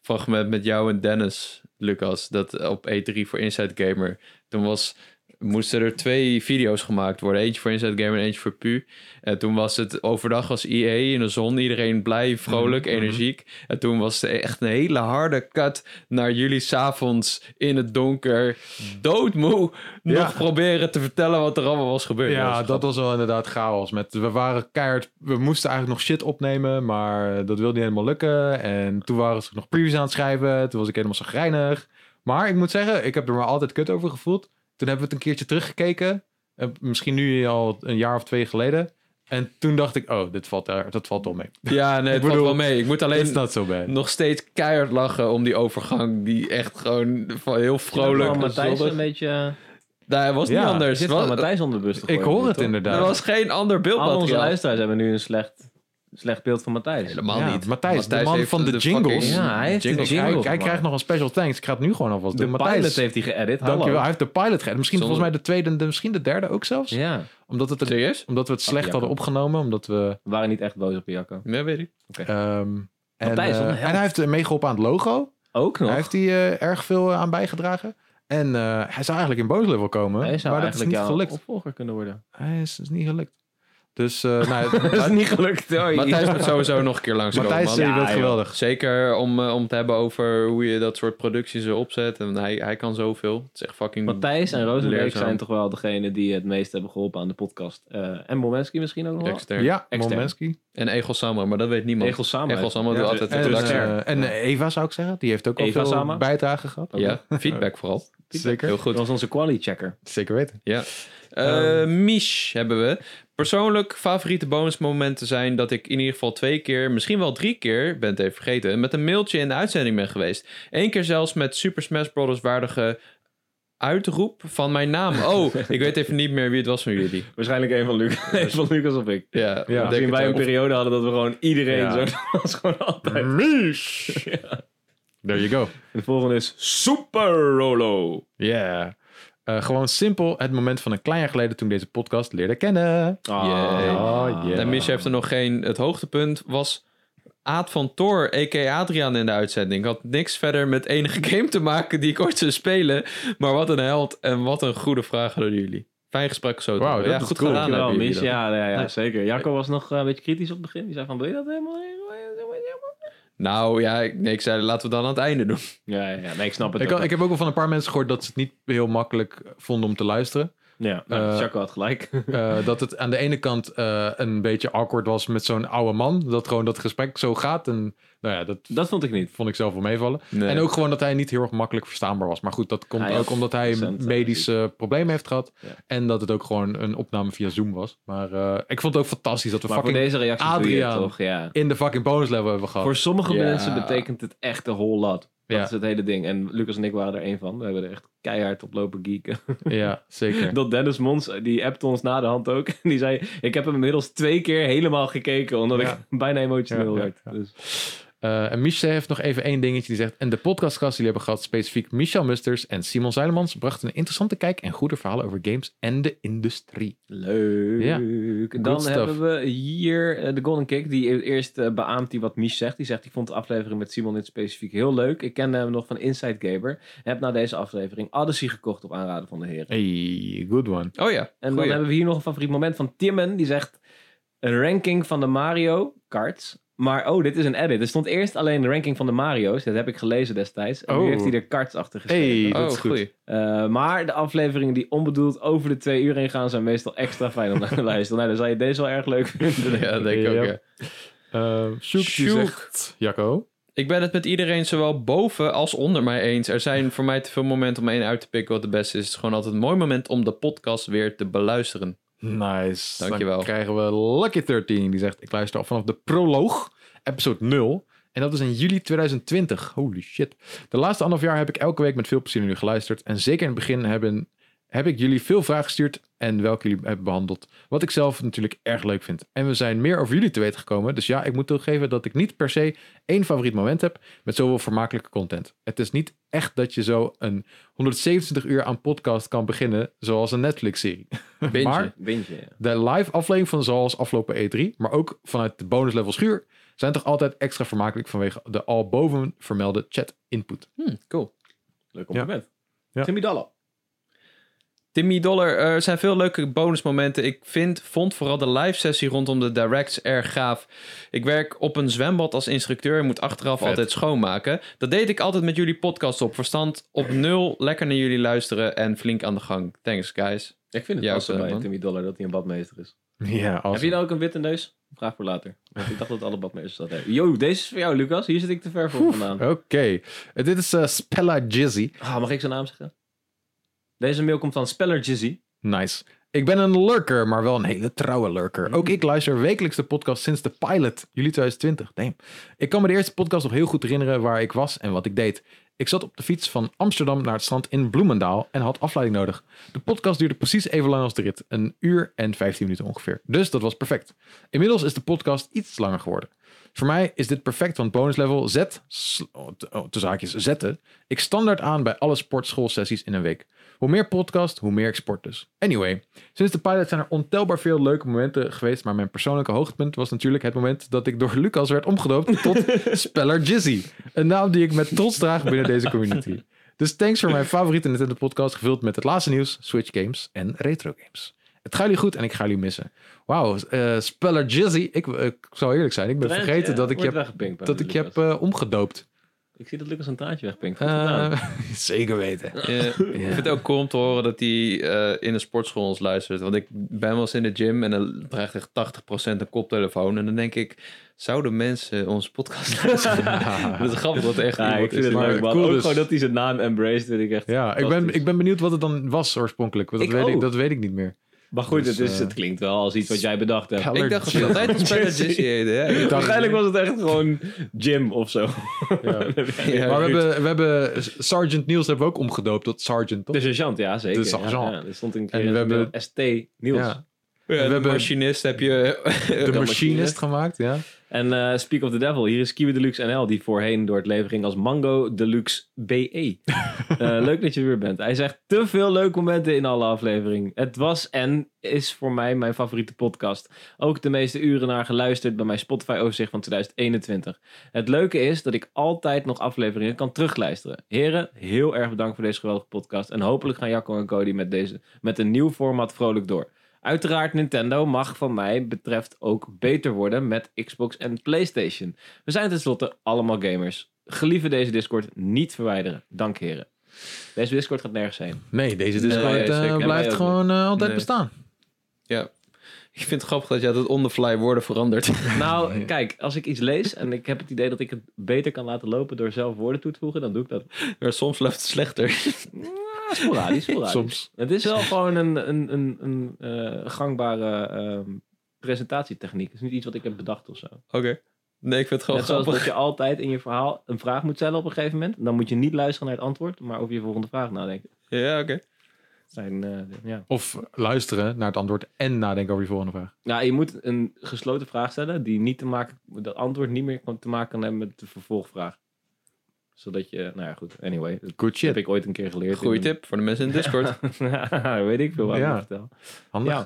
S3: fragment met jou en Dennis, Lucas, dat op E3 voor Inside Gamer. Toen was, moesten er twee video's gemaakt worden, eentje voor Inside Gamer en eentje voor Pu. En toen was het overdag was EA in de zon, iedereen blij, vrolijk,
S1: Mhm,
S3: energiek. En toen was het echt een hele harde cut naar jullie s'avonds in het donker, doodmoe,
S1: Mhm. Ja.
S3: nog proberen te vertellen wat er allemaal was gebeurd.
S1: Ja, dat was wel inderdaad chaos. Met, we waren keihard, we moesten eigenlijk nog shit opnemen, maar dat wilde niet helemaal lukken. En toen waren ze nog previews aan het schrijven, toen was ik helemaal zagrijnig. Maar ik moet zeggen, ik heb er maar altijd kut over gevoeld. Toen hebben we het een keertje teruggekeken, eh, misschien nu al een jaar of twee geleden. En toen dacht ik, oh, dit valt, daar, dat valt wel mee.
S3: Ja, nee, het valt
S1: bedoel, dus
S3: wel mee. Ik moet alleen...
S1: It's not so bad.
S3: nog steeds keihard lachen om die overgang. Die echt gewoon van heel vrolijk en
S2: Matthijs een
S3: zonnig.
S2: beetje.
S3: Nee, het was
S1: Ja,
S3: niet
S2: Er
S3: anders.
S2: zit
S3: Het was-
S2: van Matthijs onder de bus.
S1: Ik
S2: te gooien,
S1: hoor het
S2: toch?
S3: er
S1: inderdaad.
S3: was geen ander
S2: Al onze
S3: beeldmateriaal.
S2: luisteraars hebben nu een slecht, slecht beeld van Matthijs.
S3: Helemaal
S1: Ja,
S3: niet.
S1: Matthijs, de man
S3: heeft
S1: van de jingles.
S3: fucking
S2: Ja, hij heeft de
S3: jingles.
S2: jingle
S1: hij, hij
S2: gemaakt.
S1: krijgt nog een special thanks. Ik ga het nu gewoon alvast
S2: De
S1: doen. Matthijs,
S2: pilot heeft hij geëdit. Hallo.
S1: dankjewel. Hij heeft de pilot gered. Misschien
S3: Zonder-
S1: volgens mij de tweede en de- misschien de derde ook zelfs.
S2: Ja,
S1: Omdat het een
S3: Serieus?
S1: Omdat we het slecht
S2: ja,
S1: hadden
S2: kan.
S1: opgenomen. Omdat we.
S2: we waren niet echt boos op Jacco.
S3: Ja, weet ik.
S1: ehm, en,
S2: Matthijs, wat
S1: eh,
S2: een
S1: en
S2: held.
S1: hij heeft eh, meegeholpen aan het logo.
S2: Ook nog.
S1: Hij heeft hier eh, erg veel eh, aan bijgedragen. En eh, hij zou eigenlijk in boos level komen.
S2: Hij zou
S1: maar dat is
S2: eigenlijk
S1: niet
S2: jouw
S1: gelukt.
S2: opvolger kunnen worden.
S1: Hij is, is niet gelukt. Dus eh, nou,
S2: Dat is
S1: Matthijs,
S2: niet gelukt. Hoi.
S3: Matthijs moet sowieso nog een keer langskomen.
S1: Matthijs,
S3: man.
S1: eh, je bent
S2: Ja, joh.
S1: geweldig.
S3: Zeker om, eh, om het te hebben over hoe je dat soort producties er opzet. En hij, hij kan zoveel. Het is echt fucking...
S2: Matthijs en Rozenbeek
S3: Hmm. Leerzaam.
S2: zijn toch wel degene die het meest hebben geholpen aan de podcast. Eh, en Momenski misschien ook nog wel.
S3: extern.
S1: Ja,
S2: Extern.
S1: Momenski.
S3: En Egel Samra, maar dat weet niemand.
S2: Egel Sama.
S3: Egel Samra doet
S2: Ja,
S3: altijd de
S1: En,
S2: Extern.
S3: redactie.
S1: eh, en eh, Eva zou ik zeggen. Die heeft ook al
S2: Eva
S1: veel
S2: Sama.
S1: bijdrage gehad.
S3: Ja, feedback vooral.
S1: Zeker.
S3: Heel goed.
S2: Dat was onze quality checker.
S1: Zeker weten.
S3: Eh,
S2: Ehm.
S3: Mich hebben we. Persoonlijk favoriete bonusmomenten zijn dat ik in ieder geval twee keer, misschien wel drie keer, ik ben het even vergeten, met een mailtje in de uitzending ben geweest. Eén keer zelfs met Super Smash Bros. waardige uitroep van mijn naam. Oh, ik weet even niet meer wie het was van jullie.
S2: Waarschijnlijk een van, Luc, een van Lucas of ik.
S3: Ja,
S1: Ja.
S3: ik denk
S2: Toen
S3: het
S2: wij een
S3: ook.
S2: periode hadden dat we gewoon iedereen
S1: Ja. Mhm.
S2: zo... Dat was gewoon altijd...
S1: Hm. There you go.
S2: De volgende is Super Rolo.
S1: Ja. Eh, gewoon simpel het moment van een klein jaar geleden toen ik deze podcast leerde kennen.
S3: Yeah.
S1: Oh, yeah.
S3: En Mich heeft er nog geen. Het hoogtepunt was Aad van Tor, a.k.a. Adriaan in de uitzending. Had niks verder met enige game te maken die ik ooit zou spelen. Maar wat een held en wat een goede vraag aan jullie. Fijn gesprek zo. te
S1: Wauw,
S3: hebben.
S1: dat
S3: ja,
S1: is
S3: goed
S1: cool.
S3: gedaan.
S2: Dankjewel,
S3: hebben jullie
S2: Mies.
S3: dat.
S2: Ja, ja, ja,
S3: Nee.
S2: zeker. Jacco was nog eh, een beetje kritisch op het begin. Die zei van, wil je dat helemaal? helemaal-
S3: Nou ja, ik, nee, ik zei laten we dan aan het einde doen.
S2: Ja, ja, ja. Nee, ik snap het
S1: Ik,
S2: ook.
S1: had- ik heb ook al van een paar mensen gehoord dat ze het niet heel makkelijk vonden om te luisteren.
S2: Ja, nou,
S1: Eh,
S2: Jacco had gelijk.
S1: Eh, dat het aan de ene kant eh, een beetje awkward was met zo'n oude man. Dat gewoon dat gesprek zo gaat. En nou ja, dat
S2: dat vond ik niet.
S1: vond ik zelf wel meevallen. En ook gewoon dat hij niet heel erg makkelijk verstaanbaar was. Maar goed, dat komt
S2: Hij had
S1: ook omdat hij
S2: recent, eh,
S1: medische problemen heeft gehad.
S2: Ja.
S1: En dat het ook gewoon een opname via Zoom was. Maar eh, ik vond het ook fantastisch dat we
S2: Maar voor
S1: fucking
S2: deze reactie doe je het
S1: Adriaan.
S2: toch, ja.
S1: in de fucking bonus level hebben gehad.
S2: Voor sommige
S3: Ja.
S2: mensen betekent het echt een whole lot. Dat
S1: Ja.
S2: is het hele ding. En Lucas en ik waren er één van. We hebben er echt keihard op lopen geeken.
S1: Ja, zeker.
S2: Dat Dennis Mons, die appte ons na de hand ook. En die zei, ik heb hem inmiddels twee keer helemaal gekeken. Omdat
S1: Ja.
S2: ik bijna
S1: Ja,
S2: emotioneel
S1: ja,
S2: werd.
S1: ja.
S2: Dus,
S1: Eh, en Michel heeft nog even één dingetje. Die zegt, en de podcastgast die hebben gehad, specifiek Michel Musters en Simon Zeilemans, brachten een interessante kijk en goede verhalen over games en de industrie.
S2: leuk.
S1: Ja.
S2: Dan
S1: stuff.
S2: hebben we hier eh, de Golden Kick. Die eerst eh, beaamt die wat Mies zegt. Die zegt, ik vond de aflevering met Simon dit specifiek heel leuk. Ik kende hem nog van Inside Gamer. Heb na deze aflevering Odyssey gekocht op aanraden van de heren.
S1: Hey, good one.
S3: Oh ja.
S2: En dan
S3: goeie.
S2: hebben we hier nog een favoriet moment van Timmen. Die zegt een ranking van de Mario karts. Maar oh, dit is een edit. Er stond eerst alleen de ranking van de Mario's. Dat heb ik gelezen destijds. En nu
S1: Oh.
S2: heeft hij er karts achter geschreven.
S1: Hey, dat
S3: Oh,
S1: is goed.
S3: goeie.
S2: Eh, maar de afleveringen die onbedoeld over de twee uur heen gaan... zijn meestal extra fijn om naar te luisteren. Nou, dan zal je deze wel erg leuk vinden.
S3: Ja, dat denk ik ook.
S1: Ja.
S3: ja.
S1: Eh Sjoek, die
S3: Sjoek.
S1: zegt, Jacco.
S3: Ik ben het met iedereen zowel boven als onder mij eens. Er zijn voor mij te veel momenten om één uit te pikken wat de beste is. Het is gewoon altijd een mooi moment om de podcast weer te beluisteren.
S1: Nice.
S3: Dankjewel.
S1: Dan krijgen we Lucky13. Die zegt, ik luister al vanaf de proloog, episode 0. En dat is in juli 2020. Holy shit. De laatste anderhalf jaar heb ik elke week met veel plezier naar jullie geluisterd. En zeker in het begin hebben, heb ik jullie veel vragen gestuurd en welke jullie hebben behandeld. Wat ik zelf natuurlijk erg leuk vind. En we zijn meer over jullie te weten gekomen. Dus ja, ik moet toegeven dat ik niet per se één favoriet moment heb met zoveel vermakelijke content. Het is niet echt dat je zo een 127 uur aan podcast kan beginnen zoals een Netflix-serie.
S3: Bintje.
S1: Maar
S2: Windje, ja.
S1: de live aflevering van Zoals afgelopen E3, maar ook vanuit de bonus level schuur, zijn toch altijd extra vermakelijk vanwege de al boven vermelde chat input.
S3: Hm, cool.
S2: Leuk compliment.
S1: Ja.
S2: Timmy Dallop.
S3: Timmy Dollar, eh, er zijn veel leuke bonusmomenten. Ik vind, vond vooral de live sessie rondom de directs erg gaaf. Ik werk op een zwembad als instructeur en moet achteraf
S1: Vet.
S3: altijd schoonmaken. Dat deed ik altijd met jullie podcast op. Verstand op nul, lekker naar jullie luisteren en flink aan de gang. Thanks guys.
S2: Ik vind het
S3: Ja,
S2: passen
S3: ook,
S2: bij
S3: man.
S2: Timmy Dollar dat hij een badmeester is.
S1: Ja, als
S2: Heb je nou ook een witte neus? Vraag voor later. Want ik dacht dat alle badmeesters dat hebben. Yo, deze is voor jou, Lucas. Hier zit ik te ver voor vandaan.
S1: Oké, Eh, dit is eh, Spella Jizzy.
S2: Ah, mag ik zijn naam zeggen? Deze mail komt van Speller Jizzy.
S1: Nice. Ik ben een lurker, maar wel een hele trouwe lurker. Ook ik luister wekelijks de podcast sinds de pilot, juli 2020. Damn. Ik kan me de eerste podcast nog heel goed herinneren waar ik was en wat ik deed. Ik zat op de fiets van Amsterdam naar het strand in Bloemendaal en had afleiding nodig. De podcast duurde precies even lang als de rit. Een uur en 15 minuten ongeveer. Dus dat was perfect. Inmiddels is de podcast iets langer geworden. Voor mij is dit perfect, want bonus level zet, sl- oh, t- oh, de zaakjes zetten, ik standaard aan bij alle sportschoolsessies in een week. Hoe meer podcast, hoe meer ik sport dus. Anyway, sinds de pilot zijn er ontelbaar veel leuke momenten geweest, maar mijn persoonlijke hoogtepunt was natuurlijk het moment dat ik door Lucas werd omgedoopt tot Speller Jizzy. Een naam die ik met trots draag binnen deze community. Dus thanks voor mijn favoriete Nintendo podcast, gevuld met het laatste nieuws, Switch games en retro games. Het gaat jullie goed en ik ga jullie missen. Wauw, eh, Speller Jizzy. Ik, ik zal eerlijk zijn, ik ben
S2: Trent,
S1: vergeten
S2: eh,
S1: dat ik je
S2: wordt
S1: heb
S2: weggepinkt bij
S1: dat ik
S2: Lucas.
S1: je heb eh, omgedoopt.
S2: Ik zie dat Lucas een traantje wegpinkt. Goed gedaan.
S1: Eh, zeker weten.
S3: Eh, Ik vind het ook cool om te horen dat hij eh, in een sportschool ons luistert. Want ik ben wel eens in de gym en dan draagt echt 80% een koptelefoon. En dan denk ik, zouden mensen onze podcast luisteren? dat is grappig dat er echt
S2: Ja,
S3: iemand
S2: ik
S3: is.
S2: vind het
S1: maar
S2: leuk, man.
S1: cool
S2: ook
S1: dus.
S2: gewoon dat hij zijn naam embraced, vind ik echt
S1: Ja, ik ben,
S2: fantastisch.
S1: ik ben benieuwd wat het dan was oorspronkelijk. want Dat,
S2: Ik
S1: weet,
S2: ook.
S1: ik, dat weet ik niet meer.
S2: Maar goed,
S1: Dus,
S2: het, is,
S1: eh, dus-
S2: het klinkt wel als iets wat jij bedacht hebt.
S1: Peller
S3: Ik dacht dat
S1: Jizzy.
S3: je altijd al Spender Jizzy heette. Ja, ik-
S2: Waarschijnlijk was het echt gewoon Jim of zo.
S1: Ja.
S3: ja,
S1: Maar we
S3: Ruud.
S1: hebben, we hebben Sergeant Niels hebben we ook
S2: Dus
S1: omgedoopt tot Sergeant, toch?
S2: De sergeant, ja zeker.
S1: De sergeant.
S2: Ja, ja, er stond een
S1: En
S2: keer
S1: we
S2: een
S1: hebben-
S2: ST Niels.
S1: Ja.
S3: we hebben
S1: hebben-
S3: machinist heb je...
S1: De
S2: Machinist.
S1: machinist gemaakt, ja.
S2: En eh, Speak of the Devil, hier is Kiwi Deluxe NL, die voorheen door het leven ging als Mango Deluxe BE. Eh, leuk dat je er weer bent. Hij zegt te veel leuke momenten in alle aflevering. Het was en is voor mij mijn favoriete podcast. Ook de meeste uren naar geluisterd bij mijn Spotify overzicht van 2021. Het leuke is dat ik altijd nog afleveringen kan terugluisteren. Heren, heel erg bedankt voor deze geweldige podcast. En hopelijk gaan Jacco en Cody met, deze, met een nieuw format vrolijk door. Uiteraard, Nintendo mag van mij betreft ook beter worden met Xbox en PlayStation. We zijn tenslotte allemaal gamers. Gelieve deze Discord niet verwijderen. Dank heren. Deze Discord gaat nergens heen.
S1: Nee, deze
S3: Nee,
S1: Discord eh,
S3: zeker. En wij
S1: blijft
S2: ook
S1: gewoon eh, altijd
S3: Nee.
S1: bestaan.
S3: Ik vind het grappig dat je altijd on the fly woorden verandert.
S2: Nou, kijk, als ik iets lees en ik heb het idee dat ik het beter kan laten lopen door zelf woorden toe te voegen, dan doe ik dat.
S3: maar soms loopt het slechter.
S2: Ah, sporadisch, sporadisch.
S1: Soms.
S2: Het is wel gewoon een, een, een, een eh, gangbare ehm, presentatietechniek. Het is niet iets wat ik heb bedacht of zo.
S3: Oké. Nee, ik vind het gewoon
S2: Net zoals
S3: grappig.
S2: dat je altijd in je verhaal een vraag moet stellen op een gegeven moment. Dan moet je niet luisteren naar het antwoord, maar over je volgende vraag nadenken.
S3: Ja, oké.
S2: Dat Zijn, eh, ja.
S1: Of luisteren naar het antwoord en nadenken over die volgende vraag.
S2: Nou, je moet een gesloten vraag stellen die niet te maken, dat antwoord niet meer kan- te maken kan hebben met de vervolgvraag. Zodat je, nou ja, goed. Anyway, dat
S1: Good
S2: heb
S1: shit.
S2: ik ooit een keer geleerd.
S3: Goeie
S2: in een-
S3: tip voor de mensen in Discord.
S2: Weet ik veel wat
S1: Ja.
S2: ik vertel.
S1: Handig.
S2: Ja.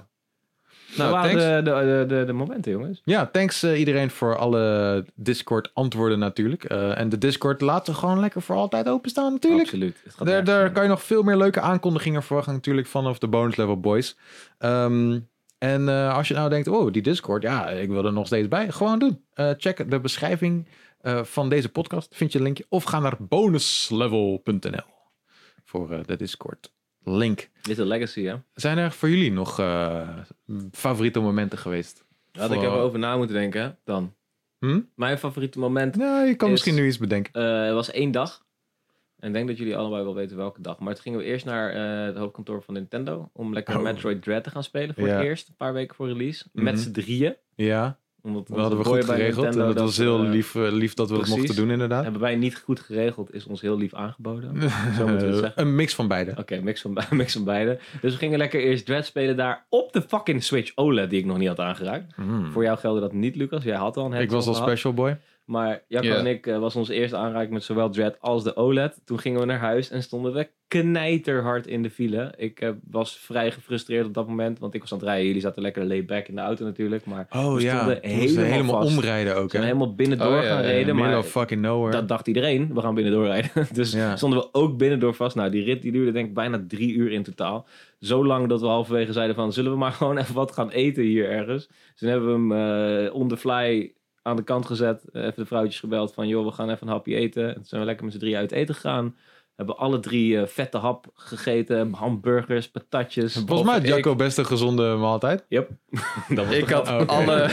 S1: Ja,
S2: Nou,
S3: nou, thanks.
S2: waren de, de, de, de, de momenten, jongens.
S1: thanks eh, iedereen voor alle Discord-antwoorden natuurlijk. Eh, en de Discord laten we gewoon lekker voor altijd openstaan natuurlijk.
S2: Absoluut. Het
S1: Daar,
S2: gaat nergens
S1: daar
S2: om.
S1: kan je nog veel meer leuke aankondigingen verwachten natuurlijk vanaf de bonus level boys. Ehm, en eh, als je nou denkt, oh die Discord, ja ik wil er nog steeds bij. Gewoon doen. Eh, check de beschrijving eh, van deze podcast. Vind je een linkje. Of ga naar bonuslevel.nl voor eh, de Discord link.
S2: Dit is een legacy, hè?
S1: Zijn er voor jullie nog eh, favoriete momenten geweest?
S2: Had ik
S1: Voor-
S2: erover na moeten denken, dan.
S1: Hm?
S2: Mijn favoriete moment
S1: Nou, je kan
S2: Is-
S1: misschien nu iets bedenken.
S2: Eh, het was één dag. En ik denk dat jullie allebei wel weten welke dag. Maar toen gingen we eerst naar eh, het hoofdkantoor van Nintendo. Om lekker
S1: Oh.
S2: Metroid Dread te gaan spelen voor
S1: Ja.
S2: het eerst. Een paar weken voor release.
S1: Mhm.
S2: Met z'n drieën.
S1: Ja,
S2: Omdat
S1: dat
S2: onze
S1: hadden we
S2: boy
S1: goed
S2: bij
S1: geregeld. En
S2: Nintendo
S1: dat was heel
S2: eh,
S1: lief, eh, lief dat we
S2: precies.
S1: dat mochten doen inderdaad.
S2: Hebben wij niet goed geregeld, is ons heel lief aangeboden. Zo moeten we het zeggen.
S1: Eh, een mix van beide.
S2: Oké, mix, van, be- mix van beide. Dus we gingen lekker eerst Dread spelen daar op de fucking Switch OLED die ik nog niet had aangeraakt.
S1: Mm.
S2: Voor jou geldde dat niet, Lucas. Jij had al een
S1: Ik
S2: headset
S1: was al
S2: gehad.
S1: special boy.
S2: Maar Jacco
S3: Ja.
S2: en ik eh, was onze eerste aanraking met zowel Dread als de OLED. Toen gingen we naar huis en stonden we knijterhard in de file. Ik eh, was vrij gefrustreerd op dat moment, want ik was aan het rijden. Jullie zaten lekker laid back in de auto natuurlijk, maar
S1: Oh
S2: We ja. stonden
S1: We
S2: helemaal
S1: helemaal, helemaal
S2: vast.
S1: omrijden ook.
S2: we zijn
S1: Hè? Eh,
S2: helemaal binnendoor
S3: Oh, ja, ja,
S2: gaan reden.
S1: Middle
S2: Maar
S1: of fucking nowhere.
S2: dat dacht iedereen, we gaan binnendoor rijden. dus
S1: Ja.
S2: stonden we ook binnendoor vast. Nou, die rit die duurde denk ik bijna drie uur in totaal. Zo lang dat we halverwege zeiden van, zullen we maar gewoon even wat gaan eten hier ergens? Dus toen hebben we hem eh, on the fly aan de kant gezet. eh, even de vrouwtjes gebeld van, joh, we gaan even een hapje eten. En toen zijn we lekker met z'n drie uit eten gegaan. Hebben alle drie eh, vette hap gegeten. Hamburgers, patatjes.
S1: Volgens mij had
S3: Of
S1: Jacco best een gezonde maaltijd.
S2: Dat was
S3: Ik had
S1: Oké.
S3: alle...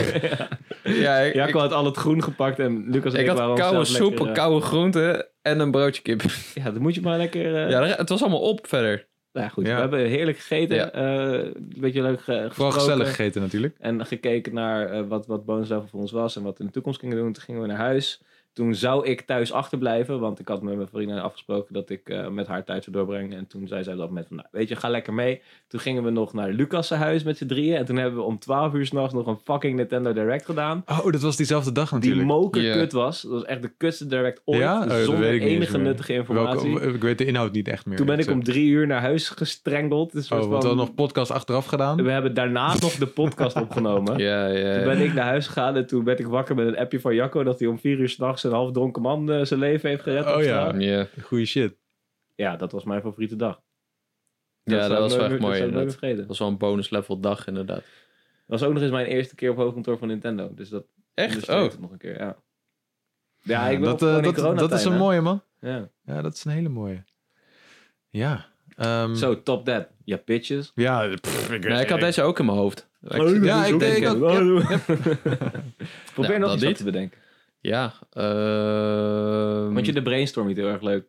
S3: ja, ik,
S2: Jacco
S3: ik,
S2: had al het groen gepakt en Lucas en ik,
S3: ik
S2: waren
S3: had koude
S2: onszelf
S3: soep,
S2: lekker, eh,
S3: koude groenten en een broodje kip.
S2: ja, dan moet je maar lekker... eh,
S3: ja, het was allemaal op verder.
S2: Nou ja, goed,
S1: Ja.
S2: we hebben heerlijk gegeten.
S3: Ja.
S2: eh, een beetje leuk ge
S1: Vooral
S2: gesproken.
S1: gezellig gegeten natuurlijk.
S2: En gekeken naar eh, wat, wat bonus level voor ons was en wat we in de toekomst gingen doen. Toen gingen we naar huis. Toen zou ik thuis achterblijven, want ik had met mijn vriendin afgesproken dat ik eh, met haar tijd zou doorbrengen. En toen zei zij op dat moment van, nou, weet je, ga lekker mee. Toen gingen we nog naar Lucas' huis met z'n drieën. En toen hebben we om 12 uur s'nachts nog een fucking Nintendo Direct gedaan.
S1: Oh, dat was diezelfde dag
S2: Die
S1: natuurlijk.
S2: moker
S3: Ja.
S2: kut was. Dat was echt de kutste Direct ooit.
S1: Ja? Oh, dat
S2: zonder
S1: weet ik niet eens
S2: enige
S1: meer.
S2: nuttige informatie.
S1: Welke, ik weet de inhoud niet echt meer.
S2: toen ben ik om
S1: om.
S2: drie uur naar huis gestrengeld. Dus
S1: Oh, want we hadden nog podcast achteraf gedaan.
S2: we hebben daarna nog de podcast opgenomen.
S3: Ja, ja.
S2: Toen ben ik naar huis gegaan en toen werd ik wakker met een appje van Jacco... dat hij om vier uur s'nachts een half dronken man eh, zijn leven heeft gered. op
S1: Oh ja.
S2: straat.
S3: Ja,
S1: Goeie shit.
S2: ja, dat was mijn favoriete dag.
S3: ja
S2: zou
S3: dat was
S2: ik nooit
S3: wel echt mooi
S2: meer- Dat zou ik nooit meer
S3: inderdaad.
S2: vergeten.
S3: Dat was wel een bonus level dag inderdaad.
S2: Dat was ook nog eens mijn eerste keer op hoofdkantoor van Nintendo. Dus dat
S3: Echt?
S2: illustreert
S3: Oh,
S2: het nog een keer, ja. Ja, ik ben
S1: dat,
S2: opgegroeid
S1: eh,
S2: in
S1: dat, dat is
S2: coronatijd,
S1: een
S2: hè.
S1: mooie man.
S2: Ja.
S1: Ja, dat is een hele mooie. Ja. ehm,
S2: Zo, top that. Ja, bitches.
S1: Ja, pff, ik,
S3: nee, ik had deze ook in mijn hoofd. Ik-
S1: Ja, ik denk
S3: denken.
S1: ook. ja.
S2: Probeer
S3: Ja,
S2: nog
S3: dat
S2: iets wat
S3: niet.
S2: te bedenken.
S3: Ja, ehm,
S2: Vond je de brainstorm niet heel erg leuk?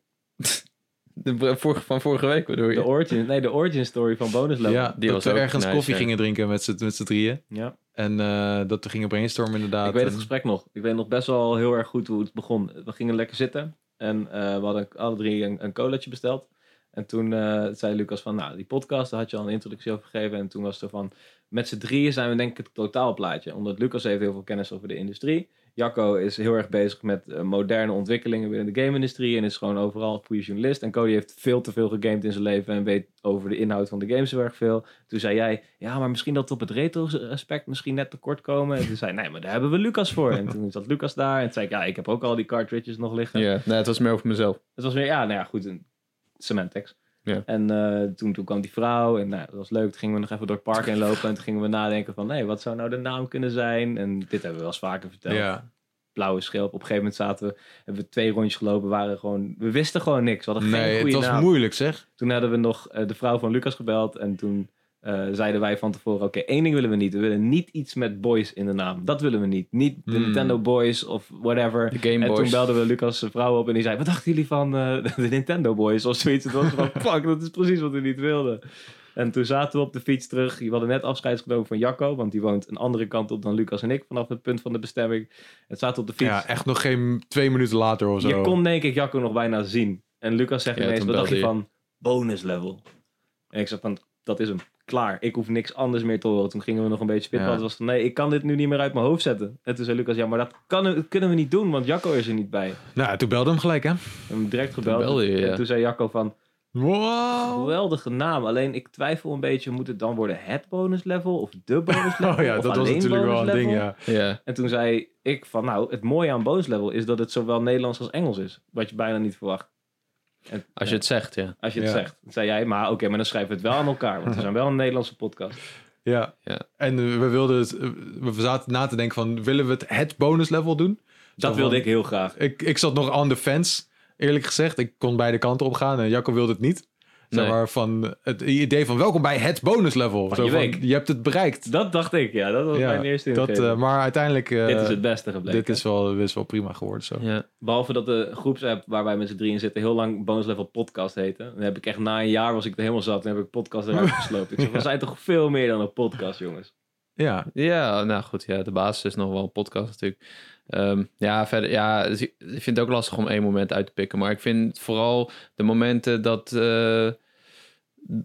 S3: de br- vor- van vorige week bedoel
S2: De
S3: je?
S2: origin, nee, de origin story van Bonus Level.
S1: Ja,
S3: Die
S1: dat
S3: was
S1: we
S3: ook
S1: ergens
S3: nice,
S1: koffie
S3: ja.
S1: gingen drinken met z'n met z'n drieën.
S2: ja.
S1: En eh, dat we gingen brainstormen inderdaad.
S2: Ik weet het
S1: En-
S2: gesprek nog. Ik weet nog best wel heel erg goed hoe het begon. We gingen lekker zitten en eh, we hadden alle drie een, een colaatje besteld. En toen eh, zei Lucas van, nou, die podcast, daar had je al een introductie over gegeven. En toen was er van, met z'n drieën zijn we denk ik het totaalplaatje. Omdat Lucas heeft heel veel kennis over de industrie. Jacco is heel erg bezig met eh, moderne ontwikkelingen binnen de game-industrie. En is gewoon overal een goede journalist. En Cody heeft veel te veel gegamed in zijn leven. En weet over de inhoud van de games heel erg veel. Toen zei jij, ja, maar misschien dat we op het retro-aspect misschien net tekort komen. En toen zei hij, nee, maar daar hebben we Lucas voor. En toen zat Lucas daar. En toen zei ik, ja, ik heb ook al die cartridges nog liggen.
S3: Ja, nee, het was meer over mezelf.
S2: Het was weer, ja, nou ja, goed, een cementex.
S3: Ja.
S2: En eh, toen, toen kwam die vrouw en nou, dat was leuk. Toen gingen we nog even door het park heen lopen en toen gingen we nadenken van, nee, wat zou nou de naam kunnen zijn? En dit hebben we wel eens vaker verteld.
S1: Ja.
S2: Blauwe schelp. Op een gegeven moment zaten we, hebben we twee rondjes gelopen, waren gewoon, we wisten gewoon niks. We hadden geen
S1: Nee, het
S2: goede
S1: was
S3: Nou,
S2: naam.
S1: moeilijk zeg.
S2: Toen hadden we nog eh, de vrouw van Lucas gebeld en toen eh, zeiden wij van tevoren, oké, één ding willen we niet. We willen niet iets met boys in de naam. Dat willen we niet. Niet de
S1: Hmm.
S2: Nintendo Boys of whatever.
S3: De Game
S2: En toen
S3: Boys.
S2: belden we Lucas' vrouw op en die zei: Wat dachten jullie van eh, de Nintendo Boys of zoiets? Het was van: Fuck, dat is precies wat we niet wilden. En toen zaten we op de fiets terug. We hadden net afscheid genomen van Jacco, want die woont een andere kant op dan Lucas en ik vanaf het punt van de bestemming. Het zaten we op de fiets.
S1: Ja, echt nog geen twee minuten later of zo.
S2: je kon denk ik Jacco nog bijna zien. En Lucas zegt
S3: Ja,
S2: ineens:
S3: toen
S2: Wat dacht je
S3: belde hij.
S2: van bonus level? En ik zei: van, Dat is hem. Klaar. Ik hoef niks anders meer te horen. Toen gingen we nog een beetje spitballen.
S1: Ja.
S2: Het was van: Nee, ik kan dit nu niet meer uit mijn hoofd zetten. En toen zei Lucas: Ja, maar dat, kan, dat kunnen we niet doen, want Jacco is er niet bij.
S1: Nou, toen belde hem gelijk hè.
S2: We hebben hem direct gebeld.
S3: belde je,
S2: En
S3: ja.
S2: toen zei Jacco van,
S1: Wow.
S2: geweldige naam. Alleen ik twijfel een beetje, moet het dan worden het bonus level of de bonus level?
S1: Oh ja,
S2: of
S1: dat was
S2: alleen
S1: natuurlijk wel een
S2: bonus
S1: ding
S2: level?
S1: ja.
S3: Ja,
S2: En toen zei ik van, nou, het mooie aan bonus level is dat het zowel Nederlands als Engels is. Wat je bijna niet verwacht. En-
S3: als je
S2: ja,
S3: het zegt, ja.
S2: als je het
S1: Ja.
S2: zegt. Toen zei jij, maar oké, maar dan schrijven we het wel aan elkaar. Want we zijn wel een Nederlandse podcast.
S1: Ja.
S3: Ja.
S1: En eh, we wilden het, eh, we zaten na te denken van willen we het het bonus level doen?
S2: Dat wilde ik heel graag.
S1: Ik, ik zat nog on the fence, eerlijk gezegd. Ik kon beide kanten op gaan en Jacco wilde het niet. Zeg
S3: Nee.
S1: maar van het idee van welkom bij het bonus level.
S2: Van
S1: Zo
S2: je
S1: van,
S2: week.
S1: je hebt het bereikt.
S2: Dat dacht ik, ja. Dat was
S1: Ja,
S2: mijn eerste
S1: dat,
S2: ingeving.
S1: eh, maar uiteindelijk eh,
S2: Dit is het beste gebleken.
S1: dit is wel, is wel prima geworden. Zo.
S3: Ja,
S2: Behalve dat de groepsapp waar wij met z'n drieën zitten heel lang Bonus Level Podcast heette. Dan heb ik echt na een jaar was ik er helemaal zat en heb ik podcast eruit gesloopt. Ik zeg, we zijn toch veel meer dan een podcast, jongens.
S1: Ja.
S3: ja nou goed, ja, de basis is nog wel een podcast natuurlijk. Ehm, ja, verder, ja, dus ik ik vind het ook lastig om één moment uit te pikken. Maar ik vind vooral de momenten dat, eh, d-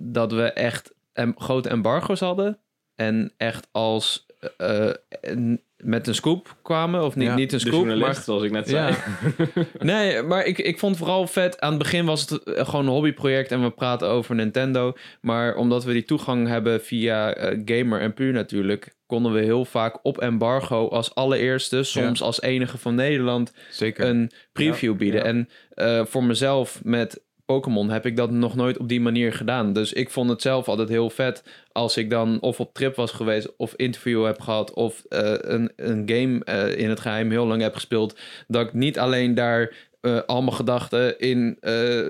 S3: dat we echt em- grote embargo's hadden. En echt als eh, eh, n- met een scoop kwamen. Of niet,
S1: Ja,
S3: niet een
S2: De
S3: scoop,
S2: journalist,
S3: maar
S2: zoals ik net zei.
S1: Dus Ja.
S3: Nee, maar ik, ik vond vooral vet. Aan het begin was het eh, gewoon een hobbyproject en we praten over Nintendo. Maar omdat we die toegang hebben via eh, Gamer en Puur natuurlijk, konden we heel vaak op embargo als allereerste, soms als enige van Nederland,
S1: zeker.
S3: een preview
S2: Ja,
S3: bieden.
S2: ja.
S3: En eh, voor mezelf met Pokémon heb ik dat nog nooit op die manier gedaan. Dus ik vond het zelf altijd heel vet als ik dan of op trip was geweest of interview heb gehad of eh, een, een game eh, in het geheim heel lang heb gespeeld. Dat ik niet alleen daar eh, al mijn gedachten in eh,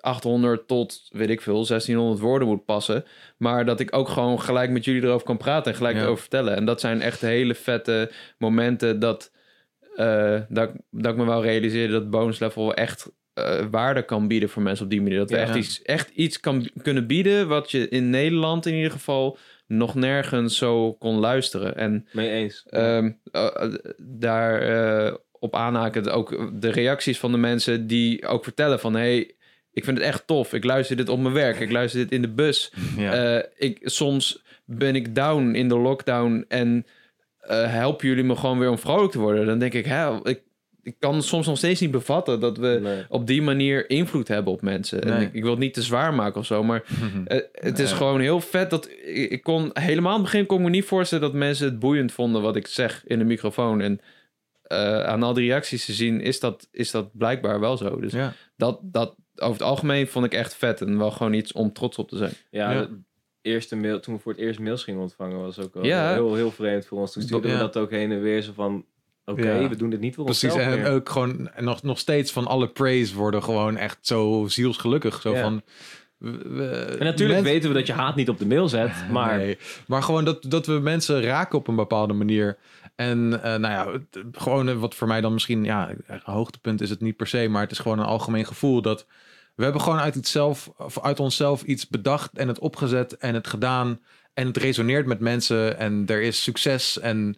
S3: 800 tot weet ik veel 1600 woorden moet passen. Maar dat ik ook gewoon gelijk met jullie erover kan praten en gelijk
S1: Ja.
S3: erover vertellen. En dat zijn echt hele vette momenten dat, eh, dat, ik- dat ik me wel realiseerde dat bonus level echt eh, waarde kan bieden voor mensen op die manier. Dat we
S2: Ja.
S3: echt iets, echt iets kan, kunnen bieden wat je in Nederland in ieder geval nog nergens zo kon luisteren. En
S2: Mee eens.
S3: Ehm, eh, eh, daar eh, op aanhaken ook de reacties van de mensen die ook vertellen van... Hey, ik vind het echt tof. Ik luister dit op mijn werk. Ik luister dit in de bus.
S1: Ja.
S3: Eh, ik, soms ben ik down in de lockdown en eh, helpen jullie me gewoon weer om vrolijk te worden. Dan denk ik, hè, ik, ik kan soms nog steeds niet bevatten dat we
S2: Nee.
S3: op die manier invloed hebben op mensen. En
S1: Nee.
S3: ik, ik wil het niet te zwaar maken of zo, maar eh, het is gewoon heel vet dat ik, ik kon helemaal aan het begin kon ik me niet voorstellen dat mensen het boeiend vonden wat ik zeg in de microfoon. En eh, aan al die reacties te zien is dat, is dat blijkbaar wel zo. Dus
S1: ja.
S3: dat, dat over het algemeen vond ik echt vet en wel gewoon iets om trots op te zijn.
S2: Ja,
S1: Ja.
S2: de eerste mail, toen we voor het eerst mails gingen ontvangen, was ook wel
S3: Ja.
S2: heel, heel vreemd voor ons. Toen stuurden
S1: Ja.
S2: we dat ook heen en weer. Zo van, oké,
S1: Ja.
S2: we doen dit niet voor
S1: Precies,
S2: onszelf
S1: en
S2: meer.
S1: ook gewoon nog, nog steeds van alle praise worden gewoon echt zo zielsgelukkig. Zo
S2: Ja.
S1: van, we- we-
S2: En natuurlijk
S1: mensen- Ah,
S2: weten we dat je haat niet op de mail zet, maar...
S1: Nee. Maar gewoon dat, dat we mensen raken op een bepaalde manier. En eh, nou ja, het- gewoon eh, wat voor mij dan misschien, ja, een hoogtepunt is het niet per se, maar het is gewoon een algemeen gevoel dat we hebben gewoon uit, iets zelf, of uit onszelf iets bedacht en het opgezet en het gedaan. En het resoneert met mensen en er is succes en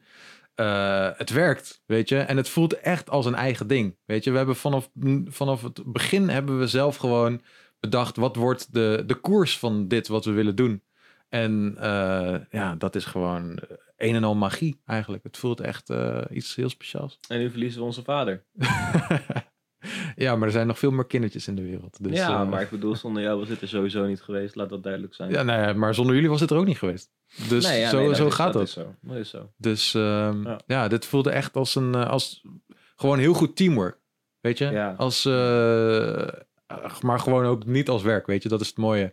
S1: eh, het werkt, weet je. En het voelt echt als een eigen ding, weet je. We hebben vanaf, vanaf het begin hebben we zelf gewoon bedacht wat wordt de, de koers van dit wat we willen doen. En eh, ja, dat is gewoon eh, een en al magie eigenlijk. Het voelt echt eh, iets heel speciaals.
S2: En nu verliezen we onze vader.
S1: ja, maar er zijn nog veel meer kindertjes in de wereld. Dus,
S2: ja,
S1: eh,
S2: maar ik bedoel, zonder jou was het er sowieso niet geweest. Laat dat duidelijk zijn.
S1: Ja, nou ja, maar zonder jullie was het er ook niet geweest. Dus
S2: Nee, ja,
S1: zo,
S2: nee, dat
S1: zo
S2: is-
S1: gaat
S2: dat.
S1: dat.
S2: Is zo. dat is zo.
S1: Dus ehm,
S2: Ja.
S1: ja. dit voelde echt als een eh, als gewoon heel goed teamwork. Weet je?
S2: Ja.
S1: Als, eh, maar gewoon ook niet als werk, weet je? Dat is het mooie.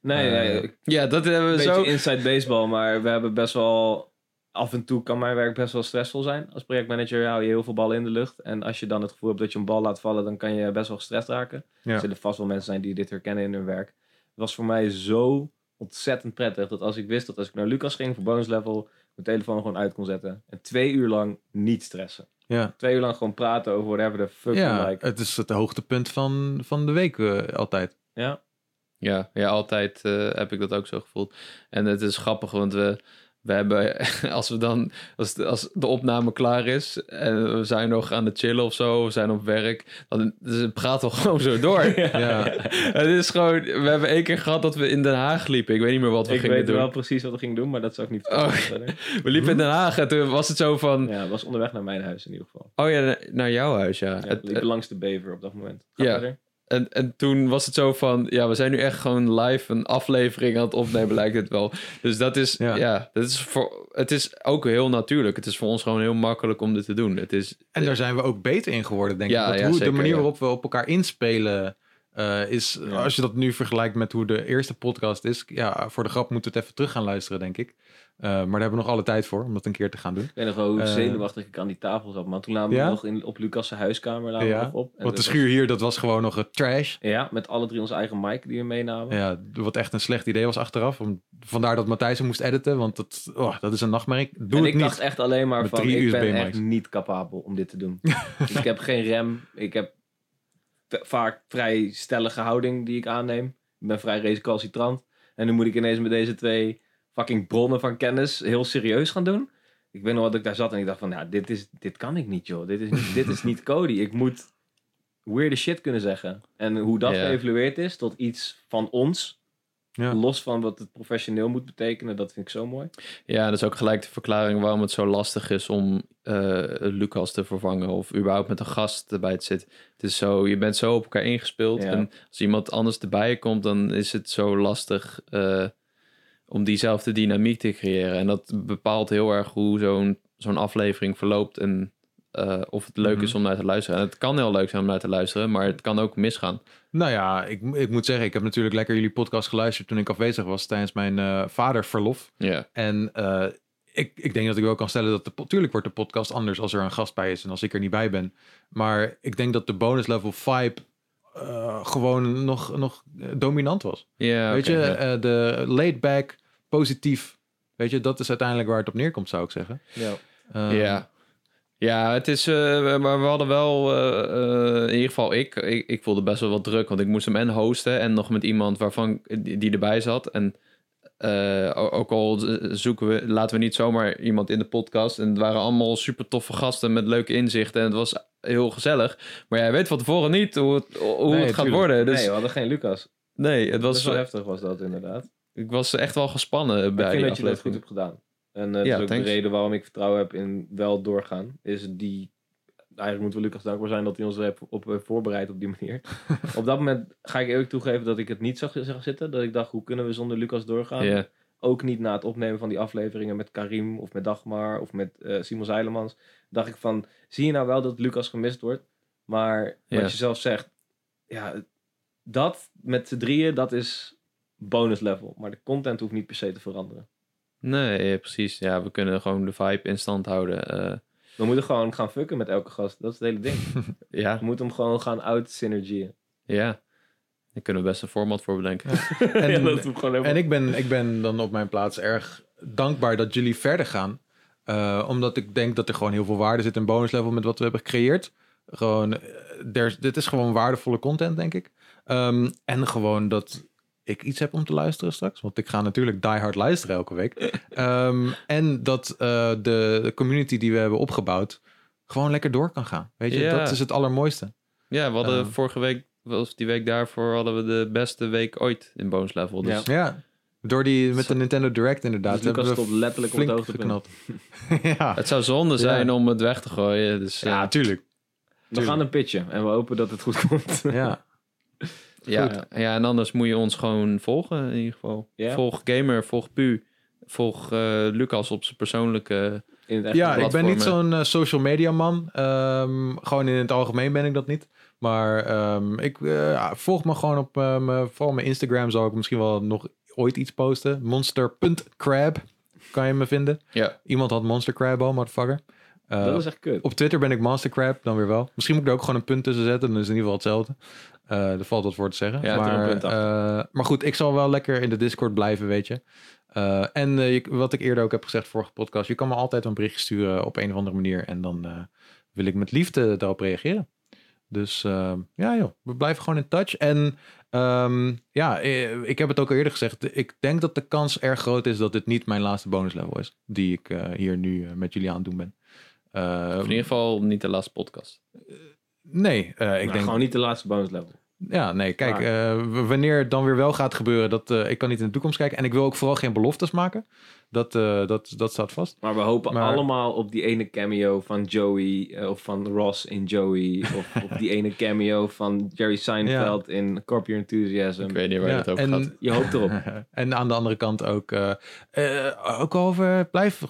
S2: Nee,
S1: Eh,
S2: nee, een
S3: Ja, dat hebben we
S2: beetje
S3: zo.
S2: inside baseball, maar we hebben best wel... Af en toe kan mijn werk best wel stressvol zijn. Als projectmanager hou je heel veel ballen in de lucht. En als je dan het gevoel hebt dat je een bal laat vallen, dan kan je best wel gestrest raken.
S1: Ja.
S2: Er zullen vast wel mensen zijn die dit herkennen in hun werk. Het was voor mij zo ontzettend prettig dat als ik wist dat als ik naar Lucas ging voor bonus level, mijn telefoon gewoon uit kon zetten. En twee uur lang niet stressen.
S1: Ja,
S2: Twee uur lang gewoon praten over whatever the fuck you
S1: ja
S2: like.
S1: het is het hoogtepunt van, van de week eh, altijd.
S2: Ja.
S3: Ja, ja altijd eh, heb ik dat ook zo gevoeld. En het is grappig, want we, we hebben, als we dan, als de, als de opname klaar is en we zijn nog aan het chillen of zo, we zijn op werk, dan dus het praat al gewoon zo door.
S1: Ja.
S3: Het is gewoon, we hebben één keer gehad dat we in Den Haag liepen. Ik weet niet meer wat we
S2: Ik
S3: gingen
S2: weet
S3: doen.
S2: wel precies wat ik ging doen, maar dat zou ik niet
S3: Oh.
S2: vertellen.
S3: We liepen in Den Haag en toen was het zo van,
S2: Ja, het was onderweg naar mijn huis in ieder geval.
S3: oh ja, na- naar jouw huis, ja.
S2: Ja,
S3: Het-
S2: het liep langs de bever op dat moment.
S3: Ja.
S2: ja.
S3: En, en toen was het zo van, ja, we zijn nu echt gewoon live een aflevering aan het opnemen, lijkt het wel. Dus dat is, ja,
S1: Ja.
S3: dat is voor, het is ook heel natuurlijk. Het is voor ons gewoon heel makkelijk om dit te doen. Het is,
S1: En daar zijn we ook beter in geworden, denk
S3: Ja,
S1: ik. Want
S3: ja,
S1: hoe,
S3: zeker,
S1: de manier
S3: ja.
S1: waarop we op elkaar inspelen eh, is,
S2: Ja.
S1: als je dat nu vergelijkt met hoe de eerste podcast is, ja, voor de grap moeten we het even terug gaan luisteren, denk ik. Eh, maar daar hebben we nog alle tijd voor om dat een keer te gaan doen.
S2: Ik weet nog wel hoe
S1: Eh.
S2: zenuwachtig ik aan die tafel zat, man. Toen namen we
S1: Ja?
S2: nog in, op Lucas' huiskamer namen we
S1: Ja,
S2: nog op. En
S1: Want de
S2: dat
S1: schuur hier, dat was gewoon nog een trash.
S2: was- Ja, met alle drie onze eigen mic die we meenamen.
S1: Ja, wat echt een slecht idee was achteraf. Om- Vandaar dat Matthijs hem moest editen, want dat, oh, dat is een nachtmerrie. Doe
S2: en
S1: het
S2: ik
S1: niet.
S2: dacht echt alleen maar
S1: Met
S2: van,
S1: drie
S2: ik ben
S1: USB-mics.
S2: echt niet capabel om dit te doen. ik heb geen rem, ik heb v- vaak vrij stellige houding die ik aanneem. Ik ben vrij recalcitrant. En nu moet ik ineens met deze twee fucking bronnen van kennis heel serieus gaan doen. Ik weet nog wat ik daar zat en ik dacht van, nou, dit, is, dit kan ik niet, joh. Dit is, niet- dit is niet Cody. Ik moet weirde shit kunnen zeggen. En hoe dat
S3: Ja.
S2: geëvalueerd is tot iets van ons...
S1: Ja.
S2: Los van wat het professioneel moet betekenen, dat vind ik zo mooi.
S3: ja, dat is ook gelijk de verklaring waarom het zo lastig is om eh, Lucas te vervangen of überhaupt met een gast erbij te zitten. Het is zo, je bent zo op elkaar ingespeeld
S2: Ja.
S3: en als iemand anders erbij komt, dan is het zo lastig eh, om diezelfde dynamiek te creëren. En dat bepaalt heel erg hoe zo'n zo'n aflevering verloopt en eh, of het leuk is om naar te luisteren. En het kan heel leuk zijn om naar te luisteren, maar het kan ook misgaan.
S1: Nou ja, ik, ik moet zeggen, ik heb natuurlijk lekker jullie podcast geluisterd toen ik afwezig was tijdens mijn eh vaderverlof.
S3: Ja,
S1: En eh, ik, ik denk dat ik wel kan stellen dat de... po- Tuurlijk wordt de podcast anders als er een gast bij is en als ik er niet bij ben. Maar ik denk dat de bonus level vibe eh, gewoon nog, nog eh, dominant was.
S3: ja
S1: weet je,
S3: oké, ja.
S1: eh, de laid back, positief. Weet je, dat is uiteindelijk waar het op neerkomt, zou ik zeggen.
S2: Ja.
S1: Eh,
S3: ja. Ehm, Ja, het is, eh, we- maar we hadden wel, eh, eh, in ieder geval ik, ik, ik voelde best wel wat druk, want ik moest hem en hosten en nog met iemand waarvan die, die erbij zat. En eh, o- ook al z- zoeken we, laten we niet zomaar iemand in de podcast. En het waren allemaal super toffe gasten met leuke inzichten en het was heel gezellig. Maar jij weet van tevoren niet hoe het, hoe
S1: Nee,
S3: het gaat
S1: tuurlijk.
S3: worden. Dus
S2: nee,
S3: nee,
S2: we hadden geen Lucas.
S3: het
S2: Dat is
S3: was,
S2: wel heftig was dat inderdaad.
S3: ik was echt wel gespannen bij
S2: ik vind
S3: die
S2: dat je dat goed
S3: aflevering.
S2: hebt gedaan. En eh, dat
S3: Ja,
S2: is ook
S3: thanks.
S2: de reden waarom ik vertrouwen heb in wel doorgaan. Is die... Eigenlijk moeten we Lucas dankbaar zijn dat hij ons erop op heeft voorbereid op die manier. op dat moment ga ik eerlijk toegeven dat ik het niet zag, zag zitten. Dat ik dacht, hoe kunnen we zonder Lucas doorgaan?
S3: Ja.
S2: Ook niet na het opnemen van die afleveringen met Karim of met Dagmar of met eh, Simon Zeilemans. Dacht ik van, zie je nou wel dat Lucas gemist wordt? Maar wat
S3: Ja.
S2: je zelf zegt, ja, dat met z'n drieën, dat is bonus level. Maar de content hoeft niet per se te veranderen.
S3: Nee, ja, precies. Ja, we kunnen gewoon de vibe in stand houden. eh,
S2: We moeten gewoon gaan fucken met elke gast. Dat is het hele ding.
S3: ja,
S2: We moeten hem gewoon gaan out-synergieën.
S3: ja. Daar kunnen we best een format voor bedenken.
S1: En,
S2: Ja, dat we gewoon even...
S1: en ik, ben, ik ben dan op mijn plaats erg dankbaar dat jullie verder gaan. Eh, omdat ik denk dat er gewoon heel veel waarde zit in bonus level met wat we hebben gecreëerd. Gewoon, eh, there's- dit is gewoon waardevolle content, denk ik. Ehm, en gewoon dat ik iets heb om te luisteren straks. Want ik ga natuurlijk die hard luisteren elke week. Ehm, en dat eh, de, de community die we hebben opgebouwd gewoon lekker door kan gaan. Weet je,
S3: Ja.
S1: dat is het allermooiste.
S3: Ja, we hadden
S1: Eh.
S3: vorige week was die week daarvoor hadden we de beste week ooit in bonus level. Dus
S2: Ja.
S1: Ja. Door die met de Nintendo Direct inderdaad.
S2: Dus Lucas
S1: hebben we
S2: stond letterlijk op
S1: flink
S2: het hoogtepunt.
S1: geknald. ja.
S3: het zou zonde zijn om het weg te gooien. Dus eh,
S1: ja, tuurlijk.
S2: We gaan een pitchen en we hopen dat het goed komt.
S1: Ja.
S3: Ja, ja, en anders moet je ons gewoon volgen in ieder geval.
S2: Ja.
S3: Volg Gamer, volg Pu, volg eh, Lucas op zijn persoonlijke...
S2: In het echte
S1: ja, ik
S2: blad.
S1: ben niet
S3: platformen.
S1: zo'n eh, social media man. Ehm, gewoon in het algemeen ben ik dat niet. Maar ehm, ik eh, volg me gewoon op eh, mijn- vooral mijn Instagram. Zal ik misschien wel nog ooit iets posten. Monster.crab kan je me vinden.
S3: Ja.
S1: Iemand had Monster Crab al, motherfucker. Eh,
S2: dat is echt kut.
S1: op Twitter ben ik Monster Crab, dan weer wel. Misschien moet ik er ook gewoon een punt tussen zetten. Dan is het in ieder geval hetzelfde. Eh er valt wat voor te zeggen.
S3: Ja,
S2: er een
S1: maar,
S2: punt
S1: eh, maar goed, ik zal wel lekker in de Discord blijven, weet je. Eh, en eh, je- wat ik eerder ook heb gezegd vorige podcast. Je kan me altijd een berichtje sturen op een of andere manier. En dan eh, wil ik met liefde daarop reageren. Dus eh, ja joh, we blijven gewoon in touch. En ehm, ja, eh, ik heb het ook al eerder gezegd. Ik denk dat de kans erg groot is dat dit niet mijn laatste bonuslevel is. Die ik eh, hier nu eh, met jullie aan het doen ben. Eh,
S3: Of in ieder geval niet de laatste podcast.
S1: Nee, eh, ik
S2: Maar
S1: denk.
S2: Nou, Gewoon niet de laatste bonus level.
S1: Ja, nee, kijk,
S2: Maar-
S1: eh, w- wanneer het dan weer wel gaat gebeuren, dat, eh, ik kan niet in de toekomst kijken. En ik wil ook vooral geen beloftes maken. Dat, eh, dat, dat staat vast.
S2: Maar we hopen
S1: Maar-
S2: allemaal op die ene cameo van Joey, eh, of van Ross in Joey, of op die ene cameo van Jerry Seinfeld in Corp Your Enthusiasm.
S3: Ik weet niet waar
S1: Ja,
S3: je het over gaat.
S1: en,
S2: Je hoopt erop.
S1: en aan de andere kant ook, eh, eh, ook over, blijf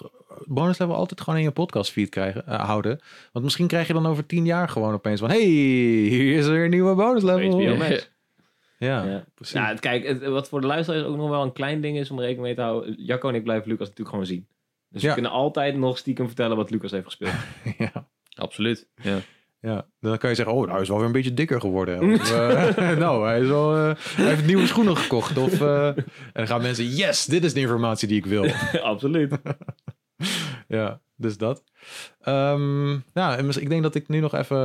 S1: bonus level altijd gewoon in je podcast feed krijgen, eh, houden. Want misschien krijg je dan over tien jaar gewoon opeens van, hey, hier is weer een nieuwe bonus level.
S2: HBO
S1: Ja,
S2: Max. Ja.
S1: precies.
S2: Ja, het- kijk, het- wat voor de luisteraars ook nog wel een klein ding is om rekening mee te houden. Jacco en ik blijven Lucas natuurlijk gewoon zien. Dus
S1: Ja.
S2: we kunnen altijd nog stiekem vertellen wat Lucas heeft gespeeld.
S1: ja.
S3: Absoluut. Ja.
S1: Ja, dan kan je zeggen, oh, nou is wel weer een beetje dikker geworden. Of, eh, nou, hij, is wel, eh, hij heeft nieuwe schoenen gekocht. Of, eh, en dan gaan mensen, yes, dit is de informatie die ik wil.
S2: Absoluut.
S1: Oh, ja, dus dat. Ehm, nou, en mis- ik denk dat ik nu nog even,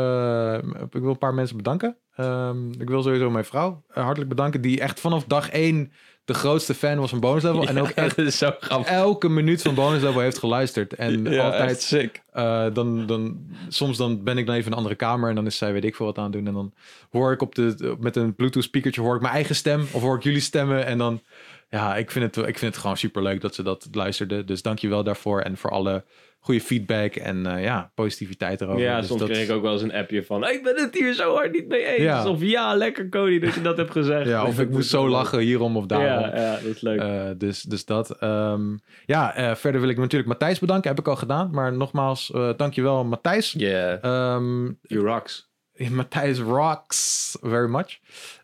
S1: eh, ik wil een paar mensen bedanken. Ehm, ik wil sowieso mijn vrouw eh, hartelijk bedanken, die echt vanaf dag één de grootste fan was van Bonus Level. en ook echt
S3: dat is zo grappig.
S1: elke minuut van Bonus Level heeft geluisterd. En altijd
S3: echt sick.
S1: eh, dan, dan, soms dan ben ik dan even in een andere kamer en dan is zij weet ik veel wat aan het doen. En dan hoor ik op de, met een Bluetooth speakertje hoor ik mijn eigen stem of hoor ik jullie stemmen. En dan, ja, ik vind het, ik vind het gewoon super leuk dat ze dat luisterde. Dus dank je wel daarvoor en voor alle goede feedback en eh, ja, positiviteit erover.
S2: Ja,
S1: Dus
S2: soms
S1: dat-
S2: kreeg ik ook wel eens een appje van... Ik ben het hier zo hard niet mee eens. Dus
S1: Ja.
S2: Of ja, lekker Cody dat je dat hebt gezegd.
S1: Ja, of ik
S2: Dat
S1: moet
S2: is
S1: zo
S2: wel-
S1: lachen hierom of daarom.
S2: Ja, ja, dat is leuk.
S1: Eh, dus, dus dat. ehm, ja, eh, verder wil ik natuurlijk Matthijs bedanken. Heb ik al gedaan. Maar nogmaals, eh dankjewel Matthijs.
S3: Yeah.
S1: Ehm,
S2: you rocks.
S1: Matthijs rocks very much.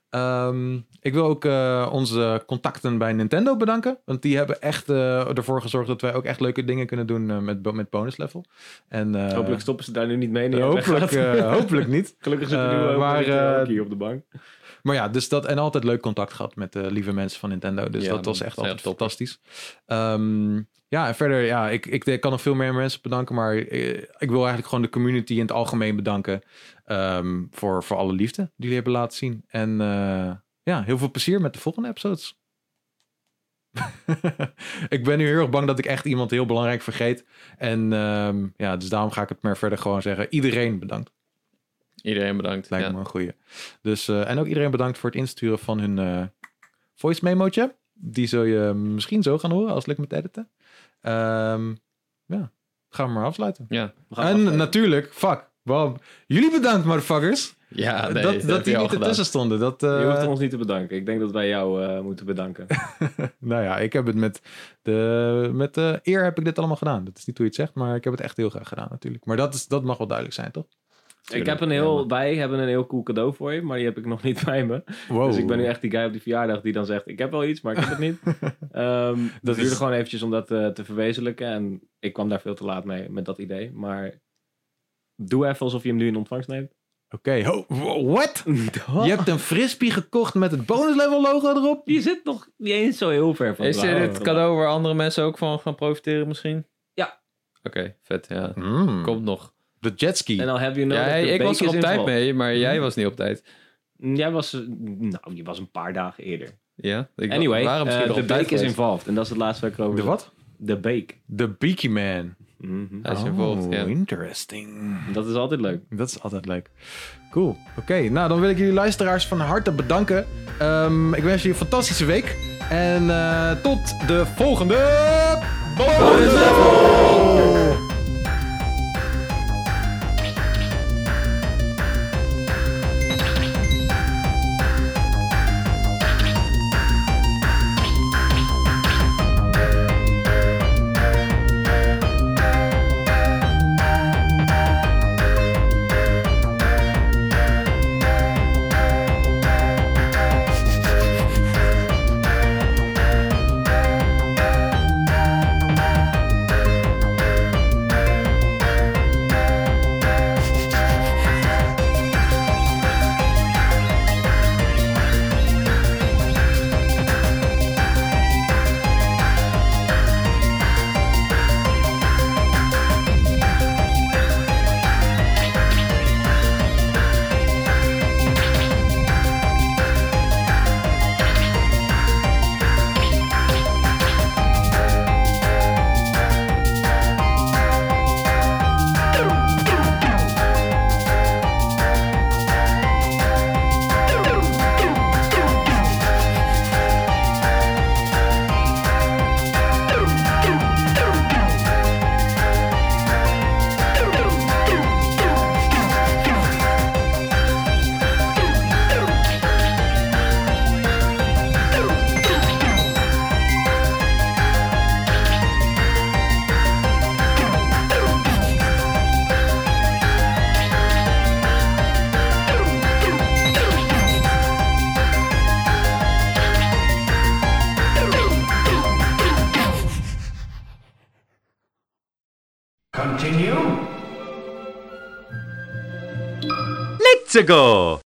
S1: Ehm, ik wil ook eh, onze contacten bij Nintendo bedanken. Want die hebben echt eh, ervoor gezorgd dat wij ook echt leuke dingen kunnen doen eh, met, bo- met bonus level. En, eh,
S2: Hopelijk stoppen ze daar nu niet mee. nu je
S1: hopelijk,
S2: weggaat.
S1: eh, hopelijk niet.
S2: Gelukkig zitten
S1: eh,
S2: nu ook
S1: maar,
S2: maar,
S1: eh,
S2: hier op de bank.
S1: Maar ja, dus dat en altijd leuk contact gehad met de lieve mensen van Nintendo. Dus
S3: Ja,
S1: dat was
S3: dat
S1: echt
S3: is
S1: altijd
S3: echt top.
S1: fantastisch. Ehm, ja, en verder, ja, ik, ik, ik kan nog veel meer mensen bedanken. Maar eh, ik wil eigenlijk gewoon de community in het algemeen bedanken. ehm, voor, voor alle liefde die jullie hebben laten zien. En eh, ja, heel veel plezier met de volgende episodes. ik ben nu heel erg bang dat ik echt iemand heel belangrijk vergeet. En ehm, ja, dus daarom ga ik het maar verder gewoon zeggen. Iedereen bedankt.
S3: Iedereen bedankt.
S1: Lijkt
S3: ja.
S1: me een goeie. Dus, eh, en ook iedereen bedankt voor het insturen van hun eh, voice memootje. Die zul je misschien zo gaan horen als het lukt met editen. Ehm, ja, gaan we maar afsluiten.
S3: Ja,
S2: We gaan
S1: En
S2: afsluiten.
S1: natuurlijk, fuck, wow, jullie bedankt motherfuckers.
S3: ja nee,
S1: dat
S3: dat,
S1: dat,
S3: heb
S1: die
S3: je al
S1: niet
S3: gedaan.
S1: ertussen stonden. Dat,
S2: Je
S1: eh
S2: hoeft ons niet te bedanken. Ik denk dat wij jou eh, moeten bedanken.
S1: nou ja, ik heb het met de, met de eer heb ik dit allemaal gedaan. Dat is niet hoe je het zegt, maar ik heb het echt heel graag gedaan natuurlijk. Maar dat, is, dat mag wel duidelijk zijn, toch?
S2: ik heb een heel, wij hebben een heel cool cadeau voor je, maar die heb ik nog niet bij me.
S1: Wow.
S2: Dus ik ben nu echt die guy op die verjaardag die dan zegt, ik heb wel iets, maar ik heb het niet. Ehm dat
S1: Dat
S2: duurde
S1: is-
S2: gewoon eventjes om dat eh, te verwezenlijken. En ik kwam daar veel te laat mee met dat idee. Maar doe even alsof je hem nu in ontvangst neemt.
S1: Oké, ho- w- what? Je hebt een frisbee gekocht met het bonus level logo erop?
S2: Die zit nog niet eens zo heel ver van
S3: Is dit
S2: de
S3: het cadeau waar andere mensen ook van gaan profiteren misschien?
S2: Ja.
S3: Oké, vet. Ja.
S2: Hmm.
S1: Mm.
S3: Komt nog.
S1: De jetski.
S2: En al heb je nodig.
S3: Ja,
S2: de
S3: ik was er
S2: beek
S3: op
S2: is in
S3: tijd
S2: val. Hmm.
S3: mee, maar jij was niet op tijd.
S2: Jij was, eh, nou, je was een paar dagen eerder.
S3: Ja, ik
S2: Anyway,
S3: waren
S2: eh,
S3: misschien nog
S2: de
S3: op tijd
S2: beek is
S3: geweest.
S2: involved. En dat is het laatste waar ik over
S1: De
S2: wil.
S1: wat?
S2: De beek.
S1: De Beaky Man.
S2: Mhm.
S3: Hij is involved, ja.
S1: interesting.
S2: Dat is altijd leuk.
S1: Dat is altijd leuk. Cool. Oké, nou dan wil ik jullie luisteraars van harte bedanken. Ehm, ik wens jullie een fantastische week. En eh, tot de volgende... Bonus Level!
S5: Let's go!